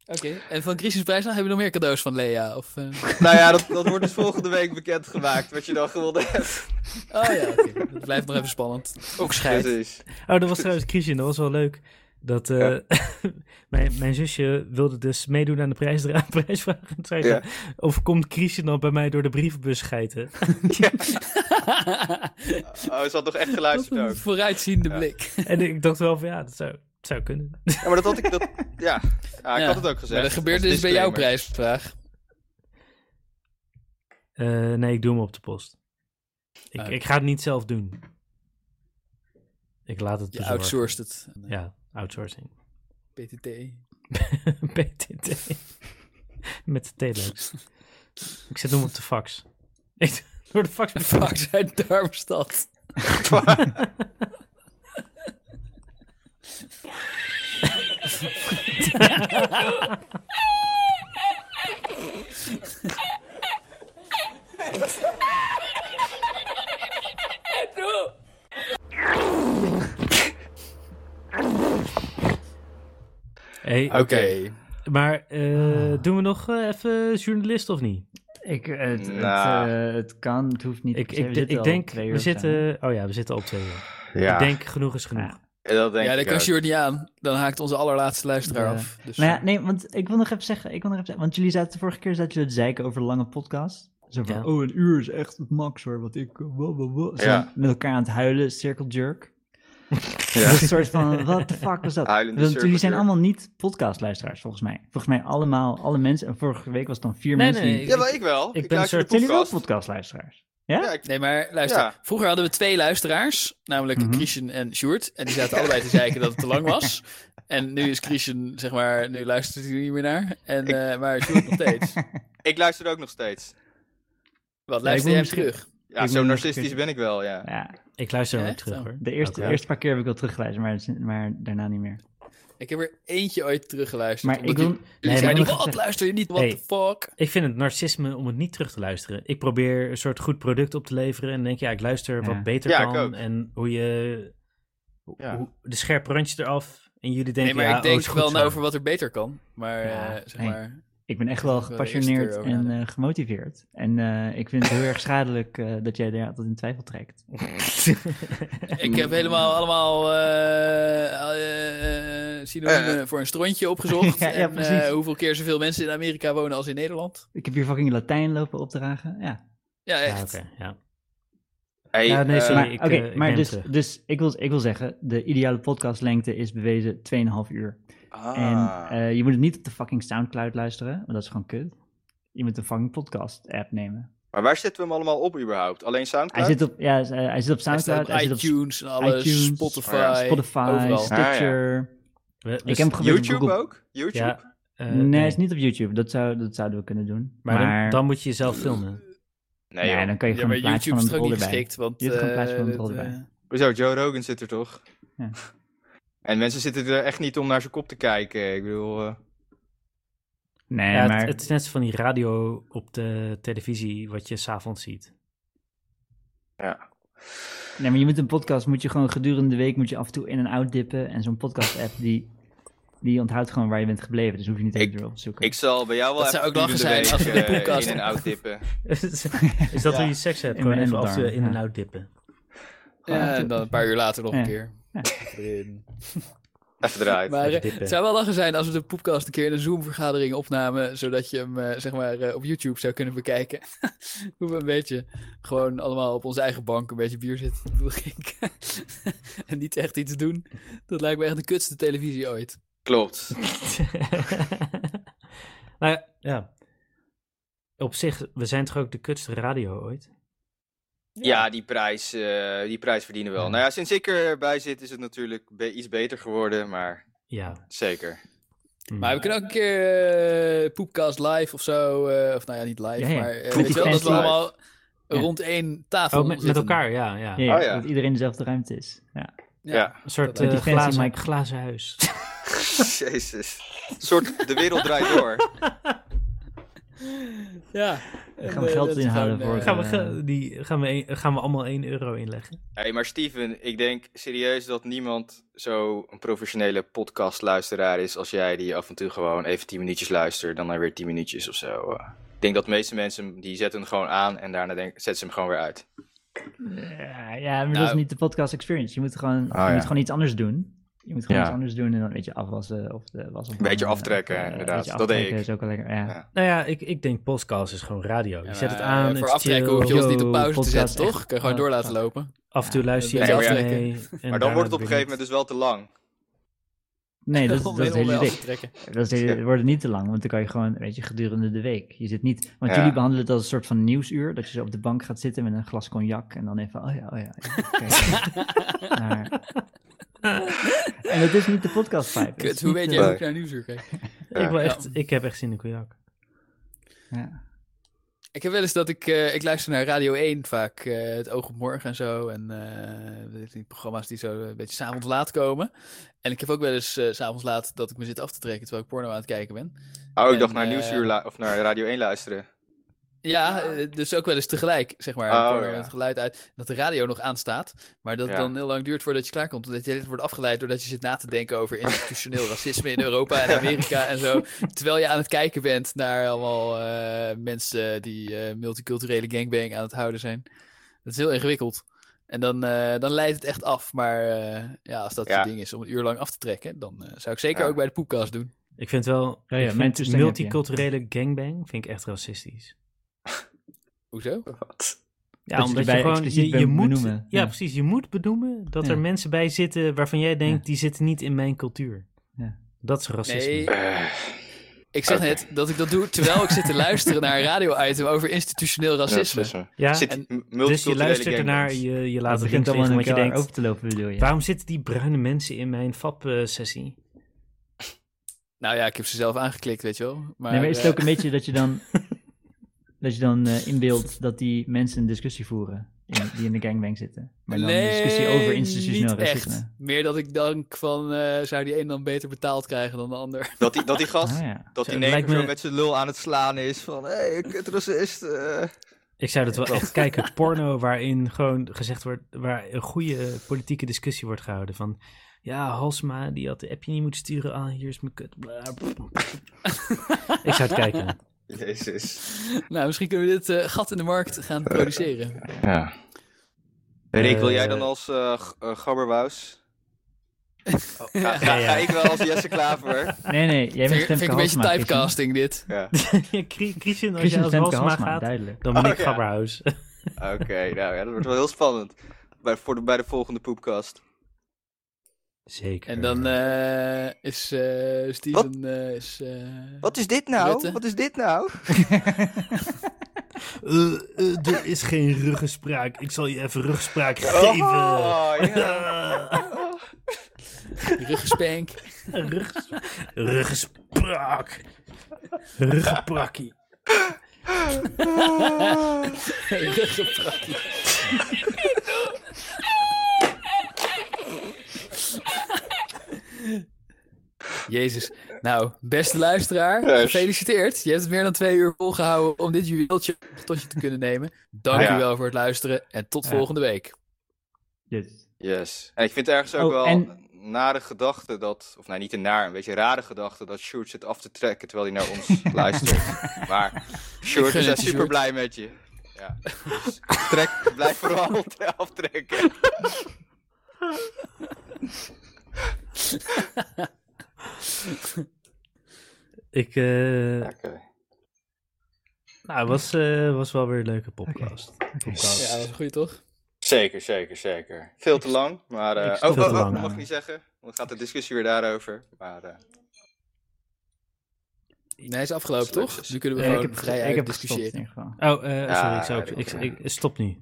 [SPEAKER 2] Oké, en van Christian's prijsvraag heb je nog meer cadeaus van Lea? Of, eh,
[SPEAKER 3] nou ja, dat, dat wordt dus volgende week bekendgemaakt. Wat je dan gewonnen hebt.
[SPEAKER 2] Oh ja,
[SPEAKER 3] (laughs)
[SPEAKER 2] oké. Dat blijft nog even spannend. Ook scheid.
[SPEAKER 3] Precies.
[SPEAKER 1] Oh, dat was trouwens Christian, dat was wel leuk. Dat, eh, (laughs) mijn, mijn zusje wilde dus meedoen (laughs) aan de prijsdra- prijsvraag. En toen zei ze,
[SPEAKER 3] Ja.
[SPEAKER 1] overkomt Christian dan bij mij door de brievenbus schijten? (laughs)
[SPEAKER 3] Oh, ze had toch echt
[SPEAKER 2] (laughs) Dat is
[SPEAKER 3] geluisterd ook.
[SPEAKER 2] een vooruitziende
[SPEAKER 3] Ja.
[SPEAKER 2] blik.
[SPEAKER 1] En ik dacht wel van ja, dat zou, dat zou kunnen.
[SPEAKER 3] Ja, maar dat had ik. Dat, ja. ja, ik
[SPEAKER 2] Ja.
[SPEAKER 3] had het ook gezegd.
[SPEAKER 2] Maar dat gebeurt
[SPEAKER 3] Als
[SPEAKER 2] dus bij jouw
[SPEAKER 3] disclaimer.
[SPEAKER 2] prijsvraag.
[SPEAKER 1] Eh, nee, ik doe hem op de post. Ik,
[SPEAKER 2] Ah.
[SPEAKER 1] ik ga het niet zelf doen. Ik laat het dus
[SPEAKER 2] Je
[SPEAKER 1] bezorgen.
[SPEAKER 2] outsourced het. Eh,
[SPEAKER 1] Ja, outsourcing. (laughs)
[SPEAKER 2] PTT. (laughs)
[SPEAKER 1] PTT. Met de telex. ik zet hem op de fax. Ik door de fax.
[SPEAKER 2] Fax uit Darmstad.
[SPEAKER 1] Hey,
[SPEAKER 3] Oké.
[SPEAKER 1] Maar eh, doen we nog eh, even journalist of niet?
[SPEAKER 4] Ah. Ik, eh, het,
[SPEAKER 3] Nou.
[SPEAKER 4] het, eh, het kan, het hoeft niet.
[SPEAKER 1] Ik,
[SPEAKER 4] per se.
[SPEAKER 1] ik,
[SPEAKER 4] zitten
[SPEAKER 1] ik
[SPEAKER 4] al
[SPEAKER 1] denk,
[SPEAKER 4] twee uur
[SPEAKER 1] we
[SPEAKER 4] of zo.
[SPEAKER 1] zitten... Oh ja, we zitten al twee uur.
[SPEAKER 3] Ja,
[SPEAKER 1] Ik denk, genoeg is genoeg.
[SPEAKER 3] dat denk
[SPEAKER 2] Ja,
[SPEAKER 3] ik
[SPEAKER 2] dat kan
[SPEAKER 3] ook.
[SPEAKER 2] Sjoerd niet aan. Dan haakt onze allerlaatste luisteraar
[SPEAKER 4] Ja.
[SPEAKER 2] af. Dus,
[SPEAKER 4] Maar Nou ja, nee, want ik wil nog even zeggen, ik wil nog even zeggen want jullie zaten de vorige keer zaten jullie te zeiken over lange podcasts. Zo van,
[SPEAKER 1] Ja.
[SPEAKER 4] oh, een uur is echt het max hoor, wat ik, eh, wow, wow, wow. Zo
[SPEAKER 3] Ja.
[SPEAKER 4] met elkaar aan het huilen, circle jerk. Dat
[SPEAKER 3] (laughs) Ja.
[SPEAKER 4] is een soort van, what the fuck was dat?
[SPEAKER 3] Huilende
[SPEAKER 4] Want jullie
[SPEAKER 3] circle
[SPEAKER 4] zijn
[SPEAKER 3] jerk.
[SPEAKER 4] allemaal niet podcastluisteraars, volgens mij. Volgens mij allemaal, alle mensen, en vorige week was het dan vier
[SPEAKER 1] Nee,
[SPEAKER 4] mensen
[SPEAKER 1] nee,
[SPEAKER 4] die...
[SPEAKER 1] ik-
[SPEAKER 3] ja, maar ik wel.
[SPEAKER 1] ben
[SPEAKER 3] Ik, luister
[SPEAKER 1] een soort-
[SPEAKER 3] de
[SPEAKER 4] Zijn jullie wel
[SPEAKER 3] podcast.
[SPEAKER 4] podcastluisteraars?
[SPEAKER 3] Ja, ik-
[SPEAKER 2] Nee, maar luister.
[SPEAKER 3] Ja.
[SPEAKER 2] Vroeger hadden we twee luisteraars, namelijk
[SPEAKER 4] Mhm.
[SPEAKER 2] Christian en Sjoerd. En die zaten allebei te zeiken dat het te lang was. En nu is Christian, zeg maar, nu luistert hij er niet meer naar. En,
[SPEAKER 3] Ik-
[SPEAKER 2] eh, maar Sjoerd nog steeds.
[SPEAKER 3] ik luister ook nog steeds.
[SPEAKER 2] Wat
[SPEAKER 4] Ja, ik
[SPEAKER 2] luister
[SPEAKER 4] wil
[SPEAKER 2] jij hem
[SPEAKER 4] misschien-
[SPEAKER 2] terug?
[SPEAKER 3] Ja,
[SPEAKER 4] Ik
[SPEAKER 3] zo
[SPEAKER 4] moet-
[SPEAKER 3] narcistisch ben ik wel, ja.
[SPEAKER 4] Ja,
[SPEAKER 1] Ik luister wel
[SPEAKER 2] Echt?
[SPEAKER 1] ook terug
[SPEAKER 2] Oh.
[SPEAKER 1] hoor.
[SPEAKER 4] de eerste,
[SPEAKER 1] Ook, ja.
[SPEAKER 4] eerste paar keer heb ik wel teruggeluisterd, maar, maar daarna niet meer.
[SPEAKER 2] Ik heb er eentje ooit teruggeluisterd.
[SPEAKER 4] Maar ik
[SPEAKER 2] omdat
[SPEAKER 4] wil...
[SPEAKER 2] jullie-
[SPEAKER 1] Nee,
[SPEAKER 2] Jullie
[SPEAKER 1] maar
[SPEAKER 2] zeiden,
[SPEAKER 1] nog
[SPEAKER 2] wat luister je niet? What
[SPEAKER 1] Hey.
[SPEAKER 2] the fuck?
[SPEAKER 1] Ik vind het narcisme om het niet terug te luisteren. Ik probeer een soort goed product op te leveren. En dan denk je, ja, ik luister wat
[SPEAKER 4] Ja.
[SPEAKER 1] beter
[SPEAKER 3] Ja, ik ook.
[SPEAKER 1] kan. En hoe je...
[SPEAKER 3] Ja.
[SPEAKER 1] hoe- de scherpe randjes eraf. En jullie denken,
[SPEAKER 2] Nee, maar
[SPEAKER 1] ja,
[SPEAKER 2] ik
[SPEAKER 1] oh,
[SPEAKER 2] denk
[SPEAKER 1] is goed
[SPEAKER 2] wel
[SPEAKER 1] zo.
[SPEAKER 2] na over wat er beter kan. Maar,
[SPEAKER 4] Ja,
[SPEAKER 2] eh, zeg
[SPEAKER 4] hey.
[SPEAKER 2] maar...
[SPEAKER 4] Ik ben echt wel
[SPEAKER 2] Ik wil er eerst
[SPEAKER 4] gepassioneerd
[SPEAKER 2] erover
[SPEAKER 4] en
[SPEAKER 2] nadenken.
[SPEAKER 4] eh, gemotiveerd. En eh, ik vind het heel erg schadelijk eh, dat jij daar altijd in twijfel
[SPEAKER 2] (laughs)
[SPEAKER 4] trekt.
[SPEAKER 2] Ik heb helemaal allemaal eh, eh, eh, synoniemen voor een strontje
[SPEAKER 4] (laughs)
[SPEAKER 2] opgezocht.
[SPEAKER 4] Ja, ja,
[SPEAKER 2] en, eh,
[SPEAKER 4] precies.
[SPEAKER 2] hoeveel keer zoveel mensen in Amerika wonen als in Nederland.
[SPEAKER 4] Ik heb hier fucking Latijn lopen opdragen. Ja.
[SPEAKER 2] Ja, echt.
[SPEAKER 1] Ja, oké, ja.
[SPEAKER 3] Hey,
[SPEAKER 1] Ja, nee,
[SPEAKER 3] eh,
[SPEAKER 1] sorry.
[SPEAKER 4] maar
[SPEAKER 1] ik,
[SPEAKER 4] oké,
[SPEAKER 1] eh, ik
[SPEAKER 4] maar
[SPEAKER 1] neem
[SPEAKER 4] dus,
[SPEAKER 1] terug.
[SPEAKER 4] dus ik, wil, ik wil zeggen, de ideale podcastlengte is bewezen 2,5 uur.
[SPEAKER 3] ah.
[SPEAKER 4] En eh, je moet het niet op de fucking Soundcloud luisteren, want dat is gewoon kut. Je moet een fucking podcast app nemen.
[SPEAKER 3] Maar waar zetten we hem allemaal op überhaupt? Alleen
[SPEAKER 4] Hij
[SPEAKER 3] Soundcloud?
[SPEAKER 4] zit op, ja, eh, hij zit op
[SPEAKER 2] Hij staat
[SPEAKER 4] Soundcloud, hij
[SPEAKER 2] op
[SPEAKER 4] zit op
[SPEAKER 2] iTunes en alles,
[SPEAKER 4] iTunes,
[SPEAKER 2] Spotify,
[SPEAKER 3] oh ja,
[SPEAKER 4] Spotify,
[SPEAKER 2] overal.
[SPEAKER 4] Stitcher.
[SPEAKER 1] Ah, We- we-
[SPEAKER 4] Ik heb hem geprobeerd op
[SPEAKER 3] YouTube
[SPEAKER 4] Google
[SPEAKER 3] ook? YouTube?
[SPEAKER 1] Ja, eh,
[SPEAKER 4] nee, hij is niet op YouTube. Dat, zou, dat zouden we kunnen doen.
[SPEAKER 1] Maar,
[SPEAKER 4] Maar,
[SPEAKER 1] dan- dan, moet je jezelf filmen.
[SPEAKER 3] Nee,
[SPEAKER 4] ja,
[SPEAKER 3] joh.
[SPEAKER 4] dan kan je
[SPEAKER 2] Ja,
[SPEAKER 4] gewoon
[SPEAKER 2] maar
[SPEAKER 4] een plaatje
[SPEAKER 2] YouTube
[SPEAKER 4] van
[SPEAKER 2] is
[SPEAKER 4] een
[SPEAKER 2] toch ook
[SPEAKER 4] rol
[SPEAKER 2] niet
[SPEAKER 4] erbij.
[SPEAKER 2] geschikt, want...
[SPEAKER 4] Je hebt gewoon een plaatje van een
[SPEAKER 2] eh,
[SPEAKER 4] rol
[SPEAKER 2] dat,
[SPEAKER 4] erbij.
[SPEAKER 2] eh,
[SPEAKER 3] Hoezo, Joe Rogan zit er toch?
[SPEAKER 4] Ja.
[SPEAKER 3] (laughs) En mensen zitten er echt niet om naar zijn kop te kijken. Ik bedoel, eh,
[SPEAKER 4] Nee,
[SPEAKER 1] ja, het-
[SPEAKER 4] maar
[SPEAKER 1] het, is net zo van die radio op de televisie wat je s'avonds ziet. (laughs)
[SPEAKER 3] ja.
[SPEAKER 4] Nee, maar je moet een podcast, moet je gewoon gedurende de week moet je af en toe in en out dippen. En zo'n podcast-app die, die onthoudt gewoon waar je bent gebleven. Dus hoef je niet
[SPEAKER 3] Ik-
[SPEAKER 4] even erop te zoeken.
[SPEAKER 3] Ik zal bij jou wel
[SPEAKER 2] Dat zou
[SPEAKER 3] even
[SPEAKER 2] ook lachen
[SPEAKER 3] iedere
[SPEAKER 2] zijn als we
[SPEAKER 3] week,
[SPEAKER 2] de
[SPEAKER 3] eh,
[SPEAKER 2] podcast
[SPEAKER 3] in en out dippen.
[SPEAKER 1] is dat
[SPEAKER 3] Ja.
[SPEAKER 1] hoe je seks hebt?
[SPEAKER 4] In
[SPEAKER 1] Gewoon
[SPEAKER 4] mijn
[SPEAKER 1] even af
[SPEAKER 4] endeldarm,
[SPEAKER 1] in en
[SPEAKER 4] ja.
[SPEAKER 1] out dippen. (laughs)
[SPEAKER 4] Gewoon
[SPEAKER 2] eh, ja, en dan een paar uur later nog
[SPEAKER 4] Ja.
[SPEAKER 2] een keer.
[SPEAKER 4] Ja.
[SPEAKER 2] Erin.
[SPEAKER 3] Even eruit.
[SPEAKER 2] Maar eh,
[SPEAKER 1] Even dippen.
[SPEAKER 2] het zou wel lachen zijn als we de podcast een keer in een Zoom-vergadering opnamen, zodat je hem eh, zeg maar eh, op YouTube zou kunnen bekijken. (laughs) Hoe we een beetje gewoon allemaal op onze eigen bank een beetje bier zitten te drinken (laughs) en niet echt iets doen. Dat lijkt me echt de kutste televisie ooit.
[SPEAKER 3] Klopt.
[SPEAKER 1] nou ja, ja. Op zich, we zijn toch ook de kutste radio ooit?
[SPEAKER 3] Ja, die prijs, eh, die prijs verdienen we wel. Nou ja, sinds ik erbij zit is het natuurlijk be- iets beter geworden, maar
[SPEAKER 1] Ja.
[SPEAKER 3] zeker.
[SPEAKER 1] Hm.
[SPEAKER 2] Maar we kunnen ook een keer eh Poepcast live of zo, eh, of nou ja, niet live,
[SPEAKER 4] Ja, ja.
[SPEAKER 2] maar eh, weet
[SPEAKER 4] Poepcast
[SPEAKER 2] je wel, dat we
[SPEAKER 4] live.
[SPEAKER 2] allemaal
[SPEAKER 4] Ja.
[SPEAKER 2] rond één
[SPEAKER 1] Oh,
[SPEAKER 2] tafel
[SPEAKER 1] met- met,
[SPEAKER 2] zitten.
[SPEAKER 1] elkaar, ja. ja.
[SPEAKER 4] Ja,
[SPEAKER 3] Oh ja.
[SPEAKER 4] Dat iedereen in dezelfde ruimte is. Ja.
[SPEAKER 3] Ja. (laughs)
[SPEAKER 1] Een soort
[SPEAKER 2] Met
[SPEAKER 1] eh,
[SPEAKER 4] die fancy
[SPEAKER 1] glazen,
[SPEAKER 4] mic.
[SPEAKER 1] glazen
[SPEAKER 4] (laughs)
[SPEAKER 1] huis.
[SPEAKER 3] Jezus. Een soort de wereld draait door.
[SPEAKER 2] Ja. En,
[SPEAKER 4] gaan we
[SPEAKER 2] eh,
[SPEAKER 4] geld
[SPEAKER 2] dat is
[SPEAKER 4] inhalen
[SPEAKER 2] gewoon,
[SPEAKER 4] voor,
[SPEAKER 2] eh,
[SPEAKER 1] gaan, we, ge- die, gaan, we een- gaan we allemaal 1 euro inleggen?
[SPEAKER 3] Hé, maar Steven, ik denk serieus dat niemand zo'n professionele podcastluisteraar is als jij, die af en toe gewoon even 10 minuutjes luistert, dan weer 10 minuutjes of zo. eh. Ik denk dat de meeste mensen, die zetten hem gewoon aan en daarna denk, zetten ze hem gewoon weer uit.
[SPEAKER 4] Ja, ja, maar dat
[SPEAKER 2] Nou.
[SPEAKER 4] is niet de podcast experience. Je moet gewoon,
[SPEAKER 3] Oh,
[SPEAKER 4] je
[SPEAKER 3] ja.
[SPEAKER 4] moet gewoon iets anders doen. Je moet gewoon
[SPEAKER 3] Ja.
[SPEAKER 4] iets anders doen en dan een beetje afwassen of de was eh,
[SPEAKER 3] Beetje aftrekken, inderdaad. Dat deed ik.
[SPEAKER 4] is ook wel lekker. Ja.
[SPEAKER 3] Ja.
[SPEAKER 1] Nou ja, ik, ik denk podcast is gewoon radio. Je
[SPEAKER 2] Ja,
[SPEAKER 1] zet het
[SPEAKER 2] maar,
[SPEAKER 1] aan,
[SPEAKER 2] eh,
[SPEAKER 1] het
[SPEAKER 2] Voor
[SPEAKER 1] is
[SPEAKER 2] aftrekken
[SPEAKER 1] chill.
[SPEAKER 2] hoef je ons
[SPEAKER 4] Yo,
[SPEAKER 2] niet op pauze te
[SPEAKER 4] podcast
[SPEAKER 2] zetten,
[SPEAKER 4] echt.
[SPEAKER 2] toch? Kan je gewoon
[SPEAKER 4] Ja,
[SPEAKER 2] door laten
[SPEAKER 4] ja. (laughs)
[SPEAKER 2] lopen.
[SPEAKER 1] Af en toe luister je
[SPEAKER 3] Nee,
[SPEAKER 1] zelf
[SPEAKER 3] maar
[SPEAKER 2] ja.
[SPEAKER 1] mee. en
[SPEAKER 3] Maar dan wordt
[SPEAKER 1] daarna
[SPEAKER 3] het op een gegeven moment dus wel te lang. (laughs)
[SPEAKER 4] Nee, dat, dat
[SPEAKER 2] Om
[SPEAKER 4] is het
[SPEAKER 2] heel
[SPEAKER 4] hele
[SPEAKER 2] wel
[SPEAKER 4] idee.
[SPEAKER 2] te (laughs) trekken.
[SPEAKER 4] Dat is, het wordt niet te lang, want dan kan je gewoon, weet je, gedurende de week. Je zit niet, want
[SPEAKER 3] Ja.
[SPEAKER 4] jullie behandelen het als een soort van nieuwsuur, dat je zo op de bank gaat zitten met een glas cognac en dan even, oh ja, oh ja. ja, oké.
[SPEAKER 2] (laughs)
[SPEAKER 4] Maar- en dat is niet de podcast vibe. Het
[SPEAKER 2] Kut,
[SPEAKER 4] is
[SPEAKER 2] hoe
[SPEAKER 4] niet
[SPEAKER 2] weet
[SPEAKER 4] de-
[SPEAKER 2] jij hoe ik naar nieuwsuur kijk?
[SPEAKER 1] Ik, wil
[SPEAKER 2] Ja.
[SPEAKER 1] echt, ik heb echt zin in cognac.
[SPEAKER 4] Ja.
[SPEAKER 2] Ik heb wel eens dat ik, eh, ik luister naar Radio 1 vaak, eh, Het Oog op Morgen en zo. En eh, weet ik, die programma's die zo een beetje s'avonds laat komen. En ik heb ook wel eens eh, s s'avonds laat dat ik me zit af te trekken terwijl ik porno aan het kijken ben.
[SPEAKER 3] Oh, ik
[SPEAKER 2] En,
[SPEAKER 3] dacht naar
[SPEAKER 2] eh,
[SPEAKER 3] Nieuwsuur lu- of naar Radio 1 luisteren.
[SPEAKER 2] Ja, eh, dus ook wel eens tegelijk, zeg maar.
[SPEAKER 3] Oh,
[SPEAKER 2] porno
[SPEAKER 3] ja.
[SPEAKER 2] met het geluid uit, dat de radio nog aanstaat. Maar dat het
[SPEAKER 3] Ja.
[SPEAKER 2] dan heel lang duurt voordat je klaarkomt. Omdat je wordt afgeleid doordat je zit na te denken over institutioneel racisme in Europa en Amerika en
[SPEAKER 3] (laughs)
[SPEAKER 2] zo. Terwijl je aan het kijken bent naar allemaal eh, mensen die eh, multiculturele gangbang aan het houden zijn. Dat is heel ingewikkeld. En dan, eh, dan leidt het echt af. Maar eh, ja, als dat
[SPEAKER 3] Ja.
[SPEAKER 2] je ding is om een uur lang af te trekken, dan eh, zou ik zeker
[SPEAKER 3] Ja.
[SPEAKER 2] ook bij de poepkast doen.
[SPEAKER 1] Ik vind wel,
[SPEAKER 4] ja,
[SPEAKER 1] ik
[SPEAKER 4] mijn
[SPEAKER 1] vind
[SPEAKER 4] toestemming heb je.
[SPEAKER 1] multiculturele gangbang vind ik echt racistisch.
[SPEAKER 2] Hoezo?
[SPEAKER 1] Ja,
[SPEAKER 4] Dat je
[SPEAKER 1] omdat je,
[SPEAKER 4] erbij
[SPEAKER 1] gewoon,
[SPEAKER 4] expliciet
[SPEAKER 1] je, je
[SPEAKER 4] be-
[SPEAKER 1] moet,
[SPEAKER 4] benoemen.
[SPEAKER 1] Ja,
[SPEAKER 4] Ja.
[SPEAKER 1] precies. Je moet benoemen dat
[SPEAKER 4] Ja.
[SPEAKER 1] er mensen bij zitten waarvan jij denkt, die zitten niet in mijn cultuur.
[SPEAKER 4] Ja.
[SPEAKER 1] Dat is racisme.
[SPEAKER 2] Nee,
[SPEAKER 3] Eh,
[SPEAKER 2] Ik zeg
[SPEAKER 3] Oké.
[SPEAKER 2] net dat ik dat doe terwijl ik zit te luisteren naar een radio-item over institutioneel racisme.
[SPEAKER 1] Ja,
[SPEAKER 3] Zit
[SPEAKER 2] en-
[SPEAKER 3] m-
[SPEAKER 1] dus je
[SPEAKER 3] multiculturele
[SPEAKER 1] luistert ernaar,
[SPEAKER 3] gangbangs.
[SPEAKER 1] je, je
[SPEAKER 4] Dat
[SPEAKER 1] laat het
[SPEAKER 4] begint
[SPEAKER 1] links liggen,
[SPEAKER 4] allemaal in
[SPEAKER 1] want je
[SPEAKER 4] elkaar
[SPEAKER 1] denkt,
[SPEAKER 4] over te lopen, bedoel je?
[SPEAKER 1] waarom zitten die bruine mensen in mijn eh, FAP-sessie?
[SPEAKER 2] nou ja, ik heb ze zelf aangeklikt, weet je wel. Maar,
[SPEAKER 4] nee, maar is het
[SPEAKER 2] eh,
[SPEAKER 4] ook een beetje dat je dan,
[SPEAKER 2] (laughs)
[SPEAKER 4] dat je dan eh, inbeeldt dat die mensen een discussie voeren in, die in de gangbang zitten? Maar dan een discussie
[SPEAKER 2] nee,
[SPEAKER 4] over institutioneel
[SPEAKER 2] niet
[SPEAKER 4] racisme.
[SPEAKER 2] Echt. Meer dat ik denk van, eh, zou die een dan beter betaald krijgen dan de ander? (laughs)
[SPEAKER 3] Dat die, dat die
[SPEAKER 1] (laughs)
[SPEAKER 3] gast,
[SPEAKER 4] Ah, ja.
[SPEAKER 3] dat die
[SPEAKER 1] Zo, lijkt
[SPEAKER 3] neger zo
[SPEAKER 1] me-
[SPEAKER 3] met zijn lul aan het slaan is van... Hé, hey, kutracist. eh.
[SPEAKER 1] Ik zou dat wel echt
[SPEAKER 2] (laughs)
[SPEAKER 1] kijken. Porno waarin gewoon gezegd wordt, waar een goede eh, politieke discussie wordt gehouden. Van, ja, Halsma, die had de appje niet moeten sturen. Ah, hier is mijn kut. Bla, bla, bla, bla. ik zou het kijken.
[SPEAKER 3] Jezus.
[SPEAKER 2] nou, misschien kunnen we dit eh, gat in de markt gaan produceren.
[SPEAKER 3] Ja. Rick, wil jij
[SPEAKER 1] Eh,
[SPEAKER 3] dan als eh g- eh,
[SPEAKER 1] (laughs)
[SPEAKER 3] Gabberwous? Oh, ga,
[SPEAKER 1] Ja,
[SPEAKER 3] ga,
[SPEAKER 1] ja.
[SPEAKER 3] ga ik wel als Jesse
[SPEAKER 1] (laughs)
[SPEAKER 3] Klaver?
[SPEAKER 4] Nee, nee, jij bent
[SPEAKER 2] Vind, vind
[SPEAKER 4] Femke
[SPEAKER 2] ik een beetje
[SPEAKER 4] Halsema. Christian.
[SPEAKER 2] typecasting dit.
[SPEAKER 3] Ja,
[SPEAKER 1] (laughs) ja, Chri- Christian, als jij
[SPEAKER 4] Christian
[SPEAKER 1] als
[SPEAKER 4] Femke
[SPEAKER 1] Halsma
[SPEAKER 4] Halsema,
[SPEAKER 1] gaat,
[SPEAKER 4] duidelijk.
[SPEAKER 1] dan ben ik
[SPEAKER 3] Oh, ja.
[SPEAKER 1] (laughs) Gabberhaus.
[SPEAKER 3] oké. nou ja, dat wordt wel heel spannend. Bij, voor de, bij de volgende poepkast.
[SPEAKER 1] Zeker.
[SPEAKER 2] En dan eh, is eh Steven... eh, is, eh,
[SPEAKER 3] Wat is dit
[SPEAKER 2] nou?
[SPEAKER 3] nou?
[SPEAKER 2] Rutte. Wat
[SPEAKER 3] Wat is dit nou?
[SPEAKER 1] Eh, eh, er is geen ruggespraak. Ik zal je even ruggespraak geven.
[SPEAKER 2] (laughs)
[SPEAKER 3] Oh, ja.
[SPEAKER 1] (laughs)
[SPEAKER 2] Ruggenspank.
[SPEAKER 1] Rugges- Eh, Ruggespraak. Ruggeprakkie.
[SPEAKER 2] Ruggenprakkie. (laughs) Jezus. Nou, beste luisteraar,
[SPEAKER 3] Yes.
[SPEAKER 2] gefeliciteerd. Je hebt het meer dan twee uur volgehouden om dit juweeltje tot je te kunnen nemen. Dank
[SPEAKER 3] Ja.
[SPEAKER 2] u wel voor het luisteren en tot
[SPEAKER 4] Ja.
[SPEAKER 2] volgende week.
[SPEAKER 4] Yes.
[SPEAKER 3] Yes. En ik vind ergens ook
[SPEAKER 4] Oh,
[SPEAKER 3] wel
[SPEAKER 4] en-
[SPEAKER 3] een nare gedachte dat... Of nou, niet een naar, een beetje rare gedachte dat Sjoerd zit af te trekken terwijl hij naar ons luistert. Maar Sjoerd,
[SPEAKER 2] gun
[SPEAKER 3] we zijn
[SPEAKER 2] het je,
[SPEAKER 3] super
[SPEAKER 2] Sjoerd.
[SPEAKER 3] blij met je. Ja. Dus trek, blijf vooral (laughs) aftrekken.
[SPEAKER 1] Ik, eh,
[SPEAKER 3] Oké.
[SPEAKER 1] nou, het was, eh, was wel weer een leuke podcast. Podcast.
[SPEAKER 2] Ja, dat is goed toch?
[SPEAKER 3] Zeker, zeker, zeker. Veel te lang, maar... eh,
[SPEAKER 1] Ik-
[SPEAKER 3] oh,
[SPEAKER 1] veel te
[SPEAKER 3] oh, oh,
[SPEAKER 1] lang.
[SPEAKER 3] dat mag ik niet zeggen. want Dan gaat de discussie weer daarover. Maar eh,
[SPEAKER 2] Nee, hij is afgelopen toch? Nu kunnen we
[SPEAKER 1] Ja,
[SPEAKER 2] gewoon
[SPEAKER 4] ik heb,
[SPEAKER 2] vrij
[SPEAKER 4] ik heb gestopt in
[SPEAKER 2] discussiëren.
[SPEAKER 4] ieder geval.
[SPEAKER 1] Oh, eh, sorry,
[SPEAKER 3] Ja,
[SPEAKER 1] ik, zou ook,
[SPEAKER 3] dat
[SPEAKER 1] ik,
[SPEAKER 3] kan.
[SPEAKER 1] ik- stop nu.